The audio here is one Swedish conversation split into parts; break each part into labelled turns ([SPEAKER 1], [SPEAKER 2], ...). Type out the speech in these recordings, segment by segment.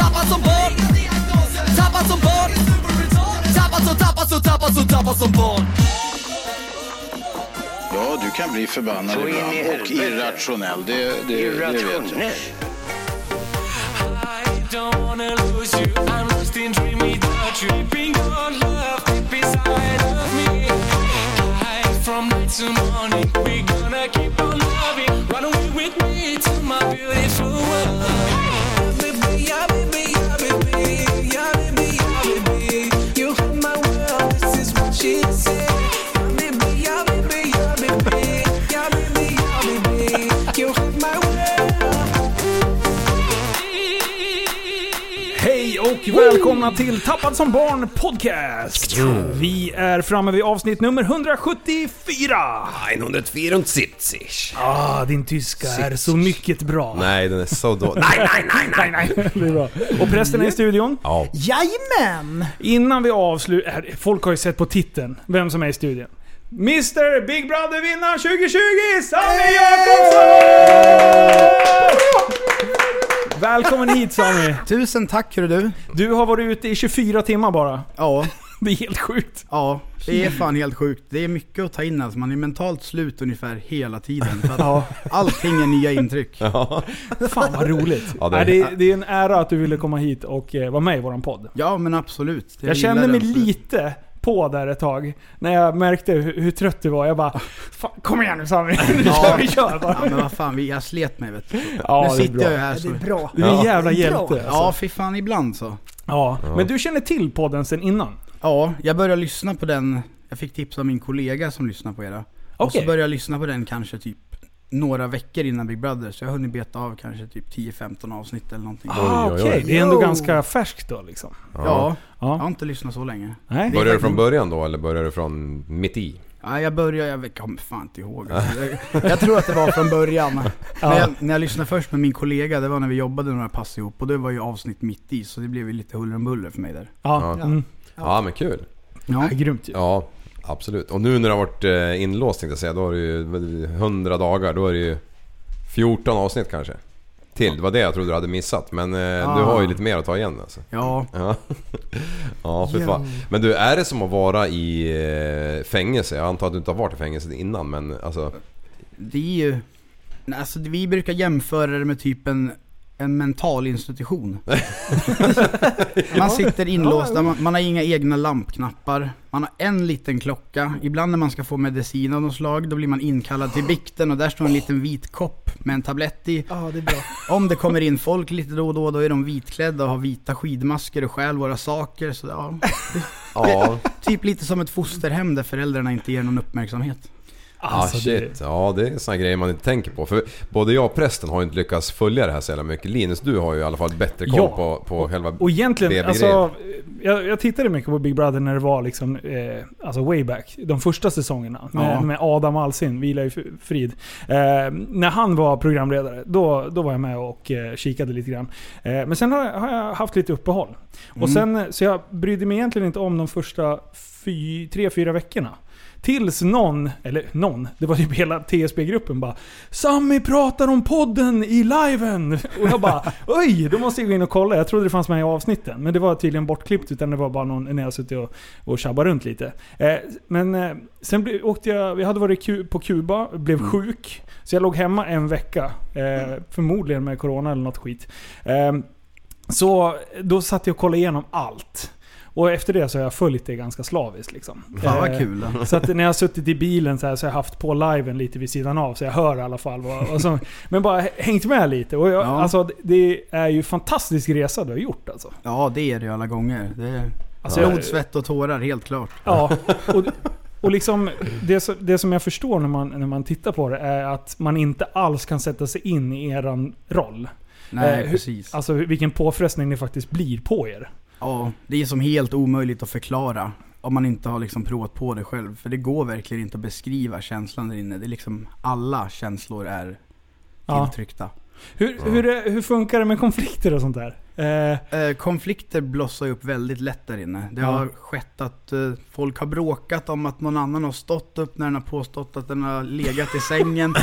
[SPEAKER 1] Tappad som barn Tappad som barn Tappad som, tappad som, tappad som, tappad som barn
[SPEAKER 2] Ja, du kan bli förbannad
[SPEAKER 3] Så in i
[SPEAKER 2] ibland och
[SPEAKER 3] helvete.
[SPEAKER 2] irrationell. Det, det, det vet jag.
[SPEAKER 3] Irrationell.
[SPEAKER 4] I don't wanna lose you. I'm lost in dreamy thought. You bring your love deep inside of me. High from night to morning. We gonna keep on loving. Run away with me to my beautiful world. Baby, yeah, baby, yeah, baby. Yeah, baby, yeah, baby. You have my world. This is what she said. Yeah, baby, yeah, baby, yeah, baby. Yeah, baby, yeah, baby. You have my world.
[SPEAKER 5] Hej och välkomna till Tappad som barn podcast! Vi är framme vid avsnitt nummer 174!
[SPEAKER 6] 174.
[SPEAKER 5] Ah, din tyska är så mycket bra.
[SPEAKER 6] Nej, den är så dålig. Nej, nej, nej, nej!
[SPEAKER 5] Det är bra. Och prästen är i studion.
[SPEAKER 6] Mm. Ja.
[SPEAKER 5] Jajamän! Innan vi avslutar... Folk har ju sett på titeln, vem som är i studion. Mr Big Brother-vinnaren 2020, Sami Jakobsson! Välkommen hit Sami!
[SPEAKER 7] Tusen tack hörru du.
[SPEAKER 5] Du har varit ute i 24 timmar bara.
[SPEAKER 7] Ja,
[SPEAKER 5] Det är helt sjukt.
[SPEAKER 7] ja. Det är fan helt sjukt. Det är mycket att ta in alltså. Man är mentalt slut ungefär hela tiden. Så att
[SPEAKER 5] Ja.
[SPEAKER 7] Allting är nya intryck.
[SPEAKER 5] Fan vad roligt.
[SPEAKER 6] Ja, det-
[SPEAKER 5] Nej, det, är, det är en ära att du ville komma hit och eh, vara med i våran podd.
[SPEAKER 7] Ja men absolut.
[SPEAKER 5] Jag
[SPEAKER 7] gillar
[SPEAKER 5] kände
[SPEAKER 7] det,
[SPEAKER 5] mig
[SPEAKER 7] absolut.
[SPEAKER 5] lite på där ett tag. När jag märkte hur, hur trött du var. Jag bara Fan, Kom igen nu Sami. Nu kör vi kör
[SPEAKER 7] Ja
[SPEAKER 5] bara.
[SPEAKER 7] men vad fan, vi- jag slet mig vet du.
[SPEAKER 5] Ja,
[SPEAKER 7] nu
[SPEAKER 5] det är
[SPEAKER 7] sitter
[SPEAKER 5] bra.
[SPEAKER 7] jag ju här så.
[SPEAKER 8] bra.
[SPEAKER 5] Du är en jävla hjälte.
[SPEAKER 7] Ja
[SPEAKER 5] Alltså.
[SPEAKER 7] fy fan ibland så.
[SPEAKER 5] Ja. Men du känner till podden sen innan?
[SPEAKER 7] Ja, jag började lyssna på den. Jag fick tips av min kollega som lyssnar på era. Och så
[SPEAKER 5] Okej.
[SPEAKER 7] började jag lyssna på den kanske typ några veckor innan Big Brother. Så jag har hunnit beta av kanske typ 10-15 avsnitt eller någonting.
[SPEAKER 5] Ah,
[SPEAKER 6] Oj, oj, oj.
[SPEAKER 5] Okej, det är ändå
[SPEAKER 8] Yo.
[SPEAKER 5] ganska färskt då liksom.
[SPEAKER 7] Ja, jag har
[SPEAKER 5] Ja.
[SPEAKER 7] inte lyssnat så länge.
[SPEAKER 5] Nej.
[SPEAKER 6] Börjar du från början då, eller börjar du från mitt i?
[SPEAKER 7] Ja, jag började, jag kommer fan inte ihåg. Alltså. Jag, jag tror att det var från början. när, jag, när jag lyssnade först med min kollega, det var när vi jobbade några pass ihop och det var ju avsnitt mitt i så det blev ju lite huller om buller för mig där.
[SPEAKER 5] Ja.
[SPEAKER 6] Ja.
[SPEAKER 5] Mm.
[SPEAKER 6] Ja, men kul.
[SPEAKER 7] Ja,
[SPEAKER 5] Grymt ju.
[SPEAKER 6] Ja, absolut. Och nu när du har varit eh, inlåst tänkte jag säga, då har du ju 100 dagar, då är det ju 14 avsnitt kanske. Till, det var det jag trodde du hade missat. Men eh, du
[SPEAKER 7] Ah.
[SPEAKER 6] har ju lite mer att ta igen alltså.
[SPEAKER 7] ja,
[SPEAKER 6] Ja, ja för fan. Men du, är det som att vara i eh, fängelse? Jag antar att du inte har varit i fängelse innan men alltså...
[SPEAKER 7] det är ju... nej, Alltså det- vi brukar jämföra det med typ en, en mental institution. man sitter inlåst, man, man har inga egna lampknappar, man har en liten klocka. Ibland när man ska få medicin av något slag, då blir man inkallad till bikten och där står en liten vit kopp med en tablett i.
[SPEAKER 8] Ja, det är bra.
[SPEAKER 7] Om det kommer in folk lite då och då, då är de vitklädda och har vita skidmasker och stjäl våra saker. Så ja,
[SPEAKER 6] Ja,
[SPEAKER 7] typ lite som ett fosterhem där föräldrarna inte ger någon uppmärksamhet.
[SPEAKER 6] ah,
[SPEAKER 5] Alltså,
[SPEAKER 6] shit. Ja, det är såna grejer man inte tänker på. För både jag och prästen har ju inte lyckats följa det här så jävla mycket. Linus, du har ju i alla fall bättre koll
[SPEAKER 5] Ja.
[SPEAKER 6] på, på själva
[SPEAKER 5] Och egentligen,
[SPEAKER 6] BB-grejen.
[SPEAKER 5] alltså, jag, jag tittade mycket på Big Brother när det var liksom, eh, alltså way back. De första säsongerna med,
[SPEAKER 7] Ja.
[SPEAKER 5] med Adam Alsing, Vila i f- frid. Eh, när han var programledare, då, då var jag med och eh, kikade lite grann. Eh, men sen har, jag- har jag haft lite uppehåll. Och sen, så jag brydde mig egentligen inte om de första fy, tre, fyra veckorna. Tills någon, eller någon, det var typ hela TSB-gruppen bara Sammy pratar om podden i liven! Och jag bara oj, då måste jag gå in och kolla. Jag trodde det fanns med i avsnitten. Men det var tydligen bortklippt utan det var bara någon när jag suttit och, och tjabbat runt lite. Eh, men eh, sen ble, åkte jag, vi hade varit ku, på Kuba, blev
[SPEAKER 7] Mm.
[SPEAKER 5] sjuk. Så jag låg hemma en vecka. Eh, förmodligen med corona eller något skit. Eh, så då satt jag och kollade igenom allt. Och efter det så har jag följt det ganska slaviskt liksom.
[SPEAKER 7] Fan
[SPEAKER 5] Eh,
[SPEAKER 7] vad kul.
[SPEAKER 5] så att när jag har suttit i bilen så, här, så har jag haft på liven lite vid sidan av, så jag hör i alla fall. Vad, och så, men bara hängt med lite. Och jag,
[SPEAKER 7] Ja.
[SPEAKER 5] alltså, det är ju fantastisk resa du har gjort alltså.
[SPEAKER 7] Ja det är det ju alla gånger. Det är
[SPEAKER 5] alltså jag-
[SPEAKER 7] blod, svett och tårar helt klart.
[SPEAKER 5] Ja, och, och liksom det, som- det som jag förstår när man, när man tittar på det är att man inte alls kan sätta sig in i eran roll.
[SPEAKER 7] Nej,
[SPEAKER 5] Eh, hur-
[SPEAKER 7] precis.
[SPEAKER 5] Alltså vilken påfrestning det faktiskt blir på er.
[SPEAKER 7] Ja, det är som helt omöjligt att förklara om man inte har liksom provat på det själv. För det går verkligen inte att beskriva känslan där inne. Det är liksom alla känslor är
[SPEAKER 5] Ja.
[SPEAKER 7] tilltryckta.
[SPEAKER 5] Hur, hur, är- hur funkar det med konflikter och sånt där? Eh,
[SPEAKER 7] Eh, konflikter blossar ju upp väldigt lätt där inne. Det
[SPEAKER 5] Ja.
[SPEAKER 7] har skett att eh, folk har bråkat om att någon annan har stått upp när den har påstått att den har legat i sängen.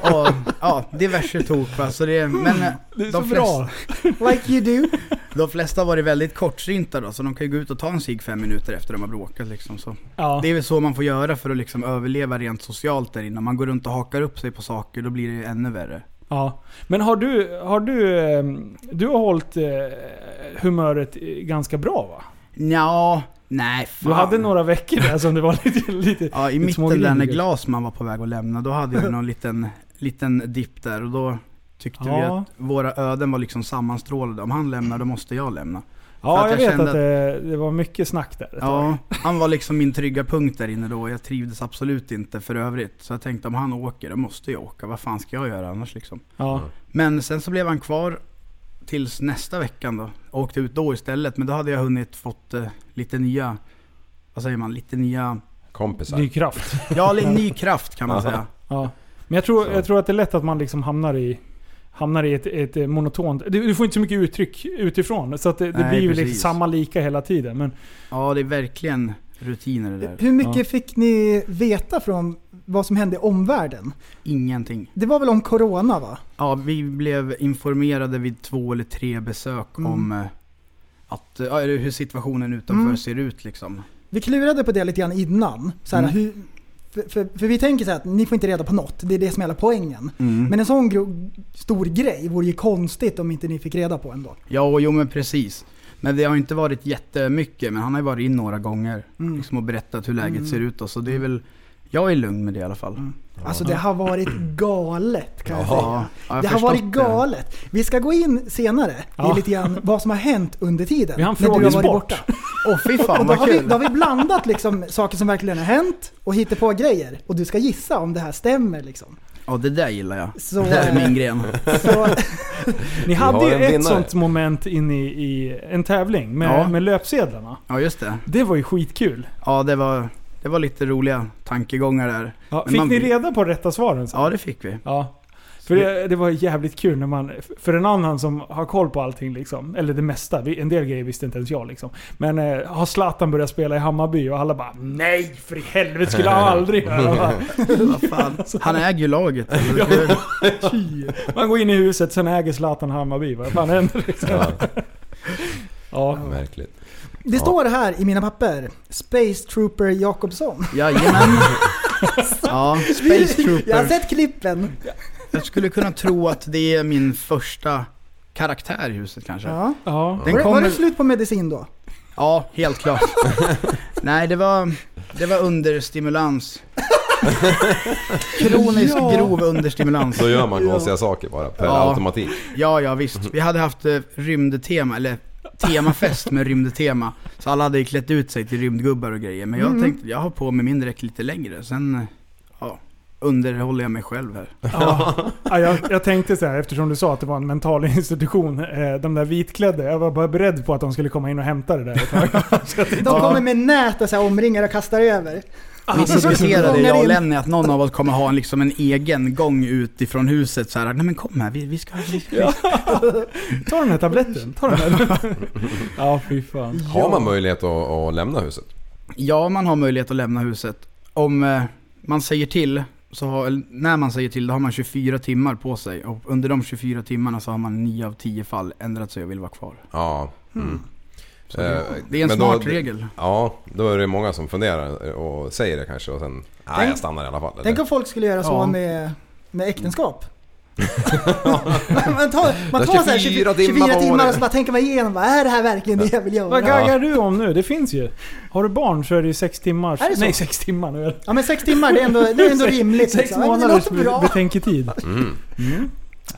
[SPEAKER 7] och, ja, diverse tok. Alltså det, men eh,
[SPEAKER 5] det är
[SPEAKER 7] De
[SPEAKER 5] så
[SPEAKER 7] flesta-
[SPEAKER 5] bra.
[SPEAKER 7] Like you do. De flesta har varit väldigt kortsynta då, så de kan ju gå ut och ta en cigg fem minuter efter de har bråkat liksom. Så.
[SPEAKER 5] Ja.
[SPEAKER 7] Det är väl så man får göra för att liksom överleva rent socialt där inne. Om man går runt och hakar upp sig på saker, då blir det ju ännu värre.
[SPEAKER 5] Ja, men har du, har du, ehm, du har hållit eh, humöret eh, ganska bra va?
[SPEAKER 7] Ja, nej
[SPEAKER 5] Du
[SPEAKER 7] fan.
[SPEAKER 5] hade några veckor där som det var lite... lite
[SPEAKER 7] Ja, i
[SPEAKER 5] lite små
[SPEAKER 7] mitten där när
[SPEAKER 5] grejer.
[SPEAKER 7] Glasman var på väg att lämna, då hade jag någon liten, liten dipp där och då tyckte vi
[SPEAKER 5] Ja.
[SPEAKER 7] att våra öden var liksom sammanstrålade. Om han lämnar, då måste jag lämna.
[SPEAKER 5] Ja,
[SPEAKER 7] att
[SPEAKER 5] jag
[SPEAKER 7] jag
[SPEAKER 5] vet
[SPEAKER 7] kände
[SPEAKER 5] att det, det var mycket snack där ett tag.
[SPEAKER 7] Ja, han var liksom min trygga punkt där inne då och jag trivdes absolut inte för övrigt. Så jag tänkte om han åker, då måste jag åka. Vad fan ska jag göra annars liksom?
[SPEAKER 5] Ja.
[SPEAKER 7] Men sen så blev han kvar tills nästa veckan då. Och åkte ut då istället. Men då hade jag hunnit fått eh, lite nya, vad säger man, lite nya,
[SPEAKER 6] Kompisar.
[SPEAKER 5] Ny kraft.
[SPEAKER 7] ja li- ny kraft kan man säga.
[SPEAKER 5] Ja. Men jag tror,
[SPEAKER 6] Så.
[SPEAKER 5] jag tror att det är lätt att man liksom hamnar i, hamnar i ett, ett eh, monotont... Du, du får inte så mycket uttryck utifrån. Så att det, det
[SPEAKER 7] Nej,
[SPEAKER 5] blir ju liksom
[SPEAKER 7] precis.
[SPEAKER 5] samma lika hela tiden. Men
[SPEAKER 7] Ja det är verkligen rutiner det där.
[SPEAKER 8] Hur mycket
[SPEAKER 5] Ja.
[SPEAKER 8] fick ni veta från vad som hände i omvärlden?
[SPEAKER 7] Ingenting.
[SPEAKER 8] Det var väl om Corona va?
[SPEAKER 7] Ja vi blev informerade vid två eller tre besök
[SPEAKER 8] Mm.
[SPEAKER 7] om eh, att, eh, ja, eller hur situationen utanför
[SPEAKER 8] Mm.
[SPEAKER 7] ser ut liksom.
[SPEAKER 8] Vi klurade på det lite grann innan. Så här,
[SPEAKER 7] Mm.
[SPEAKER 8] hur, för, för, för vi tänker så här att ni får inte reda på något, det är det som är hela poängen.
[SPEAKER 7] Mm.
[SPEAKER 8] Men en sån gro- stor grej vore ju konstigt om inte ni fick reda på ändå.
[SPEAKER 7] Ja, jo men precis. Men det har inte varit jättemycket, men han har ju varit in några gånger
[SPEAKER 8] Mm.
[SPEAKER 7] liksom, och berättat hur läget
[SPEAKER 8] Mm.
[SPEAKER 7] ser ut. Och så det är väl, jag är lugn med det i alla fall.
[SPEAKER 8] Mm. Alltså det har varit galet kan jag säga.
[SPEAKER 7] Ja, jag
[SPEAKER 8] Det har
[SPEAKER 7] förstått
[SPEAKER 8] varit galet. Vi ska gå in senare
[SPEAKER 5] Ja.
[SPEAKER 8] i lite grann vad som har hänt under tiden.
[SPEAKER 5] Vi har en
[SPEAKER 8] när du har varit
[SPEAKER 5] frågesport.
[SPEAKER 8] borta.
[SPEAKER 7] Åh fy
[SPEAKER 8] Och
[SPEAKER 7] fan
[SPEAKER 8] då,
[SPEAKER 7] vad
[SPEAKER 8] har vi,
[SPEAKER 7] kul!
[SPEAKER 8] då har vi blandat liksom saker som verkligen har hänt och hittat på grejer. Och du ska gissa om det här stämmer liksom.
[SPEAKER 7] Ja det där gillar jag.
[SPEAKER 8] Så,
[SPEAKER 7] Det där är min gren.
[SPEAKER 8] så
[SPEAKER 5] ni
[SPEAKER 6] har
[SPEAKER 5] hade ju
[SPEAKER 6] en
[SPEAKER 5] ett
[SPEAKER 6] vinnare.
[SPEAKER 5] sånt moment in i, i en tävling med,
[SPEAKER 7] Ja.
[SPEAKER 5] med löpsedlarna.
[SPEAKER 7] Ja just det.
[SPEAKER 5] Det var ju skitkul.
[SPEAKER 7] Ja det var, det var lite roliga tankegångar där.
[SPEAKER 5] Ja,
[SPEAKER 7] Men
[SPEAKER 5] fick
[SPEAKER 7] man-
[SPEAKER 5] ni reda på rätta svaren? sen?
[SPEAKER 7] Ja det fick vi.
[SPEAKER 5] Ja. För det, det var jävligt kul när man, för en annan som har koll på allting liksom, eller det mesta, vi- en del grejer visste inte ens jag liksom. Men eh, har Zlatan börjat spela i Hammarby och alla bara Nej för i helvete skulle han aldrig göra. va?"
[SPEAKER 7] Vad fan. Han äger ju laget.
[SPEAKER 5] Fy. Man går in i huset, sen äger Zlatan Hammarby. Vad fan händer liksom?
[SPEAKER 6] Ja,
[SPEAKER 5] Ja.
[SPEAKER 6] märkligt.
[SPEAKER 8] det står här i mina papper. Space Trooper Jakobsson.
[SPEAKER 7] Jajamän. Ja, Space Trooper.
[SPEAKER 8] Jag har sett klippen.
[SPEAKER 7] Jag skulle kunna tro att det är min första karaktär i huset kanske. Ja,
[SPEAKER 8] Ja.
[SPEAKER 5] Ja.
[SPEAKER 7] Den
[SPEAKER 8] Var, var
[SPEAKER 7] kommer-
[SPEAKER 8] det slut på medicin då?
[SPEAKER 7] helt klart. Nej, det var, det var understimulans. Kronisk
[SPEAKER 5] Ja.
[SPEAKER 7] grov understimulans.
[SPEAKER 6] Då gör man konstiga saker bara per
[SPEAKER 7] Ja.
[SPEAKER 6] automatik.
[SPEAKER 7] Ja, ja visst. Vi hade haft eh, rymdtema, eller temafest med rymdtema. Så alla hade ju klätt ut sig till rymdgubbar och grejer. Men jag tänkte, jag har på mig min dräkt lite längre. Sen, eh, ja, underhåller jag mig själv här.
[SPEAKER 5] Ja. Ja, jag, jag tänkte så här, eftersom du sa att det var en mental institution, eh, de där vitklädda, jag var bara beredd på att de skulle komma in och hämta det där ett tag.
[SPEAKER 8] De kommer med nät och så här omringar och kastar över.
[SPEAKER 7] Vi diskuterade,
[SPEAKER 8] Gångar
[SPEAKER 7] jag och
[SPEAKER 8] in.
[SPEAKER 7] Lenny, att någon av oss kommer ha en, liksom en egen gång ut ifrån huset så här. Nej men kom här, vi, vi ska... Vi ska.
[SPEAKER 5] Ta den här tabletten, ta den här. Ja fy fan.
[SPEAKER 6] Har man möjlighet att, att lämna huset?
[SPEAKER 7] Ja, man har möjlighet att lämna huset. Om eh, man säger till, så har, eller när man säger till, då har man 24 timmar på sig. Och under de 24 timmarna så har man 9 av 10 fall ändrat sig och vill vara kvar.
[SPEAKER 6] Ja. Mm.
[SPEAKER 7] Så det,
[SPEAKER 6] Eh,
[SPEAKER 7] det är en
[SPEAKER 6] men
[SPEAKER 7] smart
[SPEAKER 6] då-
[SPEAKER 7] regel.
[SPEAKER 6] Ja, då är det många som funderar och säger det kanske och sen... Nej, jag stannar i alla fall.
[SPEAKER 8] Tänk
[SPEAKER 6] eller?
[SPEAKER 8] om folk skulle göra så
[SPEAKER 7] Ja.
[SPEAKER 8] med, med äktenskap. man tar, man
[SPEAKER 6] Det
[SPEAKER 8] tar så här
[SPEAKER 6] 24
[SPEAKER 8] 24
[SPEAKER 6] timmar
[SPEAKER 8] timmar,
[SPEAKER 6] på
[SPEAKER 8] och
[SPEAKER 6] året.
[SPEAKER 8] så bara tänker man igenom, vad är det här verkligen det jag vill
[SPEAKER 5] Vad
[SPEAKER 8] göra?
[SPEAKER 5] gaggar du om nu? Det finns ju. Har du barn så är det ju sex timmar.
[SPEAKER 8] Är det så?
[SPEAKER 5] Nej, sex timmar nu. är det.
[SPEAKER 8] Ja men sex timmar, det är ändå, det är ändå rimligt.
[SPEAKER 5] Sex
[SPEAKER 8] liksom. Ja, men
[SPEAKER 5] månaders
[SPEAKER 8] Det låter bra.
[SPEAKER 5] betänketid.
[SPEAKER 6] Mm.
[SPEAKER 5] Mm.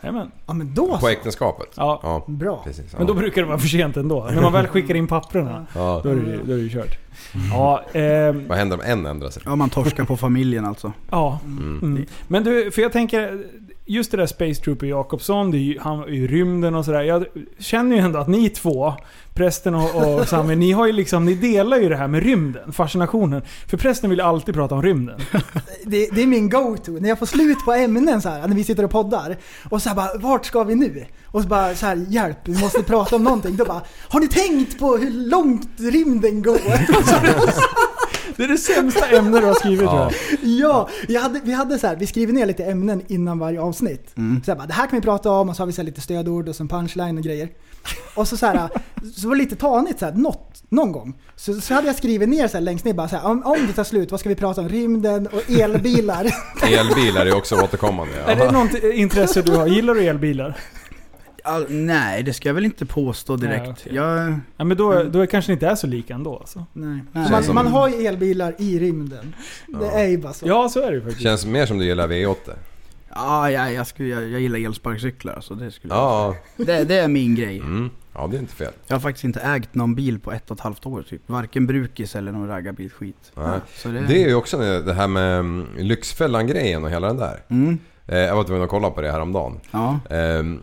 [SPEAKER 5] Jajamän.
[SPEAKER 8] Ja men då
[SPEAKER 6] På
[SPEAKER 8] så.
[SPEAKER 6] äktenskapet?
[SPEAKER 5] Ja.
[SPEAKER 6] Ja,
[SPEAKER 8] Bra.
[SPEAKER 6] precis. Ja.
[SPEAKER 5] Men då brukar det vara för sent ändå. När man väl skickar in papperna.
[SPEAKER 6] ja.
[SPEAKER 5] Då är det ju, då är det ju kört. Ja, ehm,
[SPEAKER 6] Vad händer om en ändrar sig?
[SPEAKER 7] Ja, man torskar på familjen alltså.
[SPEAKER 5] ja.
[SPEAKER 6] Mm.
[SPEAKER 5] Mm. Men du, för jag tänker... just det där Space Trooper Jakobsson, det är ju, han är ju i rymden och sådär. Jag känner ju ändå att ni två, prästen och, och Sami, ni, har ju liksom, ni delar ju det här med rymden, fascinationen. För prästen vill ju alltid prata om rymden.
[SPEAKER 8] Det, det är min go-to. När jag får slut på ämnen så här, när vi sitter och poddar. Och så här bara, vart ska vi nu? Och så bara så här, hjälp, vi måste prata om någonting. Då bara, har ni tänkt på hur långt rymden går?
[SPEAKER 5] Det är det sämsta ämne du har skrivit tror
[SPEAKER 6] Ja.
[SPEAKER 5] jag.
[SPEAKER 8] ja, jag hade, vi hade så här, vi skriver ner lite ämnen innan varje avsnitt. Så här bara, det här kan vi prata om och så har vi så här lite stödord och sen punchline och grejer. Och så, så, här, så var det lite tanigt så här, något, någon gång. Så, så hade jag skrivit ner så här, längst ner bara så här, om, om det tar slut, vad ska vi prata om? Rymden och elbilar.
[SPEAKER 6] Elbilar är också återkommande.
[SPEAKER 5] Är det
[SPEAKER 6] Ja.
[SPEAKER 5] något intresse du har? Gillar du elbilar?
[SPEAKER 7] All, nej, det ska jag väl inte påstå direkt.
[SPEAKER 5] Nej, okej.
[SPEAKER 7] jag,
[SPEAKER 5] Ja, men då, då är kanske ni inte är så lika ändå alltså.
[SPEAKER 7] nej.
[SPEAKER 8] Man,
[SPEAKER 6] som-
[SPEAKER 8] man har ju elbilar i rymden. Det är ju bara så.
[SPEAKER 5] Ja, så är det ju faktiskt.
[SPEAKER 6] Känns mer som du gillar V8.
[SPEAKER 7] Ja, jag, jag, skulle, jag, jag gillar elsparkcyklar så det skulle
[SPEAKER 6] Ja,
[SPEAKER 7] jag. Det, det är min grej.
[SPEAKER 6] mm. ja det är inte fel.
[SPEAKER 7] Jag har faktiskt inte ägt någon bil på ett och ett halvt år typ. Varken brukis eller någon raggarbilskit.
[SPEAKER 6] Nej.
[SPEAKER 7] Så det,
[SPEAKER 6] Det är ju också det här med mm, Lyxfällan-grejen och hela den där.
[SPEAKER 7] Mm,
[SPEAKER 6] Eh, Jag var tvungen att kolla på det här om dagen.
[SPEAKER 7] ja.
[SPEAKER 6] Ehm,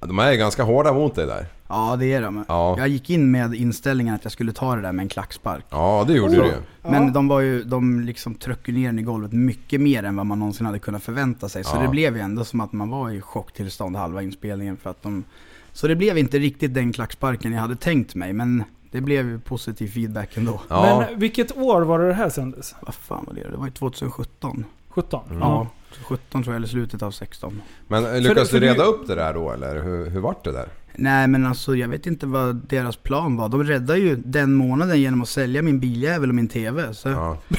[SPEAKER 6] De är ju ganska hårda mot dig där.
[SPEAKER 7] ja, det är de.
[SPEAKER 6] Ja.
[SPEAKER 7] Jag gick in med inställningen att jag skulle ta det där med en klackspark.
[SPEAKER 6] Ja, det gjorde du
[SPEAKER 5] Oh.
[SPEAKER 6] ju.
[SPEAKER 7] Men de var ju, de liksom tryckte ner den i golvet mycket mer än vad man någonsin hade kunnat förvänta sig. Så
[SPEAKER 6] Ja.
[SPEAKER 7] det blev ju ändå som att man var i chocktillstånd halva inspelningen för att de... Så det blev inte riktigt den klacksparken jag hade tänkt mig, men det blev ju positiv feedback ändå.
[SPEAKER 6] Ja,
[SPEAKER 5] Men vilket år var det det här sändes?
[SPEAKER 7] Vad fan var det? Det var ju 2017.
[SPEAKER 5] 17?
[SPEAKER 7] Ja, 17 tror jag, eller slutet av 16.
[SPEAKER 6] men eh, lyckades
[SPEAKER 5] för
[SPEAKER 6] du reda
[SPEAKER 5] du- Eh,
[SPEAKER 6] upp det där då eller hur, hur vart det där?
[SPEAKER 7] Nej men alltså jag vet inte vad deras plan var. De räddade ju den månaden genom att sälja min biljävel och min TV. Så, ja.
[SPEAKER 6] Ja.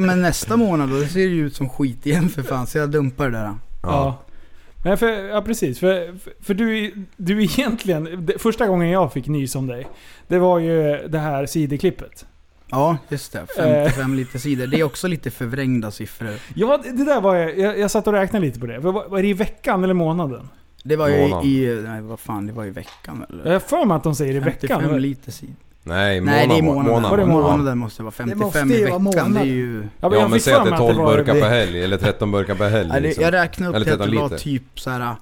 [SPEAKER 7] men nästa månad då, det ser ju ut som skit igen för fan. Så jag dumpar det där.
[SPEAKER 5] Ja. Men för, ja precis. För, för du, du egentligen... det- Första gången jag fick nys om dig, det var ju det här sideklippet.
[SPEAKER 7] Ja, just det.
[SPEAKER 5] Eh.
[SPEAKER 7] 55 liter sidor. Det är också lite förvrängda siffror.
[SPEAKER 5] Ja, det det där var jag... Jag, jag satt och räknade lite på det. Var, var det i veckan eller månaden?
[SPEAKER 7] Det var ju
[SPEAKER 6] Månad.
[SPEAKER 7] i, nej vad fan, det var i veckan eller?
[SPEAKER 5] Jag har för mig att de säger Eh, i veckan.
[SPEAKER 7] 55 liter sidor.
[SPEAKER 6] Nej, månad,
[SPEAKER 7] Nej det är månaden.
[SPEAKER 6] månaden.
[SPEAKER 5] Var det
[SPEAKER 6] Ja.
[SPEAKER 5] månaden?
[SPEAKER 7] Månaden måste vara 55
[SPEAKER 8] måste ju
[SPEAKER 7] i
[SPEAKER 8] vara
[SPEAKER 7] veckan. Det är
[SPEAKER 8] månaden.
[SPEAKER 7] ju...
[SPEAKER 5] Ja, men
[SPEAKER 6] Ja
[SPEAKER 5] jag
[SPEAKER 6] men
[SPEAKER 5] fick
[SPEAKER 6] säg att
[SPEAKER 5] för
[SPEAKER 6] det
[SPEAKER 5] mig
[SPEAKER 6] är
[SPEAKER 5] att det
[SPEAKER 6] 12
[SPEAKER 5] var...
[SPEAKER 6] burkar per helg eller 13 burkar per helg.
[SPEAKER 7] Ja, det-
[SPEAKER 6] Liksom.
[SPEAKER 7] Jag räknade upp
[SPEAKER 6] Eller
[SPEAKER 7] till att det
[SPEAKER 6] 13
[SPEAKER 7] var
[SPEAKER 6] liter.
[SPEAKER 7] typ så här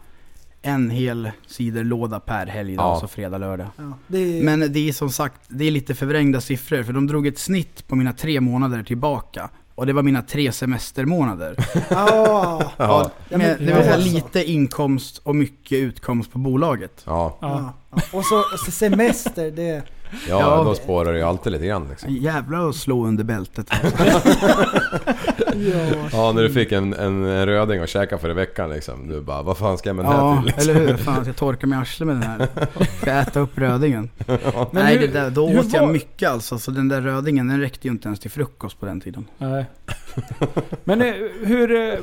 [SPEAKER 7] en hel ciderlåda per helg då,
[SPEAKER 6] Ja.
[SPEAKER 7] alltså fredag, lördag.
[SPEAKER 8] Ja, det är,
[SPEAKER 7] Men det är som sagt, det är lite förvrängda siffror för de drog ett snitt på mina tre månader tillbaka. Och det var mina tre semestermånader.
[SPEAKER 8] ja,
[SPEAKER 6] Ja.
[SPEAKER 8] Ja,
[SPEAKER 7] Med,
[SPEAKER 8] men-
[SPEAKER 7] det vill säga
[SPEAKER 8] ja.
[SPEAKER 7] lite inkomst och mycket utkomst på bolaget.
[SPEAKER 6] Ja,
[SPEAKER 5] Ja.
[SPEAKER 8] ja. Och så och så semester, det...
[SPEAKER 6] ja
[SPEAKER 7] Ja.
[SPEAKER 6] då spårar det ju alltid lite grann liksom.
[SPEAKER 7] Jävlar att slå under bältet.
[SPEAKER 8] Ja.
[SPEAKER 6] Ja när du fick en, en, en röding att käka för i veckan liksom. Du bara, vad fan ska jag med den här
[SPEAKER 7] ja,
[SPEAKER 6] till? Liksom.
[SPEAKER 7] eller hur? Fan, ska jag torka mig i arslet med den här? Ska jag äta upp rödingen?
[SPEAKER 5] Men
[SPEAKER 7] Nej,
[SPEAKER 5] hur-
[SPEAKER 7] det där, då
[SPEAKER 5] hur
[SPEAKER 7] åt jag
[SPEAKER 5] var-
[SPEAKER 7] mycket alltså. Så den där rödingen, den räckte ju inte ens till frukost på den tiden.
[SPEAKER 5] Nej. Men eh, hur... eh,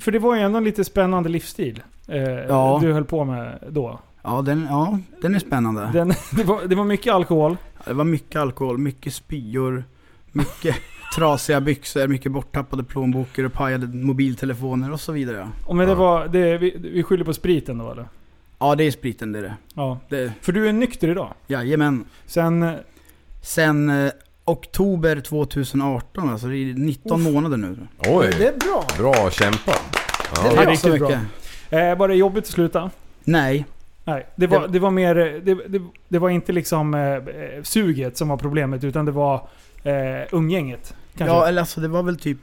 [SPEAKER 5] För det var ju ändå en lite spännande livsstil. Eh,
[SPEAKER 7] Ja.
[SPEAKER 5] Du höll på med då.
[SPEAKER 7] Ja, den, ja, den är spännande.
[SPEAKER 5] Den, det, var, det var mycket alkohol.
[SPEAKER 7] Det var mycket alkohol, mycket spyor, mycket trasiga byxor, mycket borttappade plånböcker och pajade mobiltelefoner och så vidare.
[SPEAKER 5] Och men det
[SPEAKER 6] Ja.
[SPEAKER 5] var, det, vi, vi skyller på spriten då eller?
[SPEAKER 7] Ja, det är spriten det är det.
[SPEAKER 5] Ja.
[SPEAKER 7] det
[SPEAKER 5] För du är nykter idag.
[SPEAKER 7] jajamän.
[SPEAKER 5] Sen... eh,
[SPEAKER 7] Sen eh, oktober 2018, alltså det är 19 månader nu.
[SPEAKER 8] Det
[SPEAKER 6] Oj,
[SPEAKER 8] är bra.
[SPEAKER 6] bra kämpat.
[SPEAKER 5] Det
[SPEAKER 6] Ja.
[SPEAKER 5] var
[SPEAKER 7] Tack så
[SPEAKER 5] riktigt bra.
[SPEAKER 7] mycket.
[SPEAKER 5] Eh, var det jobbigt att sluta?
[SPEAKER 7] Nej,
[SPEAKER 5] Nej, det var,
[SPEAKER 7] Det-
[SPEAKER 5] det var mer... eh, Det, det, det var inte liksom eh, eh, suget som var problemet, utan det var eh, umgänget. Kanske.
[SPEAKER 7] ja, eller alltså det var väl typ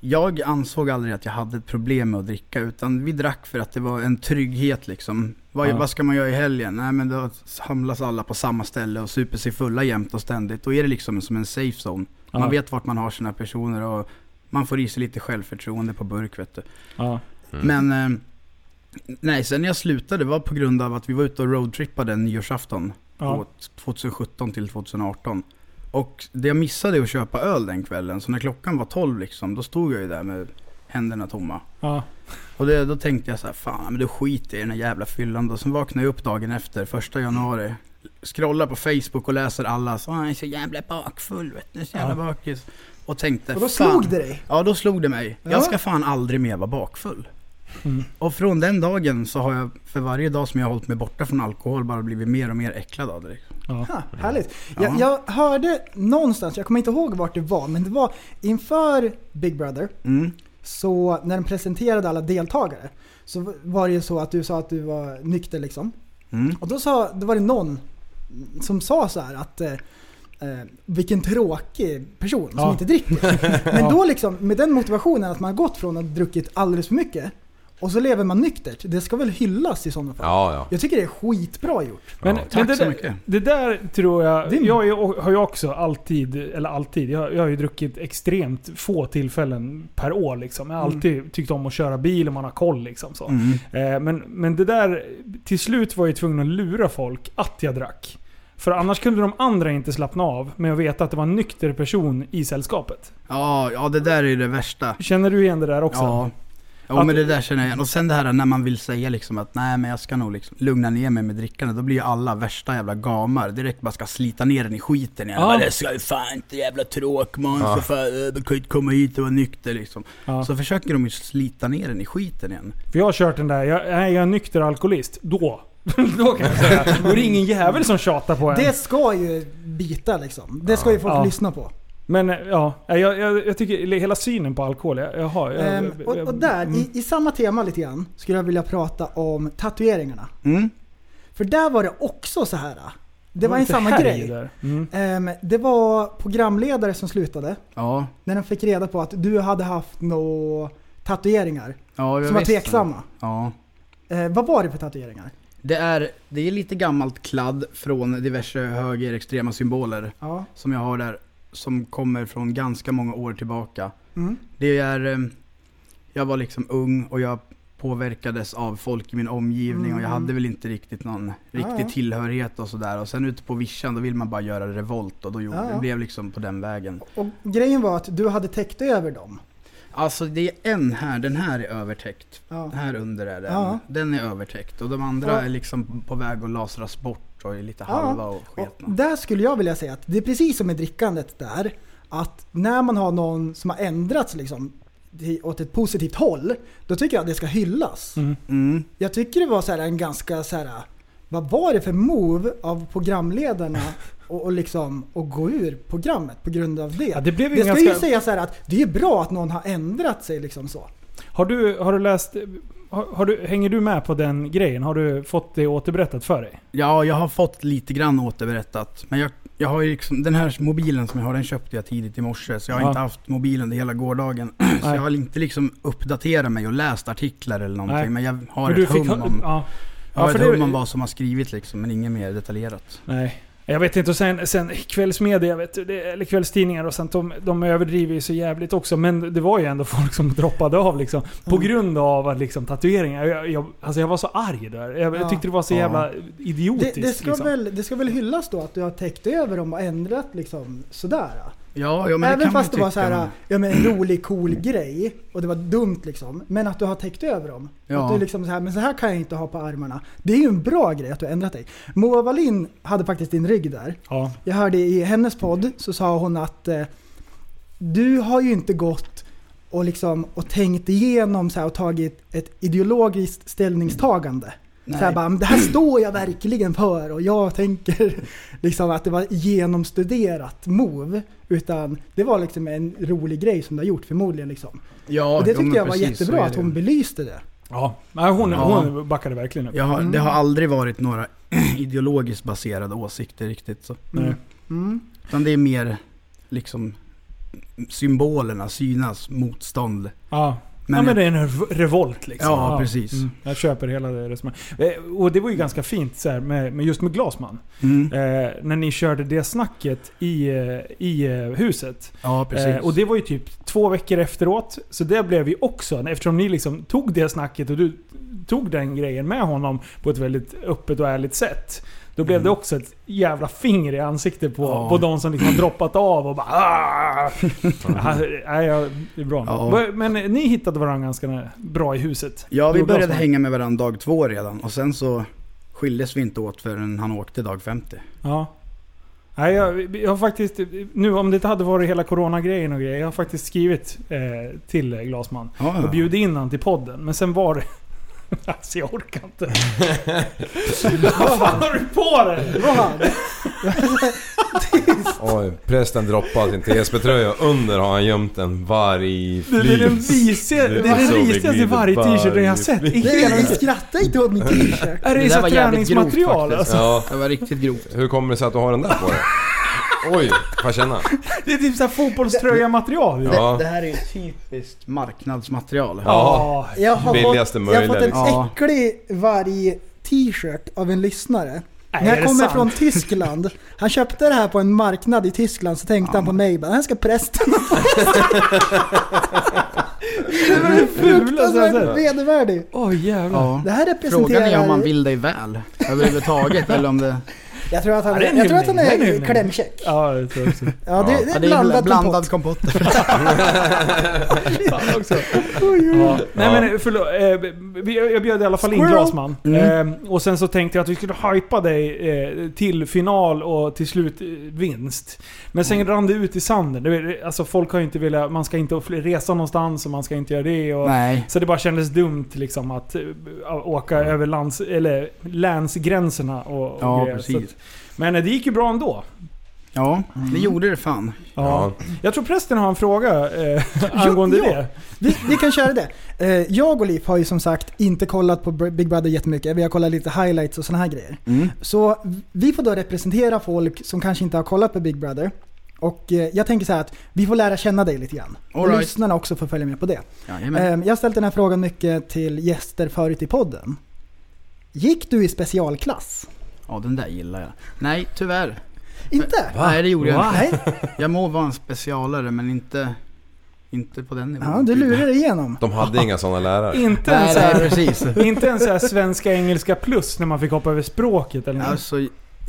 [SPEAKER 7] jag ansåg aldrig att jag hade ett problem med att dricka utan vi drack för att det var en trygghet liksom. Vad,
[SPEAKER 5] Ja.
[SPEAKER 7] vad ska man göra i helgen? Nej men då samlas alla på samma ställe och super sig fulla jämt och ständigt. Då är det liksom som en safe zone. Man
[SPEAKER 5] Ja.
[SPEAKER 7] vet vart man har sina personer och man får i sig lite självförtroende på burk vet du.
[SPEAKER 5] Ja.
[SPEAKER 7] Men eh, nej, sen när jag slutade var på grund av att vi var ute och roadtrippade nyårsafton.
[SPEAKER 5] Ja.
[SPEAKER 7] På 2017 till 2018. Och det jag missade att köpa öl den kvällen, så när klockan var 12 liksom, då stod jag ju där med händerna tomma.
[SPEAKER 5] Ja.
[SPEAKER 7] Och det, då tänkte jag så här, fan men du skiter jag i den här jävla fyllan då. Sen vaknade jag upp dagen efter, första januari. Scrollar på Facebook och läser alla, så "Ah, jag är så jävla bakfull vet du, så jävla
[SPEAKER 5] Ja.
[SPEAKER 7] bakis. Och tänkte,
[SPEAKER 8] Och då
[SPEAKER 7] fan.
[SPEAKER 8] slog det dig.
[SPEAKER 7] Ja, då slog det mig.
[SPEAKER 8] Ja.
[SPEAKER 7] Jag ska fan aldrig mer vara bakfull.
[SPEAKER 5] Mm.
[SPEAKER 7] Och från den dagen så har jag för varje dag som jag har hållit mig borta från alkohol bara blivit mer och mer äcklad av det.
[SPEAKER 8] Ha, härligt. Jag,
[SPEAKER 7] Ja.
[SPEAKER 8] jag hörde någonstans, jag kommer inte ihåg vart det var, men det var inför Big Brother
[SPEAKER 7] Mm.
[SPEAKER 8] så när de presenterade alla deltagare så var det ju så att du sa att du var nykter liksom.
[SPEAKER 7] Mm.
[SPEAKER 8] Och då, sa, då var det någon som sa så här att eh, eh, vilken tråkig person som
[SPEAKER 5] Ja.
[SPEAKER 8] inte dricker. Men då liksom, med den motivationen att man har gått från att ha druckit alldeles för mycket och så lever man nyktert. Det ska väl hyllas i sådana fall?
[SPEAKER 6] Ja, ja.
[SPEAKER 8] Jag tycker det är skitbra gjort.
[SPEAKER 5] Men,
[SPEAKER 6] Ja.
[SPEAKER 5] men
[SPEAKER 7] Tack
[SPEAKER 5] det,
[SPEAKER 7] så
[SPEAKER 5] där,
[SPEAKER 7] mycket.
[SPEAKER 5] det där tror jag...
[SPEAKER 8] Det är-
[SPEAKER 5] Jag är, ju- har ju också alltid, eller alltid, jag, jag har ju druckit extremt få tillfällen per år. Liksom. Jag har alltid tyckt om att köra bil och man har koll. Liksom, så.
[SPEAKER 7] Mm.
[SPEAKER 5] Eh, men, men det där, till slut var jag ju tvungen att lura folk att jag drack. För annars kunde de andra inte slappna av med att veta att det var en nykter person i sällskapet.
[SPEAKER 7] Ja, ja, det där är ju det värsta.
[SPEAKER 5] Känner du igen det där också?
[SPEAKER 7] Ja. Jo
[SPEAKER 5] Att-
[SPEAKER 7] men det där känner jag igen. Och sen det här när man vill säga liksom att nej men jag ska nog liksom lugna ner mig med drickandet. Då blir ju alla värsta jävla gamar. Direkt bara ska slita ner den i skiten igen.
[SPEAKER 5] Ja.
[SPEAKER 7] Bara, Det ska ju fan inte jävla tråkmåns ja. fan, eh, du kan ju inte komma hit och vara nykter liksom.
[SPEAKER 5] Ja.
[SPEAKER 7] Så försöker de ju slita ner den i skiten igen.
[SPEAKER 5] För jag har kört den där, jag, nej, jag är nykter alkoholist. Då. Då kan jag säga. Då är det ingen jävel som tjatar på en.
[SPEAKER 8] Det ska ju bita liksom. Det ska ju folk
[SPEAKER 5] Ja.
[SPEAKER 8] lyssna på.
[SPEAKER 5] Men eh, ja, jag, jag, jag tycker eller hela synen på alkohol, jag, jag har... Jag,
[SPEAKER 8] Ehm, och, och där,
[SPEAKER 5] Mm.
[SPEAKER 8] i, i samma tema lite grann, skulle jag vilja prata om tatueringarna.
[SPEAKER 7] Mm.
[SPEAKER 8] För där var det också så här. ah. Det var en
[SPEAKER 5] lite
[SPEAKER 8] samma
[SPEAKER 5] härj
[SPEAKER 8] grej.
[SPEAKER 5] där. Mm.
[SPEAKER 8] Ehm, det var programledare som slutade,
[SPEAKER 7] Ja.
[SPEAKER 8] när de fick reda på att du hade haft några tatueringar
[SPEAKER 7] Ja, jag
[SPEAKER 8] som var
[SPEAKER 7] visste det.
[SPEAKER 8] tveksamma.
[SPEAKER 7] Ja.
[SPEAKER 8] Ehm, vad var det för tatueringar?
[SPEAKER 7] Det är, det är lite gammalt kladd från diverse högerextrema symboler
[SPEAKER 8] Ja.
[SPEAKER 7] som jag har där. Som kommer från ganska många år tillbaka.
[SPEAKER 8] Mm.
[SPEAKER 7] Det är... eh, Jag var liksom ung och jag påverkades av folk i min omgivning och jag
[SPEAKER 8] Mm.
[SPEAKER 7] hade väl inte riktigt någon riktig
[SPEAKER 8] ja.
[SPEAKER 7] tillhörighet och sådär. Och sen ute på vischan då vill man bara göra revolt och då gjorde,
[SPEAKER 8] Ja, ja.
[SPEAKER 7] det blev liksom på den vägen.
[SPEAKER 8] Och grejen var att du hade täckt över dem.
[SPEAKER 7] Alltså det är en här, den här är övertäckt.
[SPEAKER 8] Ja.
[SPEAKER 7] Här under är den.
[SPEAKER 8] Ja.
[SPEAKER 7] Den är övertäckt och de andra
[SPEAKER 8] Ja.
[SPEAKER 7] är liksom på väg att lasras bort och är lite
[SPEAKER 8] Ja.
[SPEAKER 7] halva och sketna.
[SPEAKER 8] Och där skulle jag vilja säga att det är precis som med drickandet där. Att när man har någon som har ändrats liksom, till- åt ett positivt håll, då tycker jag att det ska hyllas.
[SPEAKER 7] Mm.
[SPEAKER 8] Jag tycker det var så här en ganska så här. Vad var det för move av programledarna och, och liksom och gå ur programmet på grund av det?
[SPEAKER 5] Ja, det blev ju
[SPEAKER 8] det ska
[SPEAKER 5] ganska...
[SPEAKER 8] ju säga så här att det är bra att någon har ändrat sig liksom så.
[SPEAKER 5] Har du, har du läst... Har, har du, hänger du med på den grejen? Har du fått det återberättat för dig?
[SPEAKER 7] Ja, jag har fått lite grann återberättat. Men jag, jag har ju liksom, den här mobilen som jag har, den köpte jag tidigt i morse. Så jag har
[SPEAKER 5] Ja.
[SPEAKER 7] inte haft mobilen under hela gårdagen. så
[SPEAKER 5] Nej.
[SPEAKER 7] jag har inte liksom uppdaterat mig och läst artiklar eller någonting.
[SPEAKER 5] Nej.
[SPEAKER 7] Men jag har
[SPEAKER 5] Men
[SPEAKER 7] ett hum om,
[SPEAKER 5] ja.
[SPEAKER 7] jag har
[SPEAKER 5] Ja,
[SPEAKER 7] ett
[SPEAKER 5] för det-
[SPEAKER 7] hum om vad som har skrivit liksom, men inget mer detaljerat.
[SPEAKER 5] Nej. Jag vet inte, och sen, sen kvällsmedia, vet du, det, eller kvällstidningar och sånt, de, de överdriver ju så jävligt också. Men det var ju ändå folk som droppade av liksom. På
[SPEAKER 7] Mm.
[SPEAKER 5] grund av att liksom, tatueringar. Jag, jag, alltså jag var så arg där. Jag, jag
[SPEAKER 8] Ja.
[SPEAKER 5] tyckte det var så
[SPEAKER 7] Ja.
[SPEAKER 5] jävla
[SPEAKER 8] Det,
[SPEAKER 5] idiotiskt.
[SPEAKER 8] det, ska
[SPEAKER 5] liksom.
[SPEAKER 8] väl, det ska väl hyllas då att du har täckt över dem och ändrat liksom sådär.
[SPEAKER 7] Ja, ja men det
[SPEAKER 8] Även
[SPEAKER 7] kan
[SPEAKER 8] fast det
[SPEAKER 7] man
[SPEAKER 8] var
[SPEAKER 7] ju
[SPEAKER 8] så
[SPEAKER 7] tycka.
[SPEAKER 8] här,
[SPEAKER 7] men-
[SPEAKER 8] ja, men en rolig cool grej och det var dumt liksom. Men att du har täckt över dem.
[SPEAKER 7] Ja.
[SPEAKER 8] Att du liksom så här, men så här kan jag inte ha på armarna. Det är ju en bra grej att du har ändrat dig. Moa Wallin hade faktiskt din rygg där.
[SPEAKER 5] Ja.
[SPEAKER 8] Jag hörde i hennes podd så sa hon att eh, du har ju inte gått och, liksom, och tänkt igenom så här, och tagit ett ideologiskt ställningstagande. Så här,
[SPEAKER 7] Nej.
[SPEAKER 8] bara, "Men det här står jag verkligen för och jag tänker liksom att det var genomstuderat move. Utan det var liksom en rolig grej som du har gjort förmodligen. Liksom.
[SPEAKER 7] Ja,
[SPEAKER 8] Och det
[SPEAKER 7] ja, men
[SPEAKER 8] tyckte jag var
[SPEAKER 7] precis, så
[SPEAKER 8] jättebra
[SPEAKER 7] är
[SPEAKER 8] att
[SPEAKER 7] det
[SPEAKER 8] hon
[SPEAKER 7] ju.
[SPEAKER 8] belyste det.
[SPEAKER 5] Ja, Nej, hon,
[SPEAKER 7] Ja.
[SPEAKER 5] hon backade verkligen upp.
[SPEAKER 7] jag har,
[SPEAKER 8] Mm.
[SPEAKER 7] Det har aldrig varit några ideologiskt baserade åsikter riktigt. Så.
[SPEAKER 5] Nej.
[SPEAKER 8] Mm.
[SPEAKER 7] Utan det är mer liksom symbolerna synas, motstånd.
[SPEAKER 5] Ja.
[SPEAKER 7] Men
[SPEAKER 5] ja, men
[SPEAKER 7] jag-
[SPEAKER 5] det är en rev- revolt liksom.
[SPEAKER 7] Ja, precis.
[SPEAKER 5] Jag köper hela det resonemanget. Eh, Och det var ju ganska fint så här, med, med just med Glasman.
[SPEAKER 7] Mm.
[SPEAKER 5] Eh, när ni körde det snacket i, eh, i eh, huset.
[SPEAKER 7] Ja, precis.
[SPEAKER 5] Eh, och det var ju typ två veckor efteråt. Så det blev ju också, eftersom ni liksom tog det snacket och du tog den grejen med honom på ett väldigt öppet och ärligt sätt. Då blev det också ett jävla finger i ansiktet på,
[SPEAKER 7] Mm. Ja.
[SPEAKER 5] på de som liksom har droppat av och bara "Ah!" Ja, Nej, ja, det är bra.
[SPEAKER 7] Ja.
[SPEAKER 5] Va- Men ni hittade varandra ganska bra i huset?
[SPEAKER 7] Ja, vi
[SPEAKER 5] Gjorde
[SPEAKER 7] började
[SPEAKER 5] också.
[SPEAKER 7] hänga med varandra dag två redan och sen så skildes vi inte åt förrän han åkte dag 50.
[SPEAKER 5] Ja. Nej, jag, jag har faktiskt, nu om det inte hade varit hela coronagrejen och grejer, jag har faktiskt skrivit eh, till Glasman
[SPEAKER 7] Ja,
[SPEAKER 5] och bjudit in han till podden. Men sen var det, Alltså jag orkar inte. Vad fan har du på dig?
[SPEAKER 8] Vad?
[SPEAKER 6] Oj, prästen droppade sin TSB-tröja. Under har han gömt en vargflis.
[SPEAKER 5] Det är den, visiga, det är den risigaste varg-t-shirten jag har sett i
[SPEAKER 8] Det
[SPEAKER 5] hela
[SPEAKER 8] är,
[SPEAKER 5] mitt
[SPEAKER 8] skratta inte åt min t-shirt.
[SPEAKER 5] Är
[SPEAKER 7] Det
[SPEAKER 5] det
[SPEAKER 7] där
[SPEAKER 5] så
[SPEAKER 7] var jävligt grovt
[SPEAKER 5] träningsmaterial
[SPEAKER 7] faktiskt.
[SPEAKER 5] alltså?
[SPEAKER 6] Ja,
[SPEAKER 7] Det var riktigt grovt.
[SPEAKER 6] hur kommer det sig att du har den där på dig? Oj, får jag känna?
[SPEAKER 5] Det är typ såhär fotbollströja-material. Ja.
[SPEAKER 6] Ja.
[SPEAKER 7] Det, det här är ju typiskt marknadsmaterial.
[SPEAKER 6] Ja,
[SPEAKER 8] Jag har
[SPEAKER 6] Billigaste
[SPEAKER 8] fått, jag har fått en
[SPEAKER 6] möjliga,
[SPEAKER 7] liksom.
[SPEAKER 8] äcklig varg t-shirt av en lyssnare.
[SPEAKER 5] Nej,
[SPEAKER 8] När
[SPEAKER 5] är
[SPEAKER 8] jag
[SPEAKER 5] det
[SPEAKER 8] kommer
[SPEAKER 5] sant?
[SPEAKER 8] från Tyskland. Han köpte det här på en marknad i Tyskland så tänkte han på mig. Den här ska prästen ha Det var en
[SPEAKER 5] Fulaste jag sett.
[SPEAKER 8] fruktansvärt vedervärdig.
[SPEAKER 5] Åh jävlar.
[SPEAKER 7] Ja.
[SPEAKER 8] Det här
[SPEAKER 7] Frågan är om man
[SPEAKER 8] representerar...
[SPEAKER 7] vill dig väl överhuvudtaget eller om det...
[SPEAKER 8] Jag tror att
[SPEAKER 5] Ja,
[SPEAKER 8] han,
[SPEAKER 5] det är en
[SPEAKER 8] jag tror att han
[SPEAKER 5] hyllning. Det är en
[SPEAKER 8] är
[SPEAKER 5] hyllning.
[SPEAKER 8] klämkäck.
[SPEAKER 5] Ja, det tror jag också.
[SPEAKER 8] Ja, det,
[SPEAKER 6] Ja.
[SPEAKER 8] det
[SPEAKER 7] Ja,
[SPEAKER 8] är
[SPEAKER 7] det är väl
[SPEAKER 8] blandad,
[SPEAKER 7] blandad
[SPEAKER 8] kompott.
[SPEAKER 7] kompott.
[SPEAKER 5] Fan också. Ja. Nej men förlåt. Eh, vi- jag bjöd i alla fall in
[SPEAKER 8] Squirrel.
[SPEAKER 5] Glasman.
[SPEAKER 7] Mm.
[SPEAKER 5] Eh, och sen så tänkte jag att vi skulle hypa dig eh, till final och till slut eh, vinst. Men sen
[SPEAKER 7] Mm.
[SPEAKER 5] rann det ut i sanden. Du vet, Alltså folk har ju inte velat... Man ska inte resa någonstans och man ska inte göra det. Och,
[SPEAKER 7] Nej.
[SPEAKER 5] Så det bara kändes dumt liksom att eh, åka över lands, eller länsgränserna och, och
[SPEAKER 7] Ja,
[SPEAKER 5] grejer. Så
[SPEAKER 7] precis.
[SPEAKER 5] att- Men eh, det gick ju bra ändå.
[SPEAKER 7] Ja, det gjorde det fan.
[SPEAKER 5] Ja. Jag tror prästen har en fråga eh, angående
[SPEAKER 8] ja.
[SPEAKER 5] det.
[SPEAKER 8] Vi, vi kan köra det. Eh, jag och Liv har ju som sagt inte kollat på Br- Big Brother jättemycket. Vi har kollat lite highlights och sådana här grejer.
[SPEAKER 7] Mm.
[SPEAKER 8] Så vi får då representera folk som kanske inte har kollat på Big Brother. Och eh, jag tänker så här att vi får lära känna dig lite grann.
[SPEAKER 7] All
[SPEAKER 8] och
[SPEAKER 7] right.
[SPEAKER 8] lyssnarna också får följa med på det.
[SPEAKER 7] Jajamän.
[SPEAKER 8] Eh, jag har ställt den här frågan mycket till gäster förut i podden. Gick du i specialklass?
[SPEAKER 7] Ja, den där gillar jag. Nej, tyvärr.
[SPEAKER 8] Inte?
[SPEAKER 7] Nej, det gjorde jag inte.
[SPEAKER 8] Nej,
[SPEAKER 7] Jag må vara en specialare men inte, inte på den nivån.
[SPEAKER 8] ja, du lurar dig igenom.
[SPEAKER 6] de hade inga sådana lärare.
[SPEAKER 5] Inte
[SPEAKER 7] Nej,
[SPEAKER 5] ens så
[SPEAKER 7] nej,
[SPEAKER 5] här,
[SPEAKER 7] precis.
[SPEAKER 5] inte ens så här svenska engelska plus när man fick hoppa över språket eller något.
[SPEAKER 7] Alltså,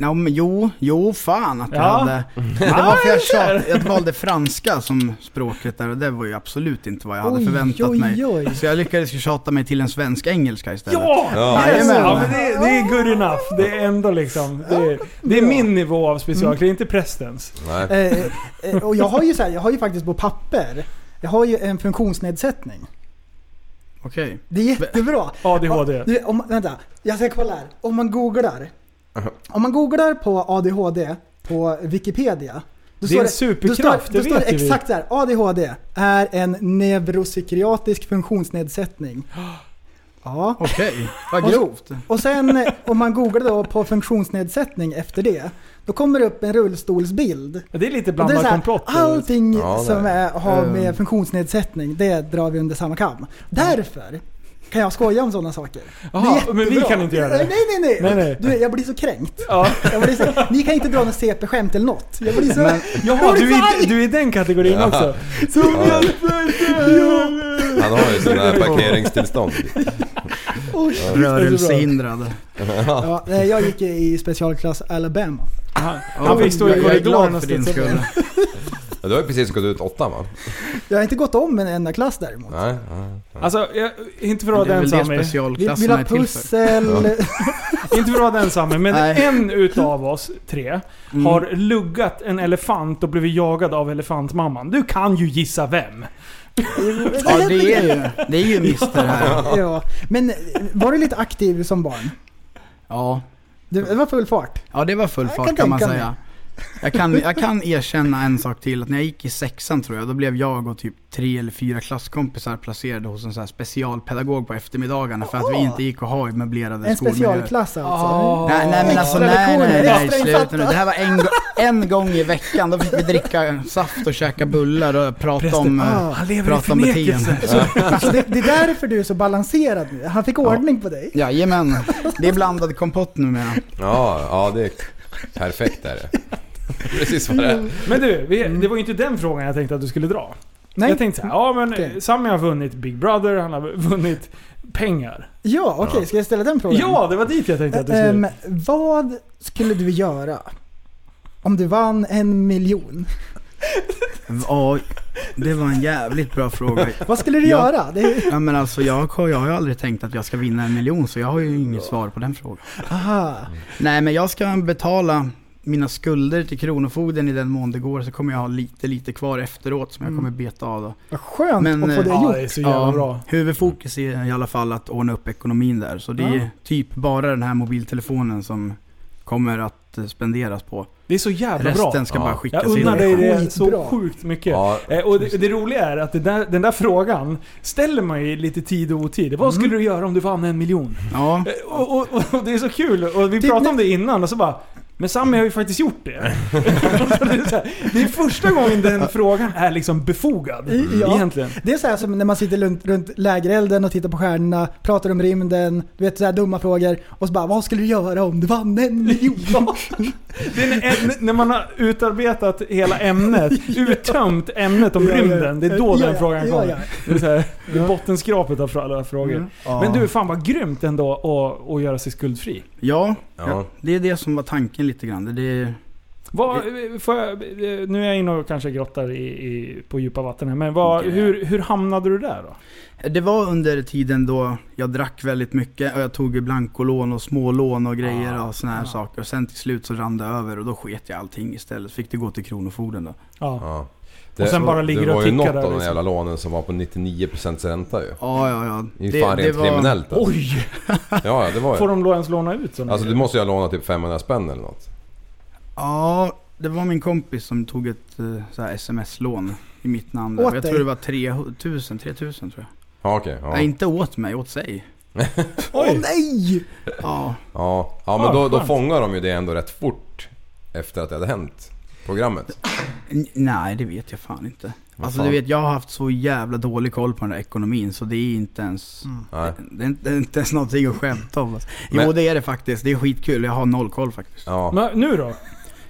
[SPEAKER 7] ja, men jo, jo fan att jag
[SPEAKER 5] Ja.
[SPEAKER 7] hade.
[SPEAKER 8] Mm.
[SPEAKER 7] Det var för jag, tjat, jag valde franska som språket där och det var ju absolut inte vad jag hade förväntat mig.
[SPEAKER 8] Oj, oj, oj.
[SPEAKER 7] Så jag lyckades ju tjata mig till en svensk-engelska istället.
[SPEAKER 5] Ja!
[SPEAKER 6] Ja.
[SPEAKER 5] Yes!
[SPEAKER 7] Jajamän.
[SPEAKER 5] ja men det, det är good enough. Det är ändå liksom... Det är, det är min nivå av specialklass, inte prästens.
[SPEAKER 6] Nej.
[SPEAKER 8] Eh, eh, och jag har ju så här, jag har ju faktiskt på papper, jag har ju en funktionsnedsättning.
[SPEAKER 7] Okej.
[SPEAKER 8] Det är jättebra.
[SPEAKER 5] ADHD.
[SPEAKER 8] Du, om, vänta, jag ska kolla här. Om man googlar. Om man googlar på ADHD på Wikipedia. Då
[SPEAKER 5] Det är en
[SPEAKER 8] då
[SPEAKER 5] superkraft,
[SPEAKER 8] står, då
[SPEAKER 5] det
[SPEAKER 8] står det
[SPEAKER 5] vet ju vi.
[SPEAKER 8] exakt så här. ADHD är en neuropsykiatrisk funktionsnedsättning. Ja.
[SPEAKER 7] Okej, vad grovt.
[SPEAKER 8] Och sen eh, om man googlar då på funktionsnedsättning efter det. Då kommer det upp en rullstolsbild.
[SPEAKER 5] Det är lite
[SPEAKER 8] Och det är
[SPEAKER 5] blandad
[SPEAKER 8] så här,
[SPEAKER 5] komplott. Mm.
[SPEAKER 8] allting
[SPEAKER 6] Ja, det är
[SPEAKER 8] som
[SPEAKER 6] det.
[SPEAKER 8] är, har med
[SPEAKER 7] Ehm.
[SPEAKER 8] funktionsnedsättning, det drar vi under samma kam. Därför kan jag skoja om sådana saker.
[SPEAKER 5] Jaha,
[SPEAKER 8] Det är
[SPEAKER 5] men vi
[SPEAKER 8] jättebra.
[SPEAKER 5] kan inte göra det.
[SPEAKER 8] Nej, nej, nej.
[SPEAKER 5] Nej, nej.
[SPEAKER 8] Du, jag blir så kränkt.
[SPEAKER 5] Ja.
[SPEAKER 8] Jag blir så, ni kan inte dra något CP-skämt eller något. Jag blir så...
[SPEAKER 5] Jaha, du är,
[SPEAKER 8] arg.
[SPEAKER 5] i- du är i den kategorin också? Som
[SPEAKER 6] Ja.
[SPEAKER 5] hjälper
[SPEAKER 6] Han har ju sådana här parkeringstillstånd.
[SPEAKER 7] Rörelsehindrad.
[SPEAKER 8] ja, nej, jag gick i specialklass Alabama.
[SPEAKER 5] Han fick stå
[SPEAKER 7] Jag-
[SPEAKER 5] i
[SPEAKER 7] jag är glad
[SPEAKER 5] korridoren och
[SPEAKER 7] för din
[SPEAKER 5] studsa.
[SPEAKER 7] skull.
[SPEAKER 6] Ja, du har ju precis gått ut åttan va?
[SPEAKER 8] Jag har inte gått om en enda klass däremot.
[SPEAKER 6] Nej. nej.
[SPEAKER 5] Alltså, jag, inte för att
[SPEAKER 7] Det
[SPEAKER 5] vara
[SPEAKER 7] är
[SPEAKER 5] den
[SPEAKER 7] väl det
[SPEAKER 5] Sami.
[SPEAKER 8] Vi vill
[SPEAKER 7] specialklasserna
[SPEAKER 8] ha
[SPEAKER 7] är till för.
[SPEAKER 8] pussel.
[SPEAKER 5] Inte för att vara den Sami, men
[SPEAKER 7] Nej.
[SPEAKER 5] en utav oss tre har luggat en elefant och blivit jagad av elefantmamman. Du kan ju gissa vem.
[SPEAKER 7] Ja, det är ju, det är ju Mr här.
[SPEAKER 8] ja. Men eh, var du lite aktiv som barn?
[SPEAKER 7] Ja.
[SPEAKER 8] Du, det var full fart.
[SPEAKER 7] Ja det var full
[SPEAKER 8] Jag
[SPEAKER 7] fart
[SPEAKER 8] kan
[SPEAKER 7] kan, man
[SPEAKER 8] tänka mig.
[SPEAKER 7] säga. Jag kan, jag kan erkänna en sak till, att när jag gick i sexan tror jag, då blev jag och typ tre eller fyra klasskompisar placerade hos en så här specialpedagog på eftermiddagarna för att vi
[SPEAKER 8] Åh.
[SPEAKER 7] inte gick och ha i möblerade
[SPEAKER 8] En
[SPEAKER 7] skolmiljöer.
[SPEAKER 8] specialklass alltså.
[SPEAKER 7] Nej, nej men alltså
[SPEAKER 8] Extra
[SPEAKER 7] nej nej
[SPEAKER 8] lektioner,
[SPEAKER 7] nej,
[SPEAKER 8] extra
[SPEAKER 7] sluta nu.
[SPEAKER 8] infattat.
[SPEAKER 7] Det här var en, go- en gång i veckan, då fick vi dricka saft och käka bullar och prata
[SPEAKER 5] Prästen,
[SPEAKER 7] om, eh,
[SPEAKER 8] ah,
[SPEAKER 5] Han lever i
[SPEAKER 7] prata om beteenden.
[SPEAKER 5] förnekelse.
[SPEAKER 8] Alltså, det, det är därför du är så balanserad nu. Han fick ordning på dig.
[SPEAKER 7] Jajamän, det är blandad kompott numera.
[SPEAKER 6] Ja, ja det är perfekt är det. Precis vad det är.
[SPEAKER 5] Men du, vi,
[SPEAKER 7] Mm.
[SPEAKER 5] det var ju inte den frågan jag tänkte att du skulle dra.
[SPEAKER 8] Nej.
[SPEAKER 5] Jag tänkte så här, ja men
[SPEAKER 8] Okej.
[SPEAKER 5] Sami har vunnit Big Brother, han har vunnit pengar.
[SPEAKER 8] Ja, okej. Ska jag ställa den frågan?
[SPEAKER 5] Ja, det var dit jag tänkte att du skulle.
[SPEAKER 8] Ehm, vad skulle du göra om du vann en miljon?
[SPEAKER 7] Ja, det var en jävligt bra fråga.
[SPEAKER 8] Vad skulle du
[SPEAKER 7] Ja.
[SPEAKER 8] göra? Det är,
[SPEAKER 7] Ja men alltså jag, har- jag har ju aldrig tänkt att jag ska vinna en miljon så jag har ju inget svar på den frågan.
[SPEAKER 8] aha.
[SPEAKER 7] Nej men jag ska betala mina skulder till Kronofogden i den mån det går så kommer jag ha lite, lite kvar efteråt som jag
[SPEAKER 8] Mm.
[SPEAKER 7] kommer beta av då.
[SPEAKER 8] Vad skönt
[SPEAKER 7] Men,
[SPEAKER 8] att få det
[SPEAKER 7] eh,
[SPEAKER 5] Ja,
[SPEAKER 8] gjort.
[SPEAKER 5] det är så jävla
[SPEAKER 7] Ja,
[SPEAKER 5] bra.
[SPEAKER 7] Huvudfokus är i alla fall att ordna upp ekonomin där. Så det är
[SPEAKER 5] Ja.
[SPEAKER 7] typ bara den här mobiltelefonen som kommer att eh, spenderas på.
[SPEAKER 5] Det är så jävla bra.
[SPEAKER 7] Resten ska
[SPEAKER 6] Ja.
[SPEAKER 7] bara
[SPEAKER 5] Jag
[SPEAKER 7] skickas in.
[SPEAKER 5] unnar dig det så
[SPEAKER 8] Skitbra.
[SPEAKER 5] sjukt mycket.
[SPEAKER 6] Ja,
[SPEAKER 5] Eh, Och det, det roliga är att det där, den där frågan ställer man ju lite tid och otid. Vad
[SPEAKER 7] Mm.
[SPEAKER 5] skulle du göra om du vann en miljon?
[SPEAKER 7] Ja.
[SPEAKER 5] Eh, Och, och, och det är så kul. Och vi
[SPEAKER 8] Typ
[SPEAKER 5] pratade
[SPEAKER 8] när-
[SPEAKER 5] om det innan och så bara... Men Sammy har ju faktiskt gjort det. Så det, är så här, det är första gången den frågan är liksom befogad.
[SPEAKER 8] I- ja.
[SPEAKER 5] Egentligen.
[SPEAKER 8] Det är så här som när man sitter runt, runt lägerelden och tittar på stjärnorna, pratar om rymden, du vet så här dumma frågor. Och så bara, vad skulle du göra om du vann en miljon?
[SPEAKER 5] Det är när- när man har utarbetat hela ämnet, uttömt ämnet om
[SPEAKER 8] Ja, ja.
[SPEAKER 5] rymden. Det är då
[SPEAKER 8] Ja,
[SPEAKER 5] den
[SPEAKER 8] ja,
[SPEAKER 5] frågan
[SPEAKER 8] ja,
[SPEAKER 5] kommer.
[SPEAKER 8] ja. Mm.
[SPEAKER 5] Det är så här, det är bottenskrapet av alla frågor. Men du, fan vad grymt ändå att, att göra sig skuldfri.
[SPEAKER 7] Ja,
[SPEAKER 6] ja.
[SPEAKER 7] det är det som var tanken lite grann. Det- Det,
[SPEAKER 5] Vad, får jag, eh, nu är jag inne och kanske grottar i, i, på djupa vatten här, men vad,
[SPEAKER 7] Okej.
[SPEAKER 5] hur, hur hamnade du där då?
[SPEAKER 7] det var under tiden då jag drack väldigt mycket och jag tog ju blankolån och smålån och grejer och såna här saker. Och sen till slut så rann det över och då sket jag allting istället. Fick det gå till Kronofogden då.
[SPEAKER 5] Ja.
[SPEAKER 6] ja.
[SPEAKER 5] Och sen bara ligger
[SPEAKER 6] det
[SPEAKER 5] och
[SPEAKER 6] var ju
[SPEAKER 5] tickar
[SPEAKER 6] något
[SPEAKER 5] där,
[SPEAKER 6] av de
[SPEAKER 5] liksom.
[SPEAKER 6] jävla lånen som var på 99% ränta ju.
[SPEAKER 7] Ja, ja, ja.
[SPEAKER 6] Det är ju fan rent kriminellt. Alltså.
[SPEAKER 5] Oj!
[SPEAKER 6] Ja, ja, det var
[SPEAKER 5] Får
[SPEAKER 6] ju.
[SPEAKER 5] de då ens låna ut sådana
[SPEAKER 6] Alltså du måste ju ha lånat typ 500 spänn eller något.
[SPEAKER 7] Ja, det var min kompis som tog ett eh, så här sms-lån i mitt namn.
[SPEAKER 8] Åt
[SPEAKER 7] Där. Jag
[SPEAKER 8] dig?
[SPEAKER 7] tror det var 3000, 3000 tror jag.
[SPEAKER 6] Ja, okej. ja.
[SPEAKER 7] Nej, inte åt mig, åt sig.
[SPEAKER 8] Åh nej!
[SPEAKER 7] Ja,
[SPEAKER 6] Ja, ja
[SPEAKER 5] Ah,
[SPEAKER 6] men då, då
[SPEAKER 5] skönt.
[SPEAKER 6] fångar de ju det ändå rätt fort efter att det hade hänt programmet.
[SPEAKER 7] N- nej det vet jag fan inte.
[SPEAKER 6] Vad
[SPEAKER 7] Alltså
[SPEAKER 6] fan?
[SPEAKER 7] du vet, jag har haft så jävla dålig koll på den där ekonomin så det är inte ens...
[SPEAKER 6] Nej.
[SPEAKER 7] Det är inte, det är inte ens någonting att skämta om. Alltså. Jo
[SPEAKER 6] Men-
[SPEAKER 7] det är det faktiskt, det är skitkul. Jag har noll koll faktiskt.
[SPEAKER 6] Ja.
[SPEAKER 5] Men nu då?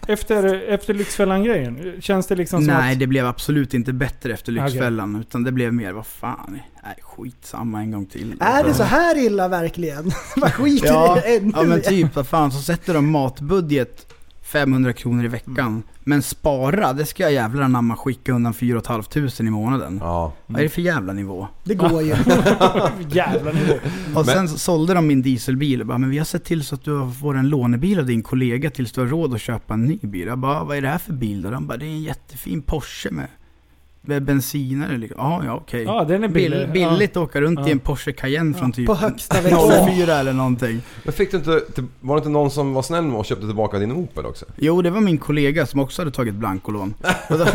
[SPEAKER 5] Efter, efter Lyxfällan-grejen? Känns det liksom som
[SPEAKER 7] Nej
[SPEAKER 5] att...
[SPEAKER 7] det blev absolut inte bättre efter
[SPEAKER 5] Okej.
[SPEAKER 7] Lyxfällan utan det blev mer, vad fan. Nej skitsamma en gång till.
[SPEAKER 8] Är det så här illa verkligen? Vad skiter
[SPEAKER 7] Ja,
[SPEAKER 8] i det ännu
[SPEAKER 7] Ja men
[SPEAKER 8] mer.
[SPEAKER 7] typ, vad fan. Så sätter de matbudget 500 kronor i veckan. Men spara, det ska jag jävlar anamma skicka undan 4 500 i månaden.
[SPEAKER 6] Ja.
[SPEAKER 7] Vad är det för jävla nivå?
[SPEAKER 8] Det går ju.
[SPEAKER 5] Jävlar nivå.
[SPEAKER 7] Och sen så sålde de min dieselbil och bara, men vi har sett till så att du får en lånebil av din kollega tills du har råd att köpa en ny bil. Jag bara, vad är det här för bil då? De bara, det är en jättefin Porsche med, med bensinare. liksom. Ja, ja okej.
[SPEAKER 5] Ja, den är billig.
[SPEAKER 7] Bill, billigt att åka runt
[SPEAKER 5] Ja.
[SPEAKER 7] i en Porsche Cayenne från typ
[SPEAKER 8] På högsta växeln.
[SPEAKER 7] 04 eller någonting.
[SPEAKER 6] Men fick du inte, var det inte någon som var snäll och köpte tillbaka din Opel också?
[SPEAKER 7] Jo, det var min kollega som också hade tagit blankolån. Och då-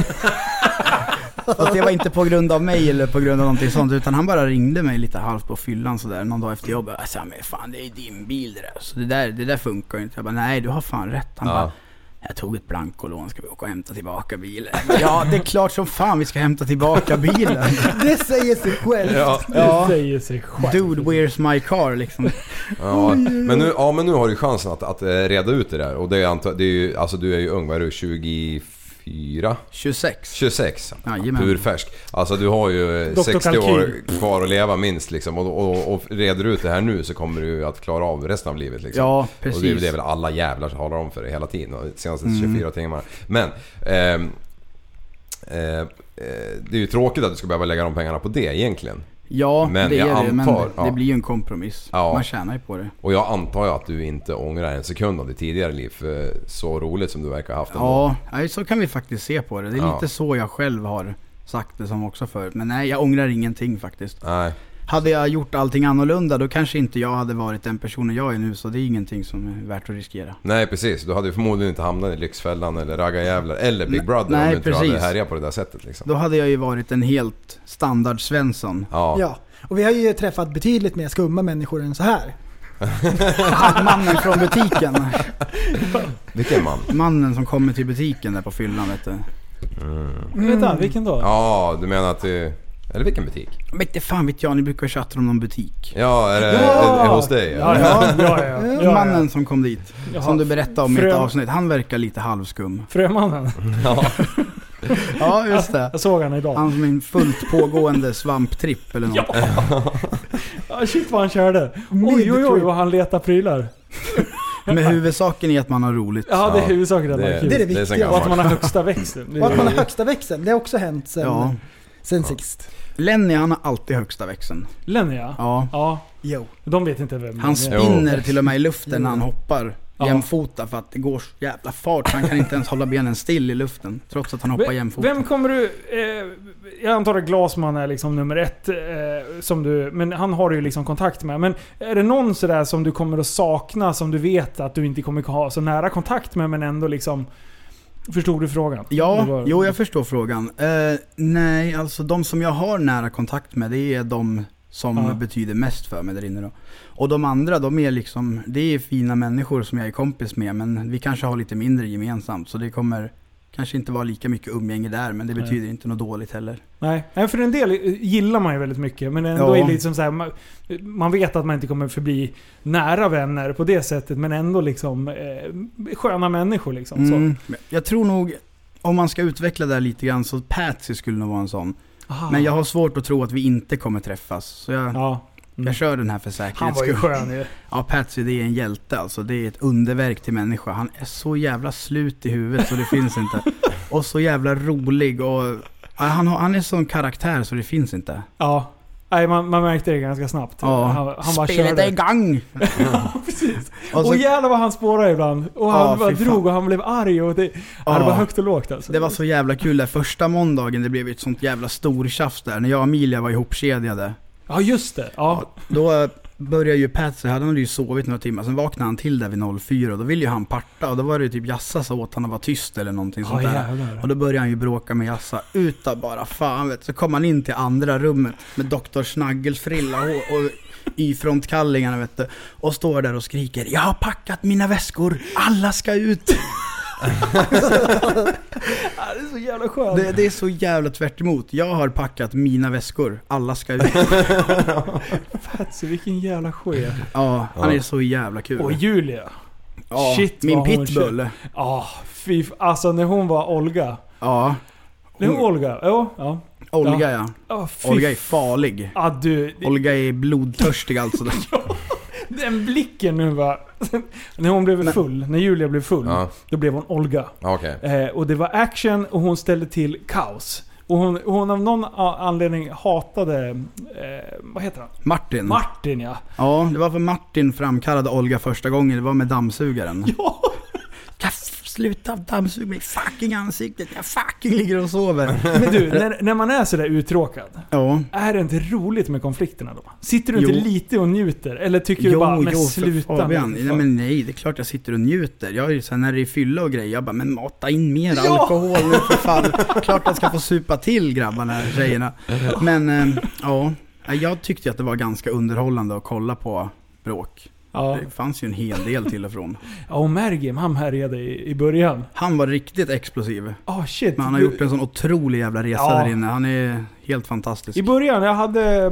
[SPEAKER 7] Fast det var inte på grund av mig eller på grund av någonting sånt utan han bara ringde mig lite halvt på fyllan sådär någon dag efter jobbet. Jag sa men fan det är din bil det där. Så det där, det där funkar ju inte. Jag bara nej du har fan rätt. Han
[SPEAKER 6] Ja.
[SPEAKER 7] bara jag tog ett blankolån, ska vi åka och hämta tillbaka bilen? Ja, det är klart som fan vi ska hämta tillbaka bilen.
[SPEAKER 8] Det säger sig själv.
[SPEAKER 6] Ja.
[SPEAKER 5] Det
[SPEAKER 7] Ja.
[SPEAKER 5] säger sig själv.
[SPEAKER 7] Dude, where's my car liksom?
[SPEAKER 6] Ja. Men, nu, ja, men nu har du chansen att, att eh, reda ut det där. Och det är, anta- det är ju, alltså du är ju ung, vad är du? 24?
[SPEAKER 7] 26.
[SPEAKER 6] 26?
[SPEAKER 7] Jajamän.
[SPEAKER 6] Purfärsk. Alltså du har ju eh,
[SPEAKER 5] Dr.
[SPEAKER 6] 60
[SPEAKER 5] Kalkyl.
[SPEAKER 6] år kvar att leva minst liksom. Och, och, och reder du ut det här nu så kommer du ju att klara av resten av livet liksom.
[SPEAKER 7] Ja,
[SPEAKER 6] Och det är väl det
[SPEAKER 7] precis. Mm.
[SPEAKER 6] väl alla jävlar som talar om för det hela tiden. och De senaste 24 timmarna. Men... ehm, eh, eh, det är ju tråkigt att du ska behöva lägga de pengarna på det egentligen.
[SPEAKER 7] Ja,
[SPEAKER 6] Men
[SPEAKER 7] det är
[SPEAKER 6] jag
[SPEAKER 7] det. Men
[SPEAKER 6] antar,
[SPEAKER 7] det,
[SPEAKER 6] ja.
[SPEAKER 7] det blir ju en kompromiss.
[SPEAKER 6] Ja.
[SPEAKER 7] Man tjänar ju på det.
[SPEAKER 6] Och jag antar ju att du inte ångrar en sekund av ditt tidigare liv för så roligt som du verkar ha haft ändå.
[SPEAKER 7] Ja, nej, så kan vi faktiskt se på det. Det är
[SPEAKER 6] Ja.
[SPEAKER 7] lite så jag själv har sagt det som också förut. Men nej, jag ångrar ingenting faktiskt.
[SPEAKER 6] Nej.
[SPEAKER 7] Hade jag gjort allting annorlunda då kanske inte jag hade varit den personen jag är nu. Så det är ingenting som är värt att riskera.
[SPEAKER 6] Nej precis, du hade ju förmodligen inte hamnat i Lyxfällan eller Raggarjävlar eller Big
[SPEAKER 7] Nej,
[SPEAKER 6] Brother om
[SPEAKER 7] nej,
[SPEAKER 6] du inte hade
[SPEAKER 7] precis.
[SPEAKER 6] härjat på det där sättet liksom.
[SPEAKER 7] Då hade jag ju varit en helt standard Svensson.
[SPEAKER 6] Ja.
[SPEAKER 8] Ja. Och vi har ju träffat betydligt mer skumma människor än så här.
[SPEAKER 7] Mannen från butiken.
[SPEAKER 6] Vilken man?
[SPEAKER 7] Mannen som kommer till butiken där på fyllan vet du.
[SPEAKER 5] Vänta, vilken dag?
[SPEAKER 6] Ja, du menar att du... Eller vilken butik?
[SPEAKER 7] Men inte fan vet jag, ni brukar chatta om någon butik.
[SPEAKER 6] Ja, är det
[SPEAKER 5] Ja!
[SPEAKER 6] är det hos dig?
[SPEAKER 5] Ja,
[SPEAKER 6] eller?
[SPEAKER 5] ja, ja, ja, ja, ja.
[SPEAKER 7] Mannen som kom dit.
[SPEAKER 5] Jaha.
[SPEAKER 7] Som du berättade om i ett
[SPEAKER 5] Frö-
[SPEAKER 7] avsnitt. Han verkar lite halvskum.
[SPEAKER 5] Frömannen.
[SPEAKER 7] Ja, just det.
[SPEAKER 5] Jag såg han idag.
[SPEAKER 7] Han som är en Alltså, fullt pågående svamptripp eller något.
[SPEAKER 5] Ah, Shit vad han körde. Oj, oj, oj vad han letar prylar.
[SPEAKER 7] Men huvudsaken är att man har roligt.
[SPEAKER 5] Ja, det är
[SPEAKER 6] Ja,
[SPEAKER 5] huvudsaken att man är kul.
[SPEAKER 8] det är det
[SPEAKER 6] sen
[SPEAKER 8] viktiga.
[SPEAKER 5] Och
[SPEAKER 6] gammalt.
[SPEAKER 5] att man har högsta växeln. Det är-
[SPEAKER 8] Och att man har högsta växeln, det har också hänt sen,
[SPEAKER 7] Ja.
[SPEAKER 8] sen sist.
[SPEAKER 7] Lenny han har alltid högsta växeln.
[SPEAKER 5] Lenny ja.
[SPEAKER 7] Ja.
[SPEAKER 5] Ja,
[SPEAKER 8] Jo.
[SPEAKER 5] de vet inte vem
[SPEAKER 7] Han
[SPEAKER 5] det är.
[SPEAKER 7] spinner till och med i luften när han hoppar.
[SPEAKER 5] Ja.
[SPEAKER 7] jämfota för att det går så jävla fart. Han kan inte ens hålla benen still i luften trots att han hoppar
[SPEAKER 5] Vem-
[SPEAKER 7] jämfota.
[SPEAKER 5] Vem kommer du... Eh, jag antar att Glasman är liksom nummer ett. Eh, som du, men han har du ju liksom kontakt med. Men är det någon sådär som du kommer att sakna som du vet att du inte kommer att ha så nära kontakt med men ändå liksom... Förstod du frågan?
[SPEAKER 7] Ja,
[SPEAKER 5] Det var-
[SPEAKER 7] jo jag förstår frågan. Eh, nej, alltså de som jag har nära kontakt med det är de som
[SPEAKER 5] Ja.
[SPEAKER 7] betyder mest för mig där inne då. Och de andra, de är liksom, det är fina människor som jag är kompis med men vi kanske har lite mindre gemensamt så det kommer kanske inte vara lika mycket umgänge där men det
[SPEAKER 5] Nej.
[SPEAKER 7] betyder inte något dåligt heller.
[SPEAKER 5] Nej, Nej, för en del gillar man ju väldigt mycket. Men ändå
[SPEAKER 7] Ja.
[SPEAKER 5] är det liksom så här, man, man vet att man inte kommer förbli nära vänner på det sättet. Men ändå liksom eh, sköna människor liksom. Så.
[SPEAKER 7] Mm. Jag tror nog, om man ska utveckla det här lite grann så Patsy skulle nog vara en sån.
[SPEAKER 5] Ah.
[SPEAKER 7] Men jag har svårt att tro att vi inte kommer träffas så jag,
[SPEAKER 5] Ja, Mm.
[SPEAKER 7] jag kör den här för
[SPEAKER 5] han
[SPEAKER 7] säkerhets
[SPEAKER 5] var ju
[SPEAKER 7] skull.
[SPEAKER 5] skön ju.
[SPEAKER 7] Ja, Patsy det är en hjälte alltså. Det är ett underverk till människa. Han är så jävla slut i huvudet så det finns inte. Och så jävla rolig och... ja, Han, har, han är sån karaktär så det finns inte.
[SPEAKER 5] Ja. Nej, man, man märkte det ganska snabbt.
[SPEAKER 7] Ja.
[SPEAKER 5] Han, han bara
[SPEAKER 7] Spelet är
[SPEAKER 5] körde.
[SPEAKER 7] igång!
[SPEAKER 5] Och,
[SPEAKER 7] Och så,
[SPEAKER 5] jävlar vad han spårade ibland. Och han
[SPEAKER 7] Ja,
[SPEAKER 5] bara
[SPEAKER 7] fy fan.
[SPEAKER 5] drog och han blev arg. Och det, ja. det
[SPEAKER 7] Ja.
[SPEAKER 5] var högt och lågt alltså.
[SPEAKER 7] det var så jävla kul där första måndagen, det blev ett sånt jävla stortjafs där. När jag och Emilia var ihopkedjade.
[SPEAKER 5] Ja, just det. Ja.
[SPEAKER 7] Då eh, började ju Patsy, han hade ju sovit några timmar, sen vaknade han till där vid 04 och då ville ju han parta och då var det ju typ Jassa sa åt honom att vara tyst eller någonting
[SPEAKER 5] Ja,
[SPEAKER 7] sånt där. Och
[SPEAKER 5] jävlar.
[SPEAKER 7] då började han ju bråka med Jassa utav bara fan vet du. Så kom han in till andra rummet med Dr. Snuggles frilla hår och Y-frontkallingarna vet du. Och står där och skriker Jag har packat mina väskor, alla ska ut!
[SPEAKER 5] Ja, det är så jävla skönt.
[SPEAKER 7] Det, det är så jävla tvärt emot. Jag har packat mina väskor, alla ska ut.
[SPEAKER 5] Patsy, Alltså, vilken jävla chef.
[SPEAKER 7] Ja, han
[SPEAKER 6] Ja.
[SPEAKER 7] är så jävla kul.
[SPEAKER 5] Och Julia.
[SPEAKER 7] ja,
[SPEAKER 5] shit,
[SPEAKER 7] min
[SPEAKER 5] vad hon
[SPEAKER 7] pitbull.
[SPEAKER 5] Ja, fy f- Alltså när hon var Olga.
[SPEAKER 7] Ja,
[SPEAKER 5] Det var
[SPEAKER 7] Hon-
[SPEAKER 5] Olga. Ja. ja.
[SPEAKER 7] Olga ja.
[SPEAKER 5] Ja, fy
[SPEAKER 7] Olga är
[SPEAKER 5] f-
[SPEAKER 7] farlig.
[SPEAKER 5] Ja, du. det-
[SPEAKER 7] Olga är blodtörstig alltså.
[SPEAKER 5] Den blicken nu va. när hon blev full. När Julia blev full.
[SPEAKER 6] Ja,
[SPEAKER 5] Då blev hon Olga.
[SPEAKER 6] ja, okej.
[SPEAKER 5] Eh, och det var action och hon ställde till kaos. Och hon, hon av någon a- anledning hatade... Eh, vad heter
[SPEAKER 7] Mm.
[SPEAKER 5] han?
[SPEAKER 7] Martin.
[SPEAKER 5] Martin ja.
[SPEAKER 7] Ja, det var för Martin framkallade Olga första gången, det var med dammsugaren.
[SPEAKER 5] Ja.
[SPEAKER 7] Jag f- sluta dammsuga mig i fucking ansiktet, jag fucking ligger och sover.
[SPEAKER 5] Men du, när, när man är sådär uttråkad.
[SPEAKER 7] Ja,
[SPEAKER 5] Är det inte roligt med konflikterna då? Sitter du inte
[SPEAKER 7] Jo.
[SPEAKER 5] lite och njuter? Eller tycker du
[SPEAKER 7] jo,
[SPEAKER 5] bara men
[SPEAKER 7] jo,
[SPEAKER 5] sluta
[SPEAKER 7] för Fabian.
[SPEAKER 5] nu, för
[SPEAKER 7] Nej,
[SPEAKER 5] fan."
[SPEAKER 7] men nej, det är klart jag sitter och njuter. Jag är ju såhär när det är fylla och grejer, jag bara men mata in mer
[SPEAKER 5] Ja.
[SPEAKER 7] alkohol nu för fan. klart jag ska få supa till grabbarna, tjejerna. Men eh, ja, Nej, jag tyckte ju att det var ganska underhållande att kolla på bråk.
[SPEAKER 5] Ja.
[SPEAKER 7] Det fanns ju en hel del till och från.
[SPEAKER 5] ja, och Mergim han härjade i, i början.
[SPEAKER 7] Han var riktigt explosiv.
[SPEAKER 5] Ah shit.
[SPEAKER 7] Men han har gjort en sån otrolig jävla resa
[SPEAKER 5] Ja.
[SPEAKER 7] där inne. Han är helt fantastisk.
[SPEAKER 5] I början, jag hade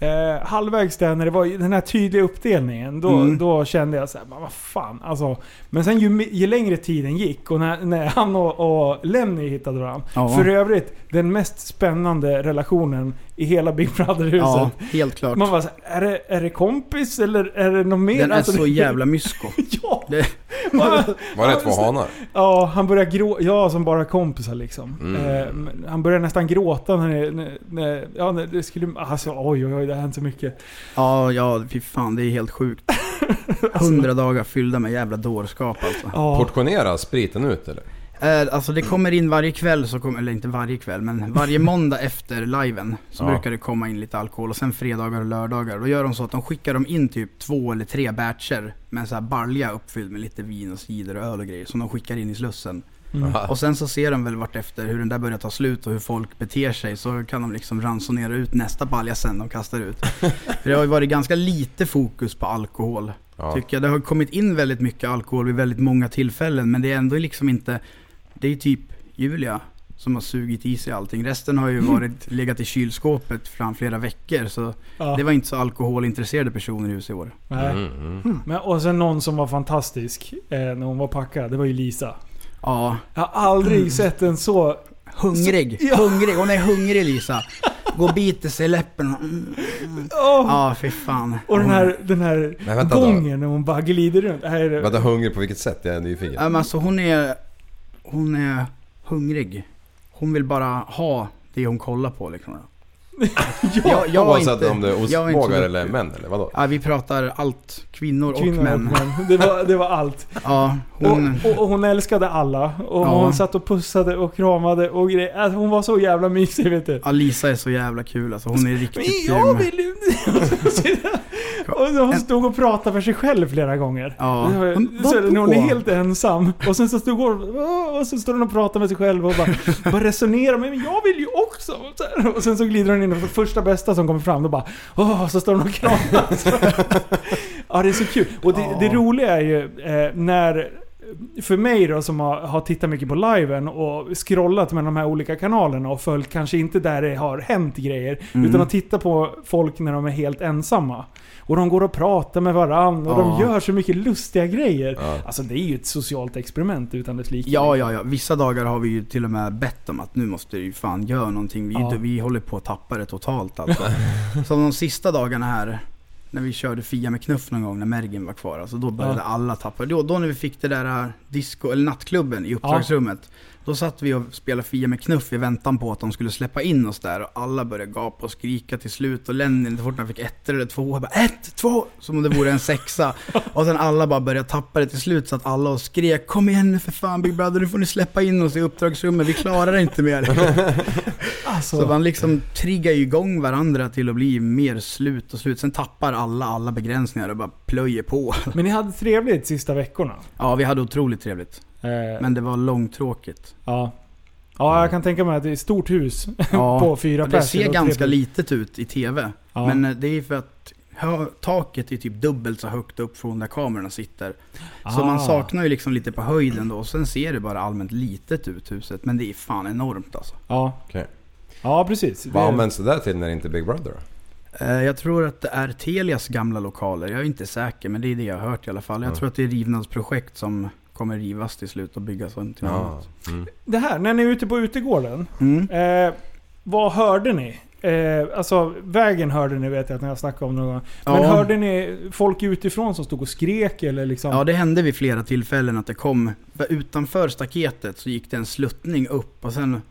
[SPEAKER 5] eh, halvvägs där när det var den här tydliga uppdelningen. Då,
[SPEAKER 7] Mm.
[SPEAKER 5] då kände jag så här, "Men vad fan alltså. Men sen ju, mi- ju längre tiden gick och när, när han och, och Lenny hittade varandra.
[SPEAKER 7] Ja.
[SPEAKER 5] För övrigt, den mest spännande relationen i hela Big Brother-huset.
[SPEAKER 7] Ja, helt klart.
[SPEAKER 5] Man var så här, är det, är det kompis eller är det något mer?
[SPEAKER 7] Den är
[SPEAKER 5] Alltså,
[SPEAKER 7] så
[SPEAKER 5] det-
[SPEAKER 7] jävla mysko.
[SPEAKER 5] Ja!
[SPEAKER 7] Det-
[SPEAKER 5] Man-
[SPEAKER 6] Var det två hanar?
[SPEAKER 5] Ja, han börjar gråta. Ja, som bara kompisar liksom.
[SPEAKER 6] Mm.
[SPEAKER 5] Eh, men han börjar nästan gråta när, det- när, när, ja, när det skulle... Alltså oj, oj, oj, det har hänt så mycket.
[SPEAKER 7] Ja, ja, fy fan det är helt sjukt. Hundra dagar fyllda med jävla dårskap alltså.
[SPEAKER 5] Ja,
[SPEAKER 6] Portioneras spriten ut eller?
[SPEAKER 7] Eh, Alltså det kommer in varje kväll, så kommer, eller inte varje kväll, men varje måndag efter liven så
[SPEAKER 6] Ja.
[SPEAKER 7] brukar det komma in lite alkohol och sen fredagar och lördagar. Då gör de så att de skickar dem in typ två eller tre batcher med en sån här balja uppfylld med lite vin och cider och öl och grejer som de skickar in i slussen.
[SPEAKER 5] Mm.
[SPEAKER 7] Och sen så ser de väl vartefter hur den där börjar ta slut och hur folk beter sig så kan de liksom ransonera ut nästa balja sen de kastar ut. För det har ju varit ganska lite fokus på alkohol
[SPEAKER 6] Ja.
[SPEAKER 7] tycker jag. Det har kommit in väldigt mycket alkohol vid väldigt många tillfällen men det är ändå liksom inte... Det är typ Julia som har sugit i sig allting. Resten har ju varit, legat i kylskåpet fram flera veckor så
[SPEAKER 5] ja.
[SPEAKER 7] det var inte så alkoholintresserade personer i huset i år.
[SPEAKER 5] Nej.
[SPEAKER 6] Mm, mm.
[SPEAKER 5] Men, och sen någon som var fantastisk eh, när hon var packad. Det var ju Lisa.
[SPEAKER 7] Ja,
[SPEAKER 5] Jag har aldrig
[SPEAKER 7] Mm.
[SPEAKER 5] sett en så...
[SPEAKER 7] hungrig.
[SPEAKER 5] Så- ja.
[SPEAKER 7] Hungrig. Hon är hungrig Lisa. Går och biter sig i läppen. Mm.
[SPEAKER 5] Åh!
[SPEAKER 7] Ja, fy fan.
[SPEAKER 5] Och den här, den här
[SPEAKER 6] Men vänta då.
[SPEAKER 5] gången när hon bara glider runt. Det Här är det.
[SPEAKER 6] Vänta, hungrig på vilket sätt? Jag är nyfiken.
[SPEAKER 7] Ja, men alltså hon är... Hon är hungrig. Hon vill bara ha det hon kollar på liksom. Jag, jag var
[SPEAKER 6] Oavsett
[SPEAKER 7] inte,
[SPEAKER 6] om det är
[SPEAKER 7] jag var inte så
[SPEAKER 6] ostbågar
[SPEAKER 7] duktig.
[SPEAKER 6] eller män eller vadå?
[SPEAKER 7] Ja, vi pratar allt. Kvinnor,
[SPEAKER 5] Kvinnor
[SPEAKER 7] och män.
[SPEAKER 5] Det var, det var allt.
[SPEAKER 7] Ja, hon...
[SPEAKER 5] Och, och, och hon älskade alla. Och
[SPEAKER 7] Mm. Ja.
[SPEAKER 5] hon satt och pussade och kramade och grejer. Alltså, hon var så jävla mysig vet du.
[SPEAKER 7] Ja, Lisa är så jävla kul alltså. Hon är riktigt
[SPEAKER 5] Jag
[SPEAKER 7] grym.
[SPEAKER 5] vill Och så hon stod och pratade för sig själv flera gånger.
[SPEAKER 7] Ja.
[SPEAKER 5] Det var-
[SPEAKER 7] Men
[SPEAKER 5] Så när hon är
[SPEAKER 7] vadå?
[SPEAKER 5] helt ensam. Och sen så stod hon och så står hon och pratar med sig själv och bara, bara resonerar. Men jag vill ju också. Så här. Och sen så glider hon in och så första bästa som kommer fram då bara Åh, så står hon och kramas. ja, det är så kul. Och det,
[SPEAKER 7] Ja.
[SPEAKER 5] det roliga är ju eh, när för mig då som har, har tittat mycket på liven och scrollat med de här olika kanalerna och följt kanske inte där det har hänt grejer.
[SPEAKER 7] Mm.
[SPEAKER 5] Utan att titta på folk när de är helt ensamma. Och de går och pratar med varandra och de
[SPEAKER 7] Ja.
[SPEAKER 5] gör så mycket lustiga grejer. Alltså det är ju ett socialt experiment utan dess like.
[SPEAKER 7] Ja, ja, ja. Vissa dagar har vi ju till och med bett om att nu måste vi fan göra någonting. Vi,
[SPEAKER 5] Ja.
[SPEAKER 7] vi håller på att tappa det totalt alltså. Som de sista dagarna här, när vi körde Fia med knuff någon gång när Mergin var kvar. Alltså, då började
[SPEAKER 5] Ja.
[SPEAKER 7] alla tappa det. Då, då när vi fick det där äh, disco, eller nattklubben i uppdragsrummet. Då satt vi och spelade Fia med knuff i väntan på att de skulle släppa in oss där. Och alla började gapa och skrika till slut. Och Lennie, så fort han fick ett eller två, bara ett, två! Som om det vore en sexa. Och sen alla bara började tappa det till slut så att alla och skrek Kom igen nu för fan Big Brother, nu får ni släppa in oss i uppdragsrummet, vi klarar det inte mer.
[SPEAKER 5] Alltså,
[SPEAKER 7] Så man liksom triggar ju igång varandra till att bli mer slut och slut. Sen tappar alla alla begränsningar och bara plöjer på.
[SPEAKER 5] Men ni hade trevligt sista veckorna.
[SPEAKER 7] Ja, vi hade otroligt trevligt.
[SPEAKER 5] Eh,
[SPEAKER 7] Men det var långtråkigt.
[SPEAKER 5] ja. ja, jag kan tänka mig att det är ett stort hus på
[SPEAKER 7] Ja,
[SPEAKER 5] fyra
[SPEAKER 7] och det
[SPEAKER 5] personer.
[SPEAKER 7] ser ganska litet ut i TV.
[SPEAKER 5] Ja.
[SPEAKER 7] Men eh, det är för att hö- taket är typ dubbelt så högt upp från där kamerorna sitter. Så
[SPEAKER 5] Ah.
[SPEAKER 7] man saknar ju liksom lite på höjden då. Och sen ser det bara allmänt litet ut huset. Men det är fan enormt alltså.
[SPEAKER 5] Ja.
[SPEAKER 6] Okej.
[SPEAKER 5] ja, precis.
[SPEAKER 6] Vad
[SPEAKER 5] Det-
[SPEAKER 6] används det där till när det inte är Big Brother då?
[SPEAKER 7] Eh, Jag tror att det är Telias gamla lokaler. Jag är inte säker men det är det jag har hört i alla fall. Jag tror att det är rivnadsprojekt som kommer rivas till slut och byggas om till något
[SPEAKER 6] Ja.
[SPEAKER 7] annat.
[SPEAKER 6] Mm.
[SPEAKER 5] Det här, när ni är ute på utegården.
[SPEAKER 7] Mm.
[SPEAKER 5] Eh, vad hörde ni? Eh, alltså vägen hörde ni vet jag att ni har snackat om någon gång. Men
[SPEAKER 7] Ja.
[SPEAKER 5] hörde ni folk utifrån som stod och skrek eller liksom?
[SPEAKER 7] Ja, det hände vid flera tillfällen att det kom. för Utanför staketet så gick det en sluttning upp och sen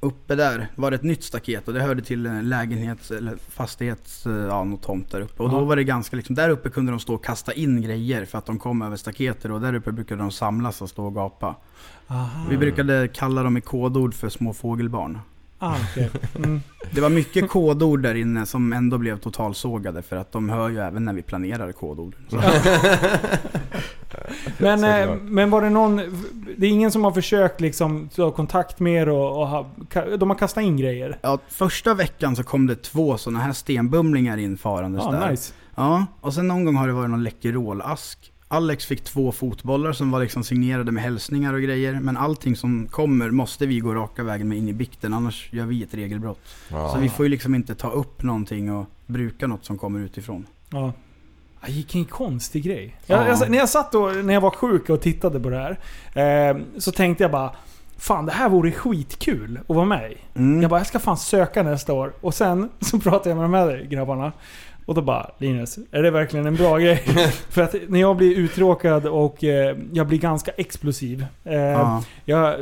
[SPEAKER 7] uppe där var det ett nytt staket och det hörde till en lägenhets eller fastighets, eh, ja, något tomt där uppe. Och
[SPEAKER 5] Ja.
[SPEAKER 7] då var det ganska liksom, där uppe kunde de stå och kasta in grejer för att de kom över staketet och där uppe brukade de samlas och stå och gapa.
[SPEAKER 5] Aha.
[SPEAKER 7] Vi brukade kalla dem i kodord för små fågelbarn.
[SPEAKER 5] Ah, okej. mm.
[SPEAKER 7] Det var mycket kodord där inne som ändå blev totalsågade för att de hör ju även när vi planerar kodord.
[SPEAKER 5] men, eh,
[SPEAKER 6] Såklart.
[SPEAKER 5] men var det någon... Det är ingen som har försökt liksom ta kontakt med er och, och ha, ka- de har kastat in grejer?
[SPEAKER 7] Ja, första veckan så kom det två sådana här stenbumlingar in farandes
[SPEAKER 5] Ja,
[SPEAKER 7] där.
[SPEAKER 5] Ah, nice.
[SPEAKER 7] Ja, och sen någon gång har det varit någon Läkerol-ask. Alex fick två fotbollar som var liksom signerade med hälsningar och grejer. Men allting som kommer måste vi gå raka vägen med in i bikten, annars gör vi ett regelbrott. Så
[SPEAKER 6] Ja.
[SPEAKER 7] vi får ju liksom inte ta upp någonting och bruka något som kommer utifrån.
[SPEAKER 5] Ja. Ja, Vilken konstig grej. Jag,
[SPEAKER 7] Ja.
[SPEAKER 5] jag, när jag satt då, när jag var sjuk och tittade på det här. Eh, så tänkte jag bara... Fan det här vore skitkul att vara med i.
[SPEAKER 7] Mm.
[SPEAKER 5] Jag bara, jag ska fan söka nästa år. Och sen så pratade jag med de här grabbarna. Och då bara, Linus, är det verkligen en bra grej? För att när jag blir uttråkad och eh, jag blir ganska explosiv. Eh,
[SPEAKER 7] Ja.
[SPEAKER 5] jag,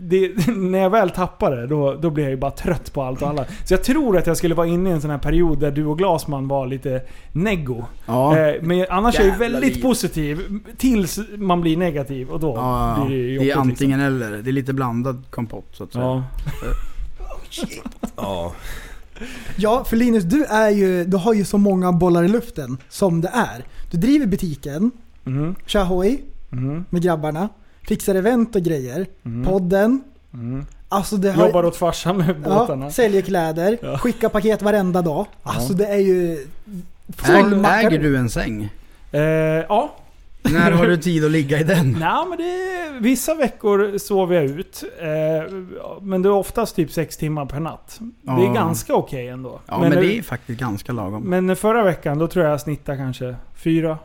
[SPEAKER 5] det, när jag väl tappar det, då, då blir jag ju bara trött på allt och alla. Så jag tror att jag skulle vara inne i en sån här period där du och Glasman var lite neggo.
[SPEAKER 7] Ja.
[SPEAKER 5] Eh, men annars är jag ju
[SPEAKER 7] Jävla
[SPEAKER 5] väldigt
[SPEAKER 7] liv.
[SPEAKER 5] positiv. Tills man blir negativ och då
[SPEAKER 7] Ja,
[SPEAKER 5] blir det ju
[SPEAKER 7] det är
[SPEAKER 5] jobbigt,
[SPEAKER 7] antingen eller. Det är lite blandad kompott så att
[SPEAKER 5] liksom.
[SPEAKER 7] säga.
[SPEAKER 5] ja.
[SPEAKER 6] Ja.
[SPEAKER 8] Ja, för Linus, du, är ju, du har ju så många bollar i luften som det är. Du driver butiken,
[SPEAKER 5] Mhm,
[SPEAKER 8] kör hoj
[SPEAKER 5] mhm,
[SPEAKER 8] med grabbarna, fixar event och grejer, podden.
[SPEAKER 5] mhm.
[SPEAKER 8] Alltså det har,
[SPEAKER 5] Mm. Jobbar åt farsan med båtarna.
[SPEAKER 8] ja, Säljer kläder,
[SPEAKER 5] Ja.
[SPEAKER 8] skickar paket varenda dag. Alltså det är ju...
[SPEAKER 7] Äg,
[SPEAKER 8] mackar.
[SPEAKER 7] äger du en säng?
[SPEAKER 5] Eh, ja,
[SPEAKER 7] När har du tid att ligga i den?
[SPEAKER 5] Nej, men det, vissa veckor sover jag ut. Eh, men det är oftast typ sex timmar per natt. Det är
[SPEAKER 7] Ja.
[SPEAKER 5] ganska okej ändå.
[SPEAKER 7] Ja men, det är faktiskt ganska lagom.
[SPEAKER 5] men förra veckan då tror jag jag snittade kanske fyra.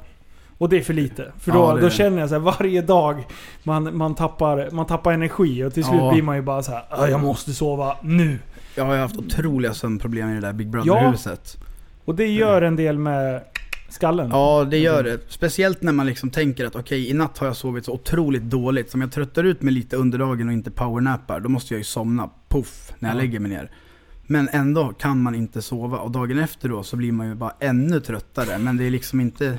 [SPEAKER 5] Och det är för lite. För då,
[SPEAKER 7] Ja, det är
[SPEAKER 5] då
[SPEAKER 7] det.
[SPEAKER 5] känner jag så här, varje dag man, man, tappar, man tappar energi och till slut
[SPEAKER 7] Ja.
[SPEAKER 5] blir man ju bara så här, "Ah, jag måste sova nu.
[SPEAKER 7] Jag har ju haft otroliga sömnproblem i det där Big Brother-huset.
[SPEAKER 5] Och det gör en del med skallen.
[SPEAKER 7] Mm.
[SPEAKER 8] Mm.
[SPEAKER 7] Ja, det gör det. Speciellt när man liksom tänker att okej, i natt har jag sovit så otroligt dåligt. Så om jag tröttar ut mig lite under dagen och inte powernappar, då måste jag ju somna, puff, när jag lägger mig ner. Men ändå kan man inte sova och dagen efter då så blir man ju bara ännu tröttare. Men det är liksom inte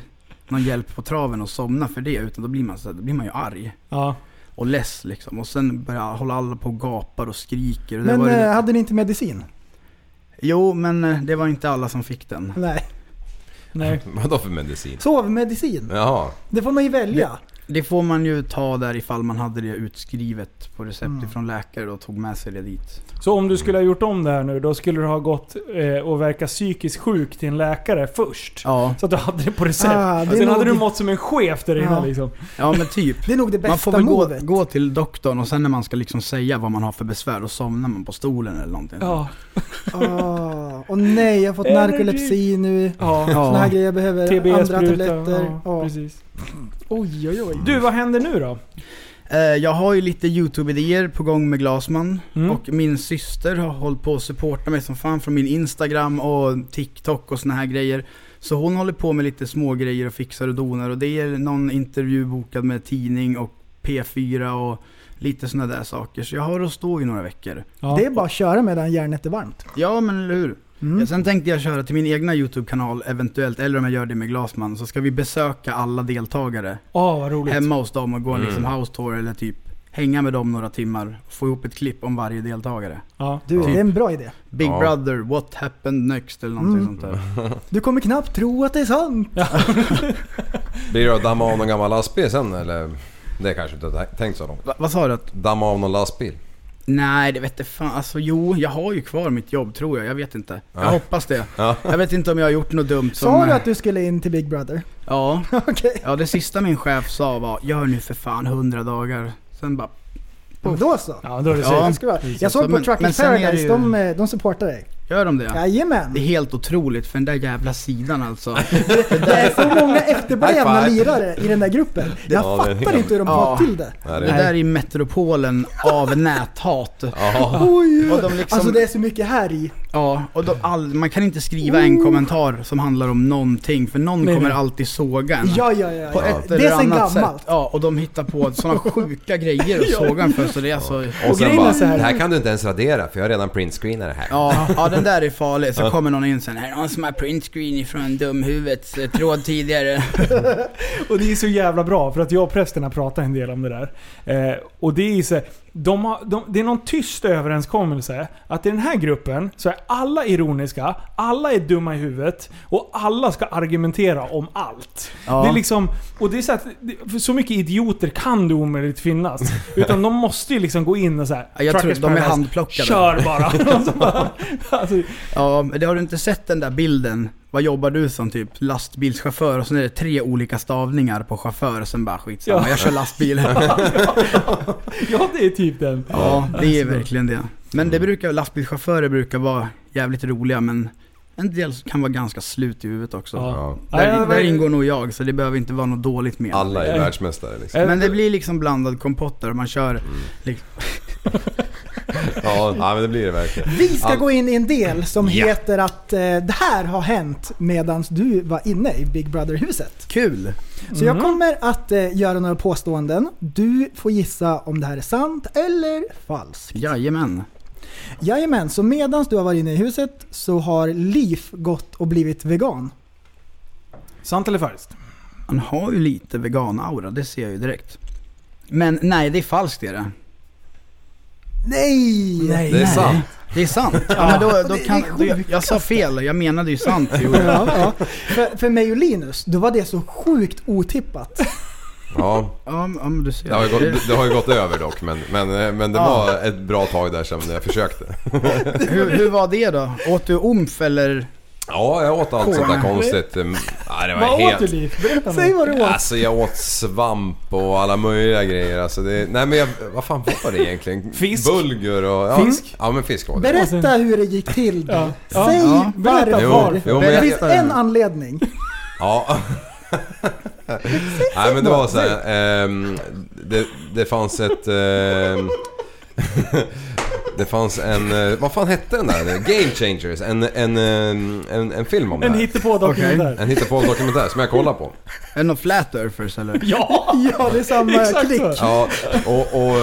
[SPEAKER 7] någon hjälp på traven att somna för det utan då blir man, så här, då blir man ju arg
[SPEAKER 5] Ja.
[SPEAKER 7] och less liksom. Och sen börjar, håller alla på och gapar och skriker. Och det
[SPEAKER 8] Men
[SPEAKER 7] var det-
[SPEAKER 8] eh, hade ni inte medicin?
[SPEAKER 7] Jo, men eh, det var inte alla som fick den.
[SPEAKER 8] Nej.
[SPEAKER 5] Nej.
[SPEAKER 6] Vadå för medicin?
[SPEAKER 8] Sovmedicin.
[SPEAKER 6] Jaha.
[SPEAKER 8] Det får man ju välja.
[SPEAKER 7] Det får man ju ta där ifall man hade det utskrivet på recept
[SPEAKER 8] Mm. Typ.
[SPEAKER 7] ifrån läkare och tog med sig det dit.
[SPEAKER 5] Så om du skulle ha gjort om det här nu, då skulle du ha gått eh, och verka psykiskt sjuk till en läkare först?
[SPEAKER 7] Ja,
[SPEAKER 5] Så att du hade det på recept.
[SPEAKER 8] Ah, det är
[SPEAKER 5] Sen
[SPEAKER 8] nog-
[SPEAKER 5] Alltså, hade du mått som en chef där inne
[SPEAKER 8] Ja.
[SPEAKER 5] liksom.
[SPEAKER 7] ja men typ.
[SPEAKER 8] Det är nog det
[SPEAKER 7] Man får
[SPEAKER 8] bästa
[SPEAKER 7] väl gå,
[SPEAKER 8] movet.
[SPEAKER 7] gå till doktorn och sen när man ska liksom säga vad man har för besvär, då somnar man på stolen eller någonting.
[SPEAKER 5] Ja.
[SPEAKER 8] Åh Ah, och nej, jag har fått
[SPEAKER 5] Energy.
[SPEAKER 8] narkolepsi nu.
[SPEAKER 5] ja.
[SPEAKER 8] Såna här
[SPEAKER 7] ja.
[SPEAKER 8] grejer, jag behöver andra tabletter.
[SPEAKER 5] TBS-spruta. Ja,
[SPEAKER 8] Ja.
[SPEAKER 5] precis.
[SPEAKER 8] Oj, oj, oj.
[SPEAKER 5] Du, vad händer nu då?
[SPEAKER 7] Eh, Jag har ju lite YouTube-idéer på gång med Glasman.
[SPEAKER 5] Mm.
[SPEAKER 7] Och min syster har hållit på att supporta mig som fan från min Instagram och TikTok och såna här grejer. Så hon håller på med lite små grejer och fixar och donar och det är någon intervju bokad med tidning och P4 och lite såna där saker. Så jag har att stå i några veckor.
[SPEAKER 5] Ja.
[SPEAKER 8] Det är bara att köra medan järnet är varmt.
[SPEAKER 7] Ja men eller hur?
[SPEAKER 8] Mm.
[SPEAKER 7] Ja, Sen tänkte jag köra till min egna YouTube-kanal eventuellt, eller om jag gör det med Glasman, så ska vi besöka alla deltagare
[SPEAKER 5] Åh, vad roligt.
[SPEAKER 7] hemma hos dem och gå en liksom
[SPEAKER 6] Mm.
[SPEAKER 7] house tour eller typ hänga med dem några timmar och få ihop ett klipp om varje deltagare.
[SPEAKER 5] Ja.
[SPEAKER 8] Du, det är en bra idé.
[SPEAKER 7] Big
[SPEAKER 6] Ja.
[SPEAKER 7] Brother, what happened next eller någonting
[SPEAKER 8] Mm.
[SPEAKER 7] sånt där.
[SPEAKER 8] Du kommer knappt tro att det är sant.
[SPEAKER 6] Blir det att damma av någon gammal lastbil sen eller? Det kanske inte har tänkt så långt.
[SPEAKER 7] Va, vad sa du? Att,
[SPEAKER 6] Damma av någon lastbil?
[SPEAKER 7] nej det vete fan, alltså jo, jag har ju kvar mitt jobb tror jag, jag vet inte. Jag
[SPEAKER 6] Ja.
[SPEAKER 7] hoppas det.
[SPEAKER 6] Ja.
[SPEAKER 7] Jag vet inte om jag har gjort något dumt som... eh,
[SPEAKER 8] Sa du att du skulle in till Big Brother?
[SPEAKER 7] Ja,
[SPEAKER 8] Okej.
[SPEAKER 7] ja det sista min chef sa var gör nu för fan 100 dagar. Sen bara,
[SPEAKER 8] Men då så.
[SPEAKER 5] Ja, då är det
[SPEAKER 7] Ja.
[SPEAKER 5] säkert.
[SPEAKER 8] Ganska bra. Jag
[SPEAKER 7] Så,
[SPEAKER 8] såg på
[SPEAKER 7] men- men
[SPEAKER 8] Truckers
[SPEAKER 7] sen är det
[SPEAKER 8] Paradise,
[SPEAKER 7] ju-
[SPEAKER 8] de, eh, de supportar dig.
[SPEAKER 7] gör de det?
[SPEAKER 8] Jajamän.
[SPEAKER 7] Det är helt otroligt för den där jävla sidan alltså.
[SPEAKER 8] Det är så många efterblivna
[SPEAKER 6] High five.
[SPEAKER 8] lirare i den där gruppen. Jag
[SPEAKER 6] Ja, det är
[SPEAKER 8] fattar
[SPEAKER 6] helt-
[SPEAKER 8] inte hur de
[SPEAKER 7] Ja.
[SPEAKER 8] får till det.
[SPEAKER 6] Nej,
[SPEAKER 7] Det
[SPEAKER 6] det...
[SPEAKER 7] där är metropolen av näthat.
[SPEAKER 6] Jaha.
[SPEAKER 8] Oj,
[SPEAKER 7] Och de liksom-
[SPEAKER 8] Alltså det är så mycket här i.
[SPEAKER 7] Ja, och de, all, man kan inte skriva
[SPEAKER 8] Oh.
[SPEAKER 7] en kommentar som handlar om någonting för någon
[SPEAKER 5] Nej,
[SPEAKER 7] kommer
[SPEAKER 5] nej.
[SPEAKER 7] alltid såga en.
[SPEAKER 8] Ja, ja, ja.
[SPEAKER 7] På
[SPEAKER 8] ja.
[SPEAKER 7] ett eller
[SPEAKER 8] det är sen
[SPEAKER 7] annat
[SPEAKER 8] gammalt.
[SPEAKER 7] sätt. Ja, och de hittar på sådana sjuka grejer och såga en för så det är alltså...
[SPEAKER 6] Och sen
[SPEAKER 5] grejen är
[SPEAKER 6] bara,
[SPEAKER 5] så här-
[SPEAKER 6] det här kan du inte ens radera för jag har redan printscreenat det här.
[SPEAKER 7] Ja, ja, den där är farlig. Så kommer någon in sen, här är någon som har printscreen ifrån dumhuvudets eh, tråd tidigare.
[SPEAKER 5] Och det är så jävla bra för att jag och prästerna pratar en del om det där. Eh, och det är så här, de har, de, det är någon tyst överenskommelse att i den här gruppen så är alla ironiska, alla är dumma i huvudet och alla ska argumentera om allt.
[SPEAKER 7] Ja.
[SPEAKER 5] Det är liksom, och det är så att, för så mycket idioter kan det omöjligt finnas. Utan de måste ju liksom gå in och så här.
[SPEAKER 7] Ja, jag tror
[SPEAKER 5] Truckers
[SPEAKER 7] de är
[SPEAKER 5] Paradise,
[SPEAKER 7] handplockade.
[SPEAKER 5] Kör bara! Och så bara alltså,
[SPEAKER 7] Ja, men det har du inte sett den där bilden? Vad jobbar du som typ? Lastbilschaufför och sen är det tre olika stavningar på chaufför och sen bara skitsamma,
[SPEAKER 5] Ja.
[SPEAKER 7] jag kör lastbil.
[SPEAKER 5] ja, det är typ den.
[SPEAKER 7] Ja, det är verkligen det. Men det brukar, lastbilschaufförer brukar vara jävligt roliga men en del kan vara ganska slut i huvudet också.
[SPEAKER 6] Ja.
[SPEAKER 5] Nej,
[SPEAKER 7] Där,
[SPEAKER 5] det var-
[SPEAKER 7] där ingår nog jag, så det behöver inte vara något dåligt med.
[SPEAKER 6] Alla är
[SPEAKER 5] Nej.
[SPEAKER 6] världsmästare liksom.
[SPEAKER 5] Eh,
[SPEAKER 7] Men det blir liksom blandad kompott där och man kör... Liksom,
[SPEAKER 6] Ja, ja men det blir det verkligen.
[SPEAKER 8] Vi ska
[SPEAKER 6] All-
[SPEAKER 8] gå in i en del som
[SPEAKER 6] Ja.
[SPEAKER 8] heter att eh, det här har hänt medan du var inne i Big Brother-huset.
[SPEAKER 7] kul!
[SPEAKER 8] Så
[SPEAKER 7] Mhm.
[SPEAKER 8] jag kommer att eh, göra några påståenden. Du får gissa om det här är sant eller falskt.
[SPEAKER 7] Jajamän.
[SPEAKER 8] Jajamän, så medan du har varit inne i huset så har Liv gått och blivit vegan.
[SPEAKER 5] Sant eller falskt?
[SPEAKER 7] Han har ju lite vegan-aura, det ser jag ju direkt. Men nej, det är falskt är det.
[SPEAKER 8] Nej!
[SPEAKER 7] Nej,
[SPEAKER 6] Det är sant.
[SPEAKER 7] Det är sant? Ja, men då, då
[SPEAKER 8] Det är
[SPEAKER 7] kan, då,
[SPEAKER 8] det
[SPEAKER 7] jag, jag sa fel, jag menade ju sant. Jo.
[SPEAKER 8] Ja, ja. För, för mig och Linus, då var det så sjukt otippat.
[SPEAKER 6] Ja,
[SPEAKER 7] Ja, men- ja, men du ser.
[SPEAKER 6] det har ju gått, det har ju gått över dock men, men, eh, men det
[SPEAKER 7] Ja.
[SPEAKER 6] var ett bra tag där sen när jag försökte.
[SPEAKER 7] hur, hur var det då? Åt du omf eller?
[SPEAKER 6] Ja, jag åt allt sånt där
[SPEAKER 7] Kål.
[SPEAKER 6] konstigt. Mm, Nej, det var
[SPEAKER 5] Vad åt
[SPEAKER 6] helt...
[SPEAKER 5] du Liv? Berätta
[SPEAKER 8] Säg
[SPEAKER 5] nu.
[SPEAKER 8] vad du åt.
[SPEAKER 6] Alltså jag åt svamp och alla möjliga grejer. Alltså det, nej men jag, vad fan var det egentligen?
[SPEAKER 5] Fisk?
[SPEAKER 6] Bulgur och... Ja,
[SPEAKER 5] Fisk?
[SPEAKER 6] Ja men fisk åt jag.
[SPEAKER 8] Berätta hur det gick till. då.
[SPEAKER 5] Ja. Ja.
[SPEAKER 8] Säg
[SPEAKER 7] Ja.
[SPEAKER 8] varför.
[SPEAKER 5] Berätta
[SPEAKER 6] Jo, jo, men
[SPEAKER 8] det
[SPEAKER 6] jag,
[SPEAKER 8] finns en anledning.
[SPEAKER 6] Ja. Nej men det var så här, ehm, det, det fanns ett... ehm, det fanns en... eh, Vad fan hette den där? Game Changers. En, en, ehm, en, en film om det
[SPEAKER 5] En
[SPEAKER 6] här.
[SPEAKER 5] hittepådokumentär.
[SPEAKER 7] Okej.
[SPEAKER 6] En hittepå-dokumentär som jag kollade på.
[SPEAKER 7] Är det någon flat earthers eller?
[SPEAKER 5] Ja!
[SPEAKER 8] Ja, det är samma
[SPEAKER 5] Exakt så.
[SPEAKER 8] klick.
[SPEAKER 6] Ja, och... och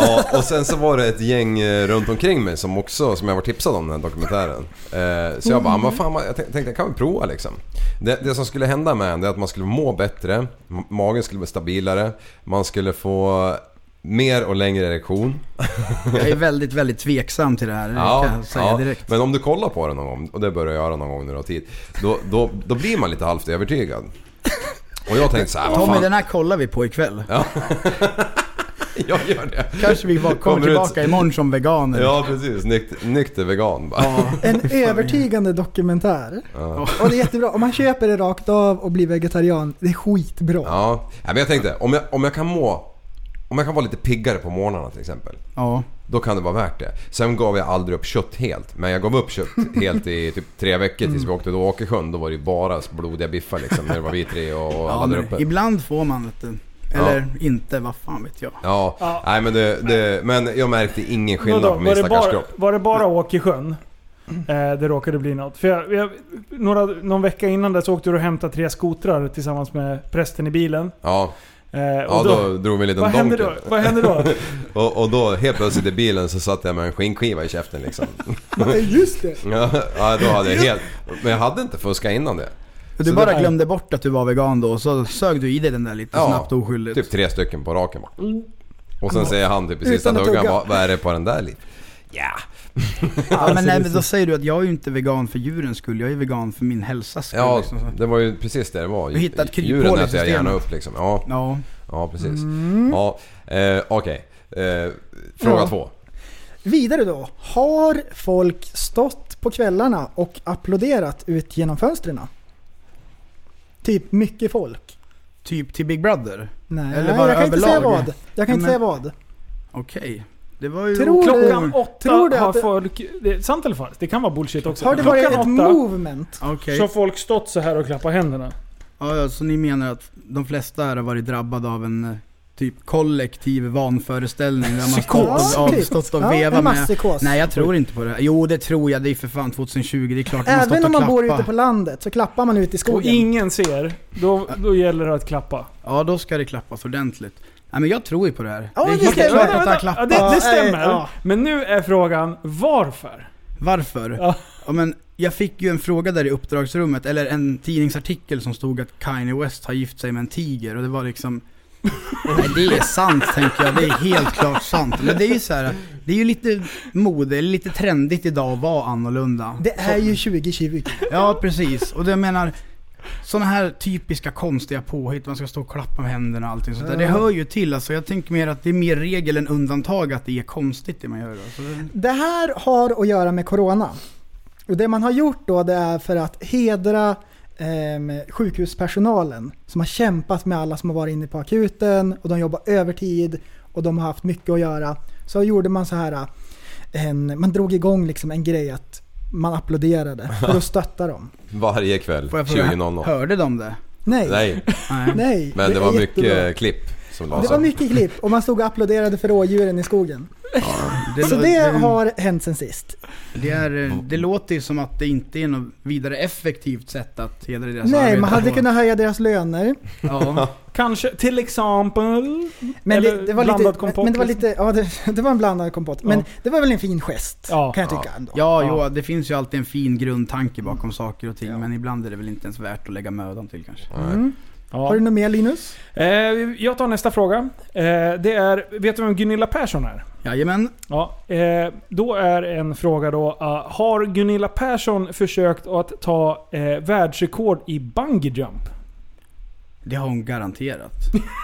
[SPEAKER 6] Ja, och sen så var det ett gäng eh, runt omkring mig som också, som jag var tipsad om den här dokumentären. Eh, Så jag bara, vad fan, vad- jag tänkte jag kan väl prova liksom. Det, det som skulle hända med en, det är att man skulle må bättre, m- magen skulle bli stabilare, man skulle få mer och längre erektion.
[SPEAKER 7] Jag är väldigt, väldigt tveksam till det här. Det kan jag säga direkt.
[SPEAKER 6] Men om du kollar på den någon gång, och det börjar jag göra någon gång när du har tid, då, då, då blir man lite halvt övertygad. Och jag tänkte så här, vad
[SPEAKER 7] Tommy, den
[SPEAKER 6] fan,
[SPEAKER 7] här kollar vi på ikväll.
[SPEAKER 6] jag gör det.
[SPEAKER 7] Kanske vi bara kommer,
[SPEAKER 6] Kommer ut-
[SPEAKER 7] tillbaka imorgon som veganer.
[SPEAKER 6] Ja precis, nykter, nykter vegan bara.
[SPEAKER 8] En övertygande dokumentär. Och det är jättebra. Om man köper det rakt av och blir vegetarian, det är skitbra.
[SPEAKER 6] Ja, Nej, men jag tänkte om jag, om jag kan må... Om jag kan vara lite piggare på morgnarna till exempel.
[SPEAKER 7] Ja.
[SPEAKER 6] Då kan det vara värt det. Sen gav jag aldrig upp kött helt. Men jag gav upp kött helt i typ tre veckor
[SPEAKER 5] Mm.
[SPEAKER 6] tills vi åkte till Åkersjön. Då var det ju bara blodiga biffar liksom. När det var vi tre och alla där
[SPEAKER 7] men
[SPEAKER 6] uppe.
[SPEAKER 7] ibland får man lite. Eller inte, vad fan vet jag.
[SPEAKER 6] Ja,
[SPEAKER 5] Ja.
[SPEAKER 6] nej men det, det... Men jag märkte ingen skillnad
[SPEAKER 5] Vadå,
[SPEAKER 6] på min
[SPEAKER 5] var, det
[SPEAKER 6] stackars
[SPEAKER 5] bara,
[SPEAKER 6] kropp.
[SPEAKER 5] var det bara åk i sjön? Eh, det råkade bli något. För jag, jag, några, någon vecka innan det så åkte du och hämtade tre skotrar tillsammans med prästen i bilen.
[SPEAKER 6] Ja,
[SPEAKER 5] Eh,
[SPEAKER 6] ja
[SPEAKER 5] och
[SPEAKER 6] då,
[SPEAKER 5] då,
[SPEAKER 6] drog vi en liten
[SPEAKER 5] vad hände
[SPEAKER 6] donker.
[SPEAKER 5] då? Vad hände då?
[SPEAKER 6] Och, och då helt plötsligt i bilen så satt jag med en skinnskiva i käften liksom.
[SPEAKER 8] Ja, Just det.
[SPEAKER 6] Ja, ja, då hade jag helt... Men jag hade inte fuskat innan det.
[SPEAKER 7] Du
[SPEAKER 6] Så
[SPEAKER 7] bara
[SPEAKER 6] det här-
[SPEAKER 7] glömde bort att du var vegan då och så sög du i dig den där lite
[SPEAKER 6] Ja,
[SPEAKER 7] snabbt och oskyldigt.
[SPEAKER 6] Typ tre stycken på raken bara. Och sen säger han typ i sista
[SPEAKER 8] Utan att
[SPEAKER 6] tuggan,
[SPEAKER 8] tugga.
[SPEAKER 6] vad, vad är det på den där liv? Ja.
[SPEAKER 7] Ja, men, nej,
[SPEAKER 5] det
[SPEAKER 7] men då säger du att jag är ju inte vegan för djurens skull, jag är vegan för min hälsas skull.
[SPEAKER 6] Ja,
[SPEAKER 7] liksom. så.
[SPEAKER 6] det var ju precis det det var.
[SPEAKER 7] Du hittat kryphål i
[SPEAKER 6] Djuren äter jag
[SPEAKER 7] systemet.
[SPEAKER 6] gärna upp liksom. Ja,
[SPEAKER 7] ja.
[SPEAKER 6] ja precis. Ja, eh, okej. Eh, fråga
[SPEAKER 8] Ja.
[SPEAKER 6] två.
[SPEAKER 8] Vidare då. Har folk stått på kvällarna och applåderat ut genom fönstren? Typ mycket folk.
[SPEAKER 7] Typ till Big Brother?
[SPEAKER 8] Nej,
[SPEAKER 7] Eller bara
[SPEAKER 8] jag kan inte säga
[SPEAKER 7] överlag.
[SPEAKER 8] vad. Jag kan
[SPEAKER 7] Men-
[SPEAKER 8] inte säga vad.
[SPEAKER 7] Okej. Det var ju...
[SPEAKER 8] Tror du-
[SPEAKER 5] Klockan åtta
[SPEAKER 8] Tror du
[SPEAKER 5] har
[SPEAKER 8] att det-
[SPEAKER 5] folk... Det, är sant eller falskt? Det kan vara bullshit också.
[SPEAKER 8] Har det varit
[SPEAKER 5] Klockan
[SPEAKER 8] ett
[SPEAKER 5] åtta
[SPEAKER 8] movement?
[SPEAKER 7] Okej.
[SPEAKER 5] så har folk stått så här och klappat händerna.
[SPEAKER 7] Ja, ja, så ni menar att de flesta här har varit drabbade av en eh, typ kollektiv vanföreställning där man
[SPEAKER 8] Psykos.
[SPEAKER 7] stått och avstått och
[SPEAKER 8] Ja,
[SPEAKER 7] veva med...
[SPEAKER 8] en masspsykos.
[SPEAKER 7] Nej jag tror inte på det. Jo det tror jag, det är för fan 2020, det är klart man har
[SPEAKER 8] Även
[SPEAKER 7] stått
[SPEAKER 8] om
[SPEAKER 7] och
[SPEAKER 8] man bor
[SPEAKER 7] klappat.
[SPEAKER 8] ute på landet så klappar man ut i
[SPEAKER 5] Och
[SPEAKER 8] skogen.
[SPEAKER 5] ingen ser, då, då gäller det att klappa.
[SPEAKER 7] Ja då ska det klappas ordentligt. Nej men jag tror ju på det här.
[SPEAKER 8] Ja,
[SPEAKER 7] det är
[SPEAKER 8] det
[SPEAKER 7] helt
[SPEAKER 8] ska jag-
[SPEAKER 7] klart
[SPEAKER 8] vänta,
[SPEAKER 7] att han
[SPEAKER 5] Ja,
[SPEAKER 7] klappar.
[SPEAKER 5] det, det stämmer.
[SPEAKER 8] Nej, ja.
[SPEAKER 5] Men nu är frågan varför?
[SPEAKER 7] Varför?
[SPEAKER 5] Ja.
[SPEAKER 7] Ja. men jag fick ju en fråga där i uppdragsrummet, eller en tidningsartikel som stod att Kanye West har gift sig med en tiger och det var liksom... Nej det är sant tänker jag, det är helt klart sant. Men det är ju så här, det är ju lite mode, eller lite trendigt idag att vara annorlunda.
[SPEAKER 8] Det är ju 2020.
[SPEAKER 7] Ja precis, och det jag menar sådana här typiska konstiga påhitt, man ska stå och klappa med händerna och allting sånt där. Det hör ju till alltså. Jag tänker mer att det är mer regel än undantag att det är konstigt det man gör. Alltså, det...
[SPEAKER 8] Det här har att göra med Corona. Och det man har gjort då det är för att hedra ehm, sjukhuspersonalen som har kämpat med alla som har varit inne på akuten och de jobbar övertid och de har haft mycket att göra. Så gjorde man så här, en, man drog igång liksom en grej att man applåderade för att stötta dem.
[SPEAKER 6] Varje kväll
[SPEAKER 7] Får jag fråga,
[SPEAKER 6] 20.00.
[SPEAKER 7] hörde de det?
[SPEAKER 8] Nej, nej,
[SPEAKER 6] Nej,
[SPEAKER 8] det
[SPEAKER 6] men det
[SPEAKER 8] är
[SPEAKER 6] var mycket
[SPEAKER 8] jättebra.
[SPEAKER 6] klipp alltså. som
[SPEAKER 8] Det
[SPEAKER 6] lades
[SPEAKER 8] var
[SPEAKER 6] upp.
[SPEAKER 8] mycket klipp och man stod och applåderade för rådjuren i skogen.
[SPEAKER 7] Det,
[SPEAKER 8] Så
[SPEAKER 7] lå-
[SPEAKER 8] det har hänt sen sist.
[SPEAKER 7] det, är, eh, det låter ju som att det inte är något vidare effektivt sätt att hedra deras
[SPEAKER 6] Alltså,
[SPEAKER 8] Nej,
[SPEAKER 7] arbete
[SPEAKER 8] man hade
[SPEAKER 7] på.
[SPEAKER 8] kunnat höja deras löner.
[SPEAKER 7] Ja,
[SPEAKER 5] Kanske till exempel...
[SPEAKER 8] Men
[SPEAKER 5] Eller
[SPEAKER 8] det, det var lite,
[SPEAKER 5] blandad kompott,
[SPEAKER 8] men det var
[SPEAKER 5] liksom.
[SPEAKER 8] lite, ja det, det var en blandad kompott. Men
[SPEAKER 5] Ja.
[SPEAKER 8] det var väl en fin gest,
[SPEAKER 5] Ja.
[SPEAKER 8] kan jag tycka ändå.
[SPEAKER 7] ja,
[SPEAKER 5] Ja.
[SPEAKER 7] jo, det finns ju alltid en fin grundtanke bakom saker och ting men ibland är det väl inte ens värt att lägga mödan till kanske.
[SPEAKER 8] Mm.
[SPEAKER 5] Ja.
[SPEAKER 8] Har du något mer Linus?
[SPEAKER 5] Eh, jag tar nästa fråga. Eh, det är, vet du vem Gunilla Persson är?
[SPEAKER 7] Jajamän,
[SPEAKER 5] Ja, eh, då är en fråga då. eh, har Gunilla Persson försökt att ta eh, världsrekord i bungee jump?
[SPEAKER 7] det har hon garanterat.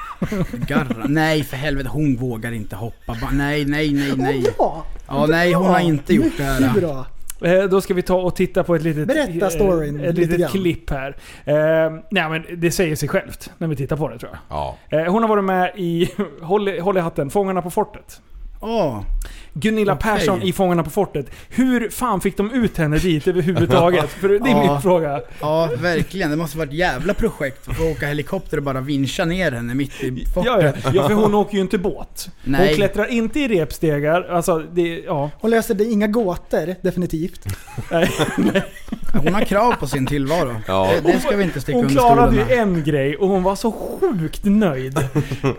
[SPEAKER 7] Garra. Nej för helvete, hon vågar inte hoppa. Ba- Nej, nej, nej, nej.
[SPEAKER 8] Åh, bra!
[SPEAKER 7] Ja, nej hon har inte gjort det
[SPEAKER 8] Mycket
[SPEAKER 7] här.
[SPEAKER 8] bra.
[SPEAKER 5] Eh, då ska vi ta och titta på ett litet,
[SPEAKER 8] Berätta storyn
[SPEAKER 5] eh, ett
[SPEAKER 8] lite
[SPEAKER 5] litet
[SPEAKER 8] grann.
[SPEAKER 5] klipp här. Eh, nej men det säger sig självt när vi tittar på det tror jag.
[SPEAKER 6] Ja.
[SPEAKER 5] Eh, Hon har varit med i, håll i, håll i hatten, Fångarna på fortet.
[SPEAKER 7] Åh,
[SPEAKER 5] Gunilla
[SPEAKER 7] Okej.
[SPEAKER 5] Persson i Fångarna på fortet. Hur fan fick de ut henne dit överhuvudtaget? För det är
[SPEAKER 7] Ja.
[SPEAKER 5] min fråga.
[SPEAKER 7] Ja, verkligen. Det måste vara ett jävla projekt. Att få åka helikopter och bara vincha ner henne mitt i
[SPEAKER 5] Ja, ja.
[SPEAKER 7] fortet.
[SPEAKER 5] ja, för hon åker ju inte båt. Hon
[SPEAKER 7] Nej.
[SPEAKER 5] klättrar inte i repstegar. Alltså, det, ja.
[SPEAKER 8] Hon löser det inga gåtor, definitivt.
[SPEAKER 7] Hon har krav på sin tillvaro.
[SPEAKER 6] Ja.
[SPEAKER 7] Det, det ska vi inte sticka
[SPEAKER 5] Hon
[SPEAKER 7] under stolen
[SPEAKER 5] klarade ju
[SPEAKER 7] med.
[SPEAKER 5] en grej och hon var så sjukt nöjd. Eh,
[SPEAKER 6] Hon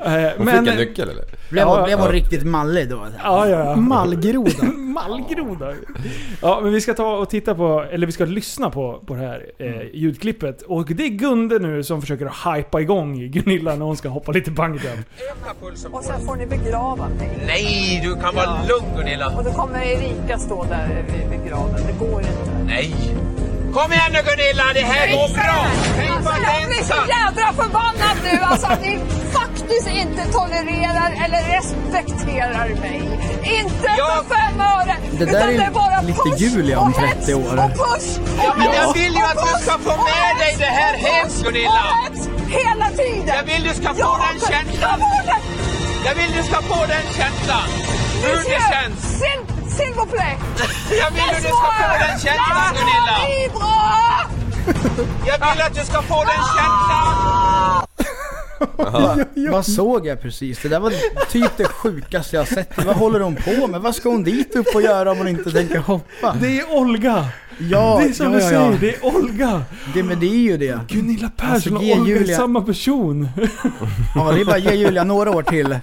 [SPEAKER 5] men-
[SPEAKER 6] fick en nyckel eller?
[SPEAKER 7] Blev,
[SPEAKER 5] Ja,
[SPEAKER 7] hon, blev hon
[SPEAKER 6] ja.
[SPEAKER 7] riktigt mallig då?
[SPEAKER 5] Ja, ja, ja.
[SPEAKER 8] Mallgroda.
[SPEAKER 5] Mallgroda. Ja, men vi ska ta och titta på, eller vi ska lyssna på, på det här eh, ljudklippet. Och det är Gunde nu som försöker att hypa igång Gunilla när hon ska hoppa lite bungyjump.
[SPEAKER 9] Och sen får ni begrava mig.
[SPEAKER 10] Nej, du kan vara lugn Gunilla.
[SPEAKER 9] Och då kommer Erika stå där vid, vid graven. Det går ju inte.
[SPEAKER 10] Nej. Kom igen nu Gunilla, det här går bra. Tänk på
[SPEAKER 9] Alltså, jag blir så
[SPEAKER 10] att
[SPEAKER 9] jädra förbannad nu alltså att ni faktiskt inte tolererar eller respekterar mig. Inte
[SPEAKER 10] Ja.
[SPEAKER 9] för fem öre!
[SPEAKER 7] Det där
[SPEAKER 9] utan
[SPEAKER 7] är ju
[SPEAKER 9] det är bara
[SPEAKER 7] lite
[SPEAKER 9] puss
[SPEAKER 7] Julia om
[SPEAKER 9] och hets
[SPEAKER 7] 30 år.
[SPEAKER 9] Och push!
[SPEAKER 10] Ja, men jag
[SPEAKER 9] och
[SPEAKER 10] vill ju att
[SPEAKER 9] push
[SPEAKER 10] du ska få
[SPEAKER 9] och
[SPEAKER 10] med
[SPEAKER 9] hets
[SPEAKER 10] dig det här
[SPEAKER 9] och
[SPEAKER 10] hem,
[SPEAKER 9] push
[SPEAKER 10] Gunilla.
[SPEAKER 9] och hets Hela tiden!
[SPEAKER 10] Jag vill du ska få
[SPEAKER 9] Ja,
[SPEAKER 10] den känslan.
[SPEAKER 9] jag får den.
[SPEAKER 10] Jag vill du ska få den känslan. Hur det
[SPEAKER 9] Monsieur,
[SPEAKER 10] känns.
[SPEAKER 9] s'il- S'il vous plaît!
[SPEAKER 10] Jag vill att du ska få den känslan Gunilla.
[SPEAKER 9] Gunilla!
[SPEAKER 10] Jag vill att du ska få den
[SPEAKER 9] Ah!
[SPEAKER 10] känslan.
[SPEAKER 7] Vad såg jag precis? Det där var typ det sjukaste jag sett. Vad håller hon på med? Vad ska hon dit upp och göra om hon inte tänker hoppa?
[SPEAKER 5] Det är Olga!
[SPEAKER 7] Ja,
[SPEAKER 5] det är som
[SPEAKER 7] ja,
[SPEAKER 5] du
[SPEAKER 7] ja,
[SPEAKER 5] säger,
[SPEAKER 7] ja.
[SPEAKER 5] det är Olga! Alltså,
[SPEAKER 7] Det, men det är ju det.
[SPEAKER 5] Gunilla Persson
[SPEAKER 7] ge
[SPEAKER 5] och Olga är
[SPEAKER 7] Julia-
[SPEAKER 5] samma person.
[SPEAKER 7] Ja, det är bara ge Julia några år till.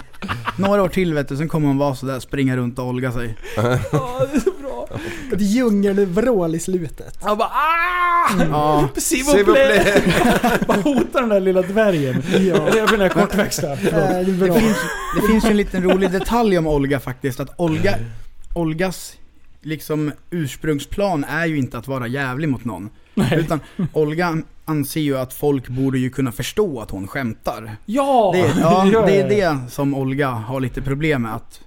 [SPEAKER 7] Några år till vet du, sen kommer hon vara sådär, springa runt och olga sig.
[SPEAKER 5] Ja, det är så bra.
[SPEAKER 8] Ett djungelvrål i slutet.
[SPEAKER 5] Han bara ah!
[SPEAKER 7] Ja,
[SPEAKER 5] S'il
[SPEAKER 6] S'il
[SPEAKER 5] vous
[SPEAKER 6] vous
[SPEAKER 5] plaît! Bara hotar den där lilla dvärgen. Eller jag menar kortväxta. Förlåt.
[SPEAKER 8] Äh, det är
[SPEAKER 7] det
[SPEAKER 8] bra.
[SPEAKER 7] finns, det finns ju en liten rolig detalj om Olga faktiskt. Att Olga, Olgas liksom ursprungsplan är ju inte att vara jävlig mot någon. Utan Olga anser ju att folk borde ju kunna förstå att hon skämtar.
[SPEAKER 5] Ja!
[SPEAKER 7] Det, ja,
[SPEAKER 5] Ja,
[SPEAKER 7] det
[SPEAKER 5] ja,
[SPEAKER 7] är det som Olga har lite problem med. Att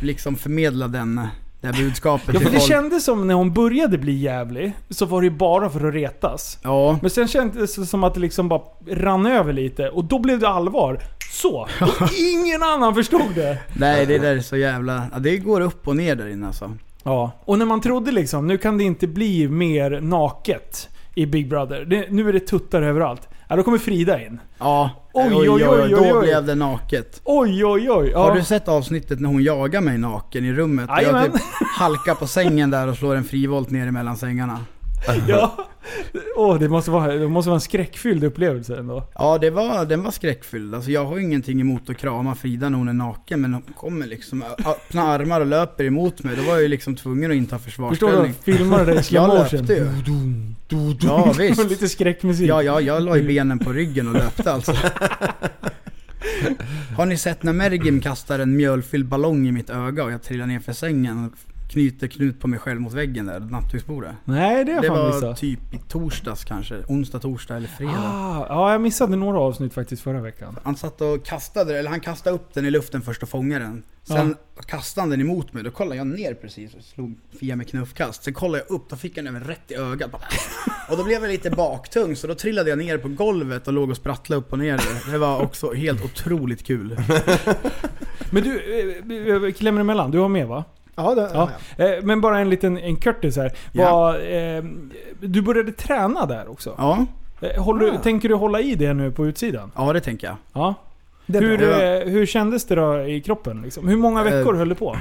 [SPEAKER 7] liksom förmedla den, det här budskapet
[SPEAKER 5] Ja, för
[SPEAKER 7] till
[SPEAKER 5] det
[SPEAKER 8] Typ.
[SPEAKER 7] folk.
[SPEAKER 5] kändes som när hon började bli jävlig, så var det ju bara för att retas.
[SPEAKER 7] Ja,
[SPEAKER 5] Men sen kändes det som att det liksom bara rann över lite och då blev det allvar. Så! Och ingen annan förstod det.
[SPEAKER 7] nej det där är så jävla... Ja, det går upp och ner där inne alltså.
[SPEAKER 5] Ja. Och när man trodde liksom, nu kan det inte bli mer naket i Big Brother. Det, nu är det tuttar överallt. Ja, då kommer Frida in.
[SPEAKER 7] Ja,
[SPEAKER 5] Oj, oj, oj, oj,
[SPEAKER 7] då
[SPEAKER 5] oj.
[SPEAKER 7] blev det naket.
[SPEAKER 5] Oj, oj, oj. Ja.
[SPEAKER 7] Har du sett avsnittet när hon jagar mig naken i rummet? Och
[SPEAKER 5] Jajamän.
[SPEAKER 7] jag typ halkar på sängen där och slår en frivolt ner emellan sängarna.
[SPEAKER 5] ja. Åh, det, måste vara, det måste vara en skräckfylld upplevelse ändå.
[SPEAKER 7] Ja, det var, den var skräckfylld. Alltså, jag har ju ingenting emot att krama Frida när hon är naken, men hon kommer liksom ö- öppna armar och löper emot mig. Då var jag ju liksom tvungen att inta
[SPEAKER 5] Förstår du?
[SPEAKER 7] försvarsställning.
[SPEAKER 5] Filmar det i slow
[SPEAKER 7] Jag
[SPEAKER 5] motion.
[SPEAKER 7] löpte ju.
[SPEAKER 5] Dudum, dudum.
[SPEAKER 7] Ja, visst.
[SPEAKER 5] Och Lite skräckmusik.
[SPEAKER 7] Ja, ja, jag la ju benen på ryggen och löpte alltså. Har ni sett när Mergim kastar en mjölfylld ballong i mitt öga och jag trillar ner för sängen och knyter knut på mig själv mot väggen där, nattduksbordet?
[SPEAKER 5] Nej, det har
[SPEAKER 7] Det
[SPEAKER 5] jag fan
[SPEAKER 7] var
[SPEAKER 5] missat.
[SPEAKER 7] typ i torsdags kanske, onsdag, torsdag eller fredag.
[SPEAKER 5] Ah, ja, jag missade några avsnitt faktiskt förra veckan.
[SPEAKER 7] Han satt och kastade, eller han kastade upp den i luften först och fångade den. Sen kastade han den emot mig, då kollade jag ner precis och slog Fia med knuffkast. Sen kollade jag upp, då fick han den rätt i ögat. Bara. Och då blev jag lite baktung, så då trillade jag ner på golvet och låg och sprattlade upp och ner. Det var också helt otroligt kul.
[SPEAKER 5] Men du, eh, eh, klämmer emellan. Du har med va?
[SPEAKER 8] Ja, det, ja.
[SPEAKER 5] Ja. Eh, Men bara en liten en kurtis här.
[SPEAKER 7] Ja.
[SPEAKER 5] Var, eh, du började träna där också.
[SPEAKER 7] Ja,
[SPEAKER 5] Eh, Håller, Tänker du hålla i det nu på utsidan?
[SPEAKER 7] ja det tänker jag.
[SPEAKER 5] Ja.
[SPEAKER 8] Det är
[SPEAKER 5] Hur,
[SPEAKER 8] bra.
[SPEAKER 7] bra.
[SPEAKER 5] eh, hur kändes det då i kroppen? Liksom? Hur många veckor
[SPEAKER 7] Eh,
[SPEAKER 5] höll du på?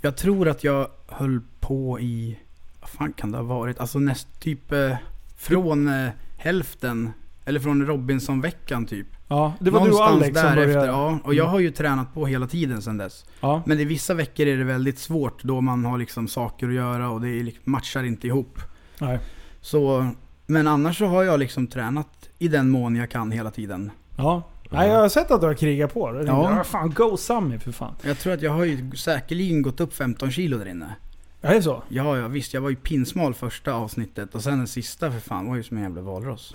[SPEAKER 7] Jag tror att jag höll på i, vad fan kan det ha varit? Alltså näst, typ eh, från eh, hälften, eller från Robinson-veckan typ.
[SPEAKER 5] Ja, det var du och Alex som började. Mm.
[SPEAKER 7] ja. Och jag har ju tränat på hela tiden sedan dess.
[SPEAKER 5] Ja.
[SPEAKER 7] Men i vissa veckor är det väldigt svårt då man har liksom saker att göra och det är, lik- matchar inte ihop.
[SPEAKER 5] Nej.
[SPEAKER 7] Så, men annars så har jag liksom tränat i den mån jag kan hela tiden.
[SPEAKER 5] Ja. Nej, jag har sett att du har krigat på. Jag tänkte,
[SPEAKER 7] Ja.
[SPEAKER 5] "Ah, Fan, go Sammy för fan.
[SPEAKER 7] Jag tror att jag har ju säkerligen gått upp 15 kilo där inne.
[SPEAKER 5] Ja, det är så?
[SPEAKER 7] Ja, ja visst. Jag var ju pinsmal första avsnittet och sen den sista för fan var ju som en jävla valross.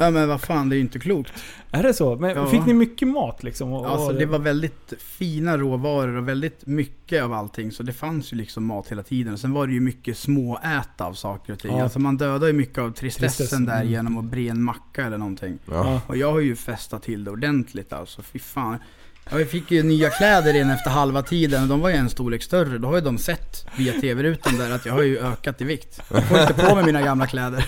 [SPEAKER 7] ja men vad fan, det är ju inte klokt.
[SPEAKER 5] Är det så? Men
[SPEAKER 7] Ja.
[SPEAKER 5] fick ni mycket mat liksom? Och,
[SPEAKER 7] Alltså
[SPEAKER 5] och-
[SPEAKER 7] det var väldigt fina råvaror och väldigt mycket av allting. Så det fanns ju liksom mat hela tiden. Sen var det ju mycket småäta av saker och ting.
[SPEAKER 5] Ja.
[SPEAKER 7] Alltså man dödar ju mycket av tristessen
[SPEAKER 5] Tristessen,
[SPEAKER 7] där
[SPEAKER 5] mm.
[SPEAKER 7] genom att bre en macka eller någonting.
[SPEAKER 5] Ja.
[SPEAKER 7] Och jag har ju festat till det ordentligt alltså. Fy fan. Ja, vi fick ju nya kläder in efter halva tiden och de var ju en storlek större. Då har ju de sett via tv-rutan där att jag har ju ökat i vikt. Jag får inte på mig mina gamla kläder.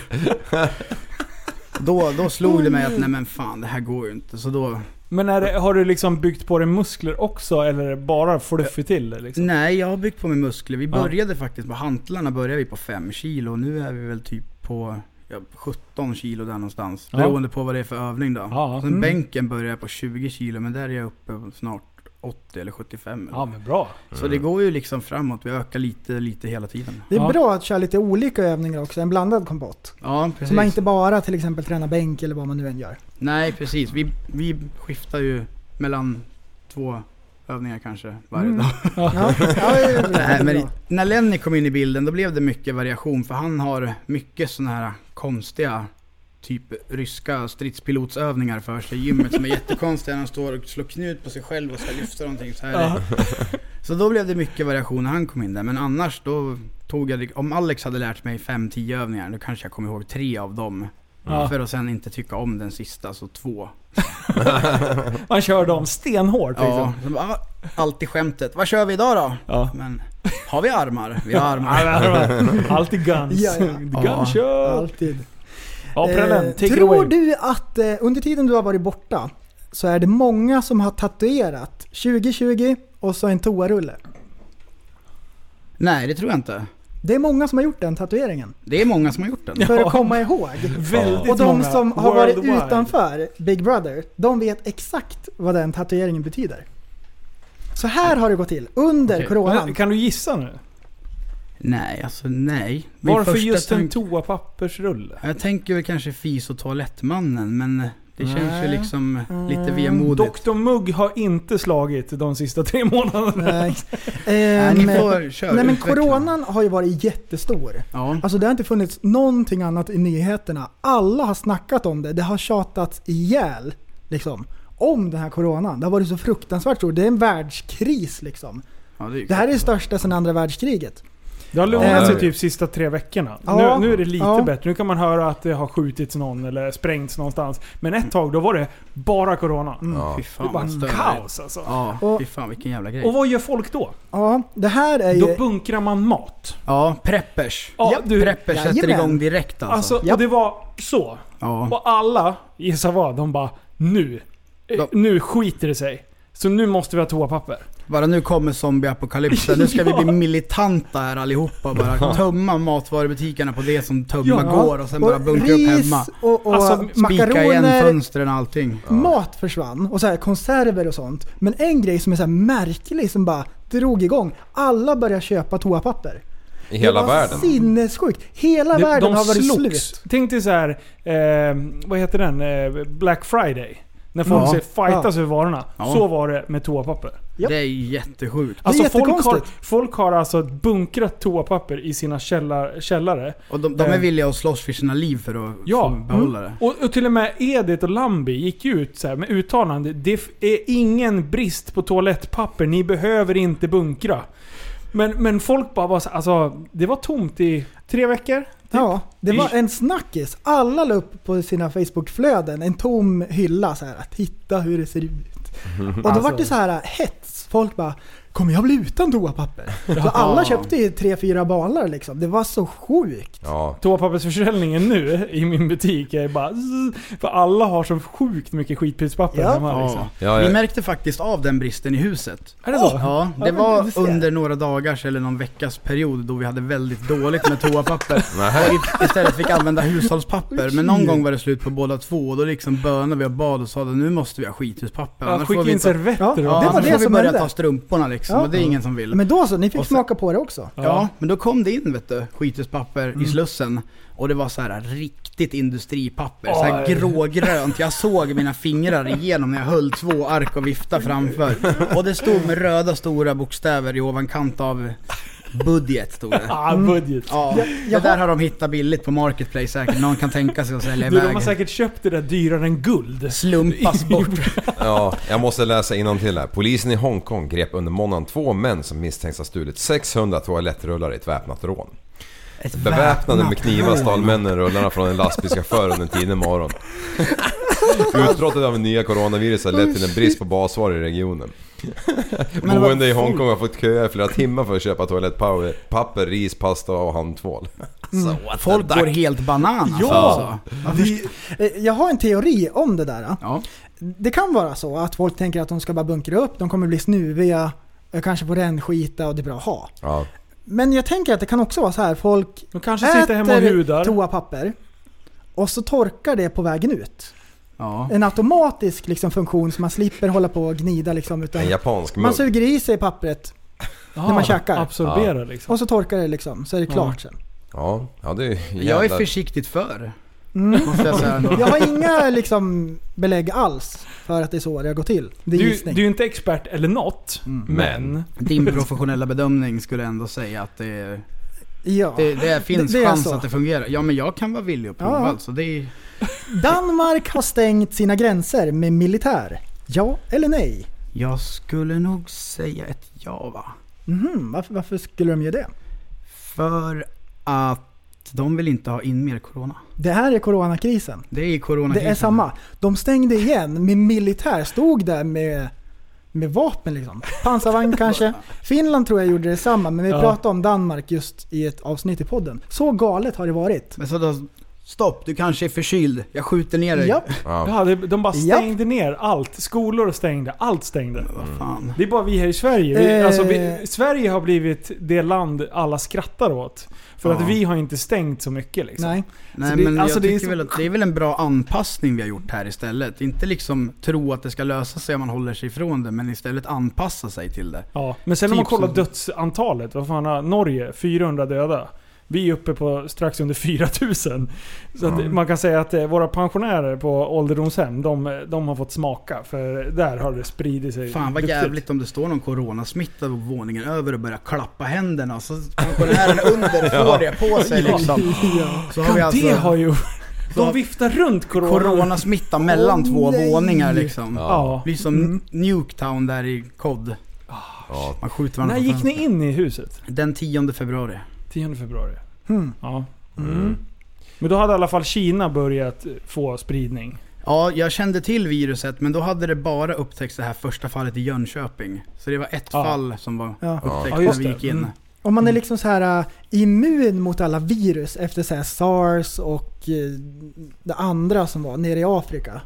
[SPEAKER 7] Då, då slog det mig att nej men fan det här går ju inte. Så då,
[SPEAKER 5] Men är det, har du liksom byggt på dig muskler också eller är det bara fluffy till det liksom?
[SPEAKER 7] nej jag har byggt på mig muskler. Vi började faktiskt på hantlarna började vi på 5 kilo och nu är vi väl typ på ja, 17 kilo där någonstans.
[SPEAKER 5] Ja.
[SPEAKER 7] Beroende på vad det är för övning då.
[SPEAKER 5] Ja.
[SPEAKER 7] Sen
[SPEAKER 5] Mm.
[SPEAKER 7] bänken börjar jag på 20 kilo men där är jag uppe på snart 80 eller 75.
[SPEAKER 5] Ja men bra.
[SPEAKER 7] Så det går ju liksom framåt. Vi ökar lite, lite hela tiden.
[SPEAKER 8] Det är
[SPEAKER 5] Ja.
[SPEAKER 8] bra att köra lite olika övningar också, en blandad kompott.
[SPEAKER 7] Ja,
[SPEAKER 8] Så man inte bara till exempel tränar bänk eller vad man nu än gör.
[SPEAKER 7] Nej, precis. Vi, vi skiftar ju mellan två övningar kanske varje
[SPEAKER 8] Mm.
[SPEAKER 7] dag.
[SPEAKER 8] Ja, ja, det är bra.
[SPEAKER 7] Nej, men när Lenny kom in i bilden då blev det mycket variation för han har mycket sådana här konstiga typ ryska stridspilotsövningar för sig i gymmet som är jättekonstiga. Han står och slår knut på sig själv och ska lyfta någonting så här. Så då blev det mycket variation när han kom in där. Men annars då tog jag, om Alex hade lärt mig 5-10 övningar då kanske jag kom ihåg tre av dem.
[SPEAKER 5] Ja.
[SPEAKER 7] För att sen inte tycka om den sista, så två.
[SPEAKER 5] Man kör dem stenhårt
[SPEAKER 7] Ja,
[SPEAKER 5] liksom.
[SPEAKER 7] så bara, alltid skämtet. Vad kör vi idag då?
[SPEAKER 5] Ja.
[SPEAKER 7] Men, har vi armar? Vi har armar.
[SPEAKER 5] Alltid guns.
[SPEAKER 8] Ja, ja.
[SPEAKER 5] Gun show.
[SPEAKER 8] Alltid.
[SPEAKER 5] Ja, prällen.
[SPEAKER 8] Eh,
[SPEAKER 5] Take it
[SPEAKER 8] tror
[SPEAKER 5] away.
[SPEAKER 8] du att eh, under tiden du har varit borta så är det många som har tatuerat 2020 och så en toarulle?
[SPEAKER 7] Nej, det tror jag inte.
[SPEAKER 8] Det är många som har gjort den tatueringen
[SPEAKER 7] Det är många som har gjort den.
[SPEAKER 8] för att komma ihåg.
[SPEAKER 5] Väldigt
[SPEAKER 8] Och de
[SPEAKER 5] många.
[SPEAKER 8] som har varit
[SPEAKER 5] Worldwide.
[SPEAKER 8] utanför Big Brother, de vet exakt vad den tatueringen betyder. Så här har det gått till under
[SPEAKER 5] Okej. Men
[SPEAKER 8] coronan.
[SPEAKER 5] Kan du gissa nu?
[SPEAKER 7] Nej, alltså nej. Min
[SPEAKER 5] Varför
[SPEAKER 7] första
[SPEAKER 5] just en
[SPEAKER 7] tank-
[SPEAKER 5] toapappersrulle?
[SPEAKER 7] Jag tänker väl kanske fis och toalettmannen, men det känns ju
[SPEAKER 5] Nej.
[SPEAKER 7] liksom lite
[SPEAKER 8] Mm,
[SPEAKER 7] vemodigt.
[SPEAKER 5] Dr Mugg har inte slagit de sista tre månaderna.
[SPEAKER 8] Nej.
[SPEAKER 7] Nej, ni
[SPEAKER 8] Ehm,
[SPEAKER 7] får köra.
[SPEAKER 8] Nej men
[SPEAKER 7] utveckla.
[SPEAKER 8] coronan har ju varit jättestor.
[SPEAKER 7] Ja.
[SPEAKER 8] Alltså det har inte funnits någonting annat i nyheterna. Alla har snackat om det. Det har tjatats ihjäl. Liksom. Om den här coronan. Det har varit så fruktansvärt stor. Det är en världskris liksom.
[SPEAKER 7] ja, det är ju
[SPEAKER 8] Det här är det största sedan andra världskriget.
[SPEAKER 5] Det har
[SPEAKER 6] Ja,
[SPEAKER 5] lugnat
[SPEAKER 6] det
[SPEAKER 5] sig
[SPEAKER 6] är-
[SPEAKER 5] typ sista tre veckorna.
[SPEAKER 8] Ja.
[SPEAKER 5] nu, nu är det lite
[SPEAKER 8] Ja.
[SPEAKER 5] bättre. Nu kan man höra att det har skjutits någon eller sprängts någonstans. Men ett tag då var det bara corona.
[SPEAKER 7] Fy
[SPEAKER 5] Det
[SPEAKER 7] fan
[SPEAKER 5] var
[SPEAKER 7] vad störigt.
[SPEAKER 5] kaos alltså.
[SPEAKER 7] Ja,
[SPEAKER 8] Och-
[SPEAKER 7] fy fan vilken jävla
[SPEAKER 5] Och
[SPEAKER 7] grej.
[SPEAKER 5] vad gör folk då?
[SPEAKER 8] Ja, det här är
[SPEAKER 5] Då
[SPEAKER 8] ju...
[SPEAKER 5] bunkrar man mat.
[SPEAKER 7] Ja, preppers.
[SPEAKER 5] Ja,
[SPEAKER 8] Japp,
[SPEAKER 5] du,
[SPEAKER 7] Preppers sätter
[SPEAKER 8] Jajamän.
[SPEAKER 7] igång direkt alltså.
[SPEAKER 5] alltså, och
[SPEAKER 8] Japp.
[SPEAKER 5] det var så.
[SPEAKER 7] ja.
[SPEAKER 5] Och alla, gissa vad, de bara nu. eh,
[SPEAKER 7] Ja.
[SPEAKER 5] Nu skiter det sig. Så nu måste vi ha toapapper.
[SPEAKER 7] Bara nu kommer zombieapokalypsen, nu ska vi bli militanta här allihopa och bara tömma matvarubutikerna på det som tömma
[SPEAKER 5] Ja.
[SPEAKER 7] går och sen bara bunkra upp
[SPEAKER 8] ris
[SPEAKER 7] hemma.
[SPEAKER 8] och, och
[SPEAKER 5] Alltså,
[SPEAKER 7] Spika igen
[SPEAKER 8] makaroner.
[SPEAKER 7] fönstren och allting.
[SPEAKER 8] Mat försvann och så här, konserver och sånt. Men en grej som är så här märklig som bara drog igång. Alla började köpa toapapper.
[SPEAKER 6] I hela
[SPEAKER 8] det var
[SPEAKER 6] världen.
[SPEAKER 8] Sinnessjukt. Hela
[SPEAKER 5] Det-
[SPEAKER 8] världen har varit
[SPEAKER 5] slogs.
[SPEAKER 8] slut.
[SPEAKER 5] Tänk dig så här, eh, vad heter den? Eh, Black Friday. När folk
[SPEAKER 7] Ja.
[SPEAKER 5] ja. fightas
[SPEAKER 8] Ja.
[SPEAKER 5] över varorna.
[SPEAKER 7] Ja.
[SPEAKER 5] Så var det med toapapper.
[SPEAKER 8] Japp.
[SPEAKER 7] Det är jättesjukt.
[SPEAKER 5] Alltså folk har,
[SPEAKER 8] jättekonstigt.
[SPEAKER 5] folk har alltså bunkrat toapapper i sina källar, källare.
[SPEAKER 7] Och de, de är villiga att slåss för sina liv för att
[SPEAKER 5] Ja, Mm.
[SPEAKER 7] få behålla det.
[SPEAKER 5] Och, och till och med Edith och Lambi gick ju ut så här med uttalande. Det f- är ingen brist på toalettpapper, ni behöver inte bunkra. Men, men folk bara var så, alltså, det var tomt i tre veckor. typ.
[SPEAKER 8] Ja, det var en snackis. Alla la upp på sina Facebookflöden en tom hylla så här. Titta hur det ser ut.
[SPEAKER 6] Mhm.
[SPEAKER 8] Och då var
[SPEAKER 6] Alltså.
[SPEAKER 8] det så här äh, hets. Folk bara Kommer jag bli utan toapapper? Så alla köpte ju tre, fyra balar liksom. Det var så sjukt.
[SPEAKER 6] Ja.
[SPEAKER 5] Toapappersförsäljningen nu i min butik är bara... zzz, För alla har så sjukt mycket skitprispapper
[SPEAKER 8] Ja.
[SPEAKER 5] hemma liksom.
[SPEAKER 7] Ja.
[SPEAKER 6] Ja,
[SPEAKER 7] Vi
[SPEAKER 6] ja.
[SPEAKER 7] märkte faktiskt av den bristen i huset.
[SPEAKER 5] Är det så?
[SPEAKER 7] Ja, det
[SPEAKER 8] men
[SPEAKER 7] var
[SPEAKER 8] du ser.
[SPEAKER 7] under några dagars eller någon veckas period då vi hade väldigt dåligt med toapapper.
[SPEAKER 6] Nähä.
[SPEAKER 7] Och vi istället fick använda hushållspapper. Men någon gång var det slut på båda två och då liksom bönade vi och bad och sa att nu måste vi ha skithuspapper.
[SPEAKER 5] Ja, skicka
[SPEAKER 7] vi
[SPEAKER 5] in servetter
[SPEAKER 8] Ja,
[SPEAKER 7] ja,
[SPEAKER 5] och...
[SPEAKER 8] det var
[SPEAKER 7] annars
[SPEAKER 8] det
[SPEAKER 7] får vi
[SPEAKER 8] som
[SPEAKER 7] börja
[SPEAKER 8] hände.
[SPEAKER 7] ta strumporna liksom.
[SPEAKER 8] Ja.
[SPEAKER 7] Och det är ingen som vill.
[SPEAKER 8] Men då så, ni fick
[SPEAKER 7] Och sen-
[SPEAKER 8] smaka på det också.
[SPEAKER 7] Ja, men då kom det in vet du, skithuspapper
[SPEAKER 5] Mm.
[SPEAKER 7] i Slussen. Och det var så här riktigt industripapper. Så här
[SPEAKER 5] Oj.
[SPEAKER 7] grågrönt. Jag såg mina fingrar igenom när jag höll två ark och viftade framför. Och det stod med röda stora bokstäver i ovankant av budget stod det.
[SPEAKER 5] Ah,
[SPEAKER 8] Mm.
[SPEAKER 5] budget.
[SPEAKER 7] Ja, det
[SPEAKER 8] jag
[SPEAKER 7] där
[SPEAKER 8] har-
[SPEAKER 7] har de hittat billigt på Marketplace säkert. Någon kan tänka sig att sälja
[SPEAKER 5] Du, de har
[SPEAKER 7] iväg.
[SPEAKER 5] säkert köpt det där dyrare än guld.
[SPEAKER 7] Slumpas bort.
[SPEAKER 6] Ja, jag måste läsa innantill här. Polisen i Hongkong grep under måndagen två män som misstänks ha stulit 600 toalettrullar i ett väpnat rån.
[SPEAKER 7] Ett
[SPEAKER 6] Beväpnade med
[SPEAKER 7] väpnat
[SPEAKER 6] knivar
[SPEAKER 7] rån.
[SPEAKER 6] stal männen rullarna från en lastbilschaufför under tidig morgon. Utbrottet av nya coronaviruset har lett till en brist på basvaror i regionen. Boende i Hongkong har fått köa i flera timmar för att köpa toalettpapper, ris, pasta och handtvål.
[SPEAKER 7] Folk går helt bananas
[SPEAKER 8] Ja.
[SPEAKER 7] alltså.
[SPEAKER 8] Vi, eh, jag har en teori om det där.
[SPEAKER 7] Ja.
[SPEAKER 8] Det kan vara så att folk tänker att de ska bara bunkra upp, de kommer bli snuviga, eh, kanske får rännskita och det är bra att ha.
[SPEAKER 6] Ja.
[SPEAKER 8] Men jag tänker att det kan också vara så här, folk
[SPEAKER 5] De kanske sitter hemma och hudar.
[SPEAKER 8] toapapper och så torkar det på vägen ut.
[SPEAKER 7] Ja.
[SPEAKER 8] En automatisk liksom, funktion så man slipper hålla på och gnida liksom. Utan
[SPEAKER 6] En japansk
[SPEAKER 8] man
[SPEAKER 6] mugg.
[SPEAKER 8] suger i sig pappret när man käkar.
[SPEAKER 5] Absorberar liksom.
[SPEAKER 8] och så torkar det liksom, så är det klart sen.
[SPEAKER 6] Ja, ja det är ju
[SPEAKER 7] Jag är
[SPEAKER 6] jävlar-
[SPEAKER 7] försiktigt för.
[SPEAKER 8] Mm.
[SPEAKER 7] Måste jag säga. ändå.
[SPEAKER 8] Jag har inga liksom, belägg alls för att det är så det har gått till. Det är
[SPEAKER 5] Du, du
[SPEAKER 8] gissning.
[SPEAKER 5] är ju inte expert eller något,
[SPEAKER 7] Mm.
[SPEAKER 5] men...
[SPEAKER 7] Din professionella bedömning skulle ändå säga att det,
[SPEAKER 8] ja.
[SPEAKER 5] Eh,
[SPEAKER 7] det, det finns
[SPEAKER 8] Det- det är
[SPEAKER 7] chans
[SPEAKER 8] så.
[SPEAKER 7] att det fungerar. Ja men jag kan vara villig att prova
[SPEAKER 8] Ja.
[SPEAKER 7] alltså. Det är,
[SPEAKER 8] Danmark har stängt sina gränser med militär. Ja eller nej?
[SPEAKER 7] jag skulle nog säga ett ja va?
[SPEAKER 8] Mhm, varför, varför skulle de göra det?
[SPEAKER 7] För att de vill inte ha in mer corona.
[SPEAKER 8] Det här är coronakrisen.
[SPEAKER 7] Det är
[SPEAKER 8] Det
[SPEAKER 7] coronakrisen.
[SPEAKER 8] är samma. De stängde igen med militär. Stod där med, med vapen liksom. Pansarvagn kanske. Finland tror jag gjorde detsamma, men vi
[SPEAKER 5] Ja.
[SPEAKER 8] pratade om Danmark just i ett avsnitt i podden. Så galet har det varit.
[SPEAKER 7] Men så då, stopp, du kanske är förkyld. Jag skjuter ner dig.
[SPEAKER 8] Japp.
[SPEAKER 6] Ja.
[SPEAKER 5] Ja, det- de bara
[SPEAKER 8] Japp.
[SPEAKER 5] stängde ner allt. Skolor stängde, allt stängde.
[SPEAKER 7] Vad fan.
[SPEAKER 5] Det är bara vi här i Sverige. Vi,
[SPEAKER 8] Eh.
[SPEAKER 5] alltså, vi, Sverige har blivit det land alla skrattar åt. För
[SPEAKER 7] Ja.
[SPEAKER 5] att vi har inte stängt så mycket liksom.
[SPEAKER 8] Nej.
[SPEAKER 7] Nej
[SPEAKER 5] det-
[SPEAKER 7] men
[SPEAKER 5] alltså,
[SPEAKER 7] jag
[SPEAKER 5] det är
[SPEAKER 7] tycker
[SPEAKER 5] så-
[SPEAKER 7] väl att det är väl en bra anpassning vi har gjort här istället. Inte liksom tro att det ska lösa sig om man håller sig ifrån det, men istället anpassa sig till det.
[SPEAKER 5] Ja. Men sen om man
[SPEAKER 7] Typ
[SPEAKER 5] kollar
[SPEAKER 7] så.
[SPEAKER 5] dödsantalet. Vad fan har Norge? 400 döda. Vi är uppe på strax under 4000. Så att man kan säga att eh, våra pensionärer på ålderdomshem, de, de har fått smaka. För där har det spridit sig
[SPEAKER 7] Fan vad
[SPEAKER 5] duktigt.
[SPEAKER 7] jävligt om det står någon coronasmittad på våningen över och börjar klappa händerna och så pensionären under får det på sig
[SPEAKER 5] Ja.
[SPEAKER 7] liksom. Så har vi
[SPEAKER 5] Ja, det har
[SPEAKER 7] alltså
[SPEAKER 5] ju...
[SPEAKER 7] har-
[SPEAKER 5] De viftar runt corona.
[SPEAKER 7] coronasmitta mellan
[SPEAKER 8] Åh,
[SPEAKER 7] två
[SPEAKER 8] nej.
[SPEAKER 7] våningar liksom.
[SPEAKER 5] Ja.
[SPEAKER 7] Blir som
[SPEAKER 5] Mm.
[SPEAKER 7] Nuketown där i COD.
[SPEAKER 8] Ah,
[SPEAKER 6] Ja.
[SPEAKER 7] Man skjuter
[SPEAKER 5] När
[SPEAKER 7] varandra på
[SPEAKER 5] gick ni
[SPEAKER 7] fönstret.
[SPEAKER 5] in i huset?
[SPEAKER 7] Den 10 februari.
[SPEAKER 5] 10 februari.
[SPEAKER 8] Hmm.
[SPEAKER 5] Ja.
[SPEAKER 6] mm.
[SPEAKER 5] Men då hade i alla fall Kina börjat eh, få spridning.
[SPEAKER 7] Ja, jag kände till viruset men då hade det bara upptäckts det här första fallet i Jönköping. Så det var ett
[SPEAKER 5] Ja.
[SPEAKER 7] fall som var
[SPEAKER 8] Ah. Ja.
[SPEAKER 7] upptäckt
[SPEAKER 5] Ja,
[SPEAKER 7] när
[SPEAKER 5] just
[SPEAKER 7] vi
[SPEAKER 5] det.
[SPEAKER 7] gick in.
[SPEAKER 5] Mm.
[SPEAKER 8] Om man är liksom så här äh, immun mot alla virus efter så här sars och eh, det andra som var nere i Afrika.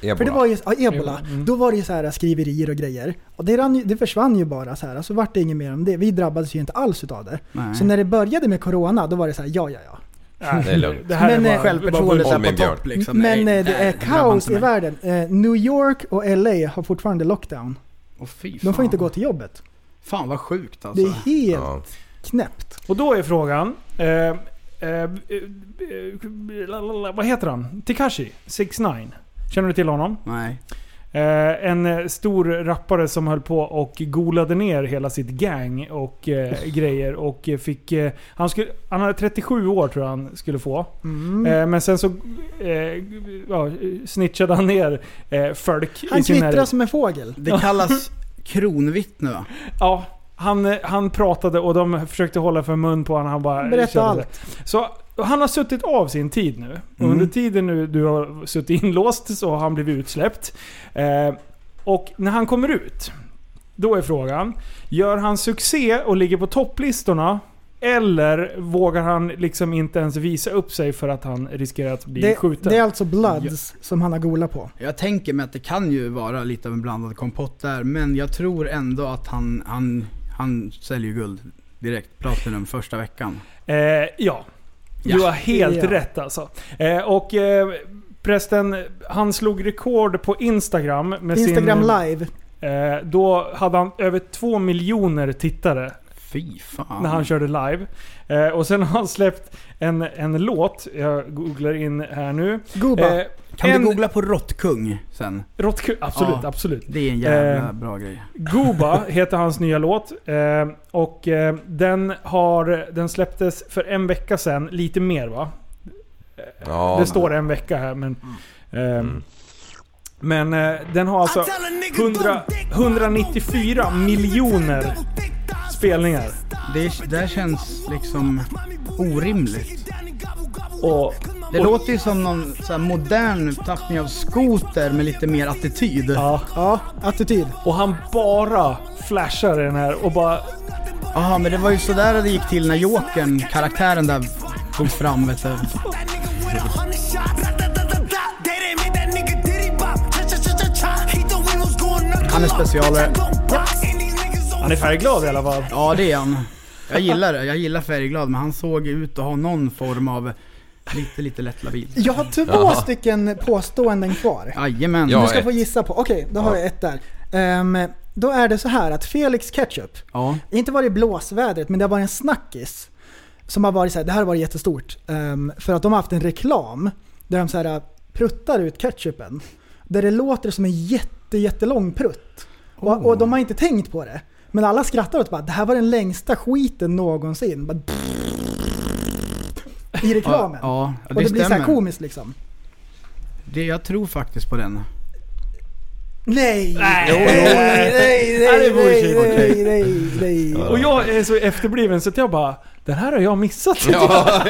[SPEAKER 8] För det var
[SPEAKER 6] Ebola.
[SPEAKER 8] ju, ja, ebola.
[SPEAKER 5] Ebola, mm.
[SPEAKER 8] Då var det ju så här skriverier och grejer. Och det, rann ju, det försvann ju bara så här. Så vart det inget mer om det. Vi drabbades ju inte alls utav det.
[SPEAKER 7] Nej.
[SPEAKER 8] Så när det började med corona, då var det så här, ja ja ja.
[SPEAKER 5] Nej,
[SPEAKER 6] Det är lugnt.
[SPEAKER 5] här
[SPEAKER 8] Men, eh,
[SPEAKER 5] bara-
[SPEAKER 7] Självförtroendet
[SPEAKER 6] Om
[SPEAKER 7] är
[SPEAKER 6] min
[SPEAKER 7] på
[SPEAKER 6] björn.
[SPEAKER 7] topp liksom.
[SPEAKER 8] Men
[SPEAKER 7] Nej,
[SPEAKER 8] eh, det
[SPEAKER 7] nej,
[SPEAKER 8] är
[SPEAKER 7] det drabbar
[SPEAKER 8] kaos
[SPEAKER 7] inte
[SPEAKER 8] i
[SPEAKER 7] mig.
[SPEAKER 8] världen. Eh, New York och LA har fortfarande lockdown.
[SPEAKER 7] Åh, fy
[SPEAKER 8] De får
[SPEAKER 7] fan.
[SPEAKER 8] inte gå till jobbet.
[SPEAKER 7] Fan vad sjukt
[SPEAKER 8] Det
[SPEAKER 7] alltså.
[SPEAKER 8] är helt
[SPEAKER 6] Ja.
[SPEAKER 8] knäppt.
[SPEAKER 5] Och då är frågan... Eh, eh, eh, eh, lalala, vad heter han? Tekashi 69. Känner du till honom?
[SPEAKER 7] Nej.
[SPEAKER 5] Eh, en eh, stor rappare som höll på och golade ner hela sitt gang och eh, grejer. Och eh, fick... Eh, han, skulle, han hade 37 år tror jag han skulle få.
[SPEAKER 8] Mm.
[SPEAKER 5] Eh, men sen så eh, ja, snitchade han ner eh, folk
[SPEAKER 8] Han
[SPEAKER 5] i sin
[SPEAKER 8] kvittrar som en fågel.
[SPEAKER 7] Det kallas kronvittne va?
[SPEAKER 5] Ja, han, eh, han pratade och de försökte hålla för mun på honom. Han bara
[SPEAKER 8] Berätta
[SPEAKER 5] körde
[SPEAKER 8] allt. Mm.
[SPEAKER 5] det. Så och han har suttit av sin tid nu. Och Under tiden nu du har suttit inlåst så har han blivit utsläppt. Eh, och när han kommer ut, då är frågan. Gör han succé och ligger på topplistorna? Eller vågar han liksom inte ens visa upp sig för att han riskerar att bli
[SPEAKER 8] Det,
[SPEAKER 5] skjuten?
[SPEAKER 8] det är alltså Bloods som han har golat på.
[SPEAKER 7] Jag tänker mig att det kan ju vara lite av en blandad kompott där men jag tror ändå att han, han, han säljer ju guld direkt. Platinum första veckan.
[SPEAKER 5] Eh, ja.
[SPEAKER 7] Ja.
[SPEAKER 5] Du har helt
[SPEAKER 8] Ja.
[SPEAKER 5] rätt alltså. Eh, och eh, prästen, han slog rekord på Instagram med
[SPEAKER 8] Instagram
[SPEAKER 5] sin...
[SPEAKER 8] live.
[SPEAKER 5] Eh, då hade han över två miljoner tittare
[SPEAKER 7] Fy fan.
[SPEAKER 5] när han körde live. Eh, och sen har han släppt en, en låt, jag googlar in här nu.
[SPEAKER 8] Gooba.
[SPEAKER 5] Eh,
[SPEAKER 7] Kan
[SPEAKER 5] en,
[SPEAKER 7] du googla på råttkung sen?
[SPEAKER 5] Rottku- absolut,
[SPEAKER 7] Ja.
[SPEAKER 5] absolut.
[SPEAKER 7] Det är en jävla
[SPEAKER 5] Eh,
[SPEAKER 7] bra grej.
[SPEAKER 5] Gooba heter hans nya låt. Eh, och eh, den, har, den släpptes för en vecka sedan, lite mer va?
[SPEAKER 6] Ja,
[SPEAKER 5] det står en vecka här men... ehm, Men eh, den har alltså 100, 194 miljoner spelningar.
[SPEAKER 7] Det, det här känns liksom orimligt.
[SPEAKER 5] Och
[SPEAKER 7] Det låter ju som någon så här modern tappning av skoter med lite mer attityd.
[SPEAKER 5] Ja.
[SPEAKER 8] Ja, attityd.
[SPEAKER 5] Och han bara flashar den här och bara...
[SPEAKER 7] Jaha, men det var ju sådär det gick till när Jokern, karaktären där, togs fram vet du. Han är specialare.
[SPEAKER 5] Han är färgglad i alla fall.
[SPEAKER 7] Ja, det är han. Jag gillar det. Jag gillar färgglad, men han såg ut att ha någon form av lite, lite lätt labil.
[SPEAKER 8] Jag har två stycken påståenden kvar.
[SPEAKER 7] Jajamän.
[SPEAKER 6] Ja.
[SPEAKER 8] Du ska få gissa på. Okej, då har vi ett där. Ehm, då är det så här att Felix Ketchup,
[SPEAKER 7] Ja.
[SPEAKER 8] inte varit i blåsvädret, men det har varit en snackis. Som har varit så här, det här har varit jättestort. Ehm, för att de har haft en reklam där de så här pruttar ut ketchupen. Där det låter som en jätte, jättelång prutt.
[SPEAKER 7] Oh.
[SPEAKER 8] Och, och de har inte tänkt på det. Men alla skrattar åt bara, det här var den längsta skiten någonsin. Bara, I reklamen.
[SPEAKER 7] Ja, ja, det,
[SPEAKER 8] och det blir så här
[SPEAKER 7] stämmer.
[SPEAKER 8] komiskt liksom.
[SPEAKER 7] Det, jag tror faktiskt på den.
[SPEAKER 8] Nej!
[SPEAKER 5] Nej.
[SPEAKER 8] Nej, nej,
[SPEAKER 5] Eh, Nej, det
[SPEAKER 8] nej,
[SPEAKER 5] är bullshit.
[SPEAKER 8] nej, nej, nej, nej.
[SPEAKER 5] Och jag är så efterbliven så att jag bara... Den här har jag missat.
[SPEAKER 6] Ja,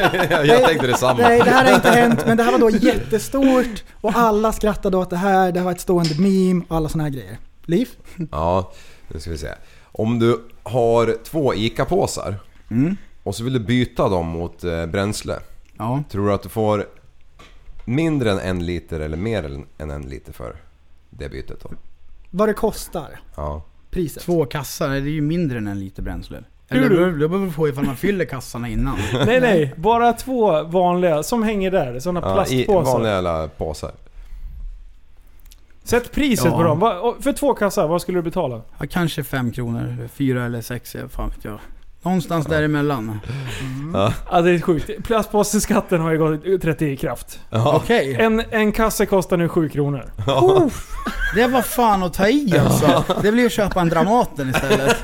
[SPEAKER 6] jag tänkte detsamma.
[SPEAKER 8] Nej, det här har inte hänt, men det här var då jättestort och alla skrattade åt det här. Det här var ett stående meme och alla såna här grejer. Liv?
[SPEAKER 6] Ja, nu ska vi se. Om du har två ICA-påsar och så vill du byta dem mot eh, bränsle.
[SPEAKER 7] Ja.
[SPEAKER 6] Tror du att du får mindre än en liter eller mer än- än en liter för det bytet då?
[SPEAKER 8] Vad det kostar?
[SPEAKER 6] Ja.
[SPEAKER 8] Priset?
[SPEAKER 7] Två kassar, det är ju mindre än en liter bränsle.
[SPEAKER 5] Hur då?
[SPEAKER 7] Eller då då beror det på ifall man fyller kassarna innan.
[SPEAKER 5] Nej, nej. Bara två vanliga som hänger där. Sådana
[SPEAKER 6] ja I
[SPEAKER 5] plastpåsar.
[SPEAKER 6] vanliga jävla påsar.
[SPEAKER 5] Sätt priset
[SPEAKER 7] Ja.
[SPEAKER 5] på dem. Va- och För två kassar, vad skulle du betala?
[SPEAKER 7] Ja, kanske fem kronor, fyra eller sex, jag- fan vet jag. Någonstans däremellan.
[SPEAKER 5] Ja, det är sjukt. Plastpåseskatten har ju gått, trätt i kraft.
[SPEAKER 6] Ja.
[SPEAKER 7] Okej,
[SPEAKER 5] En, en kasse kostar nu 7 kronor.
[SPEAKER 7] det var fan att ta i alltså. Det blir ju att köpa en Dramaten istället.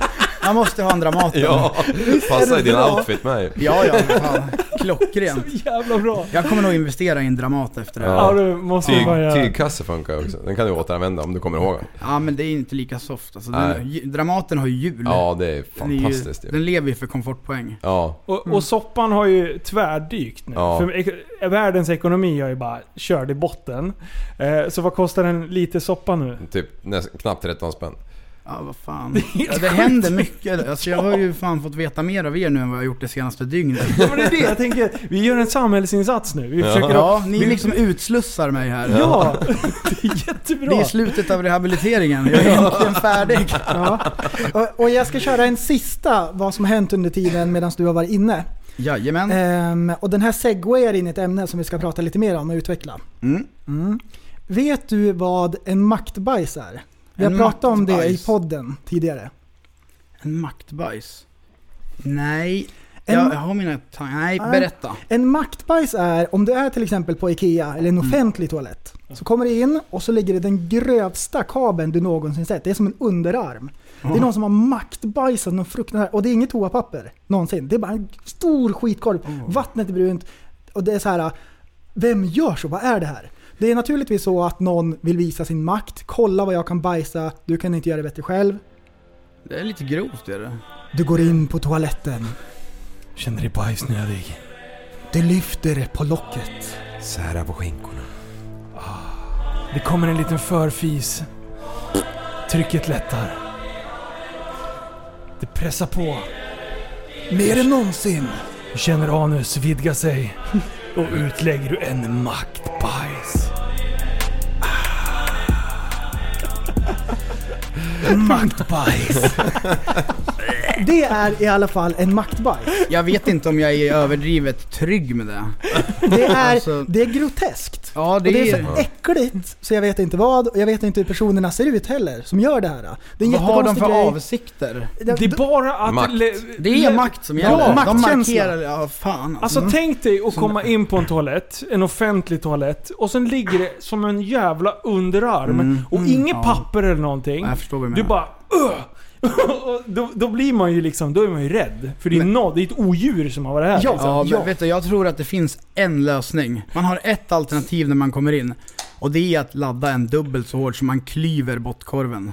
[SPEAKER 7] Man måste ha en Dramaten.
[SPEAKER 6] Ja, passar i din outfit med ju.
[SPEAKER 7] ja, ja fan. klockrent.
[SPEAKER 5] Jävla bra.
[SPEAKER 7] Jag kommer nog investera i en Dramat efter det här.
[SPEAKER 5] Ja,
[SPEAKER 7] Ja,
[SPEAKER 5] du måste
[SPEAKER 6] Tyg,
[SPEAKER 5] man göra.
[SPEAKER 6] tygkasse funkar också. Den kan du återanvända om du kommer ihåg den.
[SPEAKER 7] men det är ju inte lika soft alltså, den,
[SPEAKER 6] Nej.
[SPEAKER 7] ju- Dramaten har ju hjul.
[SPEAKER 6] Ja, det är
[SPEAKER 7] Den är ju-
[SPEAKER 6] fantastiskt ju.
[SPEAKER 7] Den lever ju för komfortpoäng.
[SPEAKER 6] Ja,
[SPEAKER 5] Och,
[SPEAKER 8] Mm.
[SPEAKER 5] och soppan har ju tvärdykt nu.
[SPEAKER 6] Ja.
[SPEAKER 5] För ek- världens ekonomi har ju bara körd i botten. Eh, så vad kostar en liter soppa nu?
[SPEAKER 6] typ nästan, knappt 13 spänn.
[SPEAKER 7] Ja, vad fan. Det, ja, det händer mycket. Alltså, jag har ju fan fått veta mer av er nu än vad jag har gjort det senaste dygnet.
[SPEAKER 5] Ja, men det är det. Jag tänker, vi gör en samhällsinsats nu. Vi försöker...
[SPEAKER 7] Ja, ni liksom utslussar mig här.
[SPEAKER 5] Ja, det är jättebra.
[SPEAKER 7] Det är slutet av rehabiliteringen. Jag är äntligen färdig.
[SPEAKER 8] Ja. Och, och jag ska köra en sista, vad som har hänt under tiden medan du har varit inne.
[SPEAKER 7] Jajamän.
[SPEAKER 6] Eh.
[SPEAKER 8] Ehm, och den här segwayar in i ett ämne som vi ska prata lite mer om och utveckla.
[SPEAKER 7] Mm.
[SPEAKER 8] Mm. Vet du vad en maktbajs är? Vi har
[SPEAKER 7] En
[SPEAKER 8] pratat om det i
[SPEAKER 7] maktbajs?
[SPEAKER 8] podden tidigare.
[SPEAKER 7] En maktbajs? Nej.
[SPEAKER 8] En
[SPEAKER 7] jag,
[SPEAKER 8] ma-
[SPEAKER 7] jag har mina tankar. Nej,
[SPEAKER 8] Nej.
[SPEAKER 7] berätta.
[SPEAKER 8] En maktbajs är om du är till exempel på IKEA eller en offentlig toalett. Så kommer du in och så ligger det den grövsta kabeln du någonsin sett. Det är som en underarm. Det är någon som har maktbajsat någon fruktansvärd... Och det är inget toapapper någonsin. Det är bara en stor skitkorv. Vattnet är brunt. Och det är så här. Vem gör så? Vad är det här? Det är naturligtvis så att någon vill visa sin makt. Kolla vad jag kan bajsa. Du kan inte göra det bättre själv.
[SPEAKER 7] Det är lite grovt är det.
[SPEAKER 8] Du går in på toaletten.
[SPEAKER 5] Känner dig bajsnödig?
[SPEAKER 8] Du lyfter på locket.
[SPEAKER 6] Sära på skinkorna.
[SPEAKER 5] Ah, Det kommer en liten förfis. Trycket lättar. Det pressar på.
[SPEAKER 8] Mer än någonsin.
[SPEAKER 5] Du känner anus vidga sig och utlägger du en maktbajs. Maktbajs.
[SPEAKER 8] Det är i alla fall en maktbajs.
[SPEAKER 7] Jag vet inte om jag är överdrivet trygg med det.
[SPEAKER 8] Det är,
[SPEAKER 7] Alltså-
[SPEAKER 8] det är groteskt.
[SPEAKER 7] Ja, det,
[SPEAKER 8] Och det är
[SPEAKER 7] är...
[SPEAKER 8] så äckligt så jag vet inte vad och jag vet inte hur personerna ser ut heller som gör det här. Det är en
[SPEAKER 7] Vad har de
[SPEAKER 8] jättekonstig
[SPEAKER 7] för
[SPEAKER 8] grej.
[SPEAKER 7] avsikter?
[SPEAKER 8] Det-
[SPEAKER 5] Det är bara att...
[SPEAKER 6] Makt.
[SPEAKER 7] Det är makt som
[SPEAKER 8] Ja,
[SPEAKER 7] gäller. de
[SPEAKER 8] maktkänsla.
[SPEAKER 7] markerar... Ja, fan
[SPEAKER 5] Alltså
[SPEAKER 7] Mm.
[SPEAKER 5] tänk dig att komma in på en toalett, en offentlig toalett, och sen ligger det som en jävla underarm.
[SPEAKER 7] Mm.
[SPEAKER 5] Och
[SPEAKER 7] Mm.
[SPEAKER 5] inget
[SPEAKER 7] Ja.
[SPEAKER 5] papper eller någonting.
[SPEAKER 7] Ja, Jag förstår vad du
[SPEAKER 5] Du
[SPEAKER 7] menar.
[SPEAKER 5] bara "Ugh!" Och då, då blir man ju liksom, då är man ju rädd. För det är, nå, det är ett odjur som har varit här.
[SPEAKER 8] Ja.
[SPEAKER 5] liksom.
[SPEAKER 7] Ja, men
[SPEAKER 8] Ja.
[SPEAKER 7] vet du, jag tror att det finns en lösning. Man har ett alternativ när man kommer in. Och det är att ladda en dubbelt så hårt så man klyver bottkorven.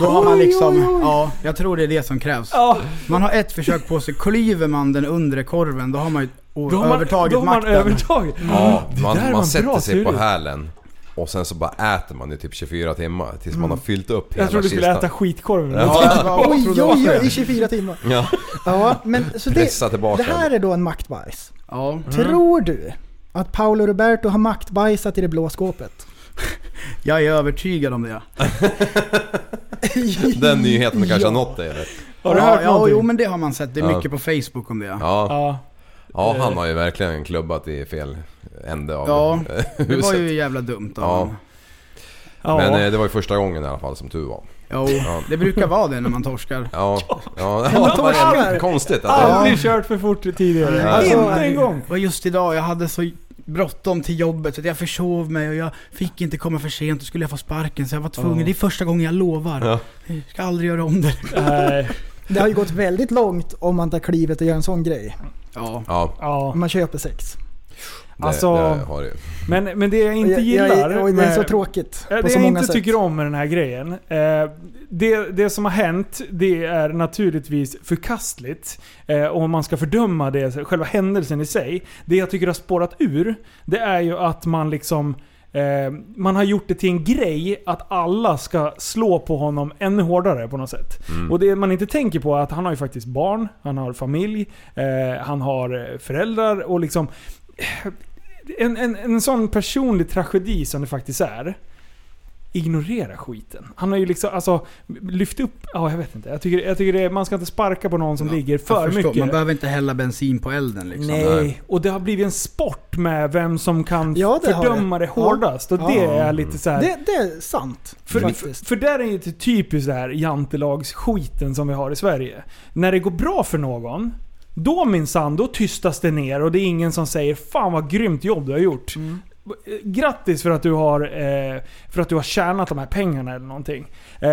[SPEAKER 7] Då har man liksom, ja, jag tror det är det som krävs.
[SPEAKER 5] Ja,
[SPEAKER 7] Man har ett försök på sig, klyver man den undre korven då har man ju o-
[SPEAKER 5] då har man,
[SPEAKER 7] övertagit
[SPEAKER 5] då har man
[SPEAKER 7] makten. Mm.
[SPEAKER 5] övertagit.
[SPEAKER 6] Ja,
[SPEAKER 5] Mm. Det
[SPEAKER 6] man,
[SPEAKER 5] där
[SPEAKER 6] man,
[SPEAKER 5] var en
[SPEAKER 6] sätter
[SPEAKER 5] bra
[SPEAKER 6] sig på
[SPEAKER 5] teori.
[SPEAKER 6] hälen och sen så bara äter man i typ 24 timmar tills man har fyllt upp hela
[SPEAKER 5] Mm. Jag trodde du skulle
[SPEAKER 6] kistan.
[SPEAKER 5] äta skitkorven.
[SPEAKER 6] Ja,
[SPEAKER 7] Vad
[SPEAKER 8] Oj,
[SPEAKER 7] trodde
[SPEAKER 8] oj,
[SPEAKER 7] du om
[SPEAKER 8] oj,
[SPEAKER 7] det?
[SPEAKER 8] i 24 timmar.
[SPEAKER 6] ja,
[SPEAKER 8] Ja, men så det,
[SPEAKER 6] pressa tillbaka.
[SPEAKER 8] det här är då en maktbajs.
[SPEAKER 7] Ja,
[SPEAKER 8] Tror du att Paolo Roberto har maktbajsat i det blå skåpet?
[SPEAKER 7] jag är övertygad om det.
[SPEAKER 6] Den nyheten kanske
[SPEAKER 8] Ja.
[SPEAKER 6] har nått dig eller?
[SPEAKER 5] Har du
[SPEAKER 7] ja,
[SPEAKER 5] hört
[SPEAKER 7] ja,
[SPEAKER 5] någonting?
[SPEAKER 7] jo men det har man sett. Det är
[SPEAKER 6] Ja.
[SPEAKER 7] mycket på Facebook om det. Ja.
[SPEAKER 6] Ja.
[SPEAKER 5] Ja.
[SPEAKER 6] ja, han har ju verkligen klubbat i fel ände av
[SPEAKER 7] Ja,
[SPEAKER 6] huset.
[SPEAKER 7] Det var ju jävla dumt av
[SPEAKER 6] Ja.
[SPEAKER 7] honom.
[SPEAKER 5] Ja.
[SPEAKER 6] Men eh, det var ju första gången i alla fall som tur var.
[SPEAKER 7] Jo, det brukar vara det när man torskar.
[SPEAKER 6] Ja, ja.
[SPEAKER 8] man
[SPEAKER 6] ja.
[SPEAKER 8] tar skär.
[SPEAKER 6] konstigt att det...
[SPEAKER 5] Aldrig kört för fort tidigare.
[SPEAKER 6] Alltså,
[SPEAKER 5] Inte en gång.
[SPEAKER 7] Det var just idag, jag hade så bråttom till jobbet så att jag försov mig och jag fick inte komma för sent, då skulle jag få sparken så jag var tvungen.
[SPEAKER 5] Ja.
[SPEAKER 7] Det är första gången jag lovar.
[SPEAKER 6] Ja.
[SPEAKER 7] Jag ska aldrig göra om det.
[SPEAKER 5] Nej.
[SPEAKER 8] Det har ju gått väldigt långt om man tar klivet och gör en sån grej.
[SPEAKER 7] Ja.
[SPEAKER 6] Ja,
[SPEAKER 5] Ja.
[SPEAKER 8] Om man köper sex.
[SPEAKER 6] det,
[SPEAKER 5] Alltså-
[SPEAKER 6] det har det ju.
[SPEAKER 5] Men, men det jag inte
[SPEAKER 8] jag,
[SPEAKER 5] gillar...
[SPEAKER 8] Jag, oj, det är så
[SPEAKER 5] med-
[SPEAKER 8] tråkigt
[SPEAKER 5] Ja,
[SPEAKER 8] på
[SPEAKER 5] Eh, Det
[SPEAKER 8] så
[SPEAKER 5] jag
[SPEAKER 8] många
[SPEAKER 5] inte
[SPEAKER 8] sätt.
[SPEAKER 5] tycker om med den här grejen. Eh, det, det som har hänt, det är naturligtvis förkastligt. Eh, och om man ska fördöma det, själva händelsen i sig. Det jag tycker har spårat ur, det är ju att man liksom... Eh, man har gjort det till en grej att alla ska slå på honom ännu hårdare på något sätt.
[SPEAKER 7] Mm.
[SPEAKER 6] Mm.
[SPEAKER 5] Och det man inte tänker på är att han har ju faktiskt barn, han har familj, eh, han har eh, föräldrar och liksom... En, en, en sån personlig tragedi som det faktiskt är. Ignorera skiten. Han har ju liksom, alltså, lyft upp... Ja, jag vet inte. Jag tycker, jag tycker det, är- man ska inte sparka på någon som ligger
[SPEAKER 7] Jag
[SPEAKER 5] för
[SPEAKER 7] förstår,
[SPEAKER 5] mycket.
[SPEAKER 7] Man behöver inte hälla bensin på elden liksom.
[SPEAKER 5] Nej, och det har blivit en sport med vem som kan
[SPEAKER 8] Ja, det har
[SPEAKER 5] fördöma det,
[SPEAKER 8] det.
[SPEAKER 5] hårdast. Och
[SPEAKER 8] Ja.
[SPEAKER 5] det är lite så här.
[SPEAKER 8] Det, det är sant
[SPEAKER 5] för, för,
[SPEAKER 8] faktiskt.
[SPEAKER 5] för där är ju det typiskt det här jantelagsskiten som vi har i Sverige. När det går bra för någon, då minsann, då tystas det ner och det är ingen som säger 'Fan vad grymt jobb du har gjort' Grattis för att du har, eh, för att du har tjänat de här pengarna eller någonting. Eh,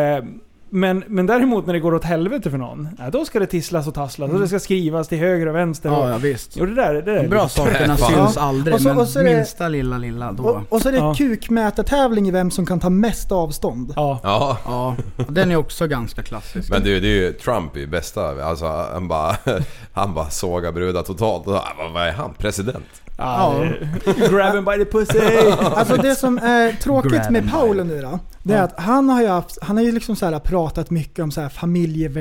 [SPEAKER 5] men, men däremot när det går åt helvete för någon, ja, då ska det tisslas och tasslas och det ska skrivas till höger och vänster.
[SPEAKER 7] Ja,
[SPEAKER 5] och,
[SPEAKER 7] ja visst.
[SPEAKER 5] och det där, det där är liksom-
[SPEAKER 7] De bra
[SPEAKER 5] lite-
[SPEAKER 7] sakerna
[SPEAKER 6] Fan.
[SPEAKER 7] syns aldrig,
[SPEAKER 8] Och så-
[SPEAKER 7] men
[SPEAKER 8] och så är det-
[SPEAKER 7] minsta lilla lilla då.
[SPEAKER 8] Och, och så är det
[SPEAKER 5] Ja.
[SPEAKER 8] kukmätartävling i vem som kan ta mest avstånd.
[SPEAKER 5] Ja.
[SPEAKER 6] Ja.
[SPEAKER 7] Ja, den är också ganska klassisk.
[SPEAKER 6] Men du, det är ju Trump är ju bästa. Alltså han bara, han bara sågar brudar totalt. Och, ah, vad- Vad är han? President?
[SPEAKER 5] Ja.
[SPEAKER 7] Ja.
[SPEAKER 5] det- Grab him by the pussy!
[SPEAKER 8] Alltså det som är tråkigt
[SPEAKER 7] Grab
[SPEAKER 8] med
[SPEAKER 7] and
[SPEAKER 8] Paolo nu då, det är att han har ju, haft, han har ju liksom så här pratat mycket om så här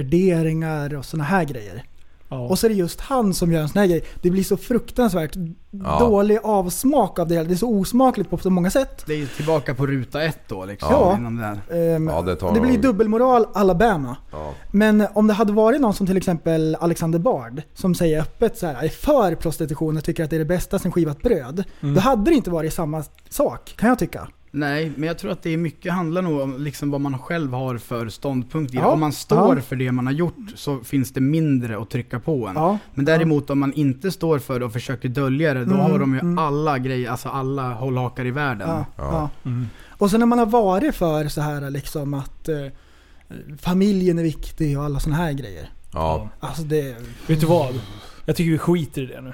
[SPEAKER 8] familjevärderingar och såna här grejer.
[SPEAKER 5] Ja.
[SPEAKER 8] Och så är det just han som gör en sån här grej. Det blir så fruktansvärt
[SPEAKER 6] Ja.
[SPEAKER 8] dålig avsmak av det hela. Det är så osmakligt på så många sätt.
[SPEAKER 7] Det är ju tillbaka på ruta ett då liksom.
[SPEAKER 8] Ja.
[SPEAKER 7] Inom den.
[SPEAKER 8] Ehm,
[SPEAKER 6] Ja, det tar
[SPEAKER 8] det blir
[SPEAKER 6] nog-
[SPEAKER 8] dubbelmoral Alabama.
[SPEAKER 6] Ja.
[SPEAKER 8] Men om det hade varit någon som till exempel Alexander Bard som säger öppet så här är för prostitution och tycker att det är det bästa sen skivat bröd.
[SPEAKER 6] Mm.
[SPEAKER 8] Då hade det inte varit samma sak kan jag tycka.
[SPEAKER 7] Nej, men jag tror att det är mycket handlar nog om liksom vad man själv har för ståndpunkt i det.
[SPEAKER 8] Ja.
[SPEAKER 7] Om man står
[SPEAKER 8] Ja.
[SPEAKER 7] för det man har gjort så finns det mindre att trycka på en.
[SPEAKER 8] Ja. Mm,
[SPEAKER 7] Men däremot om man inte står för det och försöker dölja det, då har de ju alla grejer, alltså alla hållhakar i världen.
[SPEAKER 8] Ja,
[SPEAKER 6] Ja.
[SPEAKER 8] ja. Mm.
[SPEAKER 5] Mm.
[SPEAKER 8] Och sen när man har varit för så här liksom att eh, familjen är viktig och alla såna här grejer.
[SPEAKER 6] Ja.
[SPEAKER 8] Alltså det,
[SPEAKER 5] Vet du vad? Jag tycker vi skiter i det nu.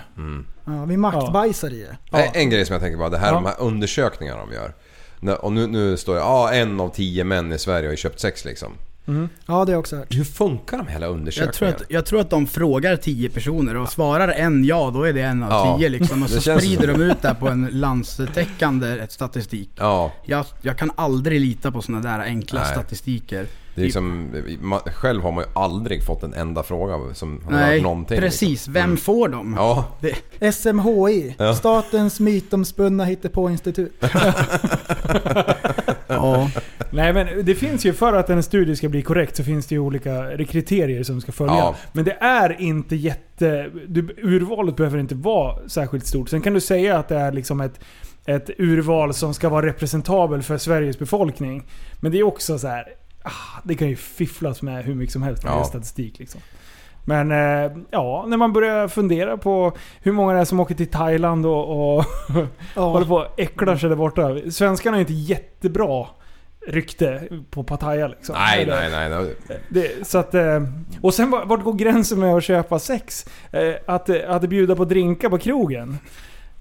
[SPEAKER 8] ja, vi maktbajsar i det.
[SPEAKER 6] Mm. En- En grej som jag tänker på, det här
[SPEAKER 5] Ja.
[SPEAKER 6] de här undersökningarna de gör. När- Och nu, nu står det, ja en av tio män i Sverige har ju köpt sex liksom.
[SPEAKER 8] Ja, det har jag också hört.
[SPEAKER 6] Hur funkar de hela
[SPEAKER 7] Jag tror,
[SPEAKER 6] undersökningarna?
[SPEAKER 7] att, jag tror att de frågar tio personer och svarar en ja, då är det en av
[SPEAKER 6] Ja.
[SPEAKER 7] tio liksom. Och
[SPEAKER 6] Det
[SPEAKER 7] så
[SPEAKER 6] känns-
[SPEAKER 7] sprider de ut det här på en landstäckande statistik.
[SPEAKER 6] Ja,
[SPEAKER 7] Jag, jag kan aldrig lita på sådana där enkla
[SPEAKER 6] Nej.
[SPEAKER 7] statistiker.
[SPEAKER 6] det är liksom, man, själv har man ju aldrig fått en enda fråga som har rört
[SPEAKER 7] Nej,
[SPEAKER 6] någonting. Liksom.
[SPEAKER 7] precis. Vem får dem?
[SPEAKER 6] Ja,
[SPEAKER 8] SMHI,
[SPEAKER 6] Ja.
[SPEAKER 8] Statens mytomspunna hittepåinstitut.
[SPEAKER 7] Ja.
[SPEAKER 5] Nej men det finns ju, för att en studie ska bli korrekt så finns det ju olika kriterier som ska följa.
[SPEAKER 6] Ja.
[SPEAKER 5] Men det är inte jätte... Du, urvalet behöver inte vara särskilt stort. Sen kan du säga att det är liksom ett, ett urval som ska vara representabel för Sveriges befolkning. Men det är också så här. Ah, det kan ju fifflas med hur mycket som helst med
[SPEAKER 6] Ja.
[SPEAKER 5] ja. statistik liksom. Men eh, ja, när man börjar fundera på hur många det är som åker till Thailand och, och håller på och äcklar sig där borta. Svenskarna är ju inte jättebra rykte på Pattaya liksom.
[SPEAKER 6] nej,
[SPEAKER 5] Eller-
[SPEAKER 6] nej, nej. nej.
[SPEAKER 5] Det, så att, eh, och sen va- vart går gränsen med att köpa sex? Eh, Att, eh, att bjuda på drinkar på krogen?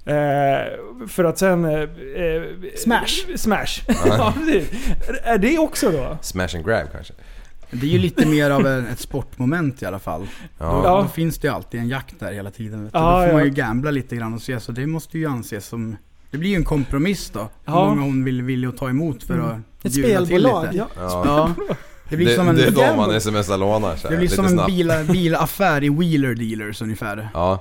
[SPEAKER 5] Eh, Eh, för att sen... eh, eh,
[SPEAKER 8] Smash.
[SPEAKER 5] Smash. ja, precis. är det också då?
[SPEAKER 6] Smash and grab kanske.
[SPEAKER 7] Det är ju lite mer av en- ett sportmoment i alla fall. Då,
[SPEAKER 6] Ja.
[SPEAKER 7] då finns det ju alltid en jakt där hela tiden. Vet du.
[SPEAKER 5] Ja,
[SPEAKER 7] då får
[SPEAKER 5] ja.
[SPEAKER 7] man ju gambla lite grann och se, så det måste ju anses som... Det blir ju en kompromiss då. Hur
[SPEAKER 5] Ja.
[SPEAKER 7] många hon vill, vill att ta emot för att
[SPEAKER 8] Ett
[SPEAKER 7] bjuda till
[SPEAKER 8] spelbolag,
[SPEAKER 7] lite.
[SPEAKER 8] ja.
[SPEAKER 6] Ja.
[SPEAKER 7] Ja. Det blir
[SPEAKER 6] Det,
[SPEAKER 7] som en,
[SPEAKER 6] det är då man smsar lånar så här,
[SPEAKER 7] det blir
[SPEAKER 6] lite
[SPEAKER 7] som en
[SPEAKER 6] snabbt.
[SPEAKER 7] bil, bilaffär i Wheeler Dealers ungefär.
[SPEAKER 6] Ja.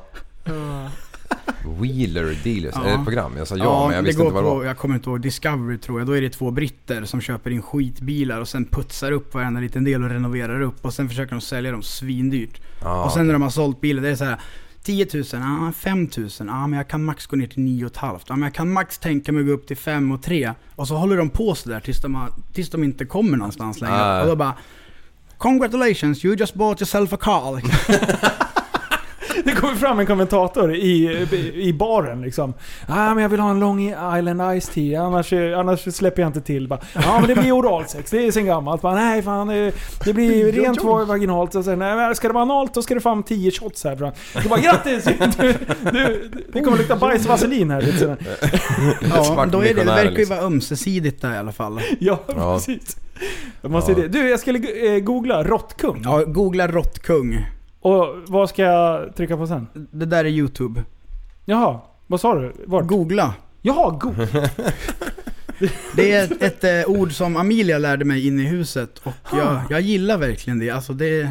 [SPEAKER 6] Wheeler Dealers,
[SPEAKER 7] Ja.
[SPEAKER 6] är det ett program? Jag sa ja, men jag visste
[SPEAKER 7] det
[SPEAKER 6] inte
[SPEAKER 7] går
[SPEAKER 6] vad det
[SPEAKER 7] på,
[SPEAKER 6] var.
[SPEAKER 7] jag kommer inte ihåg, Discovery tror jag. Då är det två britter som köper in skitbilar och sen putsar upp varenda liten del och renoverar upp. Och sen försöker de sälja dem svindyrt.
[SPEAKER 6] Ja.
[SPEAKER 7] Och sen när de har sålt bilen, det är så här 10 000, ah, 5 000, ah, men jag kan max gå ner till 9 500, ah, men jag kan max tänka mig att gå upp till 5 och 3. Och så håller de på sådär tills de, har, tills de inte kommer någonstans längre.
[SPEAKER 6] Ah.
[SPEAKER 7] Och då bara Congratulations, you just bought yourself a car.
[SPEAKER 5] Det kommer fram en kommentator i, i baren liksom. Ah, men jag vill ha en lång Island Ice Tea, annars, annars släpper jag inte till. Bara, Ja men det blir oralsex, det är sen gammalt. Bara, nej fan, eh, det blir rent var- vaginalt. Och sen, nej, men ska det vara analt då ska det fram 10 shots här fram. Så bara grattis! Du, du, det kommer lukta bajs och vaselin här. lite senare.
[SPEAKER 7] ja, men då är det, det
[SPEAKER 6] Svartmissionär,
[SPEAKER 7] verkar ju
[SPEAKER 6] liksom.
[SPEAKER 7] vara ömsesidigt där i alla fall.
[SPEAKER 5] Ja,
[SPEAKER 6] Ja.
[SPEAKER 5] precis. Jag måste
[SPEAKER 6] Ja.
[SPEAKER 5] det. Du, jag skulle eh, googla råttkung.
[SPEAKER 7] Ja, googla råttkung.
[SPEAKER 5] Och vad ska jag trycka på sen?
[SPEAKER 7] Det där är YouTube.
[SPEAKER 5] Jaha, vad sa du? Vart?
[SPEAKER 7] Googla.
[SPEAKER 5] Jaha, go-
[SPEAKER 7] Det är ett, ett eh, ord som Amelia lärde mig in i huset och jag, jag gillar verkligen det. Alltså det, det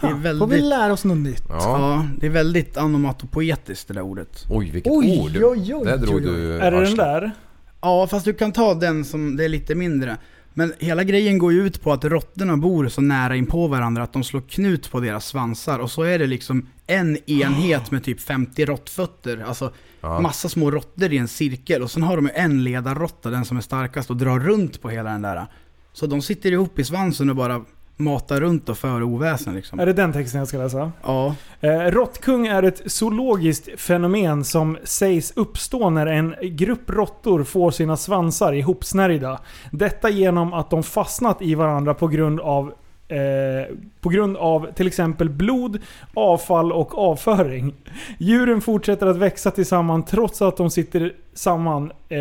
[SPEAKER 7] är
[SPEAKER 8] Får vi
[SPEAKER 7] väldigt...
[SPEAKER 8] lära oss något nytt?
[SPEAKER 6] Ja.
[SPEAKER 7] Ja, det är väldigt onomatopoetiskt det där ordet.
[SPEAKER 6] Oj, vilket
[SPEAKER 8] Oj,
[SPEAKER 6] ord!
[SPEAKER 8] oj, oj,
[SPEAKER 6] där drog
[SPEAKER 8] oj, oj.
[SPEAKER 6] du
[SPEAKER 5] är det den
[SPEAKER 6] arslet.
[SPEAKER 5] där?
[SPEAKER 7] Ja, fast du kan ta den som det är lite mindre. Men hela grejen går ju ut på att råttorna bor så nära in på varandra att de slår knut på deras svansar och så är det liksom en enhet med typ 50 råttfötter. Alltså
[SPEAKER 6] Ja.
[SPEAKER 7] massa små råttor i en cirkel och sen har de ju en ledarråtta, den som är starkast och drar runt på hela den där. Så de sitter ihop i svansen och bara matar runt och för oväsen liksom.
[SPEAKER 5] Är det den texten jag ska läsa?
[SPEAKER 7] Ja,
[SPEAKER 5] Eh, Råttkung är ett zoologiskt fenomen som sägs uppstå när en grupp råttor får sina svansar ihopsnärjda. Detta genom att de fastnat i varandra på grund av Eh, på grund av till exempel blod, avfall och avföring. Djuren fortsätter att växa tillsammans trots att de sitter samman eh,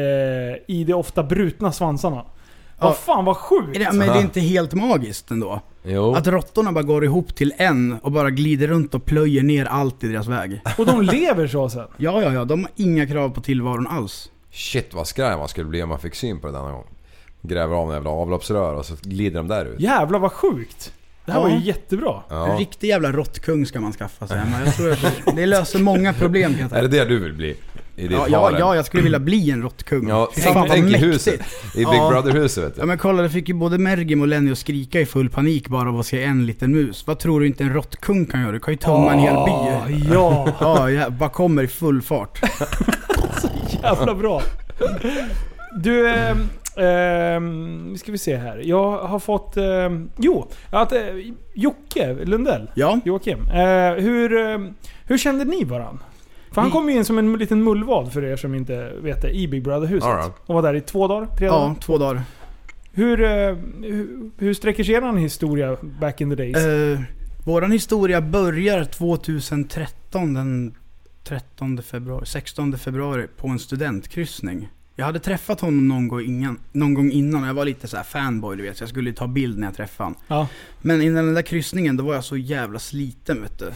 [SPEAKER 5] i de ofta brutna svansarna.
[SPEAKER 7] Ja.
[SPEAKER 5] Vad fan vad sjukt!
[SPEAKER 7] Är det- men det är inte helt magiskt ändå.
[SPEAKER 6] Jo.
[SPEAKER 7] Att råttorna bara går ihop till en och bara glider runt och plöjer ner allt i deras väg.
[SPEAKER 5] Och de lever så sen.
[SPEAKER 7] Ja, ja, ja. De har inga krav på tillvaron alls.
[SPEAKER 6] Shit vad skraj man skulle bli om man fick syn på det denna gång. Gräver av en jävla avloppsrör och så glider de där ut.
[SPEAKER 5] Jävlar vad sjukt! Det här
[SPEAKER 7] Ja.
[SPEAKER 5] var ju jättebra.
[SPEAKER 7] En
[SPEAKER 6] Ja.
[SPEAKER 7] riktig jävla råttkung ska man skaffa sig hemma. Jag tror att det löser många problem kan jag
[SPEAKER 6] Är
[SPEAKER 7] säga.
[SPEAKER 6] det det du vill bli? I ditt
[SPEAKER 7] Ja, ja,
[SPEAKER 6] harem?
[SPEAKER 7] ja, jag skulle vilja bli en råttkung.
[SPEAKER 6] ja.
[SPEAKER 7] Fy
[SPEAKER 6] Tänk, tänk i huset. I Big
[SPEAKER 7] Ja.
[SPEAKER 6] Brother-huset vet
[SPEAKER 7] Ja
[SPEAKER 6] du.
[SPEAKER 7] men kolla, det fick ju både Mergim och Lenny att skrika i full panik bara av att se en liten mus. Vad tror du inte en råttkung kan göra? Du kan ju tömma en hel by.
[SPEAKER 5] Åh, Ja,
[SPEAKER 7] Ja, jag bara kommer i full fart.
[SPEAKER 5] jävla bra. Du, ehm, ehm, ska vi se här. Jag har fått... ehm, jo, att, eh, Jocke Lundell.
[SPEAKER 7] Ja.
[SPEAKER 5] Joakim. Eh, hur, ehm, hur kände ni varann? För han
[SPEAKER 7] Vi-
[SPEAKER 5] kom ju in som en liten mullvad för er som inte vet det, i Big Brother-huset.
[SPEAKER 6] All right.
[SPEAKER 5] Och var där i två dagar, tre dagar.
[SPEAKER 7] Ja, två dagar.
[SPEAKER 5] Hur, eh, hur, hur sträcker sig eran historia back in the days?
[SPEAKER 7] Eh, våran historia börjar 2013 den 13 februari, 16 februari på en studentkryssning. Jag hade träffat honom någon gång innan, någon gång innan och jag var lite så här fanboy du vet, så jag skulle ta bild när jag träffade honom.
[SPEAKER 5] Ja.
[SPEAKER 7] Men innan den där kryssningen då var jag så jävla sliten vet du.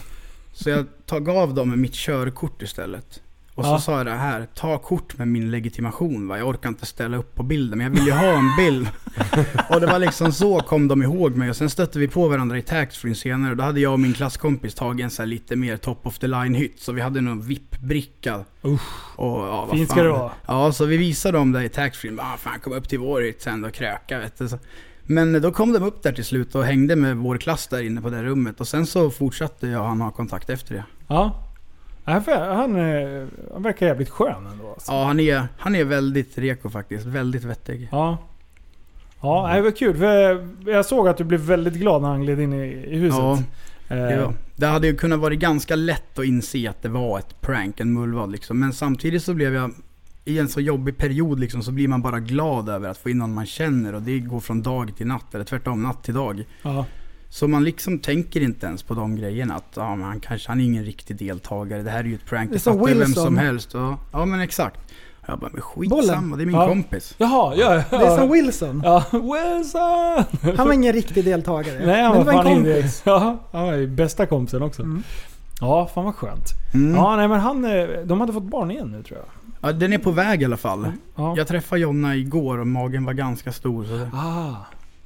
[SPEAKER 7] Så jag tog av dem mitt körkort istället. Och så
[SPEAKER 5] Ja.
[SPEAKER 7] sa jag det här, ta kort med min legitimation va. Jag orkar inte ställa upp på bilden men jag vill ju ha en bild. Och det var liksom så kom de ihåg mig och sen stötte vi på varandra i taxfree senare. Då hade jag och min klasskompis tagit en så här lite mer top of the line hytt. Så vi hade någon VIP-bricka. Och, ja, vad
[SPEAKER 5] Fint ska
[SPEAKER 7] fan.
[SPEAKER 5] det vara.
[SPEAKER 7] Ja, så vi visade dem det i taxfree. Bara, "Ah, fan kom upp till vår hytt sen och kröka vet du. Så. Men då kom de upp där till slut och hängde med vår klass där inne på det rummet. Och sen så fortsatte jag och han ha kontakt efter det.
[SPEAKER 5] Ja. Han, han, eh, han verkar jävligt skön ändå. Alltså.
[SPEAKER 7] Ja, han är, han är väldigt reko faktiskt. Väldigt vettig.
[SPEAKER 5] Ja. Ja, nej, det var kul. För jag såg att du blev väldigt glad när han gled in i i huset.
[SPEAKER 7] Ja,
[SPEAKER 5] Eh,
[SPEAKER 7] Ja. Det hade ju kunnat vara ganska lätt att inse att det var ett prank, en mullvad liksom. Men samtidigt så blev jag, i en så jobbig period liksom, så blir man bara glad över att få in någon man känner och det går från dag till natt, eller tvärtom natt till dag.
[SPEAKER 5] ja.
[SPEAKER 7] Så man liksom tänker inte ens på de grejerna. Att ja, men han kanske han är ingen riktig deltagare. Det här är ju ett prank.
[SPEAKER 8] Det är
[SPEAKER 7] Det
[SPEAKER 8] som
[SPEAKER 7] fattar ju vem
[SPEAKER 8] Wilson.
[SPEAKER 7] som helst. Och, ja men exakt. Jag bara, men skitsamma.
[SPEAKER 8] Bollen.
[SPEAKER 7] Det är min
[SPEAKER 5] Ja.
[SPEAKER 7] kompis.
[SPEAKER 5] Jaha, ja. ja.
[SPEAKER 8] Det är som Wilson.
[SPEAKER 5] Ja, Wilson!
[SPEAKER 8] Han var ingen riktig
[SPEAKER 5] Nej,
[SPEAKER 8] deltagare. men
[SPEAKER 5] han var
[SPEAKER 8] det var
[SPEAKER 5] fan
[SPEAKER 8] en kompis. Mm.
[SPEAKER 5] indirekt. Ja, han var ju bästa kompisen också. Ja, fan vad skönt.
[SPEAKER 7] Mm. Ja.
[SPEAKER 5] Ja, nej men han... eh, De hade fått barn igen nu tror jag.
[SPEAKER 7] den är på väg i alla fall.
[SPEAKER 5] Ja.
[SPEAKER 7] Jag träffade Jonna igår och magen var ganska stor. Så
[SPEAKER 5] Ah,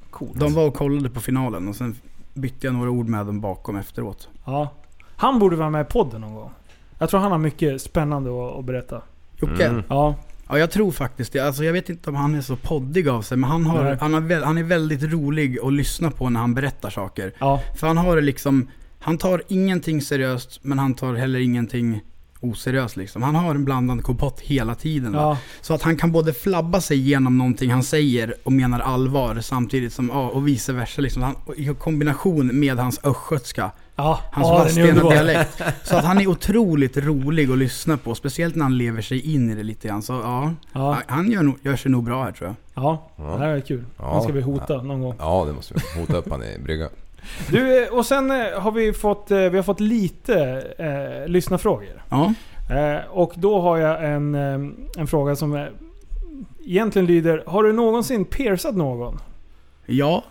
[SPEAKER 5] coolt.
[SPEAKER 7] de var och kollade på finalen och sen bytte jag några ord med dem bakom efteråt.
[SPEAKER 5] Ja. Han borde vara med i podden någon gång. Jag tror han har mycket spännande att, att berätta.
[SPEAKER 7] Jocke,
[SPEAKER 6] Mm.
[SPEAKER 5] Ja,
[SPEAKER 7] ja jag tror faktiskt det. Alltså, jag vet inte om han är så poddig av sig men han, har,
[SPEAKER 5] Nej.
[SPEAKER 7] han, har väl, han är väldigt rolig att lyssna på när han berättar saker.
[SPEAKER 5] ja.
[SPEAKER 7] För han har det liksom, han tar ingenting seriöst men han tar heller ingenting oseriöst liksom. Han har en blandad kompott hela tiden. va?
[SPEAKER 5] ja.
[SPEAKER 7] Så att han kan både flabba sig igenom någonting han säger och menar allvar samtidigt som, ja, och vice versa liksom. Han, och I kombination med hans östgötska,
[SPEAKER 5] ja.
[SPEAKER 7] hans
[SPEAKER 5] ja, den är underbar.
[SPEAKER 7] Vadstena-dialekt. Så att han är otroligt rolig att lyssna på, speciellt när han lever sig in i det lite grann. Så ja,
[SPEAKER 5] Ja,
[SPEAKER 7] han gör, nog, gör sig nog bra här tror jag.
[SPEAKER 5] ja.
[SPEAKER 6] Ja.
[SPEAKER 5] det här är kul.
[SPEAKER 6] Ja.
[SPEAKER 5] Han ska vi hota någon gång.
[SPEAKER 6] Ja, det måste vi. Hota upp han i brygga.
[SPEAKER 5] Du, eh, och sen eh, har vi fått, eh, vi har fått lite eh, lyssnarfrågor.
[SPEAKER 7] Ja,
[SPEAKER 5] Eh, och då har jag en, eh, en fråga som eh, egentligen lyder Har du någonsin piercat någon?
[SPEAKER 7] ja.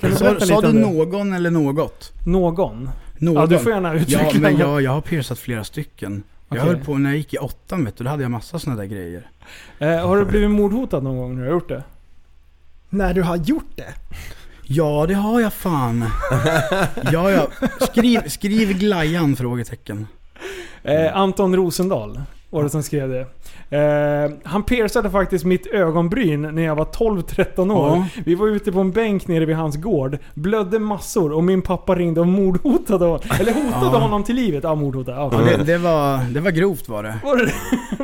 [SPEAKER 5] Kan du
[SPEAKER 7] Sa,
[SPEAKER 5] berätta
[SPEAKER 7] sa
[SPEAKER 5] lite
[SPEAKER 7] du
[SPEAKER 5] om det?
[SPEAKER 7] någon eller något?
[SPEAKER 5] Någon?
[SPEAKER 7] Någon.
[SPEAKER 5] Ja, du får gärna utveckla.
[SPEAKER 7] Ja, men jag, jag har piercat flera stycken. Jag
[SPEAKER 5] Okej.
[SPEAKER 7] höll på när jag gick i åttan vet du, då hade jag massa sådana där grejer.
[SPEAKER 5] eh, har du blivit mordhotad någon gång när du har gjort det?
[SPEAKER 8] När du har gjort det.
[SPEAKER 7] Ja, det har jag fan. ja, ja. Skriv, skriv glajan? Frågetecken.
[SPEAKER 5] Eh, Anton Rosendal var det som skrev det. Eh, han piercade faktiskt mitt ögonbryn när jag var 12-13 år.
[SPEAKER 7] Ja.
[SPEAKER 5] Vi var ute på en bänk nere vid hans gård, blödde massor och min pappa ringde och mordhotade honom. Eller hotade
[SPEAKER 7] Ja.
[SPEAKER 5] honom till livet. Ja, mordhotade. Ja,
[SPEAKER 7] Ja, det, det, var, det var grovt var det.
[SPEAKER 5] Var det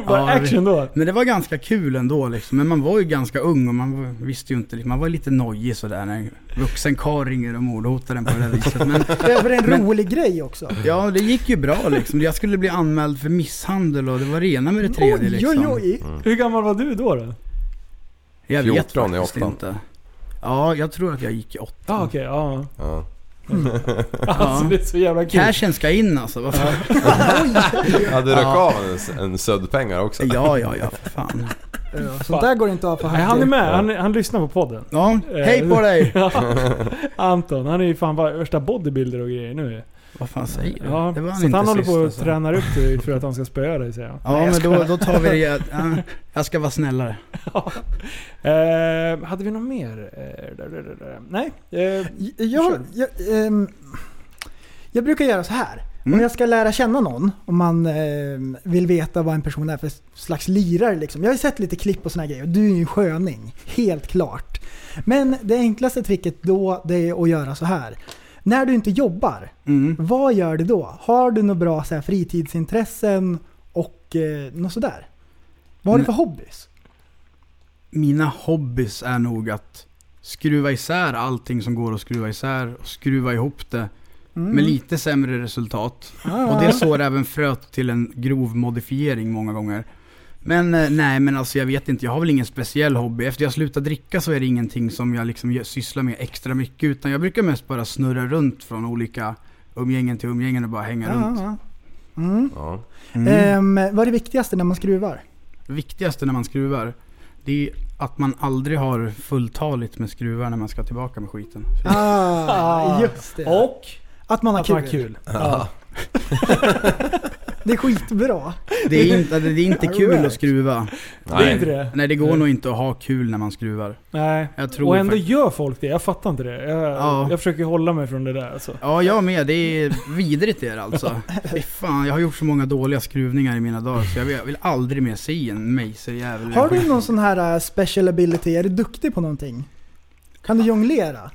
[SPEAKER 5] var
[SPEAKER 7] Ja,
[SPEAKER 5] det action då?
[SPEAKER 7] Men det var ganska kul ändå liksom. Men man var ju ganska ung och man var- visste ju inte. liksom, Man var lite nojig sådär när en vuxen karl ringer och mordhotar en på det där viset. Men
[SPEAKER 8] Över en
[SPEAKER 7] Men-
[SPEAKER 8] rolig grej också.
[SPEAKER 7] ja, det gick ju bra liksom. Jag skulle bli anmäld för misshandel och det var det ena med det tredje
[SPEAKER 8] Oj, oj,
[SPEAKER 7] liksom.
[SPEAKER 8] oj.
[SPEAKER 5] Hur gammal var du då? då?
[SPEAKER 7] Jag
[SPEAKER 6] 14 i åttan.
[SPEAKER 7] inte. Ja, jag tror att jag gick i åtta.
[SPEAKER 5] Ja, okej. ja.
[SPEAKER 6] Ja.
[SPEAKER 5] Alltså det är så jävla kul.
[SPEAKER 7] Cashen ska in alltså. Vad fan?
[SPEAKER 6] Hade du räckt av en, en suddpengar också?
[SPEAKER 7] Ja, ja, ja, för fan.
[SPEAKER 8] Sånt där går inte av på
[SPEAKER 5] Nej, han är
[SPEAKER 8] hacker.
[SPEAKER 5] med. Han, han lyssnar på podden.
[SPEAKER 7] Ja,
[SPEAKER 5] Eh.
[SPEAKER 7] hej på dig!
[SPEAKER 5] Anton, han är ju fan bara värsta bodybuilder och grejer nu.
[SPEAKER 7] Vad fan säger du?
[SPEAKER 5] Ja,
[SPEAKER 7] det var han
[SPEAKER 5] så att
[SPEAKER 7] inte
[SPEAKER 5] han håller
[SPEAKER 7] sist,
[SPEAKER 5] på och
[SPEAKER 7] alltså.
[SPEAKER 5] tränar upp dig för att han ska spöa dig säger han.
[SPEAKER 7] Ja, men då, då tar vi det. Ja, jag ska vara snällare.
[SPEAKER 5] Eh, hade vi något mer? Eh, där, där, där, där. Nej. Eh,
[SPEAKER 8] Jag,
[SPEAKER 5] Kör.
[SPEAKER 8] jag, ehm, jag brukar göra så här. Om jag ska lära känna någon, om man ehm, vill veta vad en person är för slags lirare liksom. Jag har ju sett lite klipp och såna här grejer och du är ju en sköning. Helt klart. Men det enklaste tricket då, det är att göra så här. När du inte jobbar,
[SPEAKER 7] Mm.
[SPEAKER 8] vad gör du då? Har du några bra så här, fritidsintressen och eh, något sådär? Vad har du för hobbys?
[SPEAKER 7] Mina hobbys är nog att skruva isär allting som går att skruva isär och skruva ihop det med
[SPEAKER 8] Mm.
[SPEAKER 7] lite sämre resultat.
[SPEAKER 8] Ah.
[SPEAKER 7] Och det sår även fröet till en grov modifiering många gånger. Men eh, nej, men alltså jag vet inte. Jag har väl ingen speciell hobby. Efter jag slutade dricka så är det ingenting som jag liksom gö- sysslar med extra mycket. Utan jag brukar mest bara snurra runt från olika umgängen till umgängen och bara hänga runt.
[SPEAKER 8] Ja, ja. Mm.
[SPEAKER 6] Ja.
[SPEAKER 7] Mm.
[SPEAKER 8] Ehm, vad är det viktigaste när man skruvar?
[SPEAKER 7] viktigaste när man skruvar, det är att man aldrig har fulltaligt med skruvar när man ska tillbaka med skiten.
[SPEAKER 8] Ah,
[SPEAKER 5] Ah.
[SPEAKER 8] just det.
[SPEAKER 5] och?
[SPEAKER 8] Att man har
[SPEAKER 5] Att man
[SPEAKER 8] kul.
[SPEAKER 5] har kul. Ja.
[SPEAKER 8] Det är skitbra.
[SPEAKER 7] Det är inte, det är inte kul
[SPEAKER 8] Alright.
[SPEAKER 7] att skruva.
[SPEAKER 5] Det är inte det.
[SPEAKER 7] Nej, det går nog inte att ha kul när man skruvar.
[SPEAKER 5] Nej.
[SPEAKER 7] Jag tror
[SPEAKER 5] Och ändå
[SPEAKER 7] fakt-
[SPEAKER 5] gör folk det. Jag fattar inte det. Jag,
[SPEAKER 7] Ja.
[SPEAKER 5] jag försöker hålla mig från det där alltså.
[SPEAKER 7] Ja, jag med. Det är vidrigt det är alltså. Fy fan, jag har gjort så många dåliga skruvningar i mina dagar så jag vill, jag vill aldrig mer se en mejseljävel.
[SPEAKER 8] Har du någon sån här eh, special ability? Är du duktig på någonting? Kan du jonglera?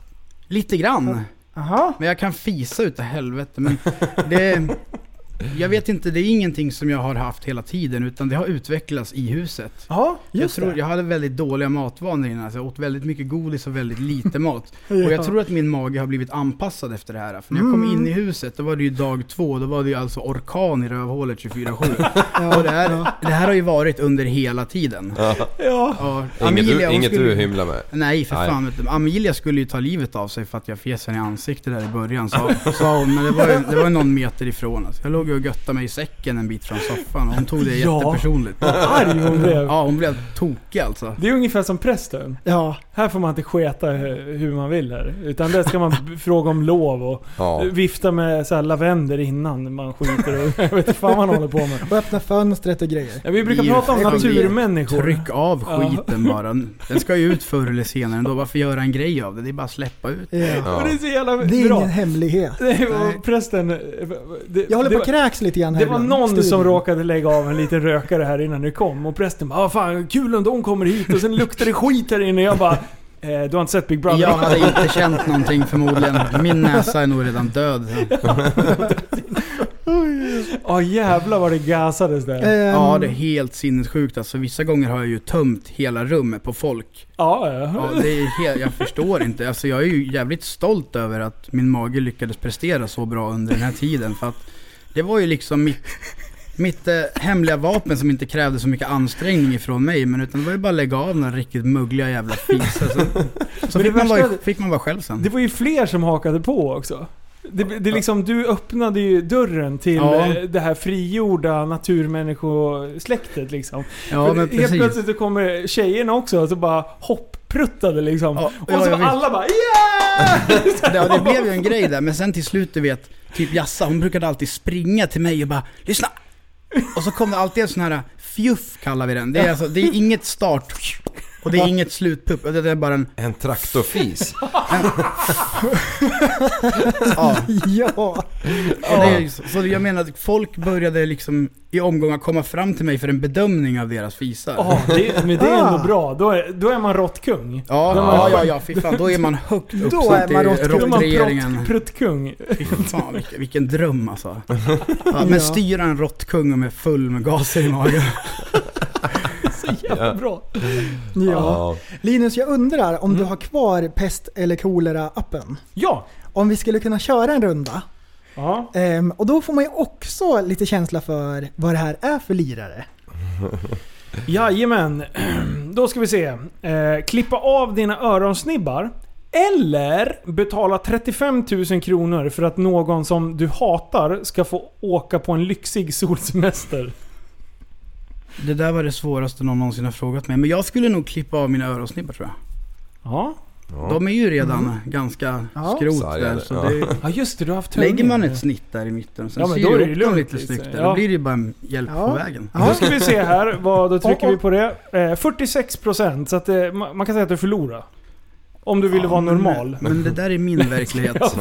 [SPEAKER 7] Lite grann.
[SPEAKER 8] Aha.
[SPEAKER 7] Men jag kan fisa utav helvete. Men det, Jag vet inte, det är ingenting som jag har haft hela tiden utan det har utvecklats i huset.
[SPEAKER 8] Ja,
[SPEAKER 7] Jag,
[SPEAKER 8] just
[SPEAKER 7] tror,
[SPEAKER 8] det.
[SPEAKER 7] jag hade väldigt dåliga matvanor innan, alltså jag åt väldigt mycket godis och väldigt lite mat. Och jag tror att min mage har blivit anpassad efter det här. För när jag
[SPEAKER 8] Mm.
[SPEAKER 7] kom in i huset, då var det ju dag två, då var det ju alltså orkan i rövhålet 24-7.
[SPEAKER 8] Ja,
[SPEAKER 7] Och det här, det här har ju varit under hela tiden.
[SPEAKER 5] Ja.
[SPEAKER 7] Ja,
[SPEAKER 6] Inget,
[SPEAKER 7] Amelia,
[SPEAKER 6] du,
[SPEAKER 7] hon
[SPEAKER 6] inget
[SPEAKER 7] skulle-
[SPEAKER 6] du hymlar med.
[SPEAKER 7] Nej för
[SPEAKER 6] Nej.
[SPEAKER 7] fan. vet du. Amelia skulle ju ta livet av sig för att jag fes henne i ansiktet där i början sa, sa hon. Men det var, ju, det var ju någon meter ifrån. Alltså. Jag låg ju och göttade mig i säcken en bit från soffan och hon tog det
[SPEAKER 5] Ja.
[SPEAKER 7] jättepersonligt.
[SPEAKER 5] Arg hon blev.
[SPEAKER 7] Ja hon blev tokig alltså.
[SPEAKER 5] Det är ungefär som prästen.
[SPEAKER 8] ja.
[SPEAKER 5] Här får man inte sketa hu- hur man vill här. Utan där ska man b- fråga om lov och
[SPEAKER 6] Ja.
[SPEAKER 5] vifta med så här lavender innan man skiter. Och, jag vet inte fan vad man håller på med.
[SPEAKER 8] Och öppna fönstret och grejer.
[SPEAKER 5] Ja, vi brukar
[SPEAKER 7] Djur-
[SPEAKER 5] prata om naturmänniskor.
[SPEAKER 7] Tryck av
[SPEAKER 5] Ja.
[SPEAKER 7] skiten bara. Den ska ju ut förr eller senare ändå. Varför göra en grej av det? Det är bara att släppa ut.
[SPEAKER 8] Ja.
[SPEAKER 5] Och det är så jävla
[SPEAKER 8] Det är
[SPEAKER 5] bra.
[SPEAKER 8] ingen hemlighet.
[SPEAKER 5] Nej, och prästen... Det,
[SPEAKER 8] Jag håller
[SPEAKER 5] det var-
[SPEAKER 8] på och kräks lite grann här
[SPEAKER 5] Det var
[SPEAKER 8] ibland.
[SPEAKER 5] någon som
[SPEAKER 8] Studion.
[SPEAKER 5] råkade lägga av en liten rökare här innan ni kom och prästen bara ah, fan kul om de kommer hit och sen luktar det skit här inne. Jag bara eh, du har inte sett Big Brother?
[SPEAKER 7] Jag hade inte känt någonting förmodligen. Min näsa är nog redan död.
[SPEAKER 5] Mm. Ja jävlar vad det gasades där.
[SPEAKER 8] Ehm,
[SPEAKER 7] Ja det är helt sinnessjukt alltså. Vissa gånger har jag ju tömt hela rummet på folk.
[SPEAKER 5] Ja, ja.
[SPEAKER 7] Ja, det är helt, jag förstår inte. Alltså, jag är ju jävligt stolt över att min mage lyckades prestera så bra under den här tiden. För att det var ju liksom mitt, mitt eh, hemliga vapen som inte krävde så mycket ansträngning ifrån mig. Men utan det var ju bara att lägga av några riktigt mögliga jävla fisar. Så, så
[SPEAKER 5] det
[SPEAKER 7] fick, man vara,
[SPEAKER 5] värsta-
[SPEAKER 7] fick man vara själv sen.
[SPEAKER 5] Det var ju fler som hakade på också. Det, det är liksom, du öppnade ju dörren till
[SPEAKER 7] Ja.
[SPEAKER 5] eh, det här frigjorda naturmänniskosläktet liksom.
[SPEAKER 7] Ja
[SPEAKER 5] För
[SPEAKER 7] men
[SPEAKER 5] Helt
[SPEAKER 7] precis.
[SPEAKER 5] plötsligt så kommer tjejerna också och så bara hoppruttade liksom.
[SPEAKER 7] Ja,
[SPEAKER 5] och
[SPEAKER 7] ja,
[SPEAKER 5] så
[SPEAKER 7] ja,
[SPEAKER 5] var
[SPEAKER 7] visst.
[SPEAKER 5] alla bara yeah!
[SPEAKER 7] Det, det blev ju en grej där. Men sen till slut du vet, typ Jassa hon brukade alltid springa till mig och bara lyssna. Och så kom det alltid en sån här fjuff kallar vi den. Det är, alltså, det är inget start och det är inget slutpupp. Det är bara en
[SPEAKER 6] En traktorfis.
[SPEAKER 7] Ja,
[SPEAKER 8] Ja.
[SPEAKER 7] och det är ju så, så jag menar att folk började liksom i omgångar komma fram till mig för en bedömning av deras fisar.
[SPEAKER 5] Ja, det, men det är ändå
[SPEAKER 8] Ah.
[SPEAKER 5] bra. Då är, då är man råttkung.
[SPEAKER 7] Ja, ja, ja, ja, fy fan. Då är man högt
[SPEAKER 8] Då är
[SPEAKER 7] uppsatt i
[SPEAKER 8] man rått-
[SPEAKER 5] Då är man
[SPEAKER 7] råttregeringen.
[SPEAKER 5] prott- pruttkung.
[SPEAKER 7] Fy fan, vilken, vilken dröm alltså. Ja, men styra en råttkung med full med gaser i magen.
[SPEAKER 5] Så jävla bra.
[SPEAKER 8] ja.
[SPEAKER 6] Ja.
[SPEAKER 8] Linus, jag undrar
[SPEAKER 5] Mm.
[SPEAKER 8] om du har kvar pest eller kolera-appen?
[SPEAKER 5] Ja.
[SPEAKER 8] Om vi skulle kunna köra en runda.
[SPEAKER 5] Ja.
[SPEAKER 8] Ehm, och då får man ju också lite känsla för vad det här är för lirare.
[SPEAKER 5] Jajamän. Då ska vi se. Eh, klippa av dina öronsnibbar. Eller betala 35 000 kronor för att någon som du hatar ska få åka på en lyxig solsemester.
[SPEAKER 7] Det där var det svåraste någon någonsin har frågat mig. Men jag skulle nog klippa av mina öronsnibbar tror jag.
[SPEAKER 5] Ja,
[SPEAKER 7] De är ju redan
[SPEAKER 5] Mm.
[SPEAKER 7] ganska
[SPEAKER 8] Ja.
[SPEAKER 7] skrot
[SPEAKER 6] Sargade,
[SPEAKER 7] där. Så
[SPEAKER 6] ja.
[SPEAKER 7] det,
[SPEAKER 5] ja just det. Du har haft
[SPEAKER 7] lägger man
[SPEAKER 5] tömning.
[SPEAKER 7] ett snitt där i mitten och sen
[SPEAKER 5] Ja, men
[SPEAKER 7] syr
[SPEAKER 5] då är det
[SPEAKER 7] ihop
[SPEAKER 5] ju
[SPEAKER 7] dem
[SPEAKER 5] lugnt,
[SPEAKER 7] lite snyggt
[SPEAKER 5] liksom.
[SPEAKER 7] där.
[SPEAKER 5] Ja.
[SPEAKER 7] Då blir det ju bara en hjälp
[SPEAKER 8] Ja.
[SPEAKER 7] på vägen.
[SPEAKER 5] Då ska vi se här. Vad, då trycker
[SPEAKER 8] Oh, oh.
[SPEAKER 5] vi på det. Eh, 46% så att eh, ma- man kan säga att du förlorar. Om du ville
[SPEAKER 7] Ja,
[SPEAKER 5] vara
[SPEAKER 7] men-
[SPEAKER 5] normal.
[SPEAKER 7] Men det där är min verklighet.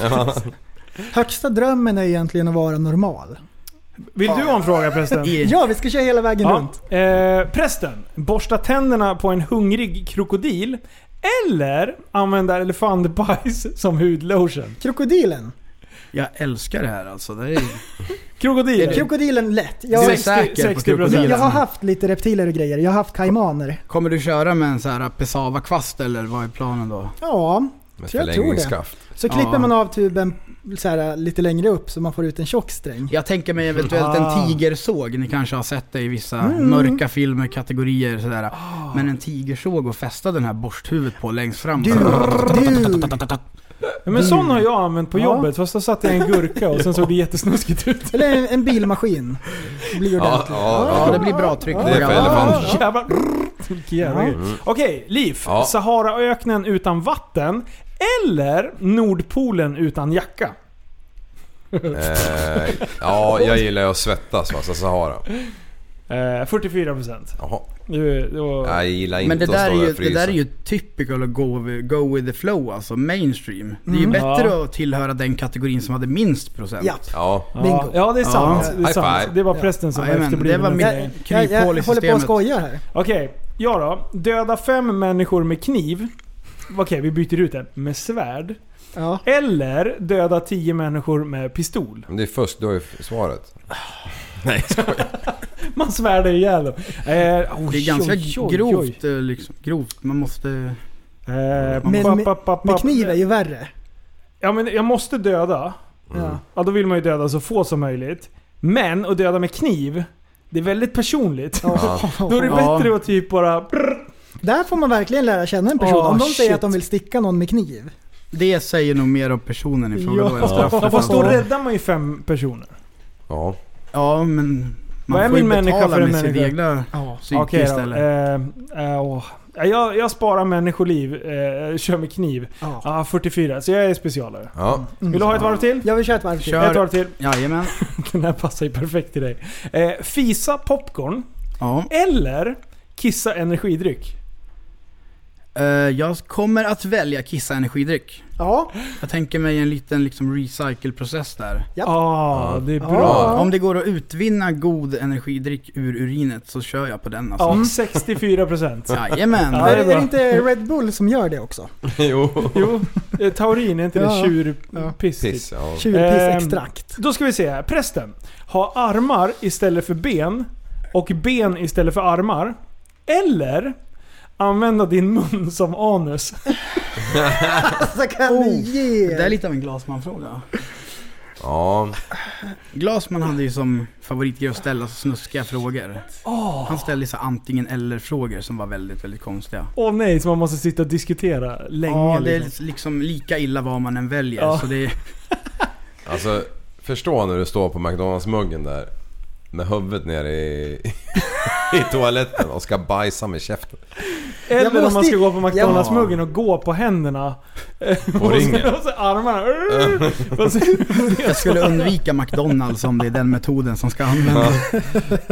[SPEAKER 8] Högsta drömmen är egentligen att vara normal.
[SPEAKER 5] Vill du ha en fråga prästen?
[SPEAKER 7] I-
[SPEAKER 8] Ja, vi ska köra hela vägen
[SPEAKER 5] Ja.
[SPEAKER 8] runt.
[SPEAKER 5] Eh, prästen, borsta tänderna på en hungrig krokodil. Eller använda elefantbajs som hudlotion.
[SPEAKER 8] Krokodilen.
[SPEAKER 7] Jag älskar det här alltså. Det är,
[SPEAKER 5] Krokodilen.
[SPEAKER 8] Krokodilen lätt.
[SPEAKER 7] du är
[SPEAKER 8] Jag,
[SPEAKER 7] säker på
[SPEAKER 5] 60%.
[SPEAKER 7] krokodilen?
[SPEAKER 8] jag har haft lite reptiler och grejer. Jag har haft kaimaner.
[SPEAKER 7] Kommer du köra med en sån här pesava-kvast eller vad är planen då?
[SPEAKER 8] Ja,
[SPEAKER 6] Med
[SPEAKER 8] Jag tror det.
[SPEAKER 6] förlängningsskaft.
[SPEAKER 8] så klipper
[SPEAKER 7] Ja.
[SPEAKER 8] man av tuben så här, lite längre upp så man får ut en tjock sträng.
[SPEAKER 7] Jag tänker mig eventuellt
[SPEAKER 5] Ah.
[SPEAKER 7] en tigersåg. Ni kanske har sett det i vissa mörka filmer, kategorier sådär. Men en tigersåg och fästa den här borsthuvudet på längst fram.
[SPEAKER 8] Du, du.
[SPEAKER 5] Men sån
[SPEAKER 7] Mm.
[SPEAKER 5] har jag använt på
[SPEAKER 8] Ja.
[SPEAKER 5] jobbet. Fast då satte jag en gurka och sen såg det jättesnuskigt ut.
[SPEAKER 8] Eller en, en bilmaskin. Det blir
[SPEAKER 6] Ja,
[SPEAKER 8] ordentligt.
[SPEAKER 6] ja,
[SPEAKER 7] Ja, det blir bra tryck på
[SPEAKER 6] Det är för elefanter.
[SPEAKER 5] Jävlar. Vilken jävla grej. Okej, Liv.
[SPEAKER 6] Ja.
[SPEAKER 5] Saharaöknen utan vatten. Eller Nordpolen utan jacka.
[SPEAKER 6] Eh, ja, jag gillar ju att svettas va, så Sahara.
[SPEAKER 5] Eh, 44%.
[SPEAKER 6] Jaha.
[SPEAKER 5] Du, det var-
[SPEAKER 6] Jag gillar inte
[SPEAKER 7] Men det
[SPEAKER 6] att
[SPEAKER 7] där,
[SPEAKER 6] stå
[SPEAKER 7] är ju,
[SPEAKER 6] och
[SPEAKER 7] det
[SPEAKER 6] frysa.
[SPEAKER 7] där är ju typical att go, with- go with the flow, alltså mainstream. Det är ju bättre
[SPEAKER 5] Ja.
[SPEAKER 7] att tillhöra den kategorin som hade minst procent.
[SPEAKER 8] Ja.
[SPEAKER 6] Ja.
[SPEAKER 5] Ja,
[SPEAKER 8] Bingo.
[SPEAKER 5] ja, det är sant.
[SPEAKER 6] Ja.
[SPEAKER 5] Det, är
[SPEAKER 6] High
[SPEAKER 5] sant.
[SPEAKER 6] five.
[SPEAKER 5] det var prästen som var
[SPEAKER 7] Jajamän,
[SPEAKER 5] efterbliven.
[SPEAKER 7] det var
[SPEAKER 5] med
[SPEAKER 7] min-
[SPEAKER 5] grejen.
[SPEAKER 8] Jag, jag, jag
[SPEAKER 7] Kryphål i
[SPEAKER 8] håller på och
[SPEAKER 7] systemet.
[SPEAKER 8] skojar här.
[SPEAKER 5] Okej, ja då. Döda fem människor med kniv. Okej, vi byter ut den. Med svärd.
[SPEAKER 8] Ja.
[SPEAKER 5] Eller döda 10 människor med pistol.
[SPEAKER 6] Men det är fusk, du har ju f- svaret.
[SPEAKER 11] Nej, jag skojar.
[SPEAKER 5] Man svär dig ihjäl dem. Eh, oj,
[SPEAKER 7] Det är ganska
[SPEAKER 5] oj, oj, oj.
[SPEAKER 7] grovt eh, liksom. Grovt. Man måste...
[SPEAKER 5] Eh,
[SPEAKER 8] Men
[SPEAKER 5] papp,
[SPEAKER 8] med-
[SPEAKER 5] papp, papp,
[SPEAKER 8] Med
[SPEAKER 5] papp.
[SPEAKER 8] kniv är ju värre.
[SPEAKER 5] Ja men jag måste döda.
[SPEAKER 7] Mm.
[SPEAKER 8] Ja.
[SPEAKER 5] Ja då vill man ju döda så få som möjligt. Men att döda med kniv, det är väldigt personligt. Då är det
[SPEAKER 7] Ja.
[SPEAKER 5] bättre att typ bara...
[SPEAKER 8] Där får man verkligen lära känna en person.
[SPEAKER 5] Åh,
[SPEAKER 8] Om de säger
[SPEAKER 5] shit.
[SPEAKER 8] att de vill sticka någon med kniv.
[SPEAKER 7] Det säger nog mer om personen i fråga. då än liksom.
[SPEAKER 5] Ja,
[SPEAKER 7] straffet.
[SPEAKER 5] fast då räddar man ju fem personer.
[SPEAKER 6] Ja.
[SPEAKER 7] Ja, men... Man
[SPEAKER 5] Vad är
[SPEAKER 7] får ju
[SPEAKER 5] min människa
[SPEAKER 7] betala
[SPEAKER 5] för en
[SPEAKER 7] med sitt
[SPEAKER 5] människa?
[SPEAKER 7] egna
[SPEAKER 8] Ja.
[SPEAKER 7] psyke
[SPEAKER 5] Okej då.
[SPEAKER 7] istället.
[SPEAKER 5] Eh, eh, åh. Ja, jag, jag sparar människoliv, eh, kör med kniv.
[SPEAKER 8] Ja. Mm.
[SPEAKER 5] Ah, 44, så jag är specialare.
[SPEAKER 6] Ja.
[SPEAKER 5] Vill du ha ett varv till?
[SPEAKER 8] Jag vill köra ett varv till.
[SPEAKER 7] Kör.
[SPEAKER 5] Ett varv till.
[SPEAKER 7] Jajamän.
[SPEAKER 5] Den här passar ju perfekt till dig. Eh, fisa popcorn
[SPEAKER 7] Ja.
[SPEAKER 5] eller kissa energidryck.
[SPEAKER 7] Eh, jag kommer att välja kissa energidryck.
[SPEAKER 8] Ja,
[SPEAKER 7] Jag tänker mig en liten liksom recycle-process där.
[SPEAKER 8] Japp.
[SPEAKER 5] Ah, det är bra.
[SPEAKER 6] Bra.
[SPEAKER 7] Om det går att utvinna god energidryck ur urinet så kör jag på den alltså.
[SPEAKER 5] Ja, 64%.
[SPEAKER 7] Jajamän.
[SPEAKER 5] Ja, det är
[SPEAKER 8] är,
[SPEAKER 5] bra.
[SPEAKER 8] det inte Red Bull som gör det också?
[SPEAKER 6] Jo.
[SPEAKER 5] Jo, eh, taurin, är inte det
[SPEAKER 8] Ja.
[SPEAKER 5] tjurpiss? Typ?
[SPEAKER 6] Piss. Ja.
[SPEAKER 8] Tjurpissextrakt.
[SPEAKER 5] Då ska vi se här. Prästen. Ha armar istället för ben och ben istället för armar. Eller använda din mun som anus. Ehm,
[SPEAKER 8] Så kan
[SPEAKER 5] Oh,
[SPEAKER 8] ni ge
[SPEAKER 7] Det är
[SPEAKER 8] er.
[SPEAKER 7] lite av en Glasman-fråga.
[SPEAKER 6] ja.
[SPEAKER 7] Glasman hade ju som favoritgrej att ställa snuskiga frågor. Han ställde så här antingen eller frågor som var väldigt, väldigt konstiga.
[SPEAKER 5] Åh nej, så man måste sitta och diskutera länge.
[SPEAKER 7] Ja, det
[SPEAKER 5] liksom.
[SPEAKER 7] är liksom lika illa vad man än väljer.
[SPEAKER 5] Ja.
[SPEAKER 7] Så det är,
[SPEAKER 6] Alltså, förstå när du står på McDonalds-muggen där. Med huvudet nere i, i toaletten och ska bajsa med käften.
[SPEAKER 5] Eller
[SPEAKER 8] Jag måste-
[SPEAKER 5] om man ska gå på
[SPEAKER 7] Ja.
[SPEAKER 5] McDonalds-muggen och gå på händerna.
[SPEAKER 6] På ringen.
[SPEAKER 5] Och så armarna. Och så,
[SPEAKER 7] jag skulle undvika McDonalds om det är den metoden som ska användas.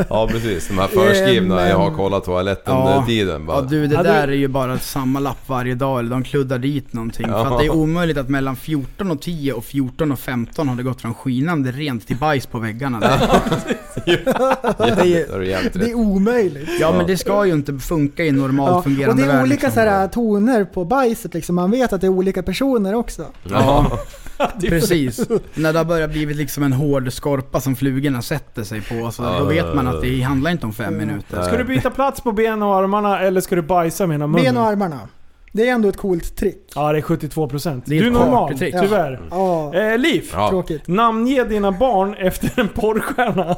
[SPEAKER 6] Ja precis, de här förskrivna jag har kollat toaletten-tiden
[SPEAKER 7] Ja
[SPEAKER 6] bara.
[SPEAKER 7] du, det
[SPEAKER 5] Eh, Ja, du-
[SPEAKER 7] där är ju bara samma lapp varje dag, eller de kluddar dit någonting. För att det är omöjligt att mellan 14 och 10 och 14 och 15 har det gått från skinande rent till bajs på väggarna. där.
[SPEAKER 6] Jävligt, har du jävligt
[SPEAKER 8] Det är
[SPEAKER 6] rätt.
[SPEAKER 8] omöjligt.
[SPEAKER 7] Ja men det ska ju inte funka i en normalt
[SPEAKER 8] Ja. Och det
[SPEAKER 7] fungerande
[SPEAKER 8] är
[SPEAKER 7] värld.
[SPEAKER 8] olika så
[SPEAKER 7] liksom.
[SPEAKER 8] här, toner på bajset liksom. Man vet att det är olika personer också.
[SPEAKER 7] Ja, precis. När det har börjat blivit liksom en hård skorpa som flugorna sätter sig på, så då vet man att det handlar inte om fem
[SPEAKER 6] Eh,
[SPEAKER 7] minuter.
[SPEAKER 5] ska du byta plats på ben och armarna eller ska du bajsa med ena munnen?
[SPEAKER 8] Ben och armarna. Det är ändå ett coolt trick.
[SPEAKER 5] Ja, det är 72%.
[SPEAKER 7] Det är
[SPEAKER 5] du är
[SPEAKER 7] ett
[SPEAKER 5] normal,
[SPEAKER 7] partytrick.
[SPEAKER 5] tyvärr.
[SPEAKER 8] Ja,
[SPEAKER 5] Eh, Liv.
[SPEAKER 6] Ja.
[SPEAKER 8] tråkigt.
[SPEAKER 5] Namnge dina barn efter en porrstjärna.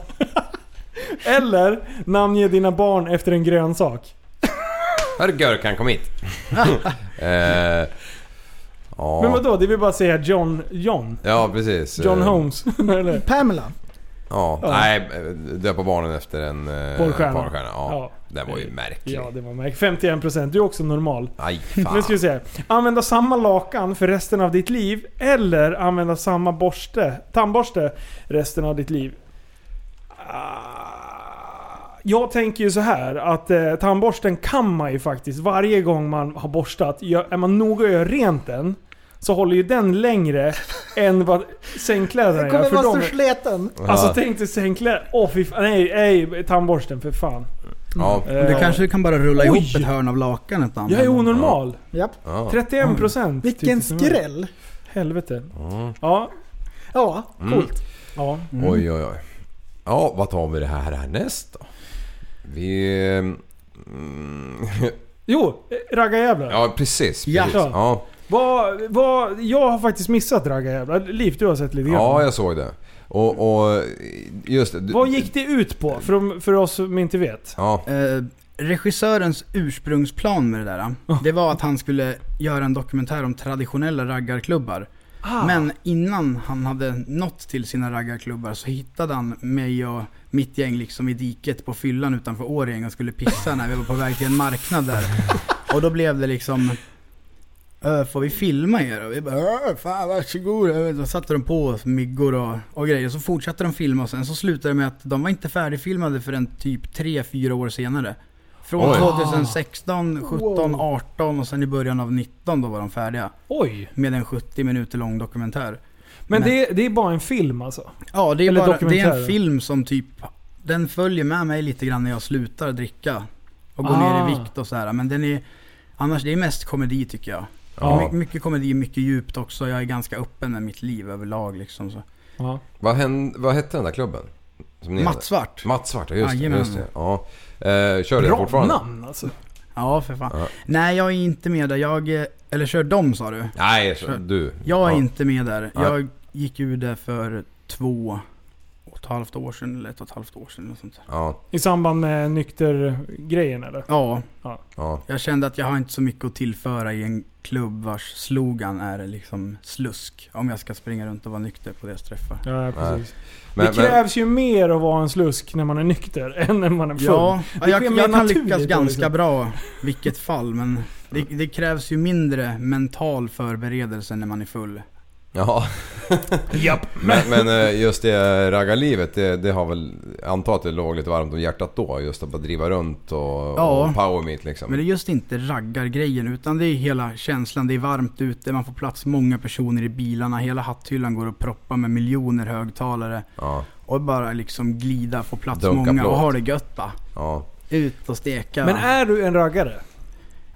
[SPEAKER 5] Eller namnge dina barn efter en grön sak.
[SPEAKER 6] Hörru Gurkan, kom hit. eh,
[SPEAKER 5] Men
[SPEAKER 6] ja.
[SPEAKER 5] vadå? Det vill bara säga John... John?
[SPEAKER 6] ja, precis.
[SPEAKER 5] John
[SPEAKER 6] Eh,
[SPEAKER 5] Holmes? Eller?
[SPEAKER 8] Pamela.
[SPEAKER 6] Ja.
[SPEAKER 5] Ja.
[SPEAKER 6] Nej, döpa barnen efter en eh,
[SPEAKER 5] Porrstjärna.
[SPEAKER 6] porrstjärna. Ja.
[SPEAKER 5] Ja.
[SPEAKER 6] Den var ju märklig.
[SPEAKER 5] Ja, det var märkt. 51%. Du är också normal.
[SPEAKER 6] Aj,
[SPEAKER 5] Nu
[SPEAKER 6] fan.
[SPEAKER 5] ska vi se. Använda samma lakan för resten av ditt liv. Eller använda samma borste, tandborste resten av ditt liv. Ah, Jag tänker ju så här att eh, tandborsten kan man ju faktiskt varje gång man har borstat. Gör, är man noga och gör rent den så håller ju den längre än vad
[SPEAKER 8] Den
[SPEAKER 5] sängkläderna gör.
[SPEAKER 8] kommer
[SPEAKER 5] För
[SPEAKER 8] vara
[SPEAKER 5] de,
[SPEAKER 8] så sleten.
[SPEAKER 5] alltså
[SPEAKER 6] Ja.
[SPEAKER 5] tänk dig sängkläder. Åh fy fan. Nej, nej, tandborsten för fan.
[SPEAKER 6] Ja.
[SPEAKER 7] Du
[SPEAKER 5] Eh,
[SPEAKER 7] kanske kan bara rulla
[SPEAKER 5] Oj.
[SPEAKER 7] ihop ett hörn av lakanet då.
[SPEAKER 5] Jag är onormal. typ.
[SPEAKER 8] Japp.
[SPEAKER 6] Ja.
[SPEAKER 5] 31%
[SPEAKER 8] Vilken
[SPEAKER 5] tyckte
[SPEAKER 7] Typ.
[SPEAKER 5] som jag.
[SPEAKER 8] skräll.
[SPEAKER 5] Helvete.
[SPEAKER 6] Mm.
[SPEAKER 5] Ja,
[SPEAKER 8] Ja, coolt.
[SPEAKER 5] ja.
[SPEAKER 6] Oj, oj, oj. Ja, vad tar vi det här härnäst då? Vi... eh, Mm,
[SPEAKER 5] Jo, eh, raggarjävlar.
[SPEAKER 6] ja, precis.
[SPEAKER 7] Ja.
[SPEAKER 6] precis. Ja.
[SPEAKER 5] Vad, vad, jag har faktiskt missat raggarjävlar. Liv, du har sett lite grann.
[SPEAKER 6] ja, jag såg det. Och, och just det. du-
[SPEAKER 5] Vad gick det ut på? För, de, för oss som inte vet.
[SPEAKER 6] Ja,
[SPEAKER 7] Eh, regissörens ursprungsplan med det där,
[SPEAKER 5] Ah.
[SPEAKER 7] det var att han skulle göra en dokumentär om traditionella raggarklubbar. Men innan han hade nått till sina raggarklubbar så hittade han mig och mitt gäng liksom i diket på fyllan utanför Årjäng och skulle pissa när vi var på väg till en marknad där. Och då blev det liksom "Ö, Får vi filma er? Och vi bara "Ö, fan varsågod. Och Då satte de på oss myggor och, och grejer. Så fortsatte de filma och sen så slutade det med att de var inte färdigfilmade förrän typ 3-4 år senare. Från
[SPEAKER 6] Oj.
[SPEAKER 7] 2016, 17, 18 och sen i början av 19 då var de färdiga.
[SPEAKER 5] Oj.
[SPEAKER 7] Med en 70 minuter lång dokumentär.
[SPEAKER 5] Men
[SPEAKER 7] Nej.
[SPEAKER 5] det, det är bara en film alltså?
[SPEAKER 7] Ja, det är,
[SPEAKER 5] Eller
[SPEAKER 7] bara, det är
[SPEAKER 5] dokumentär.
[SPEAKER 7] en film som typ, den följer med mig lite grann när jag slutar dricka. Och går
[SPEAKER 5] Ah.
[SPEAKER 7] ner i vikt och så här. Men den är, annars det är mest komedi tycker jag.
[SPEAKER 6] Ja.
[SPEAKER 7] My- Mycket komedi, mycket djupt också. Jag är ganska öppen med mitt liv överlag liksom. Så.
[SPEAKER 6] Vad, hände, vad hette den där klubben? Som
[SPEAKER 7] Matt
[SPEAKER 6] hade?
[SPEAKER 7] Svart.
[SPEAKER 6] Matt Svart, ja, just, det,
[SPEAKER 7] Jajamän.
[SPEAKER 6] just det. Ja. Eh, kör det fortfarande?
[SPEAKER 5] alltså.
[SPEAKER 7] Ja, för fan.
[SPEAKER 6] Ja.
[SPEAKER 7] Nej, jag är inte med där. Jag... eh, Eller kör dem sa du?
[SPEAKER 6] Nej, jag kör, du.
[SPEAKER 7] Jag är
[SPEAKER 6] Ja.
[SPEAKER 7] inte med där.
[SPEAKER 6] Nej.
[SPEAKER 7] Jag gick ur där för två och ett halvt år sedan eller ett och ett halvt år sedan. Eller sånt där.
[SPEAKER 6] Ja.
[SPEAKER 5] I samband med nyktergrejen eller?
[SPEAKER 7] Ja.
[SPEAKER 5] Ja.
[SPEAKER 6] ja.
[SPEAKER 7] Jag kände att jag har inte så mycket att tillföra i en klubb vars slogan är liksom slusk. Om jag ska springa runt och vara nykter på deras träffar.
[SPEAKER 5] Ja, precis.
[SPEAKER 6] Men-
[SPEAKER 5] det
[SPEAKER 6] men-
[SPEAKER 5] krävs ju mer att vara en slusk när man är nykter än när man är full.
[SPEAKER 7] Ja,
[SPEAKER 5] Det
[SPEAKER 7] jag,
[SPEAKER 5] sker
[SPEAKER 7] jag,
[SPEAKER 5] mer
[SPEAKER 7] kan
[SPEAKER 5] naturligt
[SPEAKER 7] lyckas
[SPEAKER 5] då,
[SPEAKER 7] ganska
[SPEAKER 5] liksom.
[SPEAKER 7] bra vilket fall men det, det krävs ju mindre mental förberedelse när man är full.
[SPEAKER 6] Ja.
[SPEAKER 5] Japp.
[SPEAKER 6] Men, men eh, just det raggarlivet, det, det har väl... Jag antar att det låg lite varmt om hjärtat då. Just att bara driva runt och,
[SPEAKER 7] Ja.
[SPEAKER 6] och power meet liksom.
[SPEAKER 7] Men det är just inte raggargrejen utan det är hela känslan. Det är varmt ute, man får plats många personer i bilarna. Hela hatthyllan går att proppa med miljoner högtalare.
[SPEAKER 6] Ja.
[SPEAKER 7] Och bara liksom glida, få plats
[SPEAKER 6] Dunka
[SPEAKER 7] många
[SPEAKER 6] plåt.
[SPEAKER 7] och ha det gött va.
[SPEAKER 6] Ja.
[SPEAKER 7] Ut och steka.
[SPEAKER 5] Men är du en raggare?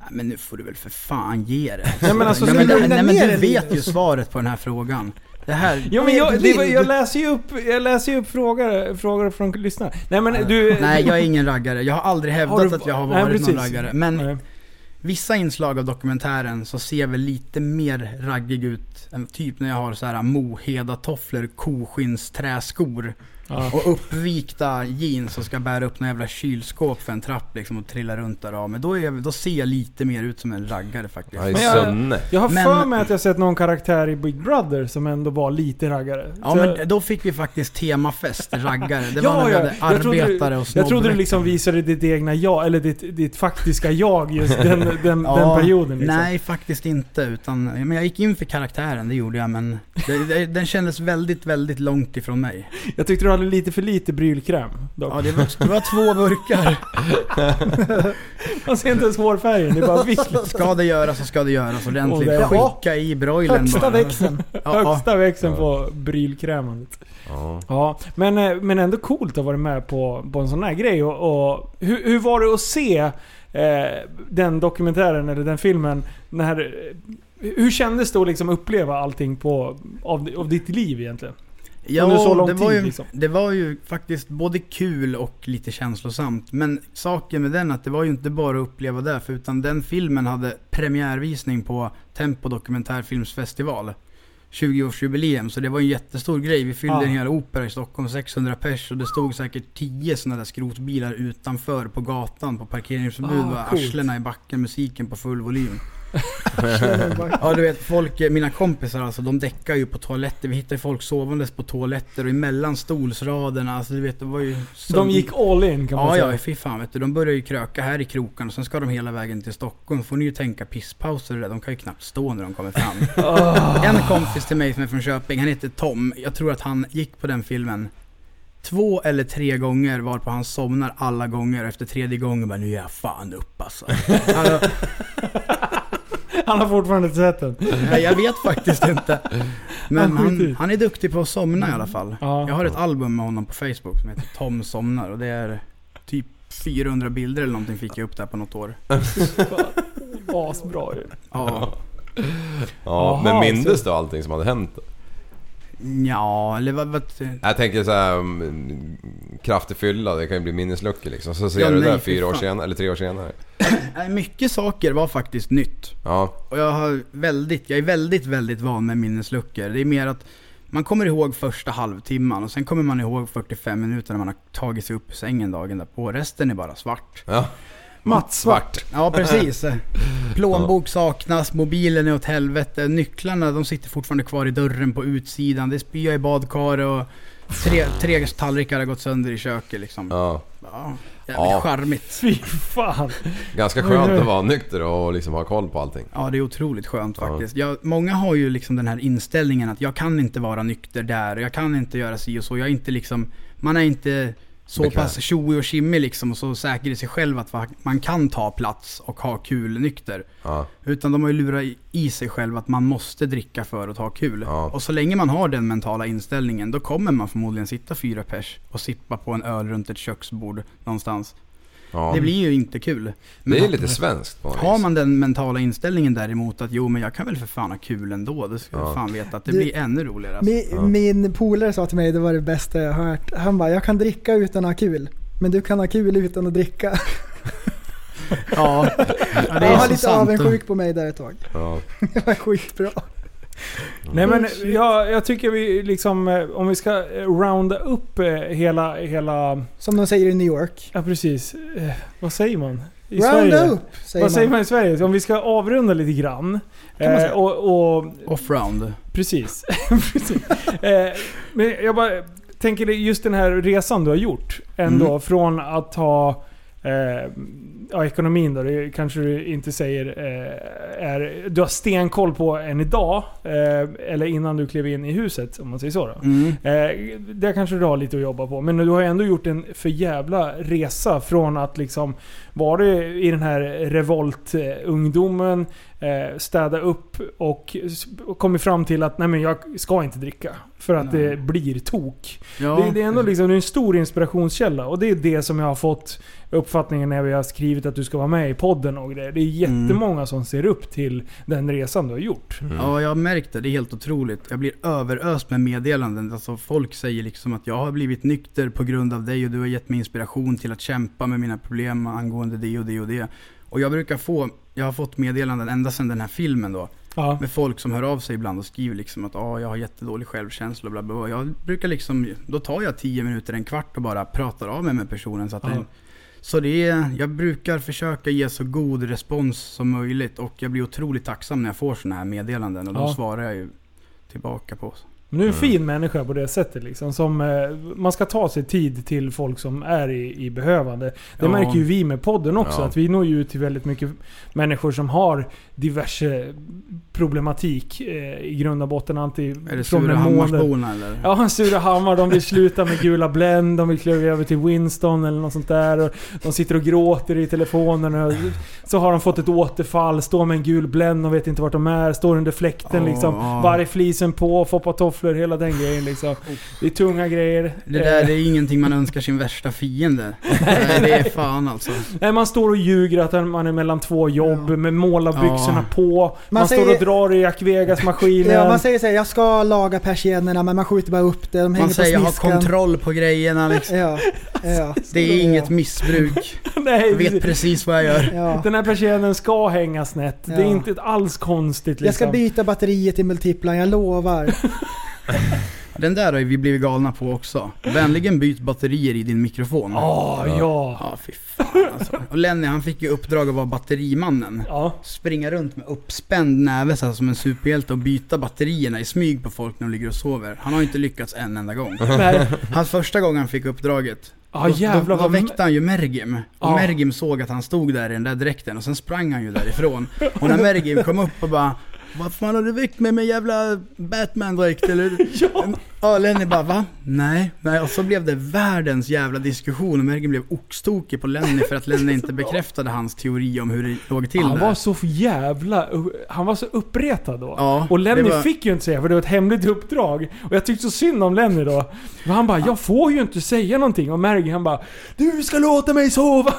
[SPEAKER 7] Ja, Men nu får du väl för fan ge det.
[SPEAKER 5] Nej, men alltså,
[SPEAKER 7] nej,
[SPEAKER 5] så
[SPEAKER 7] men,
[SPEAKER 5] lugna
[SPEAKER 7] nej, men
[SPEAKER 5] ner
[SPEAKER 7] du
[SPEAKER 5] dig
[SPEAKER 7] vet
[SPEAKER 5] lite.
[SPEAKER 7] ju svaret på den här frågan. Det här...
[SPEAKER 5] Ja, men jag, det, var- jag läser ju upp, jag läser ju upp frågor, frågor från lyssnare. Nej men du...
[SPEAKER 7] Nej, jag är ingen raggare. Jag har aldrig hävdat
[SPEAKER 5] Har du-
[SPEAKER 7] att jag har
[SPEAKER 5] Nej,
[SPEAKER 7] varit någon
[SPEAKER 5] precis.
[SPEAKER 7] raggare. Men vissa inslag av dokumentären så ser jag väl lite mer raggig ut. än Typ när jag har så här Moheda-tofflor, koskinnsträskor
[SPEAKER 5] Ja.
[SPEAKER 7] och uppvikta jeans och ska bära upp några jävla kylskåp för en trapp liksom och trilla runt där av. Men då, är jag, då ser jag lite mer ut som en raggare faktiskt.
[SPEAKER 5] Men jag, jag har för mig att jag sett någon karaktär i Big Brother som ändå var lite raggare.
[SPEAKER 7] Ja
[SPEAKER 5] Så-
[SPEAKER 7] men då fick vi faktiskt temafest, raggare. Det var
[SPEAKER 5] Ja,
[SPEAKER 7] när vi
[SPEAKER 5] ja.
[SPEAKER 7] hade
[SPEAKER 5] Jag trodde du-
[SPEAKER 7] arbetare och
[SPEAKER 5] Jag trodde du
[SPEAKER 7] snobbveckor.
[SPEAKER 5] liksom visade ditt egna jag, eller ditt, ditt faktiska jag just den, den,
[SPEAKER 7] Ja,
[SPEAKER 5] den perioden. Liksom.
[SPEAKER 7] Nej, faktiskt inte. Utan, ja, men jag gick in för karaktären, det gjorde jag. Men det, det, den kändes väldigt, väldigt långt ifrån mig.
[SPEAKER 5] Jag tyckte du hade lite för lite brylkräm. Dock.
[SPEAKER 7] Ja, det var, det var två burkar.
[SPEAKER 5] Man ser inte ens hårfärgen, det är bara vickligt.
[SPEAKER 7] Ska det göras så ska det göras ordentligt.
[SPEAKER 5] Och det-
[SPEAKER 7] Skicka i broilern bara. Ja, ja.
[SPEAKER 5] Högsta växeln på brylkrämandet.
[SPEAKER 6] Ja.
[SPEAKER 5] Ja, men, eh, men ändå coolt att vara med på, på en sån här grej. Och, och, hur, hur var det att se eh, den dokumentären eller den filmen? När, eh, hur kändes det att liksom uppleva allting på, av, av ditt liv egentligen?
[SPEAKER 7] Ja,
[SPEAKER 5] Under så lång
[SPEAKER 7] det, var
[SPEAKER 5] tid
[SPEAKER 7] ju,
[SPEAKER 5] liksom.
[SPEAKER 7] det var ju faktiskt både kul och lite känslosamt. Men saken med den att det var ju inte bara att uppleva det. För utan den filmen hade premiärvisning på Tempo dokumentärfilmsfestival. 20-årsjubileum, så det var en jättestor grej. Vi fyllde
[SPEAKER 5] Ja.
[SPEAKER 7] en hel opera i Stockholm, 600 pers. Och det stod säkert 10 sådana där skrotbilar utanför på gatan på parkeringsförbud.
[SPEAKER 5] Ah,
[SPEAKER 7] och
[SPEAKER 5] coolt.
[SPEAKER 7] arslena i backen, musiken på full volym.
[SPEAKER 5] Arslena i backen.
[SPEAKER 7] ja du vet, folk, eh, mina kompisar alltså, de däckar ju på toaletter. Vi hittade folk sovandes på toaletter och emellan stolsraderna. Alltså du vet, det var ju...
[SPEAKER 5] De gick all in kan man
[SPEAKER 7] Ja,
[SPEAKER 5] säga.
[SPEAKER 7] ja, fy fan vet du. De börjar ju kröka här i krokarna och sen ska de hela vägen till Stockholm. Får ni ju tänka pisspauser och det där. De kan ju knappt stå när de kommer fram.
[SPEAKER 5] Ah.
[SPEAKER 7] en kompis till mig som är från Köping, han heter Tom. Jag tror att han gick på den filmen två eller tre gånger varpå han somnar alla gånger. Efter tredje gången bara, nu är jag fan upp alltså. alltså
[SPEAKER 5] Han har fortfarande inte sett den.
[SPEAKER 7] Nej, jag vet faktiskt inte.
[SPEAKER 5] Han
[SPEAKER 7] Men
[SPEAKER 5] skiter
[SPEAKER 7] han,
[SPEAKER 5] i. Mm.
[SPEAKER 7] han är duktig på att somna i alla fall.
[SPEAKER 5] Ja.
[SPEAKER 7] Jag har ett album med honom på Facebook som heter Tom somnar och det är typ 400 bilder eller någonting fick jag upp där på något år.
[SPEAKER 5] Asbra ju.
[SPEAKER 7] Ja.
[SPEAKER 6] Ja,
[SPEAKER 7] Aha,
[SPEAKER 6] men mindes
[SPEAKER 7] så-
[SPEAKER 6] du allting som hade hänt?
[SPEAKER 7] Ja, eller vad... vad
[SPEAKER 6] Jag tänker så här, mm, kraftig fylla, det kan ju bli minnesluckor liksom. Så ser
[SPEAKER 7] Ja,
[SPEAKER 6] du det
[SPEAKER 7] nej,
[SPEAKER 6] där
[SPEAKER 7] fy
[SPEAKER 6] fyra år
[SPEAKER 7] fan.
[SPEAKER 6] senare, eller tre år senare.
[SPEAKER 7] nej, eh, mycket saker var faktiskt nytt.
[SPEAKER 6] Ja.
[SPEAKER 7] Och jag, har väldigt, jag är väldigt, väldigt van med minnesluckor. Det är mer att man kommer ihåg första halvtimman och sen kommer man ihåg 45 minuter när man har tagit sig upp ur sängen dagen därpå. Resten är bara svart.
[SPEAKER 6] ja.
[SPEAKER 5] Mats
[SPEAKER 6] Svart.
[SPEAKER 7] Ja precis. Plånbok saknas, mobilen är åt helvete, nycklarna de sitter fortfarande kvar i dörren på utsidan. Det är spya i badkaret och tre, tre tallrikar har gått sönder i köket liksom.
[SPEAKER 6] Ja.
[SPEAKER 7] Ja, jävligt
[SPEAKER 6] Ja.
[SPEAKER 7] charmigt.
[SPEAKER 5] Fy fan.
[SPEAKER 6] Ganska skönt att vara nykter och liksom ha koll på allting.
[SPEAKER 7] Ja, det är otroligt skönt faktiskt. Jag, många har ju liksom den här inställningen att jag kan inte vara nykter där, jag kan inte göra si och så. Jag är inte liksom, man är inte så
[SPEAKER 6] Bekväm.
[SPEAKER 7] pass tjoig och tjimmig liksom och så säker i sig själv att va- man kan ta plats och ha kul nykter.
[SPEAKER 6] Ja.
[SPEAKER 7] Utan de har ju lurat i- i sig själv att man måste dricka för att ha kul. Och så länge man har den mentala inställningen då kommer man förmodligen sitta fyra pers och sippa på en öl runt ett köksbord någonstans.
[SPEAKER 6] Ja.
[SPEAKER 7] Det blir ju inte kul.
[SPEAKER 6] Det är lite svenskt på något
[SPEAKER 7] Har
[SPEAKER 6] vis.
[SPEAKER 7] man den mentala inställningen däremot att jo men jag kan väl för fan ha kul ändå. Då ska jag fan veta att det
[SPEAKER 8] Du-
[SPEAKER 7] blir ännu roligare. Alltså.
[SPEAKER 8] Min, min polare sa till mig, det var det bästa jag hört. Han bara, jag kan dricka utan att ha kul. Men du kan ha kul utan att dricka.
[SPEAKER 7] Ja, ja, det
[SPEAKER 8] jag
[SPEAKER 7] är
[SPEAKER 8] var
[SPEAKER 7] så
[SPEAKER 8] lite
[SPEAKER 7] sant.
[SPEAKER 8] avundsjuk på mig där ett tag.
[SPEAKER 6] Ja.
[SPEAKER 8] Det var sjukt bra.
[SPEAKER 5] Nej men jag, jag tycker vi liksom, eh, om vi ska eh, rounda upp eh, hela, hela...
[SPEAKER 8] Som de säger i New York.
[SPEAKER 5] Ja precis. Eh, Vad säger man? I
[SPEAKER 8] Round
[SPEAKER 5] Sverige?
[SPEAKER 8] up, säger
[SPEAKER 5] Vad säger
[SPEAKER 8] man.
[SPEAKER 5] man i Sverige? Om vi ska avrunda lite grann.
[SPEAKER 7] Kan man
[SPEAKER 5] eh,
[SPEAKER 7] säga.
[SPEAKER 5] och, och
[SPEAKER 7] Offround.
[SPEAKER 5] Precis. Precis. Eh, men jag bara tänker det- just den här resan du har gjort. Ändå
[SPEAKER 7] Mm.
[SPEAKER 5] från att ha eh, ja, ekonomin då, det kanske du inte säger eh, är, du har stenkoll på än idag. Eh, eller innan du klev in i huset om man säger så. Då.
[SPEAKER 7] Mm.
[SPEAKER 5] Eh, där kanske du har lite att jobba på. Men du har ju ändå gjort en för jävla resa från att liksom vara i den här revoltungdomen, eh, städa upp och s- och kommit fram till att nej men jag ska inte dricka. För att
[SPEAKER 7] Nej.
[SPEAKER 5] det blir tok.
[SPEAKER 7] Ja,
[SPEAKER 5] det, det är ändå liksom, det är en stor inspirationskälla och det är det som jag har fått uppfattningen när vi har skrivit att du ska vara med i podden och grejer. Det är
[SPEAKER 7] Mm.
[SPEAKER 5] jättemånga som ser upp till den resan du har gjort.
[SPEAKER 7] Ja, jag har märkt det. Det är helt otroligt. Jag blir överöst med meddelanden. Alltså, folk säger liksom att jag har blivit nykter på grund av dig och du har gett mig inspiration till att kämpa med mina problem angående det och det och det. Och jag brukar få, jag har fått meddelanden ända sedan den här filmen då.
[SPEAKER 5] Ja.
[SPEAKER 7] Med folk som hör av sig ibland och skriver liksom att ah, jag har jättedålig självkänsla och bla bla bla. Jag brukar liksom, då tar jag 10 minuter, en kvart och bara pratar av mig med personen. Så, att
[SPEAKER 5] Ja.
[SPEAKER 7] den, så det är, jag brukar försöka ge så god respons som möjligt och jag blir otroligt tacksam när jag får sådana här meddelanden och
[SPEAKER 5] Ja.
[SPEAKER 7] de svarar jag ju tillbaka på.
[SPEAKER 5] Men du är en
[SPEAKER 7] Mm.
[SPEAKER 5] fin människa på det sättet. Liksom, som, eh, man ska ta sig tid till folk som är i, i behövande. Det
[SPEAKER 7] Ja.
[SPEAKER 5] märker ju vi med podden också.
[SPEAKER 6] Ja.
[SPEAKER 5] Att vi når ju ut till väldigt mycket människor som har diverse problematik eh, i grund och botten. Antingen
[SPEAKER 7] Är det
[SPEAKER 5] från mående-
[SPEAKER 7] Surahammarsborna eller?
[SPEAKER 5] Ja, Surahammar. De vill sluta med Gula Blend. De vill kliva över till Winston eller något sånt där. Och de sitter och gråter i telefonen. Och så har de fått ett återfall. Står med en gul Blend och vet inte vart de är. Står under fläkten
[SPEAKER 7] Ja,
[SPEAKER 5] liksom.
[SPEAKER 7] ja.
[SPEAKER 5] Varje flisen på. Foppa tofflor. Hela den grejen liksom. Det är tunga grejer.
[SPEAKER 7] Det där
[SPEAKER 5] Eh,
[SPEAKER 7] det är ingenting man önskar sin värsta fiende. Nej, det är fan alltså.
[SPEAKER 5] nej, man står och ljuger att man är mellan två jobb. Med målarbyxorna
[SPEAKER 7] Ja.
[SPEAKER 5] på. Man,
[SPEAKER 8] Man
[SPEAKER 5] står
[SPEAKER 8] säger-
[SPEAKER 5] och drar i Jack Vegas-maskinen.
[SPEAKER 8] Ja, man säger såhär, jag ska laga persiennerna men man skjuter bara upp det. De hänger
[SPEAKER 7] Man
[SPEAKER 8] på
[SPEAKER 7] säger jag har
[SPEAKER 8] sniskan.
[SPEAKER 7] kontroll på grejerna liksom.
[SPEAKER 8] Ja, ja.
[SPEAKER 7] Det är inget missbruk.
[SPEAKER 5] nej,
[SPEAKER 7] Jag vet precis vad jag gör.
[SPEAKER 8] ja.
[SPEAKER 5] Den här persiennen ska hänga snett. Det är
[SPEAKER 8] Ja.
[SPEAKER 5] inte alls konstigt liksom.
[SPEAKER 8] Jag ska byta batteriet till multiplan, jag lovar.
[SPEAKER 7] Den där har ju vi blivit galna på också. Vänligen byt batterier i din mikrofon.
[SPEAKER 5] Ah, ja.
[SPEAKER 7] Ja, fy fan alltså. Och Lenny han fick ju uppdrag att vara batterimannen.
[SPEAKER 5] Ja.
[SPEAKER 7] Springa runt med uppspänd näve så här, som en superhjälte och byta batterierna i smyg på folk när de ligger och sover. Han har ju inte lyckats en enda gång.
[SPEAKER 5] Nej.
[SPEAKER 7] Hans första gång han fick uppdraget,
[SPEAKER 5] Ah,
[SPEAKER 7] då,
[SPEAKER 5] jävlar
[SPEAKER 7] då, då
[SPEAKER 5] vad... Ah.
[SPEAKER 7] väckte han ju Mergim. Och
[SPEAKER 5] Ja.
[SPEAKER 7] Mergim såg att han stod där i den där dräkten och sen sprang han ju därifrån. Och när Mergim kom upp och bara Vad fan har du väckt mig med jävla Batman-dräkt eller?
[SPEAKER 5] Ja.
[SPEAKER 7] Ja, Lenny bara va? Nej, nej. Och så blev det världens jävla diskussion och Mergim blev oxtokig på Lenny för att Lenny inte bekräftade hans teori om hur det låg till
[SPEAKER 5] Han
[SPEAKER 7] där.
[SPEAKER 5] var så jävla... Han var så uppretad då.
[SPEAKER 7] Ja,
[SPEAKER 5] och Lenny
[SPEAKER 7] det var-
[SPEAKER 5] fick ju inte säga för det var ett hemligt uppdrag. Och jag tyckte så synd om Lenny då. Men han bara 'Jag får ju inte säga någonting' och Mergy han bara 'Du ska låta mig sova'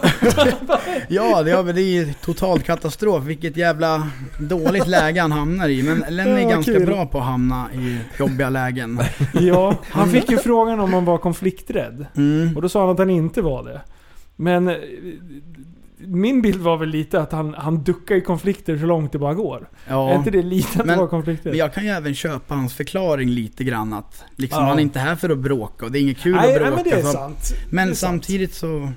[SPEAKER 7] Ja, det, ja, men det är ju total katastrof. Vilket jävla dåligt läge han hamnar i. Men Lenny är
[SPEAKER 8] Ja,
[SPEAKER 7] ganska
[SPEAKER 8] kul.
[SPEAKER 7] bra på att hamna i jobbiga lägen.
[SPEAKER 5] Ja, han fick ju frågan om han var konflikträdd.
[SPEAKER 7] Mm.
[SPEAKER 5] Och då sa han att han inte var det. Men... eh, Min bild var väl lite att han, han duckar i konflikter så långt det bara går. Är
[SPEAKER 7] Ja.
[SPEAKER 5] inte det lite att
[SPEAKER 7] Men-
[SPEAKER 5] vara konflikträdd?
[SPEAKER 7] Men jag kan ju även köpa hans förklaring lite grann att liksom,
[SPEAKER 5] Ja.
[SPEAKER 7] han är inte här för att bråka och det är inget kul
[SPEAKER 5] nej,
[SPEAKER 7] att
[SPEAKER 5] nej,
[SPEAKER 7] bråka.
[SPEAKER 5] men det är
[SPEAKER 7] så-
[SPEAKER 5] sant.
[SPEAKER 7] men
[SPEAKER 5] Det är sant.
[SPEAKER 7] samtidigt så,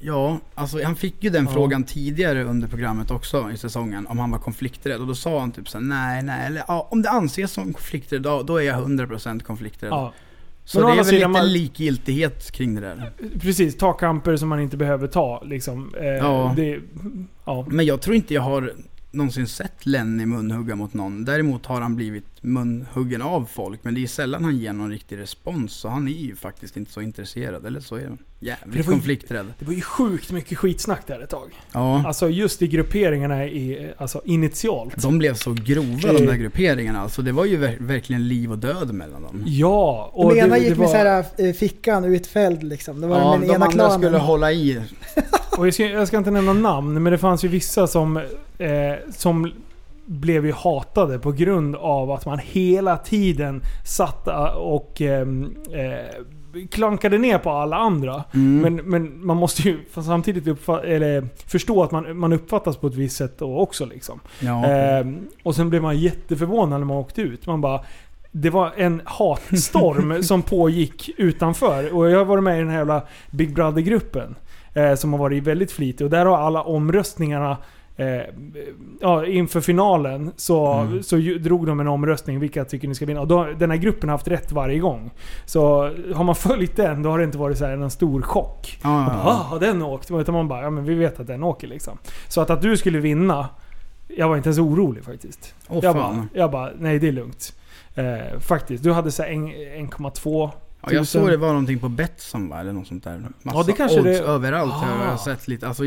[SPEAKER 7] ja, alltså han fick ju den
[SPEAKER 5] Ja.
[SPEAKER 7] frågan tidigare under programmet också i säsongen om han var konflikträdd och då sa han typ så här, nej, nej, eller ja, om det anses som konflikträdd, då, då är jag 100% konflikträdd.
[SPEAKER 5] Ja.
[SPEAKER 7] Så
[SPEAKER 5] Men å
[SPEAKER 7] det är
[SPEAKER 5] andra
[SPEAKER 7] väl lite
[SPEAKER 5] sidan, man-
[SPEAKER 7] likgiltighet kring det där.
[SPEAKER 5] Precis, ta kamper som man inte behöver ta. Liksom. Eh,
[SPEAKER 7] Ja.
[SPEAKER 5] Det, ja.
[SPEAKER 7] Men jag tror inte jag har någonsin sett Lenny munhugga mot någon. Däremot har han blivit munhuggen av folk. Men det är sällan han ger någon riktig respons. Så han är ju faktiskt inte så intresserad. Eller så är han.
[SPEAKER 5] Det
[SPEAKER 7] Jävligt
[SPEAKER 5] var ju-
[SPEAKER 7] konflikträdd.
[SPEAKER 5] Det var ju sjukt mycket skitsnack där ett tag.
[SPEAKER 7] Ja.
[SPEAKER 5] Alltså just i grupperingarna i, alltså initialt.
[SPEAKER 7] De blev så grova de där
[SPEAKER 5] Eh.
[SPEAKER 7] grupperingarna. Alltså det var ju ver- verkligen liv och död mellan dem.
[SPEAKER 5] Ja, och
[SPEAKER 8] den ena
[SPEAKER 5] det,
[SPEAKER 8] gick
[SPEAKER 5] det var...
[SPEAKER 8] med så här, eh, fickan utfälld liksom. Det var
[SPEAKER 7] Ja,
[SPEAKER 8] den
[SPEAKER 7] de
[SPEAKER 8] ena
[SPEAKER 7] andra
[SPEAKER 8] klanen.
[SPEAKER 7] skulle hålla i.
[SPEAKER 5] Och jag, ska, jag ska inte nämna namn, men det fanns ju vissa som, eh, som blev ju hatade på grund av att man hela tiden satt eh, och eh, eh, klankade ner på alla andra.
[SPEAKER 7] Mm.
[SPEAKER 5] Men, men man måste ju samtidigt uppfa- eller förstå att man, man uppfattas på ett visst sätt då också. Liksom.
[SPEAKER 7] Ja.
[SPEAKER 5] Ehm, och sen blev man jätteförvånad när man åkte ut. Man bara... Det var en hatstorm som pågick utanför. Och jag har varit med i den här jävla Big Brother-gruppen. Eh, som har varit väldigt flitig. Och där har alla omröstningarna Eh, ja, inför finalen så, så ju- drog de en omröstning. Vilka tycker ni ska vinna? Och då, den här gruppen har haft rätt varje gång. Så har man följt den, då har det inte varit så här en stor chock.
[SPEAKER 7] Ja, ja,
[SPEAKER 5] Och bara,
[SPEAKER 7] ja.
[SPEAKER 5] "Ah, har den åkt? Utan man bara, ja men vi vet att den åker liksom. Så att, att du skulle vinna, jag var inte ens orolig faktiskt.
[SPEAKER 7] Åh,
[SPEAKER 5] jag,
[SPEAKER 7] fan.
[SPEAKER 5] bara, jag bara, nej det är lugnt. Eh, faktiskt, du hade så här en- 1,2
[SPEAKER 7] Ja, jag
[SPEAKER 5] tusen.
[SPEAKER 7] såg det var någonting på Betsson va? Eller något sånt där. Massa
[SPEAKER 5] Ja, det kanske
[SPEAKER 7] odds
[SPEAKER 5] det-
[SPEAKER 7] överallt har
[SPEAKER 5] Ah.
[SPEAKER 7] jag sett lite. Alltså,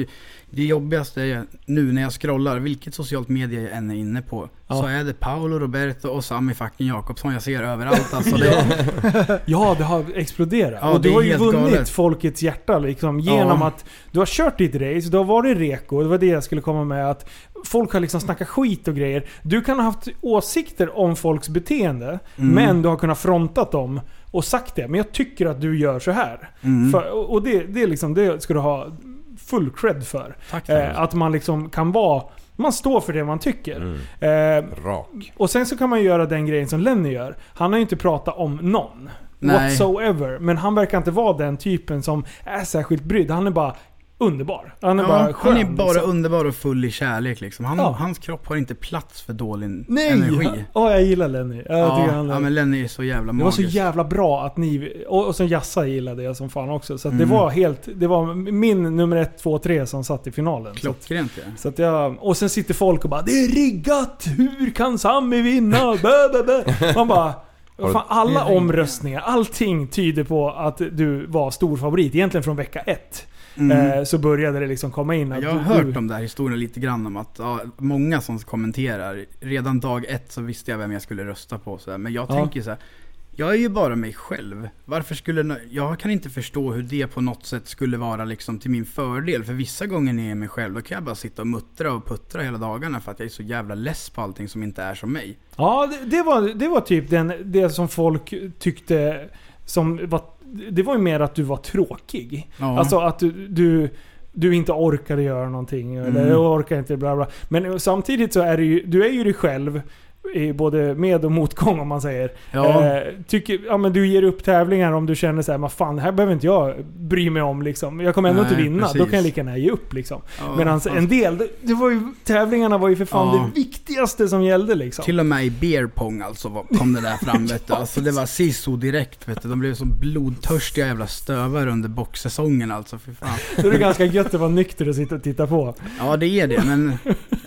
[SPEAKER 7] det jobbigaste är nu när jag scrollar, vilket socialt media jag än är inne på.
[SPEAKER 5] Ja.
[SPEAKER 7] Så är det Paolo Roberto och Sami fucking Jakobsson jag ser överallt. Alltså, det,
[SPEAKER 5] Ja, det har exploderat.
[SPEAKER 7] Ja,
[SPEAKER 5] och
[SPEAKER 7] det
[SPEAKER 5] du
[SPEAKER 7] är
[SPEAKER 5] har ju
[SPEAKER 7] helt
[SPEAKER 5] vunnit
[SPEAKER 7] galet.
[SPEAKER 5] folkets hjärta liksom, genom
[SPEAKER 7] Ja.
[SPEAKER 5] att du har kört ditt race, du har varit reko. Det var det jag skulle komma med. att Folk har liksom snackat skit och grejer. Du kan ha haft åsikter om folks beteende,
[SPEAKER 1] Mm.
[SPEAKER 5] men du har kunnat frontat dem och sagt det. Men jag tycker att du gör så här.
[SPEAKER 1] Mm.
[SPEAKER 5] För, och och det, det, är liksom, det ska du ha full cred för.
[SPEAKER 7] Tack,
[SPEAKER 5] eh, att man liksom kan vara... Man står för det man tycker.
[SPEAKER 7] Mm.
[SPEAKER 5] Eh,
[SPEAKER 6] Rak.
[SPEAKER 5] Och sen så kan man ju göra den grejen som Lenny gör. Han har ju inte pratat om någon.
[SPEAKER 7] Nej.
[SPEAKER 5] Whatsoever. Men han verkar inte vara den typen som är särskilt brydd. Han är bara underbar. Han är
[SPEAKER 7] ja,
[SPEAKER 5] bara skön.
[SPEAKER 7] han är bara
[SPEAKER 5] liksom.
[SPEAKER 7] underbar och full i kärlek liksom. Han,
[SPEAKER 5] Ja.
[SPEAKER 7] Hans kropp har inte plats för dålig
[SPEAKER 5] Nej!
[SPEAKER 7] energi.
[SPEAKER 5] Ja, jag gillar Lenny. Jag
[SPEAKER 7] Ja,
[SPEAKER 5] tycker han är...
[SPEAKER 7] ja, men Lenny är så jävla
[SPEAKER 5] det var så
[SPEAKER 7] magisk.
[SPEAKER 5] jävla bra att ni... Och, och sen Jassa gillade jag som fan också. Så att
[SPEAKER 7] Mm.
[SPEAKER 5] det var helt... Det var min nummer ett, två, tre som satt i finalen. Så att-
[SPEAKER 7] Klockrent ja.
[SPEAKER 5] Så att jag, och sen sitter folk och bara Det är riggat! Hur kan Sami vinna? Bö, bö, bö. Man bara
[SPEAKER 6] Har du-
[SPEAKER 5] Fan, alla omröstningar, allting tyder på att du var stor favorit. Egentligen från vecka ett.
[SPEAKER 7] Mm.
[SPEAKER 5] Eh, så började det liksom komma in att
[SPEAKER 7] Jag har
[SPEAKER 5] du,
[SPEAKER 7] hört om den här historien lite grann om att ja, många som kommenterar, redan dag ett så visste jag vem jag skulle rösta på. och Så här. Men jag
[SPEAKER 5] Ja.
[SPEAKER 7] tänker så här, jag är ju bara mig själv. Varför skulle, nå- jag kan inte förstå hur det på något sätt skulle vara liksom till min fördel. För vissa gånger när jag är mig själv, då kan jag bara sitta och muttra och puttra hela dagarna för att jag är så jävla less på allting som inte är som mig.
[SPEAKER 5] Ja, det, det, var, det var typ den, det som folk tyckte som var... Det var ju mer att du var tråkig.
[SPEAKER 7] Ja.
[SPEAKER 5] Alltså att du, du, du inte orkade göra någonting. Eller
[SPEAKER 7] Mm.
[SPEAKER 5] "Jag orkar inte bla bla. Men samtidigt så är du ju, du är ju dig själv. I både med och motgång om man säger.
[SPEAKER 7] Ja.
[SPEAKER 5] Eh, tycker, ja, men du ger upp tävlingar om du känner så här, "Men fan, det här behöver inte jag bry mig om. Liksom. Jag kommer ändå
[SPEAKER 7] Nej,
[SPEAKER 5] inte vinna. Då
[SPEAKER 7] precis.
[SPEAKER 5] kan jag lika gärna ge upp. Liksom.
[SPEAKER 7] Ja,
[SPEAKER 5] Medan
[SPEAKER 7] fast-
[SPEAKER 5] en del, det- det var ju, tävlingarna var ju för fan
[SPEAKER 7] Ja.
[SPEAKER 5] det viktigaste som gällde. Liksom.
[SPEAKER 7] Till och med i beer pong alltså var- kom det där fram vet du. Alltså det var siso direkt vet du. De blev så blodtörstiga jävla stövar under boxsäsongen alltså. Fy fan.
[SPEAKER 5] Så det är ganska gött att vara nykter och sitta och titta på.
[SPEAKER 7] Ja det är det, men